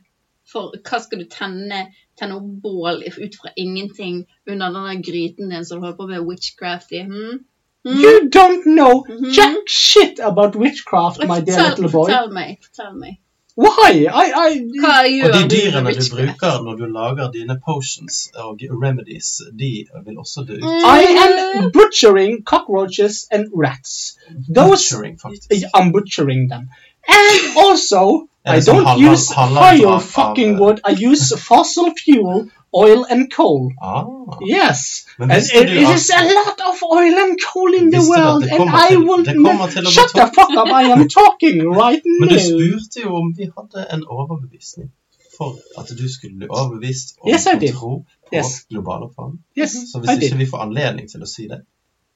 [SPEAKER 3] For hva skal du tenne? Tenne opp bål ut fra ingenting under den der gryten din som du holder på med witchcraft i? Hm? Hm?
[SPEAKER 14] you don't know
[SPEAKER 3] Mhm.
[SPEAKER 14] jack shit about witchcraft, my dear
[SPEAKER 3] Fortell,
[SPEAKER 14] little boy.
[SPEAKER 3] fortell meg. Fortell meg.
[SPEAKER 14] Why? I, I,
[SPEAKER 3] Hva gjør
[SPEAKER 5] Og de
[SPEAKER 3] du med
[SPEAKER 5] dyrene du
[SPEAKER 3] witchcraft?
[SPEAKER 5] bruker når du lager dine potions og remedies, de vil også dø ut.
[SPEAKER 3] Mm.
[SPEAKER 14] I
[SPEAKER 5] Mm-hmm.
[SPEAKER 14] am butchering cockroaches and rats. Those
[SPEAKER 5] Butchering, faktisk.
[SPEAKER 14] I'm butchering them.
[SPEAKER 5] *laughs*
[SPEAKER 14] And also,
[SPEAKER 5] Yeah,
[SPEAKER 14] I
[SPEAKER 5] so
[SPEAKER 14] don't
[SPEAKER 5] halal-
[SPEAKER 14] use
[SPEAKER 5] halal
[SPEAKER 14] fire
[SPEAKER 5] drop
[SPEAKER 14] fucking
[SPEAKER 5] of, uh,
[SPEAKER 14] wood. I
[SPEAKER 5] *laughs*
[SPEAKER 14] use fossil fuel, oil and coal.
[SPEAKER 5] Ah.
[SPEAKER 14] Yes,
[SPEAKER 5] Men
[SPEAKER 14] and it,
[SPEAKER 5] visste du
[SPEAKER 14] it is a
[SPEAKER 5] at-
[SPEAKER 14] lot of oil and coal in the
[SPEAKER 5] Visste du at
[SPEAKER 14] world,
[SPEAKER 5] det
[SPEAKER 14] and
[SPEAKER 5] kommer
[SPEAKER 14] I
[SPEAKER 5] til-
[SPEAKER 14] will
[SPEAKER 5] det
[SPEAKER 14] not
[SPEAKER 5] kommer til å bli
[SPEAKER 14] shut the
[SPEAKER 5] topp.
[SPEAKER 14] fuck up. I
[SPEAKER 5] *laughs*
[SPEAKER 14] am talking right
[SPEAKER 5] Men du
[SPEAKER 14] now.
[SPEAKER 5] spurte jo om vi hadde en overbevisning for at du skulle bli overbevist om
[SPEAKER 14] Yes, I
[SPEAKER 5] å
[SPEAKER 14] did.
[SPEAKER 5] tro på
[SPEAKER 14] Yes.
[SPEAKER 5] global oppvarming.
[SPEAKER 14] Yes,
[SPEAKER 5] Så hvis
[SPEAKER 14] I
[SPEAKER 5] ikke
[SPEAKER 14] did.
[SPEAKER 5] vi får anledning til å si det,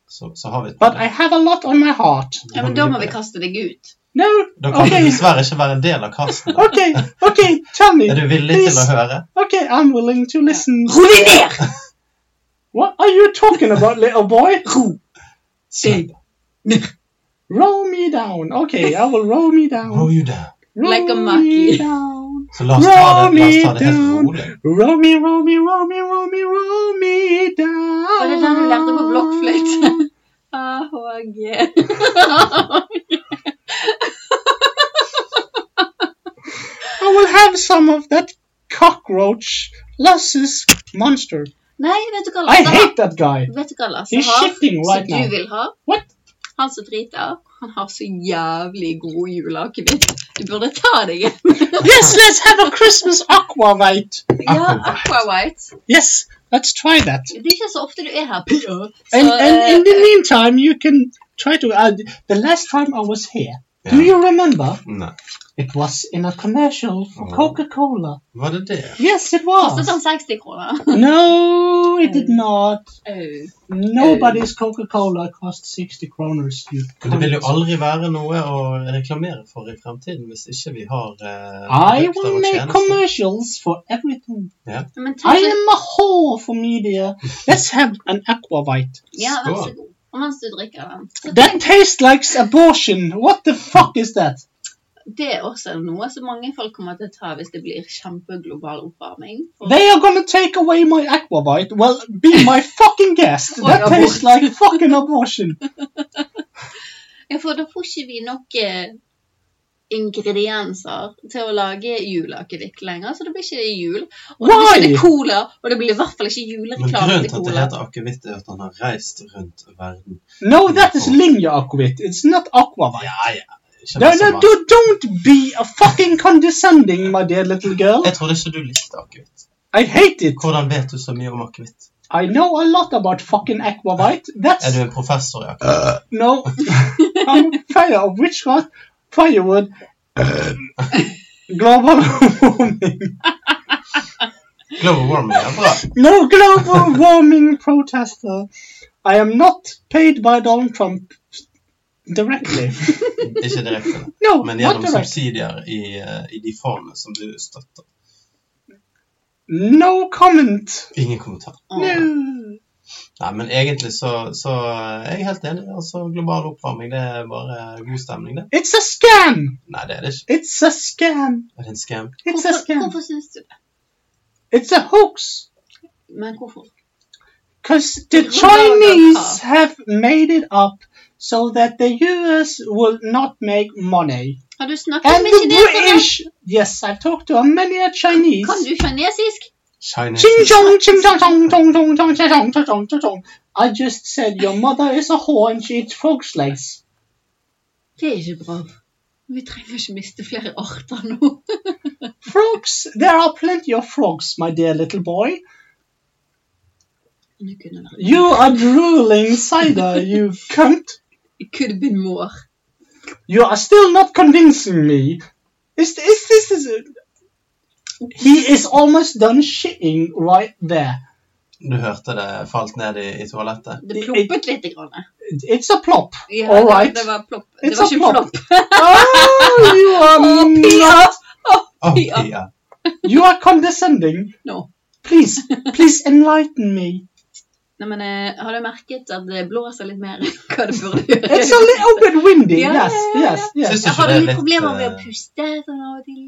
[SPEAKER 5] så, så har vi et
[SPEAKER 14] But I have a lot on my heart.
[SPEAKER 3] Ja, men da må vi kaste deg ut.
[SPEAKER 14] No.
[SPEAKER 5] Da kan du
[SPEAKER 14] Okay.
[SPEAKER 5] dessverre ikke være en del av casten. da.
[SPEAKER 14] *laughs* Okay. Okay. Tell me.
[SPEAKER 5] Er du villig til å
[SPEAKER 14] Please.
[SPEAKER 5] høre?
[SPEAKER 14] Okay, I'm willing to listen.
[SPEAKER 3] Ro deg ned!
[SPEAKER 14] *laughs* What are you talking about, little *laughs* boy?
[SPEAKER 5] Sleep.
[SPEAKER 14] Roll me down. Okay, I will roll me
[SPEAKER 5] Row
[SPEAKER 14] down.
[SPEAKER 5] you down.
[SPEAKER 14] Roll
[SPEAKER 3] Like a
[SPEAKER 14] me
[SPEAKER 3] monkey.
[SPEAKER 14] down.
[SPEAKER 5] Så la oss ta det, la oss ta det helt
[SPEAKER 14] Roll me
[SPEAKER 5] rolig.
[SPEAKER 14] Roll me, roll me, roll me, roll me, roll me down.
[SPEAKER 3] Var det den du lærte på *laughs* Ah, blokkfløyte? eh. AHG.
[SPEAKER 14] I will have some of that cockroach, Lass's monster.
[SPEAKER 3] Nei, vet du hva
[SPEAKER 14] I
[SPEAKER 3] Lasse har?
[SPEAKER 14] hate that guy.
[SPEAKER 3] Vet du hva Lasse
[SPEAKER 14] He's
[SPEAKER 3] har?
[SPEAKER 14] shitting right
[SPEAKER 3] Som
[SPEAKER 14] now.
[SPEAKER 3] du vil ha?
[SPEAKER 14] What?
[SPEAKER 3] Han som driter. Han har så jævlig god juleakevitt. Du burde ta deg en.
[SPEAKER 14] *laughs* Yes, let's have a Christmas aquavite.
[SPEAKER 3] Ja, Aquawhite.
[SPEAKER 14] Yes, let's try that.
[SPEAKER 3] Det er ikke så ofte du er her. Peter. Så,
[SPEAKER 14] And, and in the
[SPEAKER 3] eh,
[SPEAKER 14] uh, meantime, you can try to. Uh, the last time I was here, do
[SPEAKER 5] Ja.
[SPEAKER 14] you remember?
[SPEAKER 5] Nei.
[SPEAKER 14] It was in a commercial for Coca-Cola.
[SPEAKER 5] Var det det?
[SPEAKER 14] Yes, it
[SPEAKER 3] Kostet
[SPEAKER 14] was.
[SPEAKER 3] den 60 sånn kroner?
[SPEAKER 14] No, it did not.
[SPEAKER 3] Au.
[SPEAKER 14] Nobody's Coca-Cola cost 60 kroners. You
[SPEAKER 5] Men det vil jo
[SPEAKER 14] cunt.
[SPEAKER 5] aldri være noe å reklamere for i fremtiden hvis ikke vi har eh,
[SPEAKER 14] I
[SPEAKER 5] produkter
[SPEAKER 14] will
[SPEAKER 5] og
[SPEAKER 14] make
[SPEAKER 5] tjenester.
[SPEAKER 14] commercials for everything.
[SPEAKER 5] Ja.
[SPEAKER 3] Men
[SPEAKER 14] I
[SPEAKER 3] tenk,
[SPEAKER 14] am a whore for media. Let's have an aquavite.
[SPEAKER 3] ja, vær så god. Og mens du drikker den. så
[SPEAKER 14] That tastes like abortion. What the fuck is that?
[SPEAKER 3] Det er også noe som mange folk kommer til å ta hvis det blir kjempeglobal oppvarming. For-
[SPEAKER 14] They are gonna take away my aquavite. Well, be my fucking guest. That
[SPEAKER 3] Or
[SPEAKER 14] tastes like fucking abortion.
[SPEAKER 3] Ja, for da får ikke vi nok eh, ingredienser til å lage juleakevitt lenger, så det blir ikke jul. Og det blir ikke
[SPEAKER 14] Why?
[SPEAKER 3] det cola, og det blir i hvert fall ikke
[SPEAKER 5] Men
[SPEAKER 3] julereklame
[SPEAKER 5] grunnen
[SPEAKER 3] til
[SPEAKER 5] til at det
[SPEAKER 3] cola.
[SPEAKER 5] heter akevitt, er at han har reist rundt verden.
[SPEAKER 14] No, that is linja aquavit. It's not aquavite.
[SPEAKER 5] Ja, ja. Ikke
[SPEAKER 14] No,
[SPEAKER 5] masse
[SPEAKER 14] no,
[SPEAKER 5] mat.
[SPEAKER 14] do, don't be a fucking condescending, my dear little girl.
[SPEAKER 5] Jeg trodde ikke du likte akevitt.
[SPEAKER 14] I hate it.
[SPEAKER 5] Hvordan vet du så mye om akevitt?
[SPEAKER 14] I know a lot about fucking aquavite.
[SPEAKER 5] Er
[SPEAKER 14] That's
[SPEAKER 5] du en professor i akevitt?
[SPEAKER 14] no. I'm a fire of witchcraft, firewood, global warming.
[SPEAKER 5] Global warming er bra.
[SPEAKER 14] No global warming protester. I am not paid by Donald Trump directly.
[SPEAKER 5] Ikke direkte,
[SPEAKER 14] No,
[SPEAKER 5] men
[SPEAKER 14] not
[SPEAKER 5] gjennom
[SPEAKER 14] directly.
[SPEAKER 5] subsidier i, eh, i de fondene som du støtter.
[SPEAKER 14] No comment.
[SPEAKER 5] Ingen kommentar.
[SPEAKER 14] No.
[SPEAKER 5] Nei, men egentlig så, så er jeg helt enig. Altså, global oppvarming det er bare god stemning, det.
[SPEAKER 14] It's a scam.
[SPEAKER 5] Nei, det er det ikke.
[SPEAKER 14] It's a scam.
[SPEAKER 5] Er det en scam?
[SPEAKER 14] It's a
[SPEAKER 3] Hvorfor,
[SPEAKER 14] scam.
[SPEAKER 3] hvorfor syns du det?
[SPEAKER 14] It's a hoax.
[SPEAKER 3] Men hvorfor?
[SPEAKER 14] Because the
[SPEAKER 3] Who knows
[SPEAKER 14] Chinese
[SPEAKER 3] how?
[SPEAKER 14] have made it up so that the US will not make money.
[SPEAKER 3] Har du snakket
[SPEAKER 14] And
[SPEAKER 3] med
[SPEAKER 14] the
[SPEAKER 3] kinesere?
[SPEAKER 14] British! Yes, I've talked to many a Chinese.
[SPEAKER 3] Kan du kinesisk?
[SPEAKER 14] Ching
[SPEAKER 5] Chinese.
[SPEAKER 14] chong, ching chong, chong, chong, chong, chong, chong, chong, chong, chong, chong, chong. I just said your mother is a whore and she eats frog's legs.
[SPEAKER 3] Det er ikke bra. Vi trenger ikke miste flere arter nå. *laughs*
[SPEAKER 14] Frogs? There are plenty of frogs, my dear little boy.
[SPEAKER 3] Men det kunne vært
[SPEAKER 14] You are drooling cider, you cunt.
[SPEAKER 3] It could have been more.
[SPEAKER 14] You are still not convincing me. Is is this is He is almost done shitting right there.
[SPEAKER 5] Du hørte det falt ned i, i toalettet.
[SPEAKER 3] Det ploppet lite grann.
[SPEAKER 14] It's a plop.
[SPEAKER 3] Ja,
[SPEAKER 14] All
[SPEAKER 3] det-
[SPEAKER 14] right.
[SPEAKER 3] Det var plopp. Det
[SPEAKER 14] It's
[SPEAKER 3] var
[SPEAKER 14] a
[SPEAKER 3] ikke
[SPEAKER 14] plop.
[SPEAKER 3] plopp.
[SPEAKER 14] Oh, you are not.
[SPEAKER 5] Å,
[SPEAKER 3] Ja.
[SPEAKER 5] ja.
[SPEAKER 14] You are condescending.
[SPEAKER 3] No.
[SPEAKER 14] Please, please enlighten me.
[SPEAKER 3] Nei, men eh, har du merket at det blåser litt mer enn hva det burde gjøre?
[SPEAKER 14] It's a little bit windy.
[SPEAKER 3] Yeah,
[SPEAKER 14] Yes,
[SPEAKER 3] yeah,
[SPEAKER 14] yes, yes.
[SPEAKER 5] Syns du
[SPEAKER 3] Jeg
[SPEAKER 5] ikke
[SPEAKER 3] har
[SPEAKER 5] det
[SPEAKER 3] du
[SPEAKER 5] er
[SPEAKER 3] litt
[SPEAKER 5] litt
[SPEAKER 3] problemer med å
[SPEAKER 5] eh,
[SPEAKER 3] puste sånn av og til?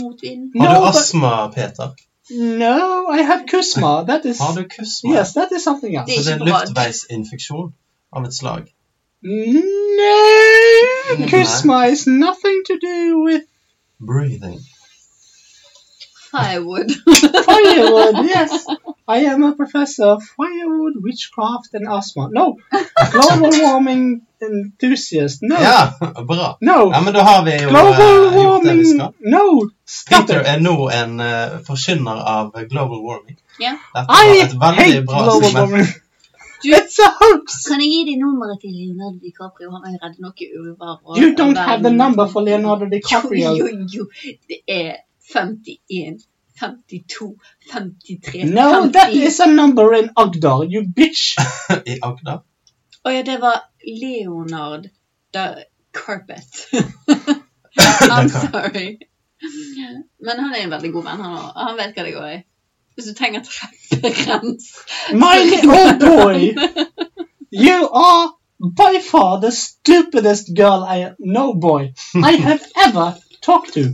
[SPEAKER 3] Motvind?
[SPEAKER 5] Har
[SPEAKER 14] No,
[SPEAKER 5] du
[SPEAKER 14] but-
[SPEAKER 5] astma, Peter?
[SPEAKER 14] No, I have kusma. That is.
[SPEAKER 5] Har du kusma?
[SPEAKER 14] Yes, that is something else.
[SPEAKER 5] Så Altså, det er en
[SPEAKER 3] Ikke bra.
[SPEAKER 5] luftveisinfeksjon av et slag?
[SPEAKER 14] No, kusma is nothing to do with
[SPEAKER 5] Breathing.
[SPEAKER 3] Firewood.
[SPEAKER 14] firewood, *laughs* yes. I am a professor of firewood, witchcraft, and asthma. No, global warming enthusiast. No,
[SPEAKER 5] Ja, bra.
[SPEAKER 14] no,
[SPEAKER 5] Ja, men da har vi jo
[SPEAKER 14] global
[SPEAKER 5] eh, gjort det vi
[SPEAKER 14] warming.
[SPEAKER 5] skal.
[SPEAKER 14] No, stop
[SPEAKER 5] Peter
[SPEAKER 14] it.
[SPEAKER 5] er nå en eh, forkynner av global warming.
[SPEAKER 3] Ja.
[SPEAKER 5] Dette var
[SPEAKER 14] I
[SPEAKER 5] et veldig
[SPEAKER 14] hate
[SPEAKER 5] bra
[SPEAKER 14] global
[SPEAKER 5] segment.
[SPEAKER 14] warming.
[SPEAKER 3] Du-
[SPEAKER 14] It's a hoax.
[SPEAKER 3] *laughs* Kan jeg gi deg nummeret til Leonardo DiCaprio? Han har reddet noen ulver. og-
[SPEAKER 14] You don't have the
[SPEAKER 3] verden.
[SPEAKER 14] number for Leonardo DiCaprio.
[SPEAKER 3] Jo, jo, jo. Det er 51, 52, 53,
[SPEAKER 14] No, that is a number in Agdar, you bitch.
[SPEAKER 5] I Agder.
[SPEAKER 3] Å ja, det var Leonard da
[SPEAKER 5] *laughs*
[SPEAKER 3] Carpet. *laughs* I'm sorry. Men han er en veldig god venn, han òg. Han vet hva det går i. Hvis du trenger trefferens
[SPEAKER 14] My little boy, you are by far the stupidest girl I no boy I have ever talked to.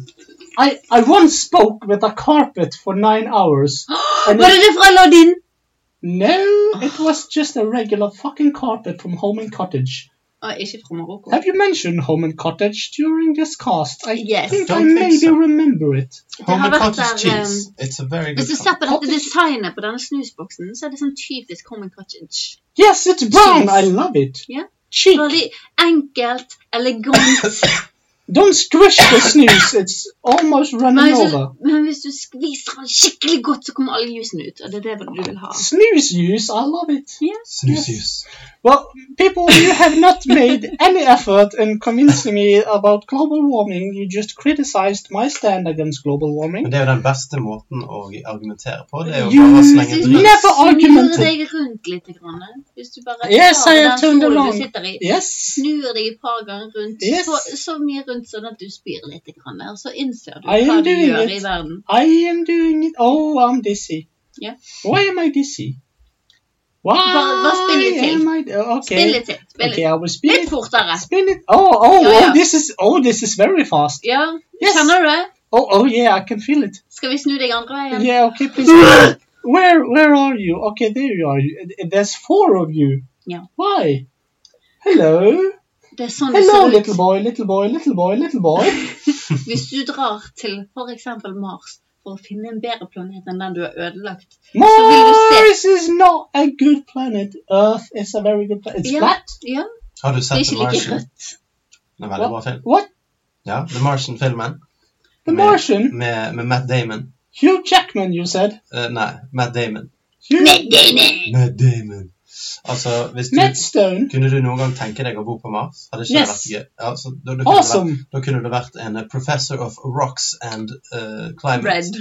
[SPEAKER 14] I, I once spoke with a carpet for nine hours. And
[SPEAKER 3] Var det det fra Aladdin?
[SPEAKER 14] no, it was just a regular fucking carpet from Home and Cottage.
[SPEAKER 3] Å, ikke fra Marokko.
[SPEAKER 14] Have you mentioned Home and Cottage during this cast? I
[SPEAKER 3] Yes.
[SPEAKER 14] think I
[SPEAKER 5] Don't think
[SPEAKER 14] maybe
[SPEAKER 5] so.
[SPEAKER 14] remember it.
[SPEAKER 3] Det har
[SPEAKER 5] Home
[SPEAKER 3] vært
[SPEAKER 5] cottage
[SPEAKER 3] der, eh,
[SPEAKER 5] cheese. It's a very good
[SPEAKER 3] Hvis du
[SPEAKER 5] company.
[SPEAKER 3] ser på dette designet på denne snusboksen, så er det sånn typisk Common Cottage.
[SPEAKER 14] Yes, it's brown.
[SPEAKER 3] Cheese.
[SPEAKER 14] I love it.
[SPEAKER 3] Ja.
[SPEAKER 14] Cheek.
[SPEAKER 3] Veldig enkelt,
[SPEAKER 14] *laughs*
[SPEAKER 3] elegant.
[SPEAKER 14] Don't squish
[SPEAKER 3] *laughs*
[SPEAKER 14] the snooze. It's almost
[SPEAKER 3] Men
[SPEAKER 14] running
[SPEAKER 3] hvis,
[SPEAKER 14] over.
[SPEAKER 3] du, men hvis du skviser den skikkelig godt, så kommer all jusen ut. Og det er det du vil ha.
[SPEAKER 14] Snooze use. I love it.
[SPEAKER 5] Snusjus.
[SPEAKER 14] Well, people, you have not made
[SPEAKER 3] *laughs*
[SPEAKER 14] any effort in convincing me about global warming. You just criticized my stand against global warming.
[SPEAKER 5] Men det er jo den beste måten å argumentere på. Det er jo bare å slenge
[SPEAKER 14] You
[SPEAKER 5] dritt.
[SPEAKER 14] never
[SPEAKER 3] Snur
[SPEAKER 14] argumented.
[SPEAKER 3] deg rundt litt. Grann. Hvis du bare
[SPEAKER 14] Yes,
[SPEAKER 3] tar
[SPEAKER 14] I
[SPEAKER 3] den
[SPEAKER 14] turned
[SPEAKER 3] stolen
[SPEAKER 14] around.
[SPEAKER 3] du sitter i,
[SPEAKER 14] Yes.
[SPEAKER 3] snur deg et par ganger rundt,
[SPEAKER 14] Yes.
[SPEAKER 3] så, så mye rundt sånn at du spyr litt, grann, og så innser du
[SPEAKER 14] I
[SPEAKER 3] hva
[SPEAKER 14] am
[SPEAKER 3] du
[SPEAKER 14] doing
[SPEAKER 3] gjør i
[SPEAKER 14] it.
[SPEAKER 3] verden.
[SPEAKER 14] I am doing it. Oh, I'm dizzy.
[SPEAKER 3] Ja.
[SPEAKER 14] Why am I dizzy? Why
[SPEAKER 3] Bare- bare spill litt til.
[SPEAKER 14] am I? Okay.
[SPEAKER 3] Spill litt til. Spill
[SPEAKER 14] Okay,
[SPEAKER 3] litt.
[SPEAKER 14] I will spin
[SPEAKER 3] Litt
[SPEAKER 14] it.
[SPEAKER 3] fortere.
[SPEAKER 14] Spin it. Oh, oh,
[SPEAKER 3] Ja, ja.
[SPEAKER 14] oh! This is oh, this is very fast.
[SPEAKER 3] Ja,
[SPEAKER 14] Yes.
[SPEAKER 3] kjenner du det?
[SPEAKER 14] Oh, oh yeah, I can feel it.
[SPEAKER 3] Skal vi snu deg andre veien?
[SPEAKER 14] Yeah, okay, *laughs* please. where where are you? Okay, there you are. Uh, There's four of you.
[SPEAKER 3] Yeah.
[SPEAKER 14] Why? Hello.
[SPEAKER 3] Det er sånn det
[SPEAKER 14] Hello,
[SPEAKER 3] ser ut.
[SPEAKER 14] little boy, little boy, little boy, little *laughs* boy.
[SPEAKER 3] Hvis du drar til f.eks. Mars for å finne en bedre planet enn den du har ødelagt, så vil du se
[SPEAKER 14] Mars is not a good planet. Earth is a very good planet. It's
[SPEAKER 3] ja,
[SPEAKER 14] flat.
[SPEAKER 3] ja,
[SPEAKER 5] Har du
[SPEAKER 3] det er
[SPEAKER 5] sett The
[SPEAKER 3] ikke like
[SPEAKER 5] Martian?
[SPEAKER 3] rødt.
[SPEAKER 5] Det er en veldig bra film.
[SPEAKER 14] What?
[SPEAKER 5] Ja, The Martian-filmen.
[SPEAKER 14] The
[SPEAKER 5] Med-
[SPEAKER 14] Martian?
[SPEAKER 5] Med, med Matt Damon.
[SPEAKER 14] Hugh Jackman, you said.
[SPEAKER 5] Eh, nei, Matt Damon.
[SPEAKER 14] Hugh
[SPEAKER 5] Matt Damon. Altså, hvis du
[SPEAKER 14] Matt Stone.
[SPEAKER 5] Kunne du noen gang tenke deg å bo på Mars? Hadde ikke
[SPEAKER 14] Yes.
[SPEAKER 5] det vært gøy? Ja, så da, da, kunne
[SPEAKER 14] Awesome.
[SPEAKER 5] du vært, da kunne du vært en eh, professor of rocks and eh, climate.
[SPEAKER 3] Red.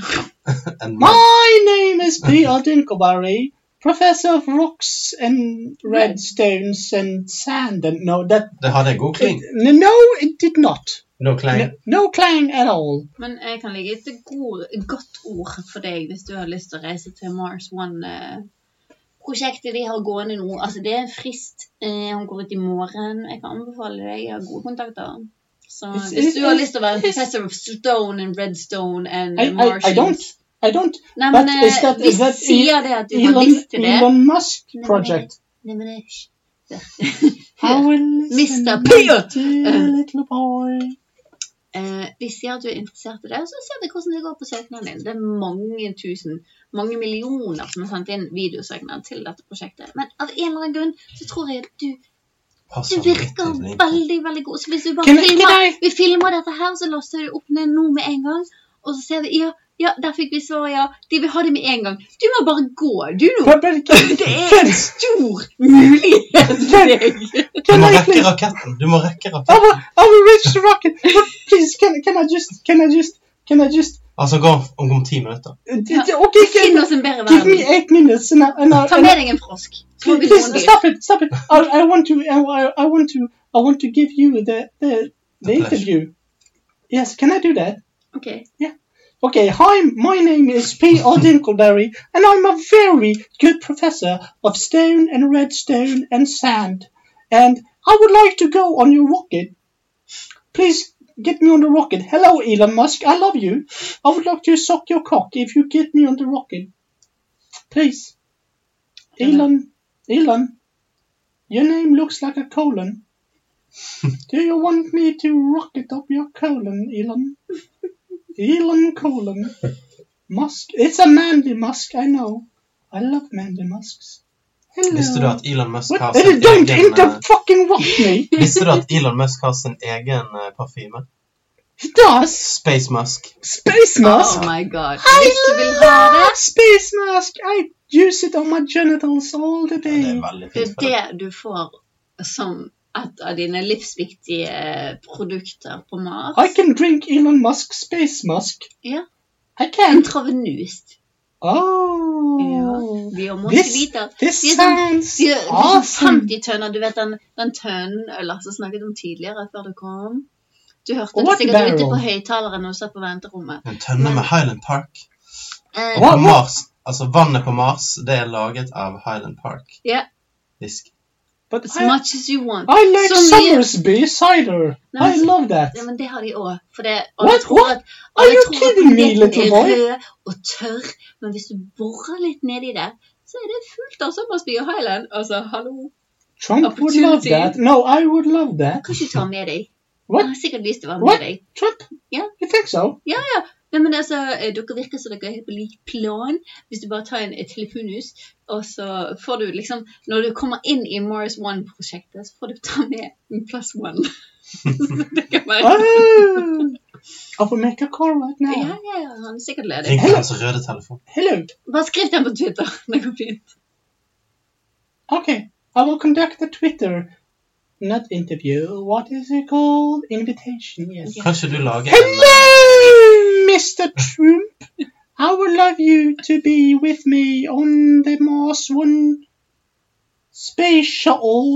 [SPEAKER 5] and red.
[SPEAKER 14] My name is Peter Dinkelberry, professor of rocks and red stones and sand. And no, that
[SPEAKER 5] Det hadde en god kling.
[SPEAKER 14] it- no, it did not.
[SPEAKER 5] No klang.
[SPEAKER 14] No, no clang at all.
[SPEAKER 3] Men jeg kan legge et god, godt ord for deg hvis du har lyst til å reise til Mars One-prosjektet de har gående nå. Altså, det er en frist. Eh, Han går ut i morgen. Jeg kan anbefale deg. Jeg har gode kontakter. Så
[SPEAKER 14] It's-
[SPEAKER 3] hvis du har
[SPEAKER 14] it's-
[SPEAKER 3] lyst til å være en
[SPEAKER 14] it's-
[SPEAKER 3] professor of stone and redstone and
[SPEAKER 14] I, I, I
[SPEAKER 3] Martians
[SPEAKER 14] don't. I don't.
[SPEAKER 3] Nei,
[SPEAKER 14] but
[SPEAKER 3] men eh,
[SPEAKER 14] is that-
[SPEAKER 3] hvis
[SPEAKER 14] is that
[SPEAKER 3] du sier det at du har
[SPEAKER 14] Elon,
[SPEAKER 3] lyst til det
[SPEAKER 14] Elon Musk
[SPEAKER 3] Nei, men-
[SPEAKER 14] project.
[SPEAKER 3] Nei, men det er ikke-
[SPEAKER 14] I will listen
[SPEAKER 3] Mr.
[SPEAKER 14] to
[SPEAKER 3] Peter.
[SPEAKER 14] the little boy.
[SPEAKER 3] Eh, vi ser at du er interessert i det, og så ser vi hvordan det går på søknaden din. Det er mange tusen, mange millioner som har sendt inn videosøknad til dette prosjektet. Men av en eller annen grunn så tror jeg at du, du
[SPEAKER 14] Sånn
[SPEAKER 5] Passer
[SPEAKER 3] virker
[SPEAKER 5] litt inn.
[SPEAKER 3] veldig, veldig god. Så hvis vi bare
[SPEAKER 14] Can I-
[SPEAKER 3] filmer,
[SPEAKER 14] can I-
[SPEAKER 3] vi filmer dette her, så laster vi det opp ned nå med en gang. Og så ser vi Ja, ja der fikk vi svar, ja. De vil ha det med en gang. Du må bare gå, du nå.
[SPEAKER 14] But, but can,
[SPEAKER 3] Det er en stor mulighet for deg.
[SPEAKER 5] Du
[SPEAKER 14] can
[SPEAKER 5] må
[SPEAKER 14] I
[SPEAKER 5] rekke
[SPEAKER 14] please?
[SPEAKER 5] raketten! Du må rekke
[SPEAKER 14] I
[SPEAKER 5] raketten.
[SPEAKER 14] will, I will reach the rocket. But please, can, can I just, can I just, can I just,
[SPEAKER 5] Altså, gå om, om ti minutter.
[SPEAKER 14] uh, d-
[SPEAKER 3] Ja,
[SPEAKER 14] d- okay,
[SPEAKER 3] Finn
[SPEAKER 14] can,
[SPEAKER 3] oss en bedre
[SPEAKER 14] give me
[SPEAKER 3] verden.
[SPEAKER 14] eight minutes and I, and I,
[SPEAKER 3] Ta
[SPEAKER 14] and I
[SPEAKER 3] med deg en frosk. Så må vi gå en
[SPEAKER 14] please
[SPEAKER 3] bil.
[SPEAKER 14] stop it, stop it. I, I want to, I, I want to, I want to give you the, the, the
[SPEAKER 5] The pleasure.
[SPEAKER 14] interview. Yes, can I do that?
[SPEAKER 3] Ok.
[SPEAKER 14] Okay, hi, my name is P. R. Dinkelberry, and I'm a very good professor of stone and redstone and sand. And I would like to go on your rocket. Please get me on the rocket. Hello, Elon Musk, I love you. I would like to suck your cock if you get me on the rocket. Please. Elon, Elon, your name looks like a
[SPEAKER 5] *laughs*
[SPEAKER 14] colon. Do you want me to rocket up your colon, Elon? Elon colon. Musk. It's a Mandy Musk, I know. I love Mandy Musks. Hello.
[SPEAKER 5] Visste du at Elon Musk har
[SPEAKER 14] What?
[SPEAKER 5] sin
[SPEAKER 14] *laughs*
[SPEAKER 5] egen
[SPEAKER 14] Don't
[SPEAKER 5] eh,
[SPEAKER 14] inter-fucking-rock
[SPEAKER 3] *laughs*
[SPEAKER 14] me.
[SPEAKER 5] Visste du at Elon Musk har sin egen eh, parfyme?
[SPEAKER 14] He does.
[SPEAKER 5] Space Musk.
[SPEAKER 14] Space Musk.
[SPEAKER 3] Oh my god.
[SPEAKER 14] I
[SPEAKER 3] Hvis du vil ha det,
[SPEAKER 14] love Space Musk. I use it on my genitals all
[SPEAKER 5] Ja,
[SPEAKER 14] the
[SPEAKER 5] det
[SPEAKER 14] day.
[SPEAKER 5] er veldig
[SPEAKER 3] det
[SPEAKER 5] fint
[SPEAKER 3] er
[SPEAKER 5] for deg.
[SPEAKER 3] det du får som et av dine livsviktige eh, produkter på Mars.
[SPEAKER 14] I can drink Elon Musk Space Musk.
[SPEAKER 3] Ja.
[SPEAKER 14] I
[SPEAKER 3] En *laughs*
[SPEAKER 14] can.
[SPEAKER 3] travenust.
[SPEAKER 14] Oh.
[SPEAKER 3] Vi må ikke
[SPEAKER 14] This,
[SPEAKER 3] vite at
[SPEAKER 14] this
[SPEAKER 3] Vi er sånn-
[SPEAKER 14] sounds
[SPEAKER 3] vi er- vi er sånn
[SPEAKER 14] awesome.
[SPEAKER 3] 50 tønner, du vet den, den tønnen Lars har snakket om tidligere før du kom. Du hørte det
[SPEAKER 14] What
[SPEAKER 3] sikkert
[SPEAKER 14] barrel?
[SPEAKER 3] ute på høyttaleren og satt på venterommet.
[SPEAKER 5] En tønne med Highland Park.
[SPEAKER 3] Eh,
[SPEAKER 5] Og på
[SPEAKER 14] Hva- hva-
[SPEAKER 5] Mars, altså vannet på Mars, det er laget av Highland Park.
[SPEAKER 3] Ja.
[SPEAKER 5] Fisk.
[SPEAKER 14] But
[SPEAKER 3] as
[SPEAKER 14] I,
[SPEAKER 3] much as you want.
[SPEAKER 14] I like
[SPEAKER 3] Så mye-
[SPEAKER 14] Summersby cider.
[SPEAKER 3] No,
[SPEAKER 14] I
[SPEAKER 3] it's-
[SPEAKER 14] love that.
[SPEAKER 3] Ja, men det har de òg. For det,
[SPEAKER 14] What? What? Are you kidding me, little
[SPEAKER 3] er
[SPEAKER 14] boy?
[SPEAKER 3] rød og tørr, men hvis du borer litt nedi det, så er det fullt av Sommersby og Highland. Altså, hallo.
[SPEAKER 14] Trump would love
[SPEAKER 3] Opportunity.
[SPEAKER 14] that. No, I would love that.
[SPEAKER 3] Kan ikke du ta med deg?
[SPEAKER 14] What?
[SPEAKER 3] Jeg har sikkert lyst til å være med
[SPEAKER 14] What?
[SPEAKER 3] deg.
[SPEAKER 14] Trump?
[SPEAKER 3] Yeah.
[SPEAKER 14] You think so?
[SPEAKER 3] Ja, ja. Nei, men altså, eh, dere virker som dere er helt på lik plan. Hvis du bare tar en et telefonhus, og så får du liksom Når du kommer inn i Morris One-prosjektet, så får du ta med en
[SPEAKER 14] *laughs*
[SPEAKER 3] plus one. *laughs* så det kan være
[SPEAKER 14] Oh, I will make a call right now.
[SPEAKER 3] Ja, ja, ja. Han er sikkert ledig.
[SPEAKER 5] Ring til hans røde telefon.
[SPEAKER 14] Hello.
[SPEAKER 3] Bare skriv til ham på Twitter. Det går fint.
[SPEAKER 14] Okay. I will conduct a Twitter, not interview. What is it called? Invitation. Yes.
[SPEAKER 5] Kan ikke du eh, lage
[SPEAKER 14] Hello, Mr. Trump. I would love you to be with me on the Mars One space shuttle.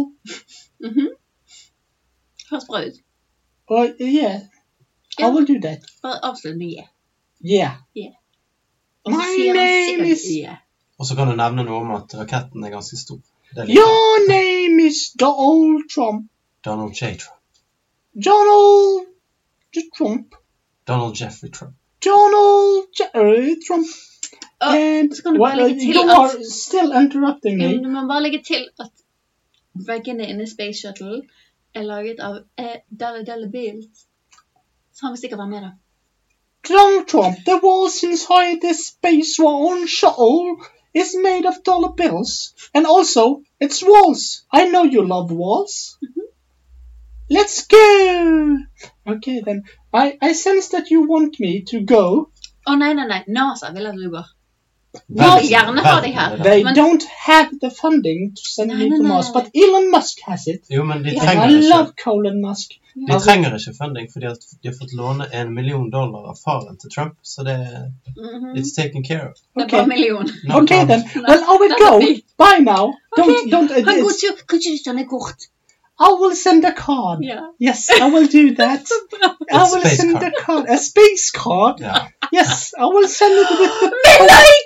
[SPEAKER 3] Mhm. Høres bra ut.
[SPEAKER 14] Or Uh, yeah, I
[SPEAKER 3] Ja.
[SPEAKER 14] will do that.
[SPEAKER 3] Bare avslutt med yeah.
[SPEAKER 14] Yeah.
[SPEAKER 3] Yeah. Og så
[SPEAKER 14] My
[SPEAKER 3] sier han
[SPEAKER 14] name
[SPEAKER 3] sikkert
[SPEAKER 14] is
[SPEAKER 3] yeah.
[SPEAKER 5] Og så kan du nevne noe om at raketten er ganske stor. Det liker jeg.
[SPEAKER 14] Your name is Donald Trump.
[SPEAKER 5] Donald J. Trump.
[SPEAKER 14] Donald J- Trump.
[SPEAKER 5] Donald Jeffrey Trump.
[SPEAKER 14] Donald J- uh, Trump.
[SPEAKER 3] Oh,
[SPEAKER 14] and
[SPEAKER 3] kan du bare
[SPEAKER 14] Well,
[SPEAKER 3] legge til
[SPEAKER 14] you
[SPEAKER 3] at-
[SPEAKER 14] are still interrupting
[SPEAKER 3] Ja, men
[SPEAKER 14] me.
[SPEAKER 3] Du må bare legge til at veggene inne i Space Shuttle er laget av eh, Dally Dally Beals. Så han vil sikkert være med, da.
[SPEAKER 14] Donald Trump, the walls inside the space one shuttle is made of dollar bills. And also, it's walls. I know you love walls.
[SPEAKER 3] Mm-hmm.
[SPEAKER 14] Let's go! Okay, then. I, I sense that you want me to go.
[SPEAKER 3] Å nei, nei, nei. NASA vil at du går.
[SPEAKER 14] Well,
[SPEAKER 3] Vil gjerne ha deg her.
[SPEAKER 14] They
[SPEAKER 3] Men
[SPEAKER 14] don't have the funding to send
[SPEAKER 3] No,
[SPEAKER 14] me
[SPEAKER 3] no,
[SPEAKER 14] to
[SPEAKER 3] no,
[SPEAKER 14] Mars,
[SPEAKER 3] no.
[SPEAKER 14] but Elon Musk has it.
[SPEAKER 5] Jo, men de
[SPEAKER 14] And I
[SPEAKER 5] trenger ikke,
[SPEAKER 14] love Elon Musk.
[SPEAKER 5] de trenger ikke funding fordi at de har fått låne en million dollar av faren til Trump, så det er
[SPEAKER 3] Mhm.
[SPEAKER 5] It's taken care of.
[SPEAKER 3] det er bare en million.
[SPEAKER 5] No
[SPEAKER 14] okay
[SPEAKER 5] problem.
[SPEAKER 14] then. Well, I will go. Bye now. Don't don't. Uh,
[SPEAKER 3] Han går
[SPEAKER 14] it's-
[SPEAKER 3] ikke Kan ikke du sende kort?
[SPEAKER 14] I will send a card.
[SPEAKER 3] Ja.
[SPEAKER 14] Yes, I will
[SPEAKER 3] *laughs*
[SPEAKER 14] do that. I will
[SPEAKER 5] space
[SPEAKER 14] send
[SPEAKER 5] card.
[SPEAKER 14] a card, a space card.
[SPEAKER 5] Yeah.
[SPEAKER 14] Yes, I will send it with
[SPEAKER 3] *laughs*
[SPEAKER 14] the.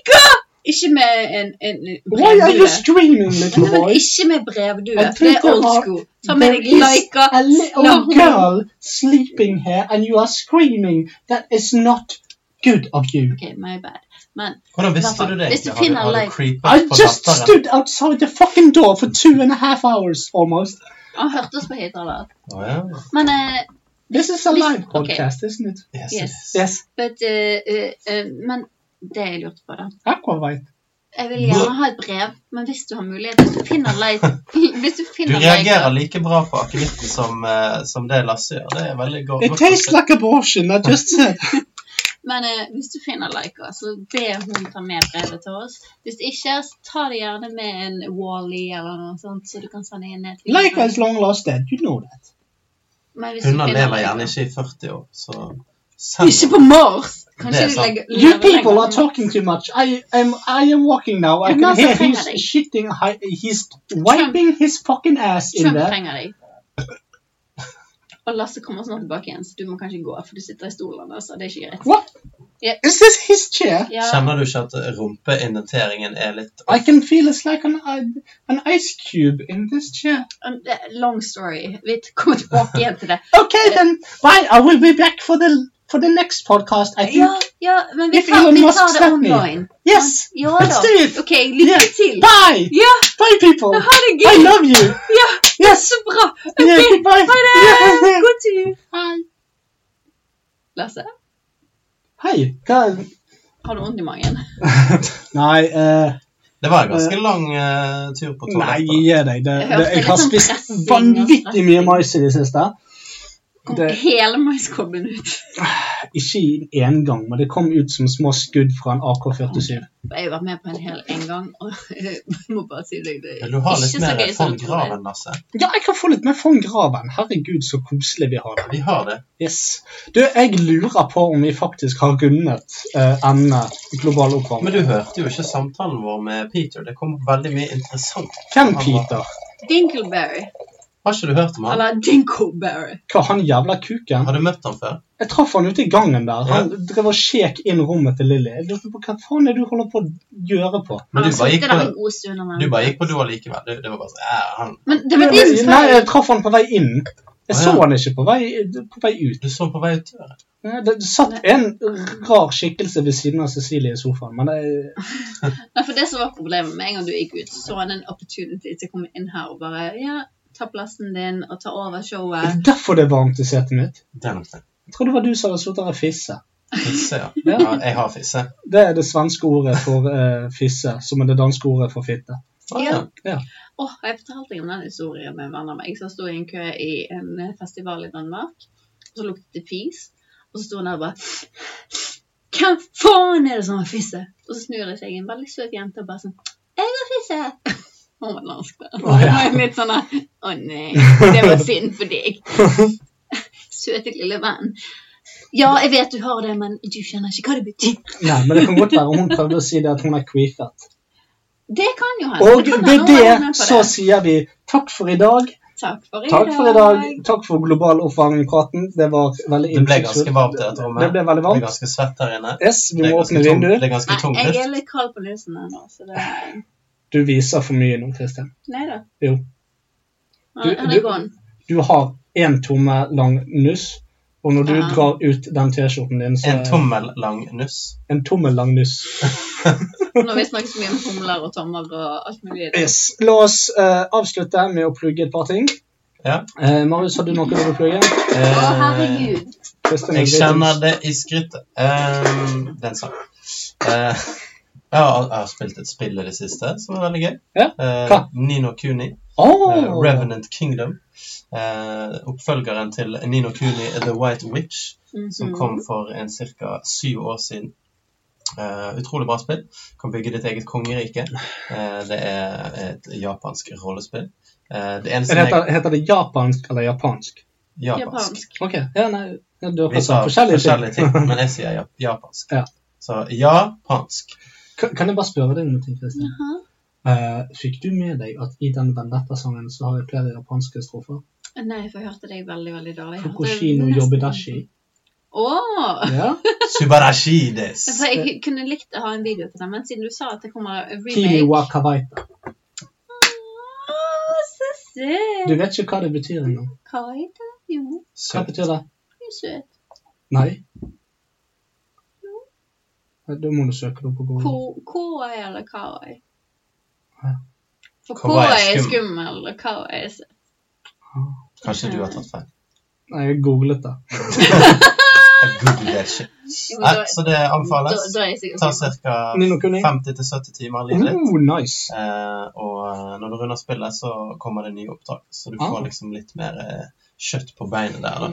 [SPEAKER 3] Ikke med en, en
[SPEAKER 14] Why are you
[SPEAKER 3] brevdue.
[SPEAKER 14] streaming,
[SPEAKER 3] Nei,
[SPEAKER 14] little
[SPEAKER 3] men
[SPEAKER 14] boy?
[SPEAKER 3] Ikke med brevdue.
[SPEAKER 14] I
[SPEAKER 3] for Det
[SPEAKER 14] think
[SPEAKER 3] er
[SPEAKER 14] there
[SPEAKER 3] old
[SPEAKER 14] are-
[SPEAKER 3] school. uh, Ta med
[SPEAKER 14] There
[SPEAKER 3] deg
[SPEAKER 14] is
[SPEAKER 3] Laika.
[SPEAKER 14] a
[SPEAKER 3] *laughs* la
[SPEAKER 14] little
[SPEAKER 3] hun-
[SPEAKER 14] girl sleeping here, and you are screaming. That is not good of you.
[SPEAKER 3] OK, my bad. Men
[SPEAKER 5] Hvordan visste
[SPEAKER 3] Hva
[SPEAKER 5] du
[SPEAKER 3] faen?
[SPEAKER 5] det?
[SPEAKER 3] Hvis du
[SPEAKER 5] egentlig? Har du,
[SPEAKER 3] finner
[SPEAKER 5] har du
[SPEAKER 3] like-
[SPEAKER 5] creepet
[SPEAKER 14] I
[SPEAKER 5] på
[SPEAKER 14] just
[SPEAKER 5] datteren?
[SPEAKER 14] stood outside the fucking door for two and a half hours almost.
[SPEAKER 3] han hørte oss på høyttaler.
[SPEAKER 5] Å ja.
[SPEAKER 3] Men eh,
[SPEAKER 14] This is a
[SPEAKER 3] Listen-
[SPEAKER 14] live
[SPEAKER 3] okay.
[SPEAKER 14] podcast, isn't it?
[SPEAKER 5] Yes,
[SPEAKER 3] Yes.
[SPEAKER 14] Yes,
[SPEAKER 3] but, eh, eh, eh, Men det jeg lurte på, da.
[SPEAKER 14] Aquavite.
[SPEAKER 3] Jeg vil gjerne ha et brev, men hvis du har mulighet Hvis du finner Laika *laughs* Hvis du
[SPEAKER 5] Du
[SPEAKER 3] finner
[SPEAKER 5] reagerer
[SPEAKER 3] Laika
[SPEAKER 5] like bra på akevitten som, eh, som det Lasse gjør. Det er veldig go-
[SPEAKER 14] It
[SPEAKER 5] godt.
[SPEAKER 14] tastes like abortion, I just uh, said.
[SPEAKER 3] Men eh, hvis du finner Laika, så be hun ta med brevet til oss. Hvis ikke, så ta det gjerne med en Wally eller noe sånt, så du kan sende inn et
[SPEAKER 14] Laika is long lost dead, you know that.
[SPEAKER 3] Men hvis du
[SPEAKER 5] Hunder
[SPEAKER 3] finner
[SPEAKER 5] lever
[SPEAKER 3] Laika-
[SPEAKER 5] gjerne ikke i 40 år, så send
[SPEAKER 3] Ikke på Mars! Kanskje
[SPEAKER 5] Det er
[SPEAKER 3] de
[SPEAKER 5] sant.
[SPEAKER 3] legger
[SPEAKER 14] You
[SPEAKER 3] lever
[SPEAKER 14] people
[SPEAKER 3] lenger
[SPEAKER 14] are
[SPEAKER 3] på
[SPEAKER 14] talking too much. I am I am walking now. I
[SPEAKER 3] I'm
[SPEAKER 14] can
[SPEAKER 3] not
[SPEAKER 14] hear
[SPEAKER 3] saying
[SPEAKER 14] he's
[SPEAKER 3] that.
[SPEAKER 14] shitting. hi- He's wiping his fucking ass in
[SPEAKER 3] Trump
[SPEAKER 14] there.
[SPEAKER 3] trenger deg. Og Lasse kommer snart tilbake igjen, så du må kanskje gå, for du sitter i stolen. Altså. Det er ikke greit.
[SPEAKER 14] What?
[SPEAKER 3] Yeah.
[SPEAKER 14] Is this his chair?
[SPEAKER 3] Ja,
[SPEAKER 5] Kjenner du ikke at rumpeinventeringen er litt
[SPEAKER 14] I can feel it's like an uh, an ice cube in this chair.
[SPEAKER 3] um, det er long story. Vi kommer tilbake igjen
[SPEAKER 14] *laughs*
[SPEAKER 3] til det.
[SPEAKER 14] Okay then, bye. I will be back for the for the next podcast. I think.
[SPEAKER 3] Ja, ja men vi
[SPEAKER 14] If
[SPEAKER 3] tar,
[SPEAKER 14] Elon
[SPEAKER 3] vi
[SPEAKER 14] Musk
[SPEAKER 3] tar det
[SPEAKER 14] slapp meg.
[SPEAKER 3] online.
[SPEAKER 14] Yes.
[SPEAKER 3] Ja
[SPEAKER 14] Let's
[SPEAKER 3] da.
[SPEAKER 14] do it.
[SPEAKER 3] OK, lykke
[SPEAKER 14] Yeah.
[SPEAKER 3] til.
[SPEAKER 14] Bye.
[SPEAKER 3] Ja,
[SPEAKER 14] Bye, people.
[SPEAKER 3] ha det gøy.
[SPEAKER 14] I love
[SPEAKER 3] *laughs*
[SPEAKER 14] you.
[SPEAKER 3] Ja,
[SPEAKER 14] Yes.
[SPEAKER 3] så bra.
[SPEAKER 14] Yeah,
[SPEAKER 3] Ok,
[SPEAKER 14] goodbye.
[SPEAKER 3] Ha det.
[SPEAKER 14] Yeah.
[SPEAKER 3] God tur. Lasse,
[SPEAKER 14] Hei. Hva
[SPEAKER 3] har du vondt i magen?
[SPEAKER 14] Nei, eh,
[SPEAKER 5] Det var en ganske lang eh, tur på
[SPEAKER 14] nei,
[SPEAKER 5] toalettet.
[SPEAKER 14] gi deg. Det,
[SPEAKER 3] Jeg
[SPEAKER 14] det,
[SPEAKER 3] hørte
[SPEAKER 14] jeg har
[SPEAKER 3] litt sånn
[SPEAKER 14] spist
[SPEAKER 3] pressing og
[SPEAKER 14] vanvittig mye
[SPEAKER 3] stressing.
[SPEAKER 14] mais i det siste.
[SPEAKER 3] Kom
[SPEAKER 14] Det,
[SPEAKER 3] hele maiskobben ut.
[SPEAKER 14] ikke i én gang, men det kom ut som små skudd fra en AK-47.
[SPEAKER 3] Jeg har vært med på en hel en gang, og *laughs* jeg må bare si deg det.
[SPEAKER 5] Vil du ha litt
[SPEAKER 3] ikke så
[SPEAKER 5] mer
[SPEAKER 3] gøy som
[SPEAKER 5] von
[SPEAKER 3] du tror det er.
[SPEAKER 5] Graven, Lasse?
[SPEAKER 14] Ja, jeg kan få litt mer von Graven. Herregud, så koselig vi har det.
[SPEAKER 5] Vi har det.
[SPEAKER 14] Yes. Du, jeg lurer på om vi faktisk har rundet eh, emnet global
[SPEAKER 5] Men du
[SPEAKER 14] oppvarming.
[SPEAKER 5] hørte jo ikke samtalen vår med Peter. Det kom veldig mye interessant.
[SPEAKER 14] Hvem, Peter?
[SPEAKER 3] Dinkleberry.
[SPEAKER 5] Har ikke du hørt om han?
[SPEAKER 3] Eller Dinkleberry.
[SPEAKER 14] Hva, han jævla kuken?
[SPEAKER 5] Har du møtt han før?
[SPEAKER 14] Jeg traff han ute i gangen der. Han drev og sjekk inn rommet til Lilly. Jeg lurte på hva faen er det du holder på å gjøre på?
[SPEAKER 5] Men du
[SPEAKER 3] Han
[SPEAKER 5] bare
[SPEAKER 3] satt
[SPEAKER 5] gikk
[SPEAKER 3] der en
[SPEAKER 5] på,
[SPEAKER 3] god stund. og
[SPEAKER 5] du
[SPEAKER 3] vent.
[SPEAKER 5] bare gikk på do allikevel. Det, det var bare sånn ja, han,
[SPEAKER 3] Men det var det som
[SPEAKER 14] Nei,
[SPEAKER 3] feil.
[SPEAKER 14] jeg traff han på vei inn. Jeg
[SPEAKER 5] Å,
[SPEAKER 14] så
[SPEAKER 5] ja.
[SPEAKER 14] han ikke på vei, på vei ut.
[SPEAKER 5] Du så på vei ut døren.
[SPEAKER 14] Ja, Det satt en rar skikkelse ved siden av Cecilie i sofaen, men det,
[SPEAKER 3] Nei, for det som var problemet med en gang du gikk ut, så så han en opportunity til å komme inn her og bare ja, ta plassen din og ta over
[SPEAKER 14] det
[SPEAKER 3] showet.
[SPEAKER 14] er derfor det er varmt i setet mitt.
[SPEAKER 5] Det er nok det.
[SPEAKER 14] Jeg tror det var du som hadde sittet der og fisse.
[SPEAKER 5] Fisse, ja.
[SPEAKER 14] Ja.
[SPEAKER 5] ja. Jeg har fisse.
[SPEAKER 14] Det er det svenske ordet for eh, fisse, som er det danske ordet for fitte.
[SPEAKER 5] Å, ja.
[SPEAKER 14] Ja.
[SPEAKER 3] Åh, har jeg fortalte deg om den historien med en venn av meg som sto i en kø i en eh, festival i Danmark. Og så luktet det fis. Og så sto hun der og bare Hvem faen er det som har fisse? *laughs* Og så snur det seg en veldig søt jente og bare sånn Jeg har fisse! Hun var norsk, da.
[SPEAKER 4] Å, ja.
[SPEAKER 3] Det var *laughs* litt sånn der, Å nei, det var synd for deg. *laughs* Søte lille venn. Ja, jeg vet du har det, men du skjønner ikke hva det betyr.
[SPEAKER 4] Nei, men det kan godt være hun prøvde å si det at hun er queefet.
[SPEAKER 3] Det kan jo hende.
[SPEAKER 4] Og
[SPEAKER 3] kan
[SPEAKER 4] med
[SPEAKER 3] hende hun var
[SPEAKER 4] det
[SPEAKER 3] med på
[SPEAKER 4] så sier vi takk for i dag.
[SPEAKER 3] Takk for i
[SPEAKER 4] Takk for i dag. Takk for global oppvarming-praten. Det var veldig
[SPEAKER 5] Det ble
[SPEAKER 4] innsiktsfullt.
[SPEAKER 5] ganske varmt i dette rommet.
[SPEAKER 4] Det ble veldig
[SPEAKER 5] Det ble
[SPEAKER 4] varmt.
[SPEAKER 5] ganske svett her inne.
[SPEAKER 4] Yes, vi
[SPEAKER 5] Det er
[SPEAKER 4] må
[SPEAKER 5] ganske
[SPEAKER 4] åpne
[SPEAKER 5] tung-
[SPEAKER 4] vinduet.
[SPEAKER 5] Det er ganske tung
[SPEAKER 3] Nei, jeg
[SPEAKER 5] luft.
[SPEAKER 3] er litt kald på nesen ennå, så det
[SPEAKER 4] Du viser for mye nå, Kristin.
[SPEAKER 3] Nei da.
[SPEAKER 4] Jo.
[SPEAKER 3] Han
[SPEAKER 4] Du-
[SPEAKER 3] han
[SPEAKER 4] du-
[SPEAKER 3] er gone.
[SPEAKER 4] Du har én tomme lang nuss, og når du
[SPEAKER 3] Ja.
[SPEAKER 4] drar ut den T-skjorten din, så
[SPEAKER 5] En tommel lang nuss.
[SPEAKER 4] En tommel lang nuss.
[SPEAKER 3] Nå har vi snakket så mye om humler og tommer og alt mulig.
[SPEAKER 4] Yes. La oss eh, avslutte med å plugge et par ting.
[SPEAKER 5] Ja. Eh,
[SPEAKER 4] Eh, Marius, har du noe du vil plugge?
[SPEAKER 3] Å, herregud.
[SPEAKER 4] Kristin,
[SPEAKER 5] Jeg
[SPEAKER 4] vil-
[SPEAKER 5] kjenner det i skrittet. Ehm, den sang. Eh, jeg, har, jeg har spilt et spill i det siste som er veldig gøy.
[SPEAKER 4] Ja,
[SPEAKER 5] Eh,
[SPEAKER 4] hva?
[SPEAKER 5] Nino Kuni.
[SPEAKER 4] Åh!
[SPEAKER 5] eh, Revenant Kingdom. Eh, oppfølgeren til Nino Kuni The White Witch, som kom for en ca. syv år siden. Eh, utrolig bra spill. Kan bygge ditt eget kongerike. Eh, det er et japansk rollespill. Eh, det eneste jeg-
[SPEAKER 4] heter, heter det japansk eller japansk?
[SPEAKER 5] Japansk.
[SPEAKER 4] Ok, ja, nei, ja, du har
[SPEAKER 5] Vi
[SPEAKER 4] kanskje
[SPEAKER 5] sa
[SPEAKER 4] sånn forskjellige,
[SPEAKER 5] forskjellige ting,
[SPEAKER 4] *laughs* ting.
[SPEAKER 5] men jeg sier ja- japansk.
[SPEAKER 4] Ja.
[SPEAKER 5] Så japansk.
[SPEAKER 4] Kan- kan jeg bare spørre deg noe, Kristin? Eh, fikk du med deg at i den Vendetta-sangen så har vi flere japanske strofer?
[SPEAKER 3] Nei, for jeg hørte deg veldig, veldig dårlig. Jeg hørte
[SPEAKER 4] Fukushino
[SPEAKER 3] nesten- sånn.
[SPEAKER 4] yobidashi.
[SPEAKER 3] Åh! *laughs*
[SPEAKER 4] Ja.
[SPEAKER 5] Subarashi des.
[SPEAKER 3] For jeg kunne likt å ha en video på den, men siden du sa at det kommer en
[SPEAKER 4] Kimi
[SPEAKER 3] remake
[SPEAKER 4] wa kawaita.
[SPEAKER 3] Åh, så søt!
[SPEAKER 4] Du vet ikke hva det betyr ennå.
[SPEAKER 3] Hva er det? Jo,
[SPEAKER 4] Hva betyr det?
[SPEAKER 3] du er søt.
[SPEAKER 4] Nei. Nei, Da må du søke det opp på Google.
[SPEAKER 3] Ko- Koi eller kawaii?
[SPEAKER 4] Hæ?
[SPEAKER 3] For
[SPEAKER 5] Kawaii er
[SPEAKER 3] kawaii er
[SPEAKER 5] skum.
[SPEAKER 3] skummel, og kawaii er søt.
[SPEAKER 5] Kanskje du har tatt feil.
[SPEAKER 4] Nei, jeg googlet det.
[SPEAKER 5] Jeg googler ikke.
[SPEAKER 3] Jo, men
[SPEAKER 5] Nei,
[SPEAKER 3] da-
[SPEAKER 5] så det anbefales.
[SPEAKER 3] Da, da er jeg sikkert
[SPEAKER 5] Ta
[SPEAKER 3] skummel.
[SPEAKER 5] ca.
[SPEAKER 4] Nino Kuni.
[SPEAKER 5] 50-70 timer liv litt.
[SPEAKER 4] Oh, nice.
[SPEAKER 5] Eh, og eh, når du runder spillet, så kommer det nye oppdrag. Så du
[SPEAKER 4] Ah.
[SPEAKER 5] får liksom litt mer eh, kjøtt på beinet der. da.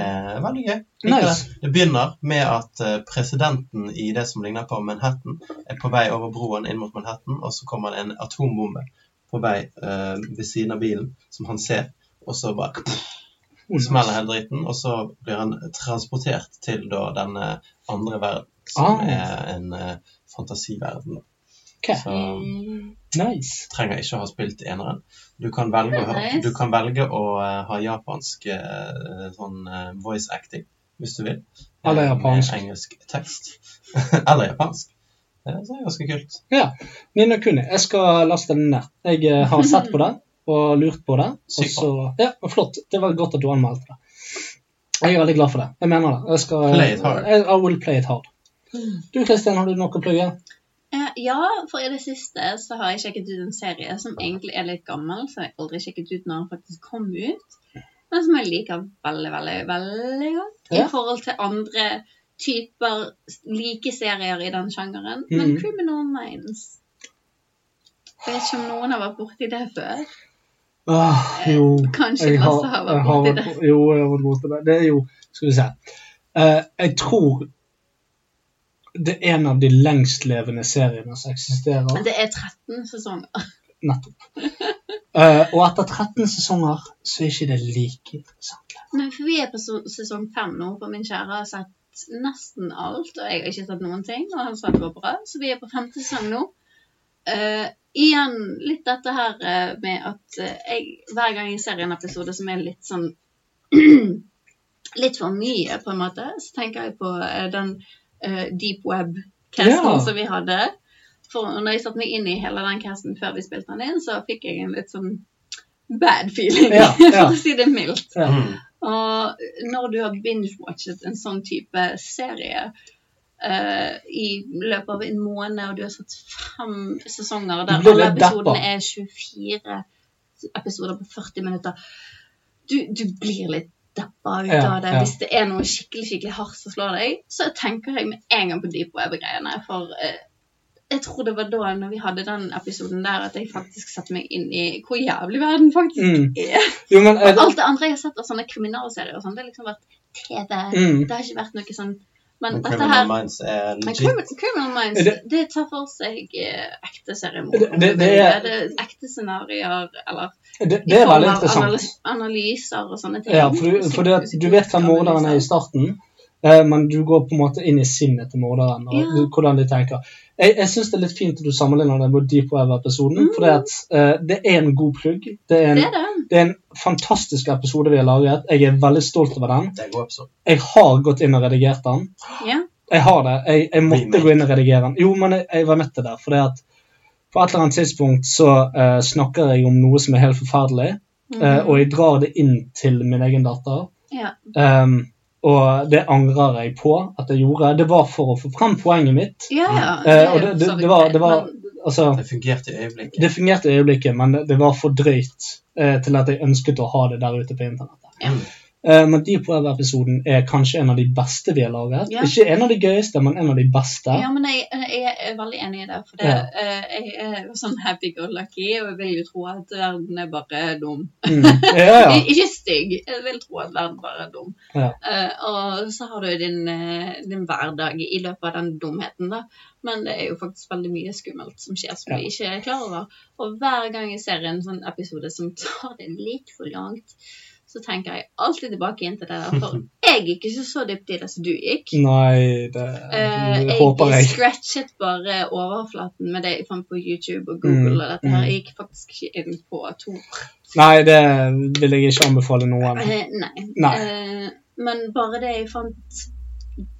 [SPEAKER 5] Eh, veldig gøy. Liker
[SPEAKER 4] Uhuh. Nice.
[SPEAKER 5] Det Det begynner med at eh, presidenten i det som ligner på Manhattan, er på vei over broen inn mot Manhattan, og så kommer det en atombombe på vei eh, ved siden av bilen, som han ser, og så bare
[SPEAKER 4] Oh, nice.
[SPEAKER 5] smeller hele driten, og så blir han transportert til da denne andre verden, som
[SPEAKER 4] Ah.
[SPEAKER 5] er en eh, fantasiverden.
[SPEAKER 4] Ok,
[SPEAKER 5] Så
[SPEAKER 4] nice.
[SPEAKER 5] trenger ikke å ha spilt eneren. Du kan velge, å ha-
[SPEAKER 3] Nice.
[SPEAKER 5] du kan velge å eh, ha japansk eh, sånn eh, voice acting, hvis du vil. Eh,
[SPEAKER 4] Eller japansk.
[SPEAKER 5] Med engelsk tekst. *laughs* Eller japansk. Eh, Så det er ganske kult.
[SPEAKER 4] Ja. Nino Kuni. Jeg skal laste den ned. Jeg eh, har sett på den og lurt på det. Og
[SPEAKER 5] Sykt
[SPEAKER 4] så, ja, og flott. Det var godt at du anmeldte det. Jeg er veldig glad for det. Jeg mener det. Jeg skal,
[SPEAKER 5] Play it hard.
[SPEAKER 4] I, I will play it hard. Du Kristin, har du noe å plugge?
[SPEAKER 3] Eh, Ja, for i det siste så har jeg sjekket ut en serie som egentlig er litt gammel, som jeg aldri sjekket ut når den faktisk kom ut, men som jeg liker veldig, veldig, veldig godt i
[SPEAKER 4] Ja.
[SPEAKER 3] forhold til andre typer like serier i den sjangeren.
[SPEAKER 4] Mhm.
[SPEAKER 3] Men Criminal Minds Jeg vet ikke om noen har vært borti det før.
[SPEAKER 4] Ah, jo.
[SPEAKER 3] Kanskje
[SPEAKER 4] jeg
[SPEAKER 3] Lasse har vært
[SPEAKER 4] jeg har
[SPEAKER 3] borti
[SPEAKER 4] vært- Jo, jeg har vært borti det. Det er jo Skal vi se. Eh, jeg tror det er en av de lengstlevende seriene som eksisterer.
[SPEAKER 3] Men det er 13 sesonger.
[SPEAKER 4] Nettopp. Eh, og etter 13 sesonger så er ikke det like interessant.
[SPEAKER 3] Men for vi er på so- sesong 5 nå, for min kjære har sett nesten alt, og jeg har ikke sett noen ting, og han sa det var bra, så vi er på femte sesong nå. Eh, igjen litt dette her eh, med at eh, jeg, hver gang jeg ser en episode som er litt sånn *clears throat* Litt for mye, på en måte, så tenker jeg på eh, den eh, deep web-casten
[SPEAKER 4] Ja.
[SPEAKER 3] som vi hadde. For når jeg satte meg inn i hele den casten før vi spilte den inn, så fikk jeg en litt sånn bad feeling,
[SPEAKER 4] Ja, ja.
[SPEAKER 3] *laughs* for å si det mildt.
[SPEAKER 4] Ja.
[SPEAKER 5] Mm.
[SPEAKER 3] Og når du har binge-watchet en sånn type serie eh, i løpet av en måned, og du har sett fem sesonger der
[SPEAKER 4] Du blir
[SPEAKER 3] alle
[SPEAKER 4] litt
[SPEAKER 3] episodene
[SPEAKER 4] deppa.
[SPEAKER 3] er 24 episoder på 40 minutter, du, du blir litt deppa ut
[SPEAKER 4] Ja,
[SPEAKER 3] av det.
[SPEAKER 4] ja.
[SPEAKER 3] Hvis det er noe skikkelig skikkelig hardt som slår deg, så tenker jeg med en gang på deep web-greiene. For eh, jeg tror det var da når vi hadde den episoden der, at jeg faktisk satte meg inn i hvor jævlig verden faktisk
[SPEAKER 4] Mm.
[SPEAKER 3] er.
[SPEAKER 4] Jo, men eh,
[SPEAKER 3] Og alt det andre jeg har sett av sånne kriminalserier, og sånn, det har liksom vært TV.
[SPEAKER 4] Mm.
[SPEAKER 3] Det har ikke vært noe sånn Men
[SPEAKER 5] Men
[SPEAKER 3] dette
[SPEAKER 5] Criminal
[SPEAKER 3] her
[SPEAKER 5] Minds er
[SPEAKER 3] men
[SPEAKER 5] legit.
[SPEAKER 3] Criminal, Criminal Minds,
[SPEAKER 5] Er
[SPEAKER 3] det,
[SPEAKER 5] det-
[SPEAKER 3] tar for seg eh,
[SPEAKER 4] Det-
[SPEAKER 3] ekte seremonier.
[SPEAKER 4] det- det er-
[SPEAKER 3] ekte scenarioer, eller
[SPEAKER 4] Det,
[SPEAKER 3] i
[SPEAKER 4] det er
[SPEAKER 3] form
[SPEAKER 4] veldig
[SPEAKER 3] av
[SPEAKER 4] interessant.
[SPEAKER 3] analys- analyser og sånne ting.
[SPEAKER 4] Ja, for du, for det, at du liksom- vet hvem morderen er i starten, eh, men du går på en måte inn i sinnet til morderen og
[SPEAKER 3] Ja.
[SPEAKER 4] hvordan de tenker. Jeg, jeg syns det er litt fint at du sammenligner det med Deep Web-episoden, for det, at, eh, det er en god plugg. Det er en,
[SPEAKER 3] Det er det.
[SPEAKER 4] det er en fantastisk episode vi har laget. Jeg er veldig stolt over den.
[SPEAKER 5] Det er en god episode.
[SPEAKER 4] Jeg har gått inn og redigert den.
[SPEAKER 3] Ja.
[SPEAKER 4] Jeg har det. Jeg, jeg måtte gå inn og redigere den. Jo, men jeg, jeg var nødt til det. For det at på et eller annet tidspunkt så eh, snakker jeg om noe som er helt forferdelig, eh,
[SPEAKER 3] Mhm.
[SPEAKER 4] og jeg drar det inn til min egen datter.
[SPEAKER 3] Ja.
[SPEAKER 4] Ehm, og det angrer jeg på at jeg gjorde. Det var for å få frem poenget mitt.
[SPEAKER 3] Ja, ja.
[SPEAKER 4] Eh, og det, det, det var, det var altså,
[SPEAKER 5] Det fungerte i øyeblikket.
[SPEAKER 4] det fungerte i øyeblikket, men det, det var for drøyt eh, til at jeg ønsket å ha det der ute på internettet. Eh, men Deep Web-episoden er kanskje en av de beste vi har laget.
[SPEAKER 3] Ja.
[SPEAKER 4] Ikke en av de gøyeste, men en av de beste.
[SPEAKER 3] Ja, men jeg, jeg er veldig enig i det. For det,
[SPEAKER 4] Ja.
[SPEAKER 3] eh, jeg er sånn happy go lucky, og jeg vil jo tro at verden er bare dum.
[SPEAKER 4] Mm. Ja,
[SPEAKER 3] *laughs*
[SPEAKER 4] ja.
[SPEAKER 3] Ikke stygg, jeg vil tro at verden bare er dum.
[SPEAKER 4] Ja.
[SPEAKER 3] Eh, og så har du din, eh, din hverdag i løpet av den dumheten, da. Men det er jo faktisk veldig mye skummelt som skjer som vi ikke er klar over. Og hver gang jeg ser en sånn episode som tar det litt for langt, så tenker jeg alltid tilbake igjen til det der.
[SPEAKER 4] *laughs*
[SPEAKER 3] For jeg gikk ikke så dypt i det som du gikk.
[SPEAKER 4] Nei, det,
[SPEAKER 3] Eh,
[SPEAKER 4] Mm, det håper jeg.
[SPEAKER 3] scratchet bare overflaten med det jeg fant på YouTube og Google.
[SPEAKER 4] Mm,
[SPEAKER 3] og dette her
[SPEAKER 4] mm.
[SPEAKER 3] Jeg gikk faktisk ikke inn på to.
[SPEAKER 4] Nei, det vil jeg ikke anbefale noen.
[SPEAKER 3] Eh, nei.
[SPEAKER 4] Nei.
[SPEAKER 3] Eh, men bare det jeg fant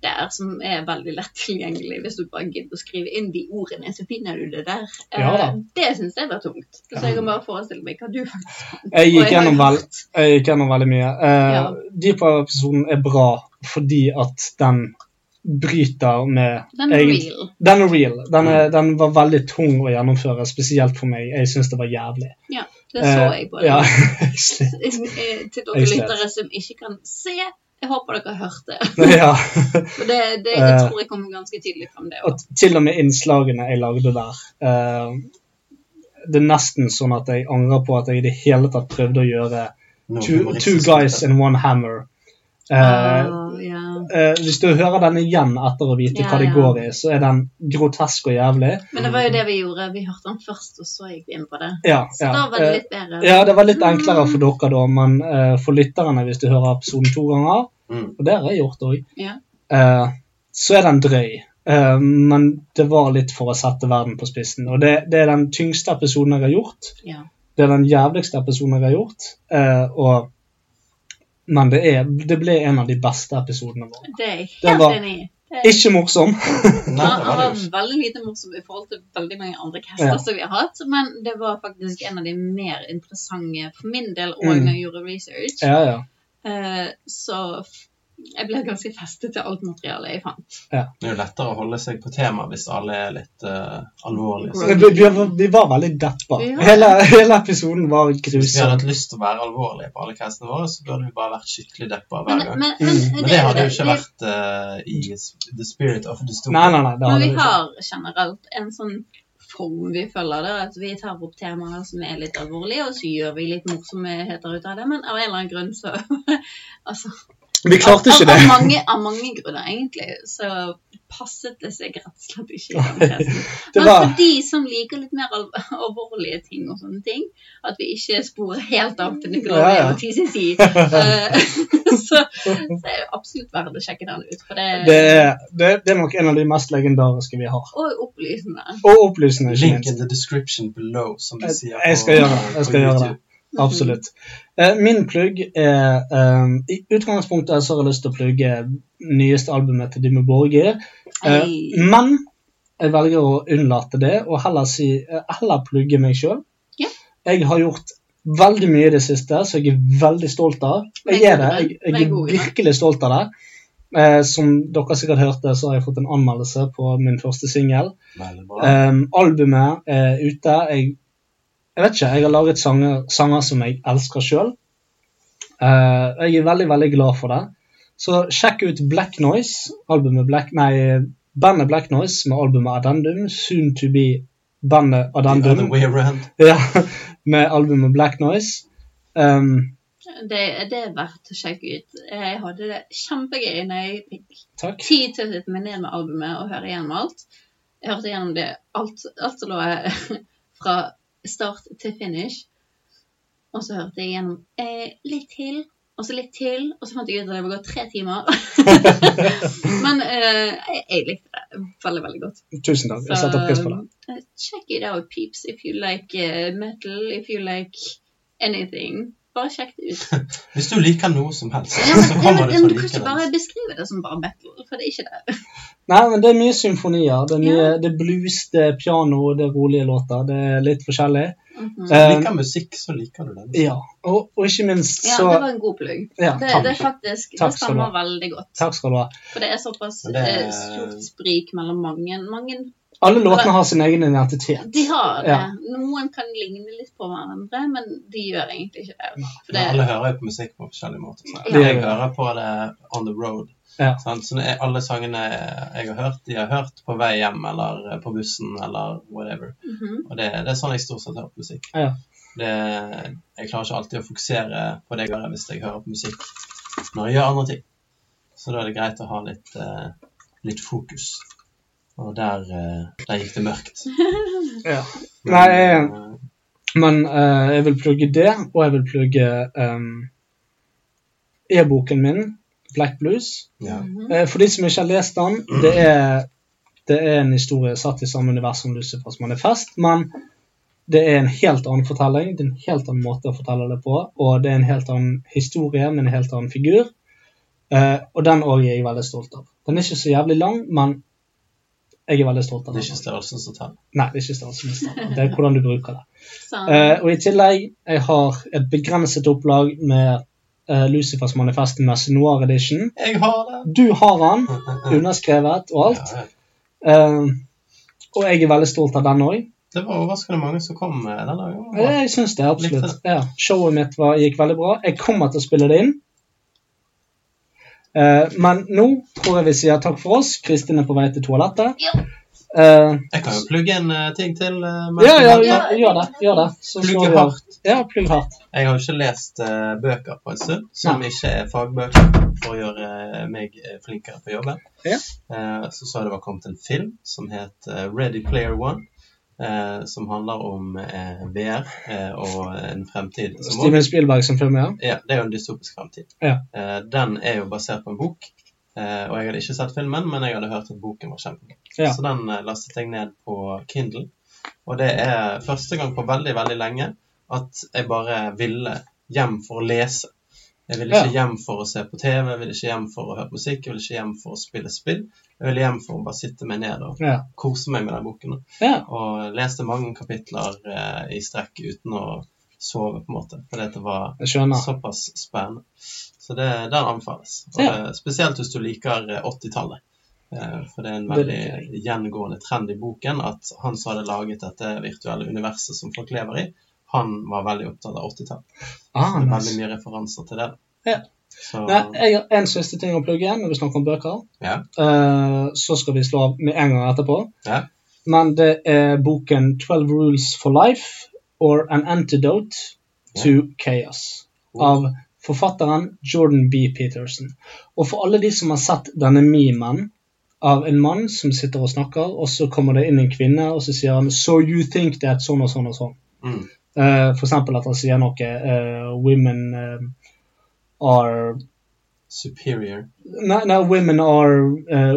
[SPEAKER 3] der, som er veldig lett tilgjengelig hvis du bare gidder å skrive inn de ordene, så finner du det der. Eh,
[SPEAKER 4] Ja da.
[SPEAKER 3] det syns jeg var tungt. Så jeg kan bare forestille meg hva du faktisk fant.
[SPEAKER 4] Jeg
[SPEAKER 3] Og
[SPEAKER 4] gikk
[SPEAKER 3] har
[SPEAKER 4] gjennom, vel,
[SPEAKER 3] hørt-
[SPEAKER 4] jeg gikk gjennom veldig mye. Eh,
[SPEAKER 3] Ja.
[SPEAKER 4] Deep Web-episoden er bra fordi at den bryter med
[SPEAKER 3] Den er
[SPEAKER 4] egent-
[SPEAKER 3] real.
[SPEAKER 4] Den er real. Den, er, den var veldig tung å gjennomføre, spesielt for meg. Jeg syns det var jævlig.
[SPEAKER 3] Ja, det så jeg på
[SPEAKER 4] Eh,
[SPEAKER 3] det.
[SPEAKER 4] ja, *laughs* jeg slet.
[SPEAKER 3] *laughs* Eh, Til dere
[SPEAKER 4] Jeg slet.
[SPEAKER 3] lyttere som ikke kan se, jeg håper dere har hørt det.
[SPEAKER 4] ja. *laughs*
[SPEAKER 3] For det, det jeg
[SPEAKER 4] Eh.
[SPEAKER 3] tror jeg kom ganske tydelig fram, det
[SPEAKER 4] Og til og med innslagene jeg lagde der eh, Det er nesten sånn at jeg angrer på at jeg i det hele tatt prøvde å gjøre
[SPEAKER 5] Noe
[SPEAKER 4] two, two
[SPEAKER 5] humoristisk. *laughs*
[SPEAKER 4] Guys and One Hammer. Eh,
[SPEAKER 3] Ah, ja.
[SPEAKER 4] eh, hvis du hører den igjen etter å vite
[SPEAKER 3] Ja,
[SPEAKER 4] hva det
[SPEAKER 3] ja.
[SPEAKER 4] går i, så er den grotesk og jævlig.
[SPEAKER 3] Men det var jo det vi gjorde. Vi hørte den først, og så gikk vi inn på det.
[SPEAKER 4] Ja,
[SPEAKER 3] Så
[SPEAKER 4] ja.
[SPEAKER 3] da var det
[SPEAKER 4] Eh,
[SPEAKER 3] litt bedre.
[SPEAKER 4] Ja, det var litt enklere for dere da, men eh, for lytterne, hvis du hører episoden to ganger, og det har jeg gjort òg,
[SPEAKER 3] Ja.
[SPEAKER 4] eh, så er den drøy. Eh, men det var litt for å sette verden på spissen. Og det, det er den tyngste episoden jeg har gjort.
[SPEAKER 3] Ja.
[SPEAKER 4] Det er den jævligste episoden jeg har gjort. eh, og, men det, er, det ble en av de beste episodene våre.
[SPEAKER 3] Det er jeg
[SPEAKER 4] Den
[SPEAKER 3] helt
[SPEAKER 4] var
[SPEAKER 3] enig i. Det er-
[SPEAKER 4] Ikke morsom.
[SPEAKER 3] Han han var veldig lite morsom i forhold til veldig mange andre caster
[SPEAKER 4] Ja.
[SPEAKER 3] som vi har hatt, men det var faktisk en av de mer interessante for min del, og
[SPEAKER 4] Mm.
[SPEAKER 3] når jeg gjorde research.
[SPEAKER 4] ja, ja.
[SPEAKER 3] Eh, Så f- jeg ble ganske festet til alt materialet jeg fant.
[SPEAKER 5] Det er jo lettere å holde seg på tema hvis alle er litt eh, alvorlige.
[SPEAKER 4] Vi, vi, var- vi var veldig deppa.
[SPEAKER 3] Ja.
[SPEAKER 4] Hele, hele episoden var
[SPEAKER 5] Hvis vi hadde
[SPEAKER 4] grusom.
[SPEAKER 5] hatt lyst til å være alvorlige på alle castene våre, så burde vi bare vært skikkelig deppa
[SPEAKER 3] Men-
[SPEAKER 5] hver gang.
[SPEAKER 3] men- men Mm. det
[SPEAKER 5] det
[SPEAKER 3] er
[SPEAKER 5] hadde jo
[SPEAKER 3] det-
[SPEAKER 5] ikke
[SPEAKER 3] det-
[SPEAKER 5] vært eh, i s- The Spirit of the Stupid.
[SPEAKER 4] Nei, nei, nei, det
[SPEAKER 3] Men
[SPEAKER 4] hadde
[SPEAKER 3] vi
[SPEAKER 4] vi ikke.
[SPEAKER 3] har generelt en sånn form vi følger der, at vi tar opp temaer som er litt alvorlige, og så gjør vi litt morsomheter ut av det, men av en eller annen grunn så altså,
[SPEAKER 4] Vi klarte ikke
[SPEAKER 3] av, av,
[SPEAKER 4] det.
[SPEAKER 3] mange, av mange grunner, egentlig, så passet det seg rett og slett ikke. i den pressen.
[SPEAKER 4] *laughs* Det
[SPEAKER 3] Men
[SPEAKER 4] var-
[SPEAKER 3] for de som liker litt mer al alvorlige ting og sånne ting, at vi ikke sporer helt av til Nicolai
[SPEAKER 4] Ja, ja.
[SPEAKER 3] og TCC, eh, *laughs* så, så er det absolutt verdt å sjekke den ut. For det,
[SPEAKER 4] Det er, det, det er nok en av de mest legendariske vi har.
[SPEAKER 3] Og opplysende.
[SPEAKER 4] Og opplysende, ikke
[SPEAKER 5] Link in
[SPEAKER 4] minst.
[SPEAKER 5] the description below, som de sier
[SPEAKER 4] Jeg skal gjøre det. Jeg skal gjøre det. Absolutt. Mm-hmm. Eh, Min plugg er eh, I utgangspunktet så har jeg lyst til å plugge nyeste albumet til Dimmu Borgir, eh,
[SPEAKER 3] Ei.
[SPEAKER 4] men jeg velger å unnlate det og heller, si, eh, heller plugge meg sjøl.
[SPEAKER 3] Ja.
[SPEAKER 4] Jeg har gjort veldig mye i det siste, så jeg er veldig stolt av.
[SPEAKER 3] Vær
[SPEAKER 4] Jeg er
[SPEAKER 3] god
[SPEAKER 4] det.
[SPEAKER 3] i
[SPEAKER 4] Jeg,
[SPEAKER 3] dag. Vær
[SPEAKER 4] jeg er
[SPEAKER 3] god i dag.
[SPEAKER 4] virkelig stolt av det. Eh, som dere sikkert hørte, så har jeg fått en anmeldelse på min første singel.
[SPEAKER 5] Veldig bra.
[SPEAKER 4] Um, albumet er ute. Jeg, jeg vet ikke, jeg har laget sanger, sanger som jeg elsker sjøl. jeg er veldig, veldig glad for det. Så sjekk ut Black Noise, albumet Black, nei, bandet Black Noise med albumet Addendum. Soon to be bandet
[SPEAKER 5] The
[SPEAKER 4] *laughs* Addendum.
[SPEAKER 5] other way around.
[SPEAKER 4] Ja, med albumet Black Noise. Um,
[SPEAKER 3] Det, det er verdt å sjekke ut. Jeg hadde det kjempegøy når jeg fikk
[SPEAKER 4] Takk.
[SPEAKER 3] tid til å sitte meg ned med albumet og høre igjennom alt. Jeg hørte igjennom det alt, alt som lå *laughs* fra start til finish. Og så hørte jeg igjennom eh, litt til, og så litt til, og så fant jeg ut at det var gått tre timer. *laughs* Men eh, jeg, jeg likte det veldig, veldig godt.
[SPEAKER 4] Tusen takk. Jeg setter pris på det.
[SPEAKER 3] Uh, check it out, peeps, if you like uh, metal, if you like anything. Bare sjekk det ut.
[SPEAKER 5] Hvis du liker noe som helst,
[SPEAKER 3] Ja, men,
[SPEAKER 5] så
[SPEAKER 3] ja,
[SPEAKER 5] kommer
[SPEAKER 3] men,
[SPEAKER 5] det
[SPEAKER 3] men
[SPEAKER 5] til å
[SPEAKER 3] du kan
[SPEAKER 5] like
[SPEAKER 3] ikke
[SPEAKER 5] det.
[SPEAKER 3] bare beskrive det som bare metal, for det er ikke det.
[SPEAKER 4] Nei, men det er mye symfonier. Det er, mye, det er blues, det er piano, det er rolige låter. Det er litt forskjellig.
[SPEAKER 3] Mhm.
[SPEAKER 5] Hvis du
[SPEAKER 4] Eh,
[SPEAKER 5] liker musikk, så liker du den.
[SPEAKER 4] Ja, og, og ikke minst
[SPEAKER 3] Ja,
[SPEAKER 4] så
[SPEAKER 3] det var en god plugg.
[SPEAKER 4] Ja,
[SPEAKER 3] det,
[SPEAKER 4] takk.
[SPEAKER 3] det er
[SPEAKER 4] Takk
[SPEAKER 3] faktisk, det
[SPEAKER 4] skal du
[SPEAKER 3] stemmer
[SPEAKER 4] ha.
[SPEAKER 3] veldig godt.
[SPEAKER 4] Takk skal du ha.
[SPEAKER 3] For det er såpass
[SPEAKER 5] Men det-
[SPEAKER 3] eh, stort sprik mellom mange. mange
[SPEAKER 4] Alle låtene
[SPEAKER 3] Eller-
[SPEAKER 4] har sin egen identitet.
[SPEAKER 3] De har det.
[SPEAKER 4] Ja.
[SPEAKER 3] Noen kan ligne litt på hverandre, men de gjør egentlig ikke det. For
[SPEAKER 5] Men
[SPEAKER 3] det
[SPEAKER 5] alle hører jo på musikk på forskjellige måter. sant?
[SPEAKER 4] Ja.
[SPEAKER 5] Jeg hører på det on the road.
[SPEAKER 4] Ja.
[SPEAKER 5] sant? Så det er alle sangene jeg har hørt, de har hørt på vei hjem eller på bussen eller whatever.
[SPEAKER 3] Mhm.
[SPEAKER 5] Og det, det er sånn jeg stort sett hører på musikk.
[SPEAKER 4] Ja.
[SPEAKER 5] Det, jeg klarer ikke alltid å fokusere på det jeg hører hvis jeg hører på musikk når jeg gjør andre ting. Så da er det greit å ha litt, eh, litt fokus. Og der, eh, der gikk det mørkt. eh,
[SPEAKER 4] Ja. Nei, jeg- men eh, jeg vil plugge det, og jeg vil plugge ehm, e-boken min, Black Blues.
[SPEAKER 5] Ja.
[SPEAKER 4] Eh, for de som ikke har lest den, det er, det er en historie satt i samme univers som Lucifers manifest, men det er en helt annen fortelling, det er en helt annen måte å fortelle det på, og det er en helt annen historie med en helt annen figur. Eh, og den òg er jeg veldig stolt av. Den er ikke så jævlig lang, men jeg er veldig stolt av
[SPEAKER 5] Det
[SPEAKER 4] den.
[SPEAKER 5] er ikke størrelsen som teller.
[SPEAKER 4] Nei, det er ikke størrelsen min standard. Det er hvordan du bruker det.
[SPEAKER 3] Så-
[SPEAKER 4] Eh, og i tillegg, jeg har et begrenset opplag med eh, Lucifers manifest med Noir Edition.
[SPEAKER 5] Jeg har det!
[SPEAKER 4] Du har *laughs* den, underskrevet og alt.
[SPEAKER 5] Ja, ja.
[SPEAKER 4] Eh, og jeg er veldig stolt av den òg.
[SPEAKER 5] Det var overraskende mange som kom eh, den dagen.
[SPEAKER 4] Jeg syns det, absolutt.
[SPEAKER 5] Likte
[SPEAKER 4] Ja, showet mitt var, gikk veldig bra. Jeg kommer til å spille det inn. Eh, men nå tror jeg vi sier takk for oss. Kristin er på vei til toalettet.
[SPEAKER 3] Ja.
[SPEAKER 4] Eh,
[SPEAKER 5] Jeg kan jo plugge en eh, ting til. eh, mens
[SPEAKER 4] ja,
[SPEAKER 5] vi
[SPEAKER 4] ja,
[SPEAKER 5] venter.
[SPEAKER 4] ja, gjør det. Gjør det. Så
[SPEAKER 5] Plugge
[SPEAKER 4] slår vi av. Ja, plugg hardt.
[SPEAKER 5] Jeg har jo ikke lest eh, bøker på en stund, som
[SPEAKER 4] Nei.
[SPEAKER 5] ikke er fagbøker, for å gjøre eh, meg eh, flinkere på jobben.
[SPEAKER 4] Ja.
[SPEAKER 5] Eh, så sa jeg det var kommet en film som het eh, Ready Player One, eh, som handler om eh, VR eh, og en fremtid som
[SPEAKER 4] Steven Spielberg som filmer,
[SPEAKER 5] Ja, det er jo en dystopisk fremtid.
[SPEAKER 4] Ja.
[SPEAKER 5] Eh, den er jo basert på en bok, eh, og jeg hadde ikke sett filmen, men jeg hadde hørt at boken var kjempebra.
[SPEAKER 4] Ja.
[SPEAKER 5] Så den eh, lastet jeg ned på Kindle, og det er første gang på veldig, veldig lenge at jeg bare ville hjem for å lese. Jeg ville ikke hjem for å se på TV, jeg ville ikke hjem for å høre musikk, jeg ville ikke hjem for å spille spill. Jeg ville hjem for å bare sitte meg ned og
[SPEAKER 4] ja.
[SPEAKER 5] kose meg med den boken. da.
[SPEAKER 4] Ja.
[SPEAKER 5] Og leste mange kapitler eh, i strekk uten å sove, på en måte. Fordi at det var
[SPEAKER 4] Jeg skjønner.
[SPEAKER 5] såpass spennende. Så det, den anbefales. Og
[SPEAKER 4] Ja.
[SPEAKER 5] eh, Spesielt hvis du liker eh, 80-tallet. Eh, For det er en
[SPEAKER 4] Det
[SPEAKER 5] veldig
[SPEAKER 4] liker
[SPEAKER 5] gjengående trend i boken at han som hadde laget dette virtuelle universet som folk lever i, han var veldig opptatt av 80-tall. Så
[SPEAKER 4] Ah,
[SPEAKER 5] det er
[SPEAKER 4] nice.
[SPEAKER 5] veldig mye referanser til det.
[SPEAKER 4] Ja.
[SPEAKER 5] Så,
[SPEAKER 4] Nei, jeg har en siste ting å plugge når vi snakker om bøker.
[SPEAKER 5] ja.
[SPEAKER 4] Eh, så skal vi slå av med en gang etterpå.
[SPEAKER 5] Ja.
[SPEAKER 4] Men det er eh, boken 12 Rules for Life or An Antidote to Chaos av forfatteren Jordan B. Peterson. Og for alle de som har sett denne memen av en mann som sitter og snakker, og så kommer det inn en kvinne, og så sier han So you think that sånn og sånn og sånn.
[SPEAKER 5] Mm.
[SPEAKER 4] Eh, for eksempel at han sier noe eh, Women eh, are
[SPEAKER 5] Superior.
[SPEAKER 4] Nei, nei women are eh,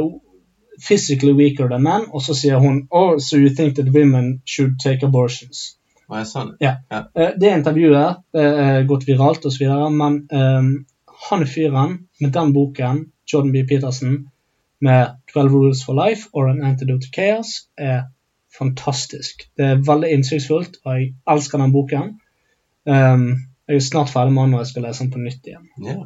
[SPEAKER 4] physically weaker than men. Og så sier hun Oh, so you think that women should take abortions.
[SPEAKER 5] Var jeg sånn?
[SPEAKER 4] Ja.
[SPEAKER 5] Ja.
[SPEAKER 4] Eh, det interviewet eh, er gått viralt osv., men eh, han fyren med den boken, Jordan B. Peterson, med 12 Rules for Life or An Antidote to Chaos, er fantastisk. Det er veldig innsiktsfullt, og jeg elsker den boken. Eh, jeg er snart ferdig med den, og jeg skal lese den på nytt igjen.
[SPEAKER 5] Ja.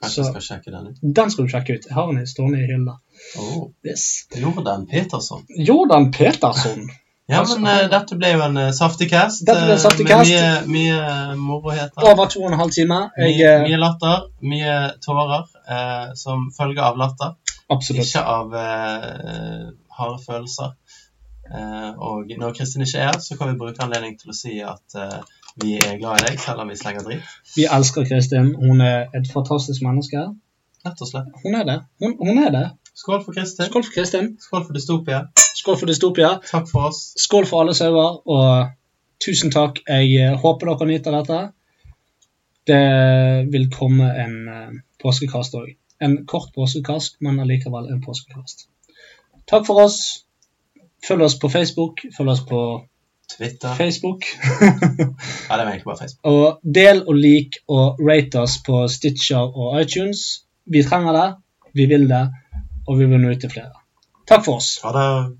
[SPEAKER 5] Kanskje
[SPEAKER 4] Så-
[SPEAKER 5] jeg skal sjekke den ut.
[SPEAKER 4] Den skal du sjekke ut. Jeg har den i stående i hylla.
[SPEAKER 5] Oh.
[SPEAKER 4] Yes.
[SPEAKER 5] Jordan Peterson.
[SPEAKER 4] Jordan Peterson.
[SPEAKER 5] Ja,
[SPEAKER 4] Altså,
[SPEAKER 5] men eh, dette ble jo en eh, saftig cast.
[SPEAKER 4] Dette ble
[SPEAKER 5] eh,
[SPEAKER 4] en saftig
[SPEAKER 5] med
[SPEAKER 4] cast.
[SPEAKER 5] Mye, mye moroheter.
[SPEAKER 4] Over to og en halv time. Jeg,
[SPEAKER 5] Mye,
[SPEAKER 4] eh,
[SPEAKER 5] mye latter, mye tårer eh, som følge av latter,
[SPEAKER 4] absolutt.
[SPEAKER 5] ikke av eh, harde følelser. Eh, og når Kristin ikke er her, så kan vi bruke anledning til å si at eh, Vi er glad i deg, selv om vi slenger dritt.
[SPEAKER 4] Vi elsker Kristin. Hun er et fantastisk menneske.
[SPEAKER 5] Rett og slett.
[SPEAKER 4] Hun er det. Hun, hun er det.
[SPEAKER 5] Skål for Kristin.
[SPEAKER 4] Skål for Kristin.
[SPEAKER 5] Skål for dystopia.
[SPEAKER 4] Skål for dystopia.
[SPEAKER 5] Takk for oss.
[SPEAKER 4] Skål for alle sauer, og tusen takk. Jeg eh, håper dere nyter dette. Det vil komme en eh, påskekast òg. En kort påskekast, men allikevel en påskekast. Takk for oss. Følg oss på Facebook. Følg oss på
[SPEAKER 5] Twitter.
[SPEAKER 4] Facebook.
[SPEAKER 5] Ja, det var egentlig bare Facebook.
[SPEAKER 4] og del og lik og rate oss på Stitcher og iTunes. Vi trenger det, vi vil det, og vi vil nå ut til flere. Takk for oss.
[SPEAKER 5] Ha det.